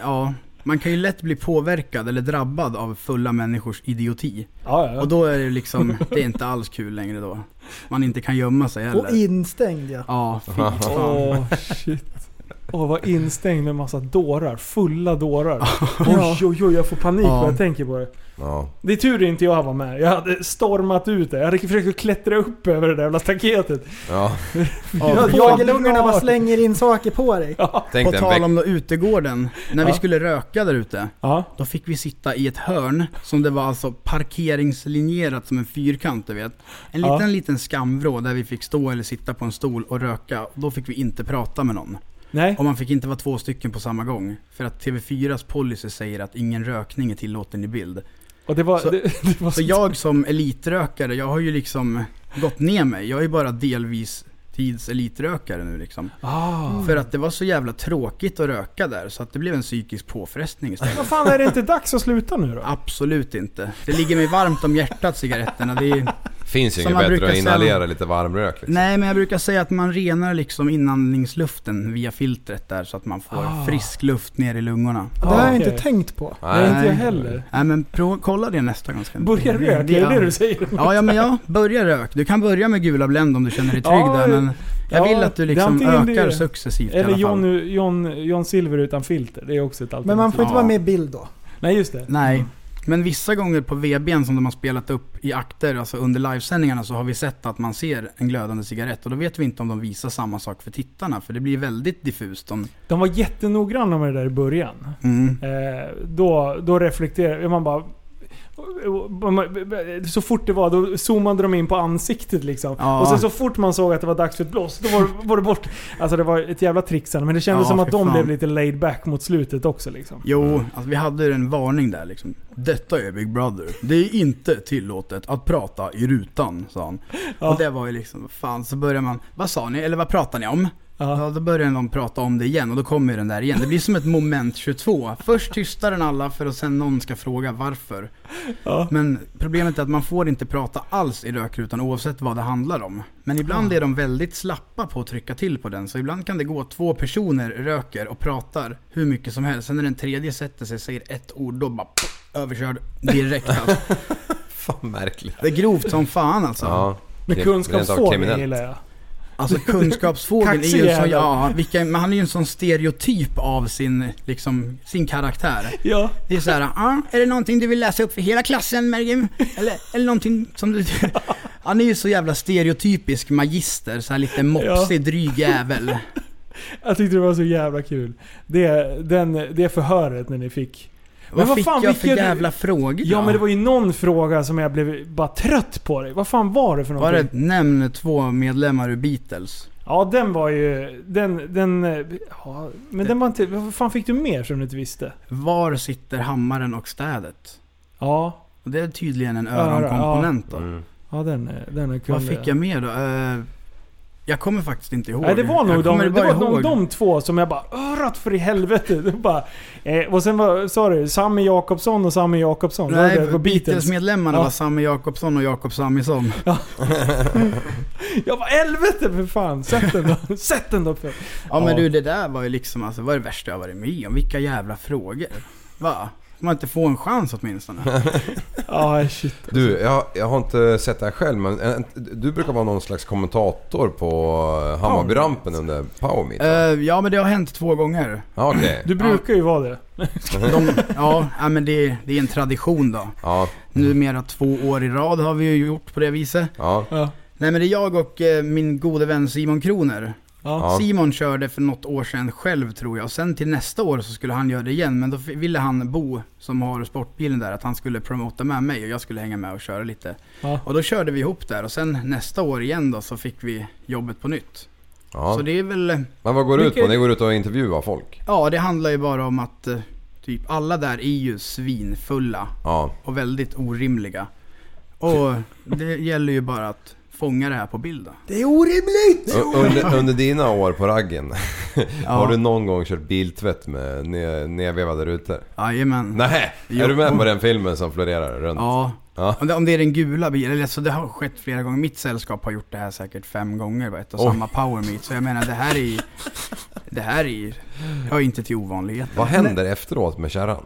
[SPEAKER 7] ja. Man kan ju lätt bli påverkad eller drabbad av fulla människors idioti.
[SPEAKER 5] Ja, ja.
[SPEAKER 7] Och då är det liksom, det är inte alls kul längre då. Man inte kan gömma sig heller.
[SPEAKER 8] Och instängd ja.
[SPEAKER 7] Ja, fy fan.
[SPEAKER 5] Åh shit. Åh vad instängd med massa dårar. Fulla dårar. Oj oj oj, jag får panik
[SPEAKER 7] Ja.
[SPEAKER 5] när jag tänker på det.
[SPEAKER 6] Ja.
[SPEAKER 5] Det är tur inte jag var med. Jag hade stormat ut det. Jag hade försökt att klättra upp över det där jävla staketet.
[SPEAKER 6] Ja.
[SPEAKER 5] Jag- jag-
[SPEAKER 8] Fågelungarna bara slänger in saker på dig.
[SPEAKER 6] Tänk
[SPEAKER 7] På
[SPEAKER 6] dig
[SPEAKER 7] tal
[SPEAKER 6] en
[SPEAKER 7] om då utegården, när vi
[SPEAKER 5] Ja.
[SPEAKER 7] skulle röka där ute,
[SPEAKER 5] Ja.
[SPEAKER 7] då fick vi sitta i ett hörn som det var alltså parkeringslinjerat som en fyrkant, du vet. En
[SPEAKER 5] Ja.
[SPEAKER 7] liten, liten skamvrå där vi fick stå eller sitta på en stol och röka. Då fick vi inte prata med någon.
[SPEAKER 5] Nej.
[SPEAKER 7] Och man fick inte vara två stycken på samma gång. För att TV4s policy säger att ingen rökning är tillåten i bild.
[SPEAKER 5] Och det var...
[SPEAKER 7] Så-
[SPEAKER 5] det, det var
[SPEAKER 7] Så jag som elitrökare, jag har ju liksom gått ner mig. Jag är ju bara delvis tids elitrökare nu liksom.
[SPEAKER 5] Ah.
[SPEAKER 7] För att det var så jävla tråkigt att röka där så att det blev en psykisk påfrestning istället.
[SPEAKER 5] Vad fan är det inte dags att sluta nu då?
[SPEAKER 7] Absolut inte. Det ligger mig varmt om hjärtat cigaretterna. Det är...
[SPEAKER 6] Finns ju
[SPEAKER 7] som
[SPEAKER 6] inget
[SPEAKER 7] man
[SPEAKER 6] bättre
[SPEAKER 7] brukar
[SPEAKER 6] att inhalera
[SPEAKER 7] säga.
[SPEAKER 6] lite varmrök. Liksom.
[SPEAKER 7] Nej men jag brukar säga att man renar liksom inandningsluften via filtret där så att man får
[SPEAKER 5] Ah.
[SPEAKER 7] frisk luft ner i lungorna.
[SPEAKER 8] Det har jag
[SPEAKER 5] Okej.
[SPEAKER 8] inte tänkt på.
[SPEAKER 5] Nej, inte jag heller.
[SPEAKER 7] Nej men prova, kolla det nästa gång. ska ni-
[SPEAKER 5] Börja röka, är det det du säger?
[SPEAKER 7] Ja, ja men ja, börja rök. Du kan börja med gula Blend om du känner dig trygg
[SPEAKER 5] Ja,
[SPEAKER 7] där men jag
[SPEAKER 5] ja,
[SPEAKER 7] vill att du
[SPEAKER 5] det är
[SPEAKER 7] liksom
[SPEAKER 5] antingen det-
[SPEAKER 7] ökar successivt i
[SPEAKER 5] Eller
[SPEAKER 7] alla fall.
[SPEAKER 5] John, John, John Silver utan filter. Det är också ett alternativ.
[SPEAKER 8] Men man får inte
[SPEAKER 7] Ja.
[SPEAKER 8] vara med i bild då.
[SPEAKER 5] Nej just det.
[SPEAKER 7] Nej. Men vissa gånger på VBn som de har spelat upp i akter, alltså under livesändningarna, så har vi sett att man ser en glödande cigarett. Och då vet vi inte om de visar samma sak för tittarna, för det blir väldigt diffust. Om...
[SPEAKER 5] De var jättenoggranna med det där i början.
[SPEAKER 7] Mm.
[SPEAKER 5] Eh, då, då reflekterar man bara... Så fort det var, då zoomade de in på ansiktet liksom.
[SPEAKER 7] Ja.
[SPEAKER 5] Och sen så fort man såg att det var dags för ett blås, då var, var det bort. Alltså det var ett jävla trixande. Men det kändes
[SPEAKER 7] Ja,
[SPEAKER 5] som att
[SPEAKER 7] fy
[SPEAKER 5] de
[SPEAKER 7] fan.
[SPEAKER 5] blev lite laid back mot slutet också liksom.
[SPEAKER 7] Jo, alltså vi hade ju en varning där liksom. Detta är Big Brother. Det är inte tillåtet att prata i rutan, sa han. Och det var ju liksom, fan så börjar man, vad sa ni? Eller vad pratar ni om? Ja, då börjar de prata om det igen och då kommer ju den där igen. Det blir som ett moment 22. Först tystar den alla för att sen någon ska fråga varför. Men problemet är att man får inte prata alls i rökrutan oavsett vad det handlar om. Men ibland är de väldigt slappa på att trycka till på den. Så ibland kan det gå att två personer röker och pratar hur mycket som helst. Sen när den tredje sätter sig och säger ett ord, då bara pff, överkörd direkt alltså.
[SPEAKER 6] Fan märkligt.
[SPEAKER 7] Det är grovt som fan alltså.
[SPEAKER 6] Ja.
[SPEAKER 5] Men
[SPEAKER 6] Krim-
[SPEAKER 5] kunskapsfågeln
[SPEAKER 6] rent av kriminellt.
[SPEAKER 5] gillar jag.
[SPEAKER 7] Alltså kunskapsfågeln är
[SPEAKER 5] Kaxig
[SPEAKER 7] ju en
[SPEAKER 5] jävel.
[SPEAKER 7] sån, ja, vilka, men han är ju en sån stereotyp av sin, liksom, sin karaktär.
[SPEAKER 5] Ja.
[SPEAKER 7] Det är såhär, ah, är det någonting du vill läsa upp för hela klassen Mergim? Eller, eller någonting som du... Han är ju så jävla stereotypisk magister, så här lite mopsig, dryg jävel.
[SPEAKER 5] Jag tyckte det var så jävla kul. Det, den, det förhöret när ni fick.
[SPEAKER 7] Vad fick jag för
[SPEAKER 5] vilken-
[SPEAKER 7] jävla frågor?
[SPEAKER 5] Ja men det var ju någon fråga som jag blev bara trött på. dig. Vad fan var det för
[SPEAKER 7] Var
[SPEAKER 5] någonting?
[SPEAKER 7] det nämn två medlemmar ur Beatles?
[SPEAKER 5] Ja den var ju... Den... den eh, ja, men den var inte... Vad fan fick du mer som du inte visste?
[SPEAKER 7] Var sitter hammaren och städet?
[SPEAKER 5] Ja.
[SPEAKER 7] Och det är tydligen en
[SPEAKER 5] Öra,
[SPEAKER 7] öronkomponent då.
[SPEAKER 6] Mm.
[SPEAKER 5] Ja den, eh, den jag kunde
[SPEAKER 7] Vad fick jag mer då? Eh, jag kommer faktiskt inte ihåg.
[SPEAKER 5] Nej det var nog
[SPEAKER 7] jag
[SPEAKER 5] de,
[SPEAKER 7] kommer
[SPEAKER 5] det
[SPEAKER 7] bara
[SPEAKER 5] var de,
[SPEAKER 7] ihåg.
[SPEAKER 5] de två som jag bara Örat för i helvete. Det bara, eh, och sen var, sa du Sammy Jakobsson och Sammy Jakobsson. Var det
[SPEAKER 7] Nej,
[SPEAKER 5] det? Det var
[SPEAKER 7] Beatles-medlemmarna
[SPEAKER 5] Ja.
[SPEAKER 7] var Sammy Jakobsson och Jakob Sammison.
[SPEAKER 5] Jag bara helvete för fan. Sätt den då. Sätt den då. För.
[SPEAKER 7] Ja men
[SPEAKER 5] Ja.
[SPEAKER 7] du det där var ju liksom alltså, vad är det värsta jag varit med om? Vilka jävla frågor. Va? Man inte får en chans åtminstone.
[SPEAKER 5] Ja shit.
[SPEAKER 6] Du, jag, jag har inte sett det här själv men eh, du brukar vara någon slags kommentator på eh, Hammarbyrampen under Power Meet.
[SPEAKER 7] Eh, ja men det har hänt två gånger.
[SPEAKER 6] Ja okej.
[SPEAKER 5] Du brukar ju vara det.
[SPEAKER 7] De, ja, ja men det, det är en tradition då.
[SPEAKER 6] Ja,
[SPEAKER 7] Numera två år i rad har vi ju gjort på det viset.
[SPEAKER 6] ja.
[SPEAKER 7] Nej men det är jag och eh, min gode vän Simon Kroner.
[SPEAKER 6] Ja.
[SPEAKER 7] Simon körde för något år sedan själv tror jag. Sen till nästa år så skulle han göra det igen. Men då f- ville han Bo, som har sportbilen där, att han skulle promota med mig och jag skulle hänga med och köra lite.
[SPEAKER 5] Ja.
[SPEAKER 7] Och då körde vi ihop där och sen nästa år igen då så fick vi jobbet på nytt.
[SPEAKER 6] ja.
[SPEAKER 7] Så det är väl,
[SPEAKER 6] Men vad går det ut på?
[SPEAKER 5] Vilket-
[SPEAKER 6] Det går ut och intervjua folk?
[SPEAKER 7] ja det handlar ju bara om att eh, typ alla där är ju svinfulla
[SPEAKER 6] Ja.
[SPEAKER 7] och väldigt orimliga. Och det gäller ju bara att fånga det här på bild då.
[SPEAKER 8] Det är orimligt!
[SPEAKER 6] U- Under, under dina år på raggen, har du någon gång kört biltvätt med ne- nedvevade rutor?
[SPEAKER 7] Jajamän.
[SPEAKER 6] Nej,
[SPEAKER 7] Jo.
[SPEAKER 6] Är du med på den filmen som florerar runt?
[SPEAKER 7] Ja.
[SPEAKER 6] Ja.
[SPEAKER 7] Om, det, om det är den gula bilen, eller så det har skett flera gånger. Mitt sällskap har gjort det här säkert fem gånger på ett och
[SPEAKER 6] Oj.
[SPEAKER 7] samma power meet. Så jag menar det här är ju- Det här är ju- hör inte till ovanligheten.
[SPEAKER 6] Vad händer efteråt med kärran?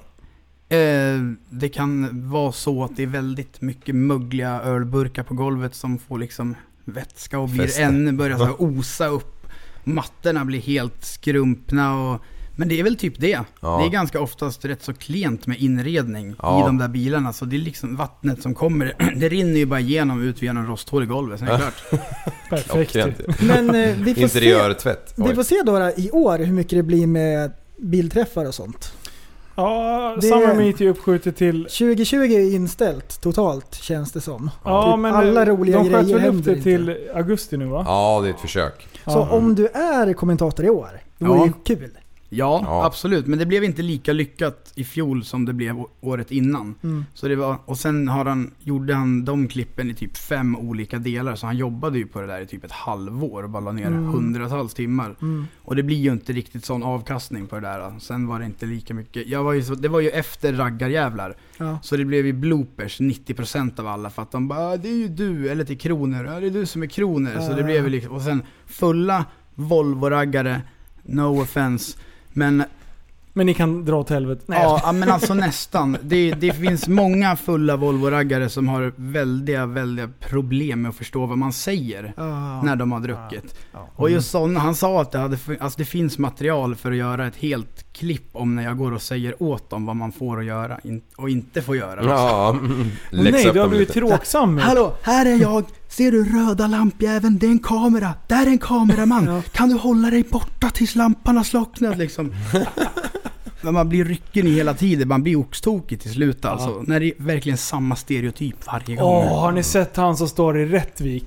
[SPEAKER 7] Eh, det kan vara så att det är väldigt mycket mögliga ölburkar på golvet som får liksom vätska och blir
[SPEAKER 6] Fäste.
[SPEAKER 7] ännu, börjar så här osa upp. Mattorna blir helt skrumpna och men det är väl typ det.
[SPEAKER 6] Ja.
[SPEAKER 7] Det är ganska oftast rätt så klent med inredning i
[SPEAKER 6] Ja.
[SPEAKER 7] de där bilarna. Så det är liksom vattnet som kommer, det rinner ju bara igenom ut genom rosthål i golvet.
[SPEAKER 6] Äh.
[SPEAKER 7] Sen är det klart.
[SPEAKER 5] Perfekt.
[SPEAKER 6] Klockrent.
[SPEAKER 8] Men eh, vi får se,
[SPEAKER 6] Interiörtvätt.
[SPEAKER 8] vi
[SPEAKER 6] Oj.
[SPEAKER 8] får se då, då i år hur mycket det blir med bilträffar och sånt.
[SPEAKER 5] Ja,
[SPEAKER 8] Det-
[SPEAKER 5] Summer Meet är uppskjutet till...
[SPEAKER 8] 2020 är inställt totalt känns det som.
[SPEAKER 5] Ja,
[SPEAKER 8] typ
[SPEAKER 5] men
[SPEAKER 8] alla
[SPEAKER 5] eh,
[SPEAKER 8] roliga
[SPEAKER 5] de sköt väl
[SPEAKER 8] grejer
[SPEAKER 5] upp
[SPEAKER 8] händer
[SPEAKER 5] det
[SPEAKER 8] inte.
[SPEAKER 5] till augusti nu va?
[SPEAKER 6] Ja, det är ett försök.
[SPEAKER 8] Så om du är kommentator i år, det vore
[SPEAKER 7] Ja.
[SPEAKER 8] ju kul.
[SPEAKER 7] Ja,
[SPEAKER 6] Ja.
[SPEAKER 7] absolut. Men det blev inte lika lyckat i fjol som det blev å- året innan.
[SPEAKER 8] Mm.
[SPEAKER 7] Så det var, och sen har han, gjorde han de klippen i typ fem olika delar. Så han jobbade ju på det där i typ ett halvår och bara la ner
[SPEAKER 8] Mm.
[SPEAKER 7] hundratals timmar.
[SPEAKER 8] Mm.
[SPEAKER 7] Och det blir ju inte riktigt sån avkastning på det där. då. Sen var det inte lika mycket. Jag var ju så, det var ju efter raggarjävlar.
[SPEAKER 8] Ja.
[SPEAKER 7] Så det blev ju bloopers 90% av alla för att de bara "Ah, det är ju du, eller till kronor, "Ah, det är du som är kronor. Så det
[SPEAKER 8] Ah.
[SPEAKER 7] blev ju liksom, och sen fulla Volvo-raggare, no offense. Men
[SPEAKER 5] Men ni kan dra åt helvete. Nej, jag
[SPEAKER 7] Ja,
[SPEAKER 5] skojar.
[SPEAKER 7] ja, men alltså nästan. Det, det finns många fulla Volvo-raggare som har väldiga, väldiga problem med att förstå vad man säger
[SPEAKER 8] Ja.
[SPEAKER 7] när de har druckit. Och just sådana, han sa att det, hade, fun- alltså det finns material för att göra ett helt klipp om när jag går och säger åt dem vad man får att göra in- och inte får göra.
[SPEAKER 6] Ja,
[SPEAKER 5] läxa Nej, upp du har dem blivit lite. tråksam.
[SPEAKER 7] Hallå, här är jag. Ser du röda lampjäveln? Det är en kamera. Där är en kameraman. Kan du hålla dig borta tills lampan har slocknat liksom? Men man blir rycken i hela tiden, man blir oxtokig till slut alltså. När det är verkligen samma stereotyp varje gång.
[SPEAKER 5] Åh, har ni sett han som står i Rättvik?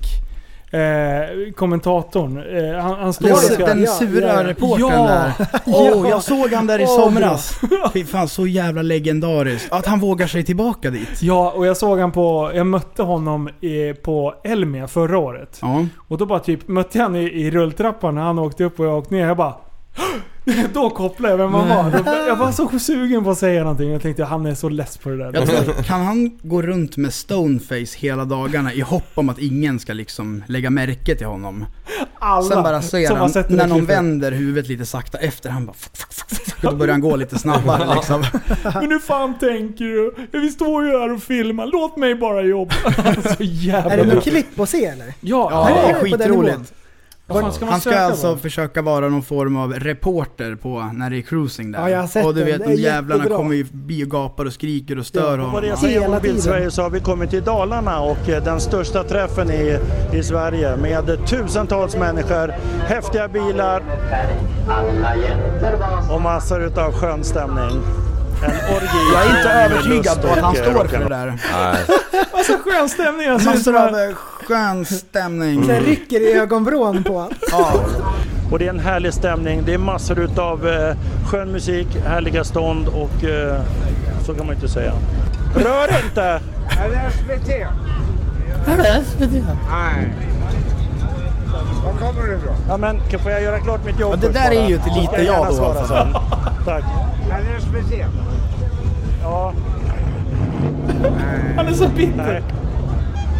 [SPEAKER 5] Eh, kommentatorn. Eh, han, han står
[SPEAKER 7] Den-
[SPEAKER 5] och ska-
[SPEAKER 7] den sura reportern där. Åh, jag såg han där i
[SPEAKER 5] Åh,
[SPEAKER 7] somras. Fy fan, så jävla legendariskt. Att han vågar sig tillbaka dit.
[SPEAKER 5] Ja, och jag såg han på... Jag mötte honom i, på Elmia förra året. Och då bara typ mötte jag han i, i rulltrappan när han åkte upp och jag åkte ner. Jag bara... Då kopplade jag vem man var. Då, jag var så sugen på att säga någonting. Jag tänkte han är så less på det där.
[SPEAKER 7] Jag tror, kan han gå runt med stoneface hela dagarna i hopp om att ingen ska liksom lägga märke till honom?
[SPEAKER 5] Alltså, Alla
[SPEAKER 7] Sen bara ser
[SPEAKER 5] som har
[SPEAKER 7] han,
[SPEAKER 5] sett det
[SPEAKER 7] när någon
[SPEAKER 5] klippet.
[SPEAKER 7] vänder huvudet lite sakta efter, han bara fuck, fuck, fuck, fuck, fuck, och då börjar han gå lite snabbare liksom.
[SPEAKER 5] Men hur fan tänker du? Vi står ju här och filmar. Låt mig bara jobba. så jävla
[SPEAKER 8] Är det
[SPEAKER 5] bra.
[SPEAKER 8] något klipp att se eller?
[SPEAKER 5] Ja,
[SPEAKER 7] Ja, det är
[SPEAKER 8] på den
[SPEAKER 7] skitroligt.
[SPEAKER 8] nivån.
[SPEAKER 5] Vad fan ska man
[SPEAKER 7] Han ska
[SPEAKER 5] söka
[SPEAKER 7] alltså
[SPEAKER 5] på?
[SPEAKER 7] försöka vara någon form av reporter på när det är cruising där.
[SPEAKER 8] Ja, jag har sett
[SPEAKER 7] och du
[SPEAKER 8] den.
[SPEAKER 7] vet,
[SPEAKER 8] Det
[SPEAKER 7] de
[SPEAKER 8] är
[SPEAKER 7] jävlarna
[SPEAKER 8] jättebra.
[SPEAKER 7] kommer ju biogapar och skriker och stör honom.
[SPEAKER 12] Vad det jag säger om Bilsverige så har vi kommit till Dalarna och eh, den största träffen i, i Sverige med tusentals människor, häftiga bilar och massor utav skön stämning. En orgi.
[SPEAKER 7] Jag är inte
[SPEAKER 12] med
[SPEAKER 7] övertygad
[SPEAKER 12] lust
[SPEAKER 7] om att han
[SPEAKER 12] och, eh,
[SPEAKER 7] står för det
[SPEAKER 12] rock'n'roll.
[SPEAKER 7] där.
[SPEAKER 5] Alltså skön stämning. Jag ser ut
[SPEAKER 7] Massor
[SPEAKER 5] som
[SPEAKER 7] av
[SPEAKER 5] en-
[SPEAKER 7] eh, skön stämning.
[SPEAKER 8] Sen rycker i ögonvrån på allt.
[SPEAKER 12] Och det är en härlig stämning. Det är massor utav eh, skön musik, härliga stånd och eh, så kan man inte säga. Rör inte!
[SPEAKER 10] Är det SVT? Nej. Var kommer du ifrån?
[SPEAKER 12] Ja, men kan- får jag göra klart mitt jobb
[SPEAKER 7] Ja, det
[SPEAKER 12] först
[SPEAKER 7] där
[SPEAKER 12] bara?
[SPEAKER 7] är ju till
[SPEAKER 12] Så
[SPEAKER 7] lite
[SPEAKER 12] ska
[SPEAKER 7] jag
[SPEAKER 12] gärna
[SPEAKER 7] då,
[SPEAKER 12] svara
[SPEAKER 7] alltså.
[SPEAKER 12] sen. Tack.
[SPEAKER 10] Är det SVT?
[SPEAKER 12] Ja.
[SPEAKER 5] Han är så bitter.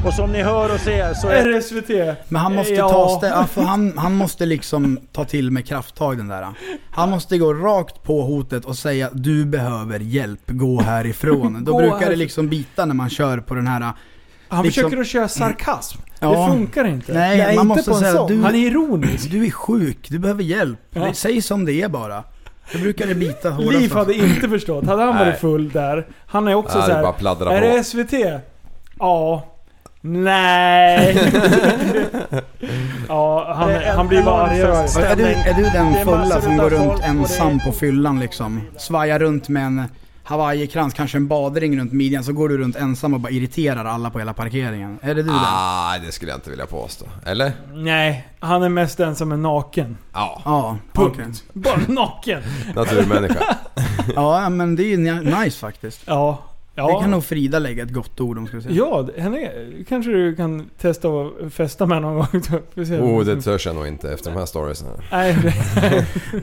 [SPEAKER 12] Och som ni hör och ser så är
[SPEAKER 5] RSVT.
[SPEAKER 7] Men han måste
[SPEAKER 5] Ja.
[SPEAKER 7] ta stä- ja, för han, han måste liksom ta till med krafttag den där. Han måste gå rakt på hotet och säga du behöver hjälp, gå härifrån. Då
[SPEAKER 5] Gå
[SPEAKER 7] brukar det
[SPEAKER 5] härifrån.
[SPEAKER 7] liksom bita när man kör på den här...
[SPEAKER 5] Han
[SPEAKER 7] liksom-
[SPEAKER 5] försöker att köra sarkasm.
[SPEAKER 7] Ja.
[SPEAKER 5] Det funkar inte.
[SPEAKER 7] Nej,
[SPEAKER 8] Nej,
[SPEAKER 7] man
[SPEAKER 8] inte
[SPEAKER 7] måste
[SPEAKER 8] på en
[SPEAKER 7] säga
[SPEAKER 8] sån.
[SPEAKER 7] du,
[SPEAKER 5] Han är ironisk.
[SPEAKER 7] du är sjuk, du behöver hjälp.
[SPEAKER 5] Ja.
[SPEAKER 7] Säg som det är bara. Då brukar det bita
[SPEAKER 5] Liv
[SPEAKER 7] hårdast.
[SPEAKER 5] hade inte förstått. Hade han
[SPEAKER 6] Nej.
[SPEAKER 5] varit full där. Han är också
[SPEAKER 6] Ja, det
[SPEAKER 5] så här.
[SPEAKER 6] bara pladdrar
[SPEAKER 5] Är
[SPEAKER 6] på."
[SPEAKER 5] det SVT? Ja. Nej. ja, han, han blir bara argare.
[SPEAKER 7] Är du, är du
[SPEAKER 12] Det är
[SPEAKER 7] den fulla
[SPEAKER 12] massor
[SPEAKER 7] som
[SPEAKER 12] utav
[SPEAKER 7] går runt
[SPEAKER 12] folk och
[SPEAKER 7] ensam på fyllan liksom? Svajar runt med en hawaiikrans, kanske en badring runt midjan, så går du runt ensam och bara irriterar alla på hela parkeringen. Är det du den?
[SPEAKER 6] Ah, det skulle jag inte vilja påstå. Eller?
[SPEAKER 5] Nej, han är mest den som är naken.
[SPEAKER 6] Ja,
[SPEAKER 7] Ja,
[SPEAKER 5] Punkt.
[SPEAKER 7] okej.
[SPEAKER 5] Bara naken.
[SPEAKER 6] naturmänniska.
[SPEAKER 7] Ja, men det är ju ni- nice faktiskt.
[SPEAKER 5] Ja.
[SPEAKER 7] Det kan
[SPEAKER 5] Ja,
[SPEAKER 7] nog Frida lägga ett gott ord om skulle jag säga.
[SPEAKER 5] ja henne, kanske du kan testa att festa med någon gång. Vi ser.
[SPEAKER 6] Oh, det törs jag nog inte efter de här storiesen.
[SPEAKER 5] Nej,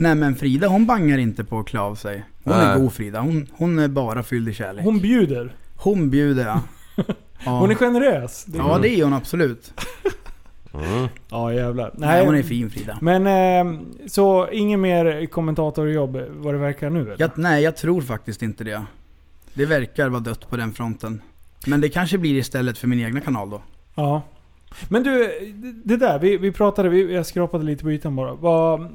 [SPEAKER 7] Nej men Frida hon bangar inte på att klä av sig. Hon är
[SPEAKER 6] Nej.
[SPEAKER 7] god Frida. Hon, hon är bara fylld i kärlek. Hon,
[SPEAKER 5] hon bjuder.
[SPEAKER 7] bjuder ja. Ja.
[SPEAKER 5] Hon är generös. Det-
[SPEAKER 7] ja det är hon absolut.
[SPEAKER 6] Mm.
[SPEAKER 5] Ja jävlar. Nej,
[SPEAKER 7] Nej, hon är fin Frida.
[SPEAKER 5] Men eh, så ingen mer kommentatorjobb vad det verkar nu eller?
[SPEAKER 7] Jag, nej jag tror faktiskt inte det. Det verkar vara dött på den fronten. Men det kanske blir istället för min egna kanal då.
[SPEAKER 5] Ja. Men du, det där. Vi, vi pratade, vi, jag skrapade lite på ytan bara. Vad,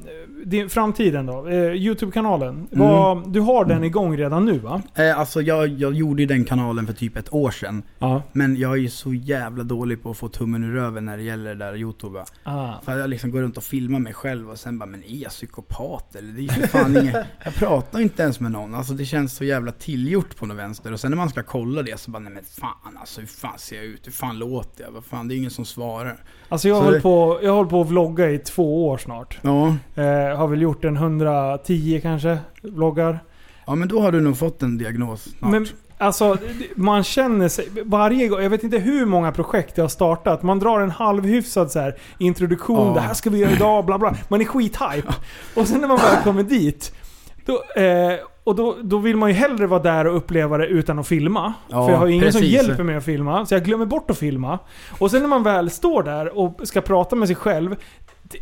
[SPEAKER 5] din, framtiden då? Eh, Youtube-kanalen.
[SPEAKER 7] Mm.
[SPEAKER 5] Vad, du har den igång redan nu va?
[SPEAKER 7] Eh, alltså jag, jag gjorde ju den kanalen för typ ett år sedan.
[SPEAKER 5] Ja.
[SPEAKER 7] Men jag är ju så jävla dålig på att få tummen ur röven när det gäller det där youtube. va.
[SPEAKER 5] Ah.
[SPEAKER 7] För jag liksom går runt och filmar mig själv och sen bara, men är jag psykopat eller? Det är ju för fan inget. Jag pratar ju inte ens med någon. Alltså det känns så jävla tillgjort på något vänster. Och sen när man ska kolla det så bara, nej men fan alltså hur fan ser jag ut? Hur fan låter jag? Vad fan, det är ju ingen som svarar.
[SPEAKER 5] Alltså jag
[SPEAKER 7] Så
[SPEAKER 5] höll,
[SPEAKER 7] det-
[SPEAKER 5] på, jag höll på att vlogga i två år snart.
[SPEAKER 7] Ja.
[SPEAKER 5] Eh, har väl gjort en 110 kanske vloggar.
[SPEAKER 7] ja, men då har du nog fått en diagnos snart.
[SPEAKER 5] Men alltså, det- man känner sig... Varje gång, jag vet inte hur många projekt jag har startat. Man drar en halvhyfsad så här, introduktion.
[SPEAKER 7] Ja.
[SPEAKER 5] Det här ska vi göra idag, bla bla. Man är skithype. Och sen när man väl kommer dit. Då, eh, och då, då vill man ju hellre vara där och uppleva det utan att filma.
[SPEAKER 7] Ja,
[SPEAKER 5] För jag har ju ingen som
[SPEAKER 7] precis.
[SPEAKER 5] hjälper mig att filma. Så jag glömmer bort att filma. Och sen när man väl står där och ska prata med sig själv.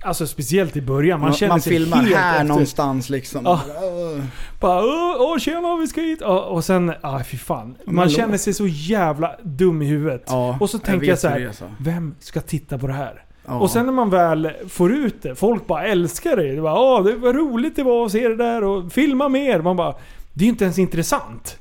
[SPEAKER 5] Alltså speciellt i början. Man, känner
[SPEAKER 7] man
[SPEAKER 5] sig
[SPEAKER 7] filmar
[SPEAKER 5] helt
[SPEAKER 7] här
[SPEAKER 5] efter.
[SPEAKER 7] någonstans liksom.
[SPEAKER 5] Ja. Bara åh, åh tjena vi ska hit. Och, och sen, ah, fy fan. Man
[SPEAKER 7] Men lo-
[SPEAKER 5] känner sig så jävla dum i huvudet.
[SPEAKER 7] Ja,
[SPEAKER 5] och så
[SPEAKER 7] jag
[SPEAKER 5] tänker
[SPEAKER 7] vet
[SPEAKER 5] jag så
[SPEAKER 7] hur det
[SPEAKER 5] här,
[SPEAKER 7] är, så.
[SPEAKER 5] vem ska titta på det här?
[SPEAKER 7] Ja.
[SPEAKER 5] Och sen när man väl får ut det, folk bara älskar det. det bara, ah, det var roligt det var att se det där och filma mer. Man bara, det är ju inte ens intressant.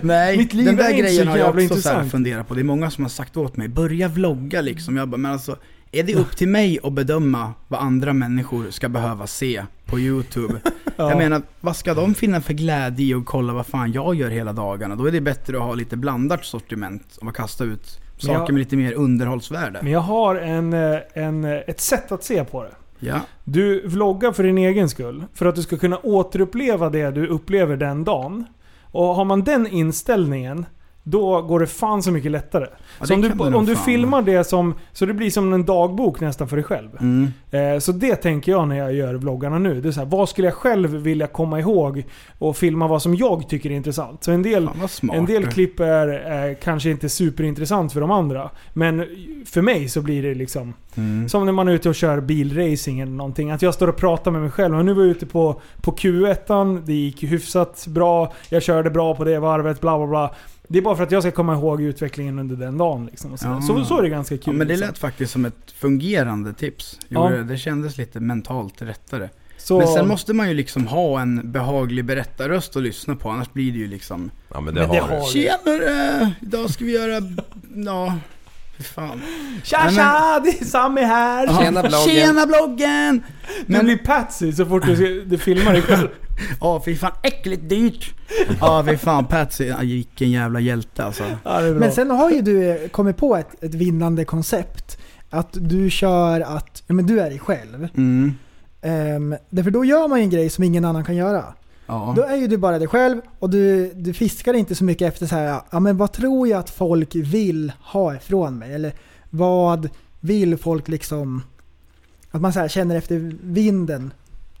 [SPEAKER 7] Nej,
[SPEAKER 5] mitt liv
[SPEAKER 7] den
[SPEAKER 5] är
[SPEAKER 7] där
[SPEAKER 5] inte så
[SPEAKER 7] grejen har jag
[SPEAKER 5] jävla
[SPEAKER 7] också så här
[SPEAKER 5] intressant.
[SPEAKER 7] funderat på. Det är många som har sagt åt mig, börja vlogga liksom. Jag bara, men alltså, är det upp till mig att bedöma vad andra människor ska behöva se på YouTube?
[SPEAKER 5] Ja.
[SPEAKER 7] Jag menar, vad ska de finna för glädje i att kolla vad fan jag gör hela dagarna? Då är det bättre att ha lite blandat sortiment och bara kasta ut
[SPEAKER 5] Men jag-
[SPEAKER 7] saker med lite mer underhållsvärde.
[SPEAKER 5] Men jag har en, eh, en, eh, ett sätt att se på det.
[SPEAKER 7] Ja.
[SPEAKER 5] Du vloggar för din egen skull. För att du ska kunna återuppleva det du upplever den dagen. Och har man den inställningen, då går det fan så mycket lättare.
[SPEAKER 7] Ja,
[SPEAKER 5] så
[SPEAKER 7] det
[SPEAKER 5] om du,
[SPEAKER 7] kan det nog
[SPEAKER 5] om du
[SPEAKER 7] fan.
[SPEAKER 5] filmar det som, så det blir som en dagbok nästan för dig själv.
[SPEAKER 7] Mm.
[SPEAKER 5] Eh, Så det tänker jag när jag gör vloggarna nu. Det är så här, vad skulle jag själv vilja komma ihåg och filma vad som jag tycker är intressant? Så en del, en del klipp är, är kanske inte superintressant för de andra. Men för mig så blir det liksom... Som när man är ute och kör bilracing eller någonting. Att jag står och pratar med mig själv. Men nu var jag ute på, på Q1, det gick hyfsat bra. Jag körde bra på det varvet, bla bla bla. Det är bara för att jag ska komma ihåg utvecklingen under den dagen. Liksom, och så, där. så,
[SPEAKER 7] Ja.
[SPEAKER 5] så är det ganska kul.
[SPEAKER 7] Ja, men det
[SPEAKER 5] liksom.
[SPEAKER 7] lät faktiskt som ett fungerande tips.
[SPEAKER 5] Ja.
[SPEAKER 7] Jo, Det kändes lite mentalt rättare.
[SPEAKER 5] Så-
[SPEAKER 7] Men sen måste man ju liksom ha en behaglig berättarröst att lyssna på, annars blir det ju liksom...
[SPEAKER 6] Ja men det har du.
[SPEAKER 7] Tjenare! Idag ska vi göra... Ja... Fy fan.
[SPEAKER 5] Tja
[SPEAKER 7] Nej,
[SPEAKER 5] tja, det är Sammy här!
[SPEAKER 7] Ja. Tjena bloggen!
[SPEAKER 5] Du blir Patsy så fort du, du filmar dig själv.
[SPEAKER 7] Ja, fy fan äckligt dyrt! Ja, fy fan Patsy, ja, vilken jävla hjälte alltså.
[SPEAKER 8] Men sen har ju du eh, kommit på ett, ett vinnande koncept. Att du kör att, ja, men du är dig själv.
[SPEAKER 7] Mm.
[SPEAKER 8] Ehm, därför då gör man ju en grej som ingen annan kan göra.
[SPEAKER 7] Ja.
[SPEAKER 8] Då är ju du bara dig själv och du, du fiskar inte så mycket efter så här, ja men vad tror jag att folk vill ha ifrån mig? Eller vad vill folk liksom... Att man så här känner efter vinden.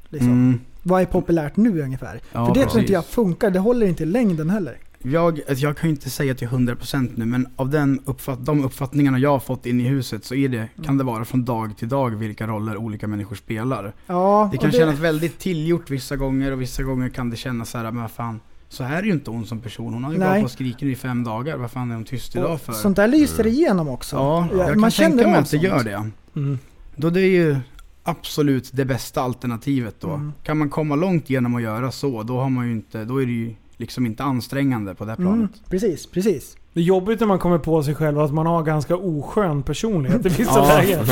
[SPEAKER 8] Liksom.
[SPEAKER 7] Mm.
[SPEAKER 8] Vad är populärt nu ungefär?
[SPEAKER 7] Ja,
[SPEAKER 8] För det tror
[SPEAKER 7] precis.
[SPEAKER 8] inte jag funkar, det håller inte i längden heller.
[SPEAKER 7] Jag, alltså jag kan ju inte säga till 100% nu, men av den uppfatt, de uppfattningarna jag har fått in i huset så är
[SPEAKER 8] Mm.
[SPEAKER 7] det, kan det vara från dag till dag vilka roller olika människor spelar.
[SPEAKER 8] Ja,
[SPEAKER 7] Det
[SPEAKER 8] och
[SPEAKER 7] kan kännas väldigt tillgjort vissa gånger och vissa gånger kan det kännas så här, men vad fan, så här är ju inte hon som person. Hon har ju
[SPEAKER 8] Nej.
[SPEAKER 7] bara på och skriker i fem dagar. Vad fan är hon tyst idag för?
[SPEAKER 8] Sånt där lyser igenom också.
[SPEAKER 7] Mm. Ja, jag kan
[SPEAKER 8] av
[SPEAKER 7] tänka mig att det
[SPEAKER 8] sånt.
[SPEAKER 7] gör det.
[SPEAKER 5] Mm.
[SPEAKER 7] Då det är ju absolut det bästa alternativet då.
[SPEAKER 8] Mm.
[SPEAKER 7] Kan man komma långt genom att göra så, då, har man ju inte, då är det ju liksom inte ansträngande på det här planet.
[SPEAKER 8] Mm, precis, precis.
[SPEAKER 5] Det är jobbigt när man kommer på sig själv att man har ganska oskön personlighet i vissa
[SPEAKER 7] Ja.
[SPEAKER 5] lägen.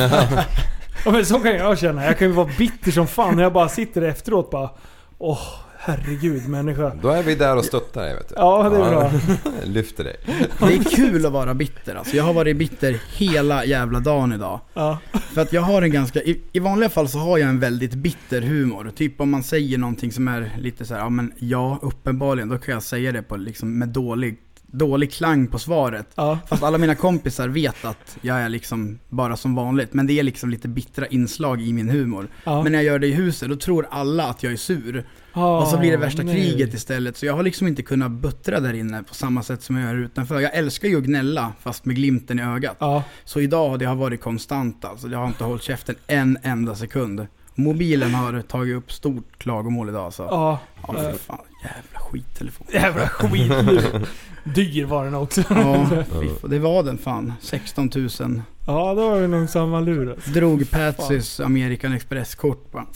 [SPEAKER 5] ja, men så kan jag känna. Jag kan ju vara bitter som fan när jag bara sitter efteråt bara Åh, herregud människa.
[SPEAKER 6] Då är vi där och stöttar dig vet du.
[SPEAKER 5] Ja, det är bra.
[SPEAKER 6] Lyfter dig.
[SPEAKER 7] Det är kul att vara bitter alltså. Jag har varit bitter hela jävla dagen idag.
[SPEAKER 5] Ja.
[SPEAKER 7] För att jag har en ganska, i, i vanliga fall så har jag en väldigt bitter humor. Typ om man säger någonting som är lite så här, ja men ja uppenbarligen, då kan jag säga det på liksom med dålig, dålig klang på svaret.
[SPEAKER 5] Ja.
[SPEAKER 7] Fast alla mina kompisar vet att jag är liksom bara som vanligt. Men det är liksom lite bittra inslag i min humor.
[SPEAKER 5] Ja.
[SPEAKER 7] Men när jag gör det i huset, då tror alla att jag är sur.
[SPEAKER 5] Ah,
[SPEAKER 7] och så blir det värsta
[SPEAKER 5] nej.
[SPEAKER 7] kriget istället. Så jag har liksom inte kunnat buttra där inne på samma sätt som jag gör utanför. Jag älskar ju att gnälla, fast med glimten i ögat.
[SPEAKER 5] Ja.
[SPEAKER 7] Så idag, det har varit konstant alltså. Jag har inte hållit käften en enda sekund. Mobilen har tagit upp stort klagomål idag alltså.
[SPEAKER 5] Ja.
[SPEAKER 7] Ja, för fan. Jävla skittelefon.
[SPEAKER 5] Jävla skitdyr. Dyr var den också.
[SPEAKER 7] Ja, fy fan. det var den fan. 16 000.
[SPEAKER 5] Ja, då var det nog samma lur. alltså.
[SPEAKER 7] Drog Patsys American Express-kort bara.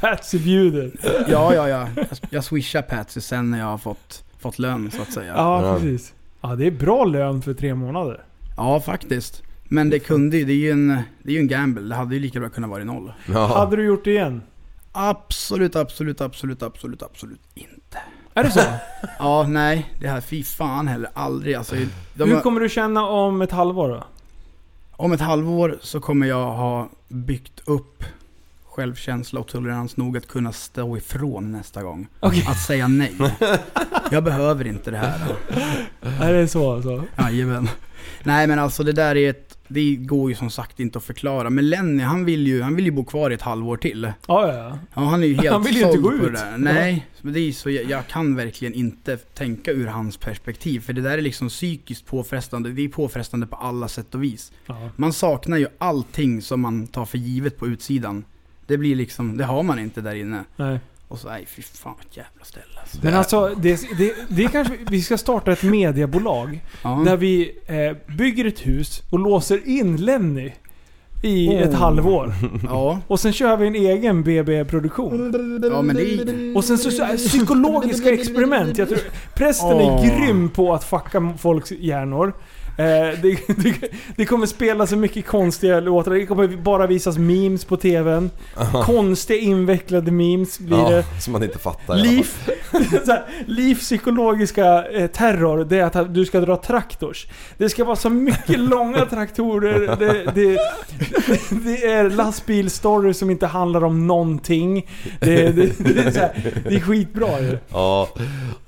[SPEAKER 5] Patsy bjuder.
[SPEAKER 7] Ja, ja, ja. Jag- Jag swishar Patsy sen när jag har fått, fått lön så att säga.
[SPEAKER 5] Ja, precis. Ja, det är bra lön för tre månader.
[SPEAKER 7] Ja, faktiskt. Men det kunde ju, det är ju en, det är ju en gamble. Det hade ju lika bra kunnat vara noll.
[SPEAKER 5] Hade du gjort det igen?
[SPEAKER 7] Absolut, absolut, absolut, absolut, absolut inte.
[SPEAKER 5] Är det så?
[SPEAKER 7] Ja, nej. Det här, fy fan heller. Aldrig. Alltså, de
[SPEAKER 5] Hur
[SPEAKER 7] har,
[SPEAKER 5] kommer du känna om ett halvår då?
[SPEAKER 7] om ett halvår så kommer jag ha byggt upp självkänsla och tolerans nog att kunna stå ifrån nästa gång.
[SPEAKER 5] Okej.
[SPEAKER 7] Att säga nej. Jag behöver inte det här.
[SPEAKER 5] Är det så alltså?
[SPEAKER 7] Jajamän. Nej men alltså det där är ett det går ju som sagt inte att förklara. Men Lenny, han vill ju, han vill ju bo kvar i ett halvår till.
[SPEAKER 5] Ja, ja,
[SPEAKER 7] Ja, han är ju helt
[SPEAKER 5] Han vill ju inte
[SPEAKER 7] såld
[SPEAKER 5] gå
[SPEAKER 7] på
[SPEAKER 5] ut.
[SPEAKER 7] Det där. Nej, men det är ju så, jag, jag kan verkligen inte tänka ur hans perspektiv. För det där är liksom psykiskt påfrestande. Det är påfrestande på alla sätt och vis.
[SPEAKER 5] Ja.
[SPEAKER 7] Man saknar ju allting som man tar för givet på utsidan. Det blir liksom, det har man inte där inne.
[SPEAKER 5] Nej.
[SPEAKER 7] Och så, nej fy fan vilket jävla ställe alltså.
[SPEAKER 5] Men alltså, det, det, det är kanske, vi ska starta ett mediebolag.
[SPEAKER 7] Mm.
[SPEAKER 5] Där vi eh, bygger ett hus och låser in Lenny i
[SPEAKER 7] Oh.
[SPEAKER 5] ett halvår.
[SPEAKER 7] Ja.
[SPEAKER 5] Och sen kör vi en egen BB-produktion.
[SPEAKER 7] Ja, men det är-
[SPEAKER 5] Och sen så, så här, psykologiska experiment. Jag tror, prästen
[SPEAKER 7] Åh.
[SPEAKER 5] är grym på att fucka folks hjärnor. Eh, det, det, det kommer spela så mycket konstiga låtar. Det kommer bara visas memes på TVn.
[SPEAKER 6] Aha.
[SPEAKER 5] Konstiga invecklade memes blir det.
[SPEAKER 6] Som man inte fattar.
[SPEAKER 5] Liv, så här, Liv psykologiska eh, terror, det är att han- du ska dra traktors. Det ska vara så mycket långa traktorer. Det, det, det är lastbilstories som inte handlar om någonting. Det, det, det, är, så här, det är skitbra ju.
[SPEAKER 6] Ja.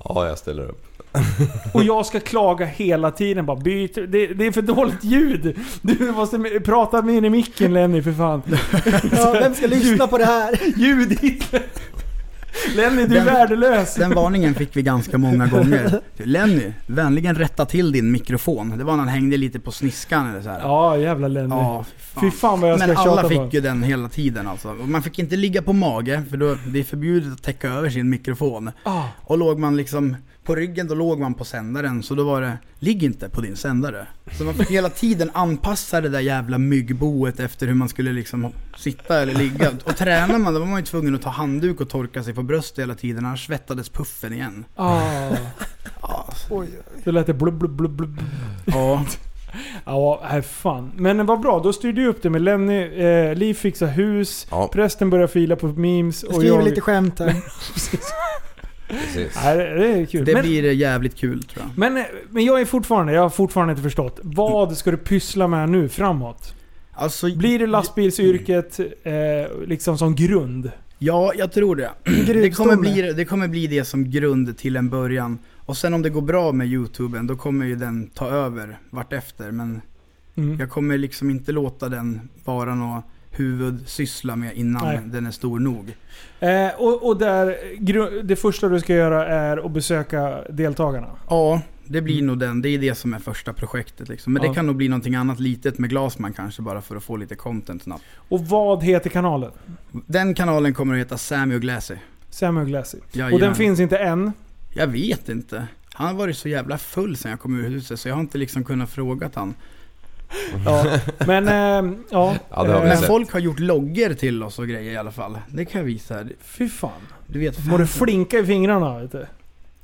[SPEAKER 6] ja, jag ställer upp.
[SPEAKER 5] Och jag ska klaga hela tiden. Bara, byt, det, det är för dåligt ljud. Du måste me- prata mer in i micken Lenny för fan.
[SPEAKER 8] Ja, vem ska lyssna på det här?
[SPEAKER 5] Ljud Lenny, du är värdelös!
[SPEAKER 7] Den varningen fick vi ganska många gånger. Lenny, vänligen rätta till din mikrofon. Det var när han hängde lite på sniskan eller så här.
[SPEAKER 5] Ja, jävla Lenny.
[SPEAKER 7] Ja,
[SPEAKER 5] fy fan vad jag ska
[SPEAKER 7] Men alla
[SPEAKER 5] tjata på.
[SPEAKER 7] fick ju den hela tiden alltså. Och Man fick inte ligga på mage, för då, det är förbjudet att täcka över sin mikrofon.
[SPEAKER 5] Ah.
[SPEAKER 7] Och låg man liksom på ryggen, då låg man på sändaren. Så då var det, ligg inte på din sändare. Så man fick hela tiden anpassa det där jävla myggboet efter hur man skulle liksom sitta eller ligga. Och tränar man, då var man ju tvungen att ta handduk och torka sig på bröstet hela tiden. Annars svettades puffen igen. alltså.
[SPEAKER 5] Ah. Det lät det blub, blub, blub, blub.
[SPEAKER 7] Ja.
[SPEAKER 5] Ja, här fan. Men vad bra, då styrde jag upp det med Lenny, eh, Liv fixar hus, prästen börjar fila på memes och
[SPEAKER 8] Skriver
[SPEAKER 5] jag...
[SPEAKER 8] lite skämt här.
[SPEAKER 6] Precis.
[SPEAKER 5] Nej, det det är kul.
[SPEAKER 7] Det
[SPEAKER 5] Men,
[SPEAKER 7] blir jävligt kul tror jag.
[SPEAKER 5] men, eh, men jag är fortfarande, jag har fortfarande inte förstått. Vad ska du pyssla med nu framåt?
[SPEAKER 7] Alltså,
[SPEAKER 5] blir det lastbilsyrket eh, liksom som grund?
[SPEAKER 7] Ja, jag tror det. Det kommer, bli, det kommer bli det som grund till en början. Och sen om det går bra med youtuben då kommer ju den ta över vartefter. Men
[SPEAKER 5] Mm.
[SPEAKER 7] jag kommer liksom inte låta den vara något huvudsyssla med innan
[SPEAKER 5] Nej.
[SPEAKER 7] den är stor nog.
[SPEAKER 5] Eh, och, och där, gru- det första du ska göra är att besöka deltagarna?
[SPEAKER 7] Ja, det blir nog den. Det är det som är första projektet liksom. Men
[SPEAKER 5] Mm. Ja.
[SPEAKER 7] det kan nog bli någonting annat litet med Glasman kanske bara för att få lite content snabbt.
[SPEAKER 5] Och vad heter kanalen?
[SPEAKER 7] Den kanalen kommer att heta Sammy och Glassy.
[SPEAKER 5] Samuel Glassy. Och
[SPEAKER 7] Jajamän.
[SPEAKER 5] den finns inte än?
[SPEAKER 7] Jag vet inte. Han har varit så jävla full sen jag kom ur huset så jag har inte liksom kunnat fråga han.
[SPEAKER 5] Ja, men eh, ja.
[SPEAKER 7] Ja, men
[SPEAKER 5] Eh,
[SPEAKER 7] folk har gjort logger till oss och grejer i alla fall. Det kan jag visa. här.
[SPEAKER 5] Fy fan.
[SPEAKER 7] Du vet,
[SPEAKER 5] Må du flinka i fingrarna vet du.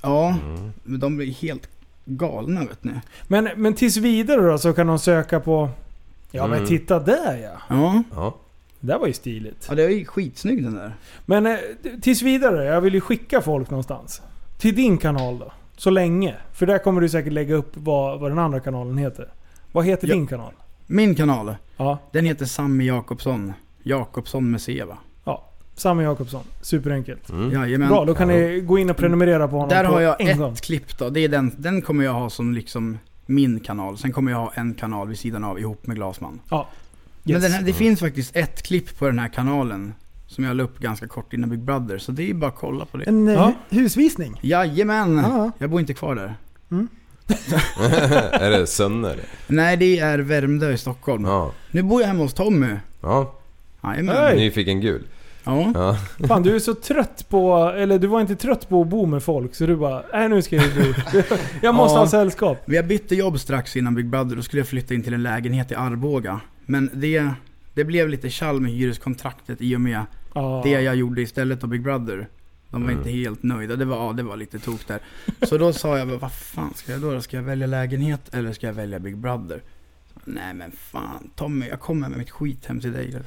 [SPEAKER 7] Ja,
[SPEAKER 6] Mm.
[SPEAKER 7] men de blir helt galna vet ni.
[SPEAKER 5] Men, men tills vidare då så kan de söka på... Ja men
[SPEAKER 7] Mm.
[SPEAKER 5] titta där ja.
[SPEAKER 7] Ja.
[SPEAKER 5] Det där var ju stiligt.
[SPEAKER 7] Ja, det är ju skitsnygg den där.
[SPEAKER 5] Men eh, tills vidare, jag vill ju skicka folk någonstans. Till din kanal då. Så länge. För där kommer du säkert lägga upp vad, vad den andra kanalen heter. Vad heter din kanal?
[SPEAKER 7] Min kanal.
[SPEAKER 5] Ja.
[SPEAKER 7] Den heter Sammy Jakobsson. Jakobsson med C va?
[SPEAKER 5] Ja. Sammy Jakobsson. Superenkelt.
[SPEAKER 7] Mm. Jajamän.
[SPEAKER 5] Bra, då kan ni gå in och prenumerera på honom
[SPEAKER 7] Där
[SPEAKER 5] på
[SPEAKER 7] har jag
[SPEAKER 5] en
[SPEAKER 7] ett
[SPEAKER 5] gång.
[SPEAKER 7] klipp då. Det är den, den kommer jag ha som liksom min kanal. Sen kommer jag ha en kanal vid sidan av ihop med Glasman.
[SPEAKER 5] Ja.
[SPEAKER 7] Men
[SPEAKER 5] Yes.
[SPEAKER 7] den här, det
[SPEAKER 5] Mm.
[SPEAKER 7] finns faktiskt ett klipp på den här kanalen som jag la upp ganska kort innan Big Brother. Så det är bara att kolla på det.
[SPEAKER 8] En eh, hu- husvisning.
[SPEAKER 7] Jajamän!
[SPEAKER 8] Ja.
[SPEAKER 7] Jag bor inte kvar där.
[SPEAKER 6] är det Sönne eller?
[SPEAKER 7] Nej, det är Värmdö i Stockholm. Nu bor jag hemma hos Tommy.
[SPEAKER 6] Ja.
[SPEAKER 7] Jajamän.
[SPEAKER 6] Nyfiken gul.
[SPEAKER 7] Ja.
[SPEAKER 6] ja.
[SPEAKER 5] Fan du är så trött på, eller du var inte trött på att bo med folk så du bara, nej nu ska jag bo. Jag måste ha sällskap.
[SPEAKER 7] Men jag bytte jobb strax innan Big Brother. Då skulle jag flytta in till en lägenhet i Arboga. Men det, det blev lite tjall med hyreskontraktet i och med
[SPEAKER 5] Ja.
[SPEAKER 7] det jag gjorde istället av Big Brother. De var
[SPEAKER 5] Mm.
[SPEAKER 7] inte helt nöjda. Det var, ja, det var lite tok där. Så då sa jag, vad fan ska jag då? Ska jag välja lägenhet eller ska jag välja Big Brother? Nej men fan Tommy, jag kommer med mitt skit hem till dig.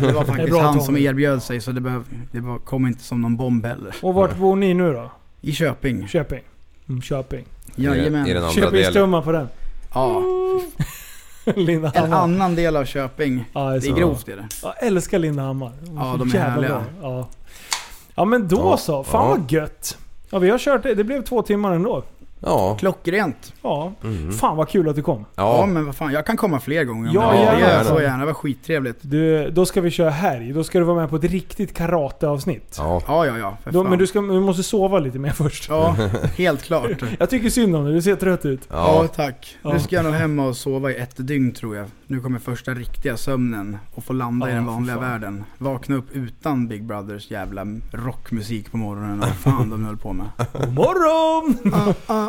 [SPEAKER 7] Det var
[SPEAKER 5] Det är
[SPEAKER 7] faktiskt
[SPEAKER 5] bra,
[SPEAKER 7] han
[SPEAKER 5] Tommy.
[SPEAKER 7] som erbjöd sig så det, behöv, det var, kom inte som någon bomb heller.
[SPEAKER 5] Och vart bor ni nu då?
[SPEAKER 7] I Köping.
[SPEAKER 5] Köping. Mm, Köping.
[SPEAKER 7] Jajamän.
[SPEAKER 6] I den andra delen.
[SPEAKER 5] Köpingstumma på den.
[SPEAKER 7] Ja.
[SPEAKER 5] Linda
[SPEAKER 7] En
[SPEAKER 5] Hammar.
[SPEAKER 7] annan del av Köping.
[SPEAKER 5] Ja,
[SPEAKER 7] det är
[SPEAKER 5] så.
[SPEAKER 7] grovt är det.
[SPEAKER 5] Jag älskar Linda Hammar. Hon
[SPEAKER 7] Ja,
[SPEAKER 5] så
[SPEAKER 7] de är
[SPEAKER 5] jävla
[SPEAKER 7] härliga.
[SPEAKER 5] bra. Ja. ja men då så. Fan
[SPEAKER 7] Ja.
[SPEAKER 5] vad gött. Ja vi har kört det. Det blev två timmar ändå.
[SPEAKER 6] Ja.
[SPEAKER 7] Klockrent.
[SPEAKER 5] Ja.
[SPEAKER 6] Mm.
[SPEAKER 5] Fan vad kul att du kom.
[SPEAKER 7] Ja. men vad fan, jag kan komma fler gånger om
[SPEAKER 5] Ja,
[SPEAKER 7] jag vill.
[SPEAKER 5] gärna.
[SPEAKER 7] Det är så gärna, det var skittrevligt.
[SPEAKER 5] Du, då ska vi köra helg. Då ska du vara med på ett riktigt karateavsnitt.
[SPEAKER 6] Ja,
[SPEAKER 7] ja, ja. för
[SPEAKER 5] Då,
[SPEAKER 7] fan.
[SPEAKER 5] men du, ska, du måste sova lite mer först.
[SPEAKER 7] Ja, helt klart.
[SPEAKER 5] Jag tycker synd om dig, du ser trött ut.
[SPEAKER 7] Ja, tack.
[SPEAKER 5] Ja.
[SPEAKER 7] Nu ska jag nog hem och sova i ett dygn tror jag. Nu kommer första riktiga sömnen och få landa
[SPEAKER 5] Ja,
[SPEAKER 7] i den
[SPEAKER 5] för
[SPEAKER 7] vanliga
[SPEAKER 5] fan.
[SPEAKER 7] världen. Vakna upp utan Big Brothers jävla rockmusik på morgonen och vad fan de höll på med.
[SPEAKER 5] God morgon!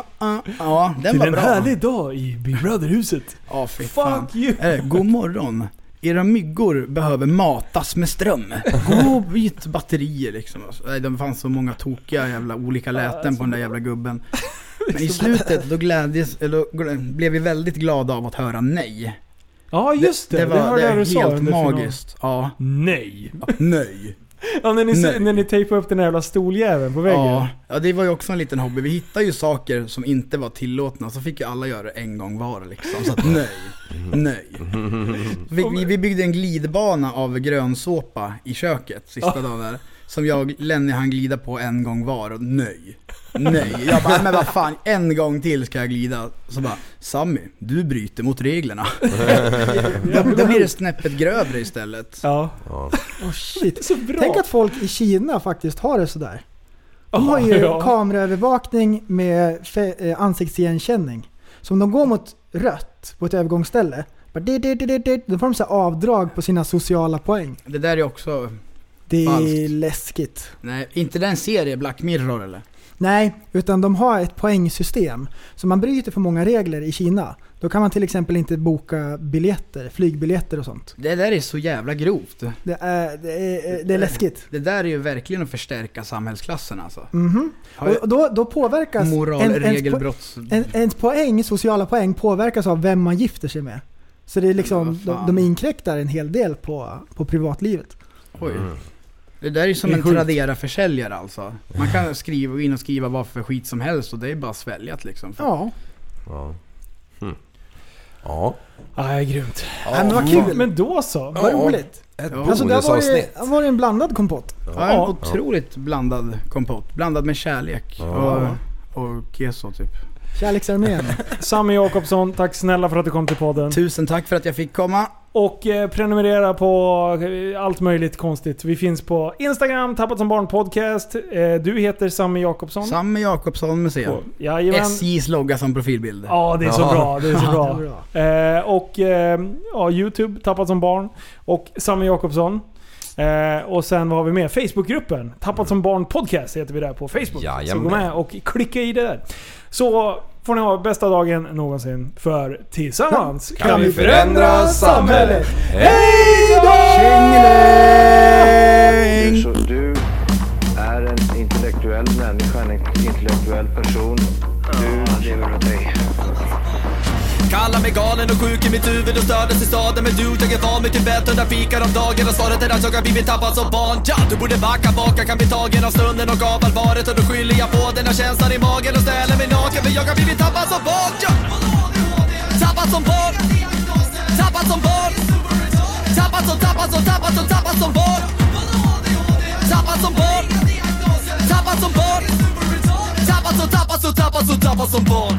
[SPEAKER 7] Ja, den
[SPEAKER 5] Till
[SPEAKER 7] var
[SPEAKER 5] en
[SPEAKER 7] bra.
[SPEAKER 5] härlig dag i Big Brother-huset.
[SPEAKER 7] Ja, fy fan. Eh, god morgon. Era myggor behöver matas med ström. Gå och byt batterier liksom. Alltså, Nej, det fanns så många tokiga jävla olika läten på den där jävla gubben. Men i slutet då glädjes, eller, då blev vi väldigt glada av att höra nej.
[SPEAKER 5] Ja just det, det,
[SPEAKER 7] det var-
[SPEAKER 5] hörde
[SPEAKER 7] det
[SPEAKER 5] jag
[SPEAKER 7] är
[SPEAKER 5] du sa
[SPEAKER 7] helt
[SPEAKER 5] under finalen.
[SPEAKER 7] magiskt. Ja.
[SPEAKER 5] Nej.
[SPEAKER 7] Nej.
[SPEAKER 5] Ja, när, ni,
[SPEAKER 7] Nej.
[SPEAKER 5] när ni tejpade upp den där jävla stoljäveln på väggen.
[SPEAKER 7] Ja, ja, det var ju också en liten hobby. Vi hittade ju saker som inte var tillåtna, så fick ju alla göra det en gång var liksom. Så att
[SPEAKER 5] Mm.
[SPEAKER 7] nej, nej. Vi, vi, vi byggde en glidbana av grönsåpa i köket sista dagen där. Som jag, Lenny han glida på en gång var och nej. Nej. Jag bara, men vad fan, en gång till ska jag glida. Så bara, Sammy, du bryter mot reglerna. då, då blir det snäppet grövre istället.
[SPEAKER 5] Ja.
[SPEAKER 8] Oh, shit. Tänk att folk i Kina faktiskt har det sådär. De
[SPEAKER 7] Ja,
[SPEAKER 8] har ju
[SPEAKER 7] ja.
[SPEAKER 8] kameraövervakning med fe- eh, ansiktsigenkänning. Så om de går mot rött på ett övergångsställe, bara dit, dit, dit, dit, dit, då får de så här avdrag på sina sociala poäng.
[SPEAKER 7] Det där är också...
[SPEAKER 8] Det är
[SPEAKER 7] Falskt.
[SPEAKER 8] läskigt.
[SPEAKER 7] Nej, inte den serie Black Mirror eller?
[SPEAKER 8] Nej, utan de har ett poängsystem. Så man bryter för många regler i Kina. Då kan man till exempel inte boka biljetter, flygbiljetter och sånt.
[SPEAKER 7] Det där är så jävla grovt.
[SPEAKER 8] Det är, det är, det är läskigt.
[SPEAKER 7] Det där är ju verkligen att förstärka samhällsklassen alltså.
[SPEAKER 8] Mhm.
[SPEAKER 7] Har jag-
[SPEAKER 8] Och då, då påverkas
[SPEAKER 7] Moral,
[SPEAKER 8] en- ens po-
[SPEAKER 7] regelbrotts...
[SPEAKER 8] En, ens poäng, sociala poäng påverkas av vem man gifter sig med. Så det är liksom,
[SPEAKER 7] Men vad
[SPEAKER 8] de,
[SPEAKER 7] fan.
[SPEAKER 8] de inkräktar en hel del på, på privatlivet.
[SPEAKER 7] Oj. Det där är ju som
[SPEAKER 8] Det är
[SPEAKER 7] en
[SPEAKER 8] sjukt.
[SPEAKER 7] Tradera-försäljare alltså. Man kan skriva, gå in och skriva vad för skit som helst och det är bara sväljet liksom.
[SPEAKER 8] Ja.
[SPEAKER 6] Ja. Hm. Ja.
[SPEAKER 5] Nej, grymt.
[SPEAKER 7] Ja, men vad
[SPEAKER 5] Mm.
[SPEAKER 7] kul.
[SPEAKER 5] Men då så.
[SPEAKER 8] Vad roligt.
[SPEAKER 6] Ett
[SPEAKER 8] Alltså det har varit, har varit en blandad kompott.
[SPEAKER 7] Ja, en otroligt blandad kompott. Blandad med kärlek
[SPEAKER 5] Ja.
[SPEAKER 7] och, och keso typ.
[SPEAKER 8] Mm. Kärleksarmén.
[SPEAKER 5] Sammy Jakobsson, tack snälla för att du kom till podden.
[SPEAKER 7] Tusen tack för att jag fick komma.
[SPEAKER 5] Och eh, prenumerera på eh, allt möjligt konstigt. Vi finns på Instagram, Tappat som barn podcast. Eh, du heter Sammy Jakobsson.
[SPEAKER 7] Sammy Jakobsson museum.
[SPEAKER 5] Jajamän.
[SPEAKER 7] SJs logga som profilbild.
[SPEAKER 5] Ja, det är så
[SPEAKER 7] Ja.
[SPEAKER 5] bra. Det är så
[SPEAKER 7] Ja,
[SPEAKER 5] bra.
[SPEAKER 7] det
[SPEAKER 5] Eh, och eh, ja, Youtube, Tappat som barn. Och Sammy Jakobsson. Eh, och sen vad har vi mer? Facebookgruppen. Tappat som barn podcast heter vi där på Facebook. så
[SPEAKER 6] Jajamän.
[SPEAKER 5] gå med och klicka i det där. Så får ni ha bästa dagen någonsin. För tillsammans
[SPEAKER 6] Kan vi förändra samhället. Hej
[SPEAKER 5] då!
[SPEAKER 3] Du, så, du är en intellektuell människa, en intellektuell person. Du lever av dig.
[SPEAKER 1] Kallar mig galen och sjuk i mitt huvud och stördes i staden Men du, jag är van vid Tibet och där fikar om dagen Och svaret är att jag har blivit tappad som barn ja, Du borde backa bak, jag kan bli tagen av stunden och av allvaret Och då skyller jag på den här känslan i magen och ställer mig naken För jag har blivit tappad som barn ja. Tappad som barn Tappad som barn Tappad som, tappad som, tappad som, tappad som barn Tappad som barn Tappad som barn Tappad som, tappad som, tappad som, tappad som barn